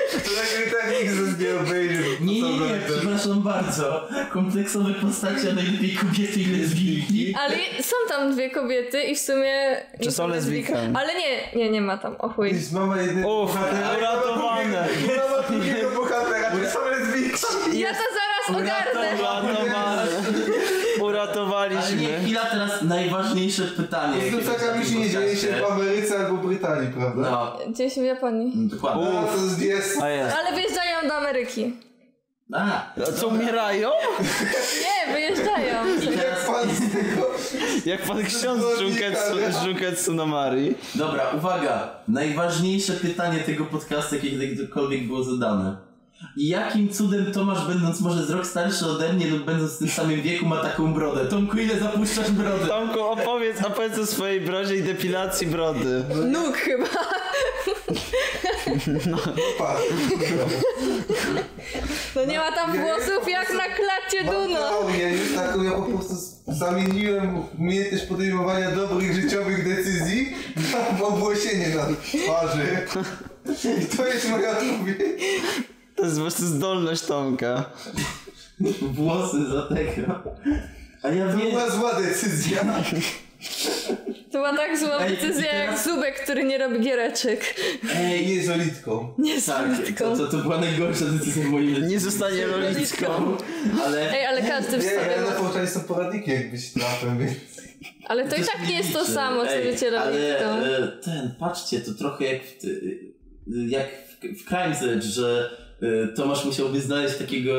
[SPEAKER 1] Którego i tak nikt z nas nie obejrzy.
[SPEAKER 3] Nie, nie, nie,
[SPEAKER 1] To-
[SPEAKER 3] przepraszam bardzo. Kompleksowe postacie, a najlepiej kobiety i lesbijki.
[SPEAKER 2] Ale je- są tam dwie kobiety i w sumie...
[SPEAKER 4] Czy są lesbijkami?
[SPEAKER 2] lesbijka- Ale nie, nie, nie ma tam, o chuj.
[SPEAKER 1] Jest mama jednego
[SPEAKER 4] Uff,
[SPEAKER 1] bohatera.
[SPEAKER 4] uratowane.
[SPEAKER 1] Mama drugiego bohatera, to są lesbijki.
[SPEAKER 2] Ja to zaraz ogarnę!
[SPEAKER 4] Uratowane!
[SPEAKER 3] Ale nie,
[SPEAKER 4] próbowaliśmy.
[SPEAKER 3] chwila, teraz najważniejsze pytanie.
[SPEAKER 1] Z
[SPEAKER 3] jakie
[SPEAKER 1] plecakami
[SPEAKER 3] jest
[SPEAKER 1] się
[SPEAKER 3] w
[SPEAKER 1] nie
[SPEAKER 3] tym
[SPEAKER 1] dzieje się
[SPEAKER 3] podcaście.
[SPEAKER 1] w Ameryce albo Brytanii, prawda?
[SPEAKER 3] No,
[SPEAKER 2] Gdzieś w Japonii.
[SPEAKER 3] dokładnie.
[SPEAKER 1] A to jest jest.
[SPEAKER 4] A jest.
[SPEAKER 2] Ale wyjeżdżają do Ameryki.
[SPEAKER 3] A,
[SPEAKER 4] A co umierają?
[SPEAKER 2] Nie, wyjeżdżają.
[SPEAKER 3] i teraz,
[SPEAKER 1] Jak pan z tego...
[SPEAKER 4] Jak pan ksiądz z Junketsu- z Junketsu Namari.
[SPEAKER 3] dobra, uwaga. Najważniejsze pytanie tego podcastu, jakie kiedykolwiek było zadane. Jakim cudem Tomasz, będąc może z rok starszy ode mnie lub będąc w tym samym wieku, ma taką brodę? Tomku, ile zapuszczasz brodę?
[SPEAKER 4] Tomku, opowiedz, opowiedz o swojej brodzie i depilacji brody.
[SPEAKER 2] Nóg chyba.
[SPEAKER 1] Pa.
[SPEAKER 2] No nie ma tam włosów jak na klacie Duno.
[SPEAKER 1] Mam Ja już taką, ja po prostu z- zamieniłem umiejętność podejmowania dobrych życiowych decyzji na obłosienie na twarzy. I to jest moja odpowiedź.
[SPEAKER 4] To jest po prostu zdolność Tomka.
[SPEAKER 3] Włosy za tego. A ja
[SPEAKER 1] To
[SPEAKER 3] wiem...
[SPEAKER 1] była zła decyzja.
[SPEAKER 2] To była tak zła
[SPEAKER 3] Ej,
[SPEAKER 2] decyzja
[SPEAKER 3] i
[SPEAKER 2] jak
[SPEAKER 3] teraz-
[SPEAKER 2] Zubek, który nie robi giereczek.
[SPEAKER 3] Ej,
[SPEAKER 1] Nie z olitką.
[SPEAKER 2] Nie
[SPEAKER 3] Tak, to,
[SPEAKER 2] słodko.
[SPEAKER 3] to, to była najgorsza decyzja w moim życiu.
[SPEAKER 4] Nie zostanie lolitką.
[SPEAKER 3] Ale
[SPEAKER 2] Ej, ale każdy No w
[SPEAKER 1] Nie,
[SPEAKER 2] sobie
[SPEAKER 1] ja na
[SPEAKER 2] ma.
[SPEAKER 1] połączeniu są poradniki jakbyś trafem, więc...
[SPEAKER 2] Ale to i tak nie jest to samo, co
[SPEAKER 3] Ej,
[SPEAKER 2] bycie
[SPEAKER 3] Ale
[SPEAKER 2] robią.
[SPEAKER 3] e, ten, patrzcie, to trochę jak w, e, jak w, w Crime's Edge, że e, Tomasz musiałby znaleźć takiego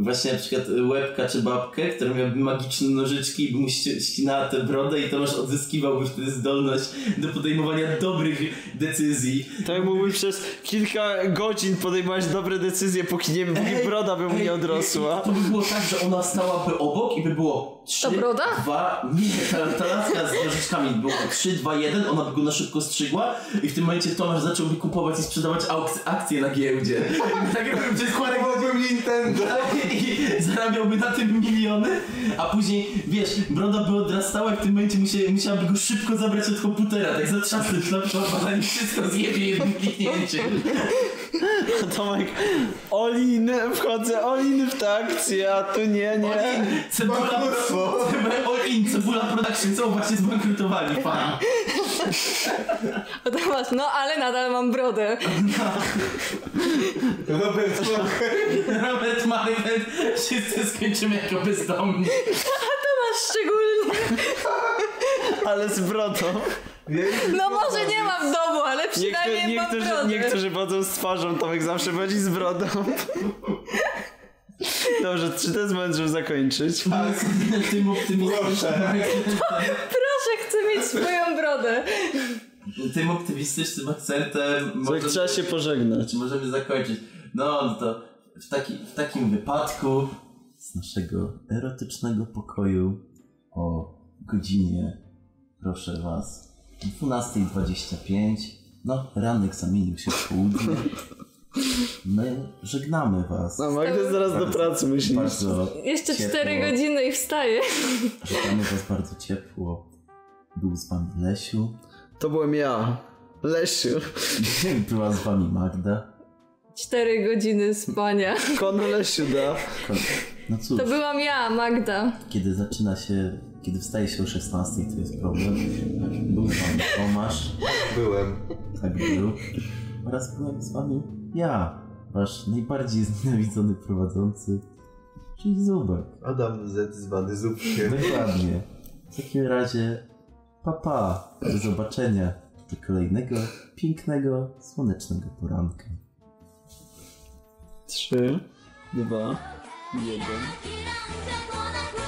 [SPEAKER 3] właśnie na przykład e, łebka czy babkę, która miałaby magiczne nożyczki i by mu ści- ścinała tę brodę i Tomasz odzyskiwałby wtedy zdolność do podejmowania dobrych decyzji.
[SPEAKER 4] Tak mógłby przez kilka godzin podejmować dobre decyzje, póki, nie, póki broda by mu
[SPEAKER 3] Ej,
[SPEAKER 4] nie odrosła.
[SPEAKER 3] To by było tak, że ona stałaby obok i by było 3,
[SPEAKER 2] To broda?
[SPEAKER 3] 2, nie, ta, ta laska z nożyczkami by było 3, 2, 1, ona by go na szybko strzygła i w tym momencie Tomasz zacząłby kupować i sprzedawać auk- akcje na giełdzie. I tak jakby przez parę
[SPEAKER 1] Kupowałbym Nintendo.
[SPEAKER 3] i zarabiałby na tym miliony, a później, wiesz, broda by odrastała i w tym momencie musia, musiałaby go szybko zabrać od komputera, tak zatrzasnąć laptopa, zanim wszystko zjebie jednym kliknięciem.
[SPEAKER 4] To Tomek, Oliny, wchodzę, Oliny w tę akcję, a tu nie, nie.
[SPEAKER 3] Olin, cebula,
[SPEAKER 1] Bankructwo.
[SPEAKER 3] cebula, Olin, cebula production, co vlastně właśnie zbankrutowali, pan.
[SPEAKER 2] O, to masz, No ale nadal mam brodę.
[SPEAKER 1] Robert, Walker.
[SPEAKER 3] Robert Marywet, wszyscy skończymy jako bezdomni.
[SPEAKER 2] Masz szczególnie.
[SPEAKER 4] Ale z brodą.
[SPEAKER 1] Ja już-
[SPEAKER 2] No może nie mam w domu, ale
[SPEAKER 4] Niektórzy,
[SPEAKER 2] przynajmniej mam
[SPEAKER 4] niektórzy,
[SPEAKER 2] brodę.
[SPEAKER 4] niektórzy chodzą z twarzą, Tomek zawsze chodzi z brodą. Dobrze, czy to jest moment, żeby zakończyć?
[SPEAKER 3] Ale z tym optymistycznym,
[SPEAKER 2] Proszę, chcę mieć swoją brodę.
[SPEAKER 3] tym optymistycznym akcentem
[SPEAKER 4] Tomek,
[SPEAKER 3] możemy,
[SPEAKER 4] trzeba się pożegnać.
[SPEAKER 3] czy Znaczy, możemy zakończyć. No, no to w, taki, w takim wypadku z naszego erotycznego pokoju o godzinie, proszę was, 12.25, no, rannych zamienił się w południe. My żegnamy was.
[SPEAKER 4] No, Magda zaraz do pracy musi iść.
[SPEAKER 3] Bardzo
[SPEAKER 2] Jeszcze
[SPEAKER 3] ciepło.
[SPEAKER 2] 4 godziny i wstaję.
[SPEAKER 3] Żegnamy was bardzo ciepło. Był z wami Lesiu.
[SPEAKER 4] To byłem ja. Lesiu.
[SPEAKER 3] Była z wami Magda.
[SPEAKER 2] 4 godziny spania.
[SPEAKER 4] Kon Lesiu, da.
[SPEAKER 3] No cóż,
[SPEAKER 2] To byłam ja, Magda.
[SPEAKER 3] kiedy zaczyna się, kiedy wstaje się o 16, to jest problem. Był z wami Tomasz,
[SPEAKER 1] Byłem.
[SPEAKER 3] tak był. Oraz byłem z wami ja, wasz najbardziej znienawidzony prowadzący, czyli Zubek.
[SPEAKER 1] Adam Z zwany Zupkiem.
[SPEAKER 3] Dokładnie. W takim razie, papa, pa. do zobaczenia do kolejnego pięknego, słonecznego poranka.
[SPEAKER 4] Trzy, dwa, jeden.
[SPEAKER 6] 諦めてこなくて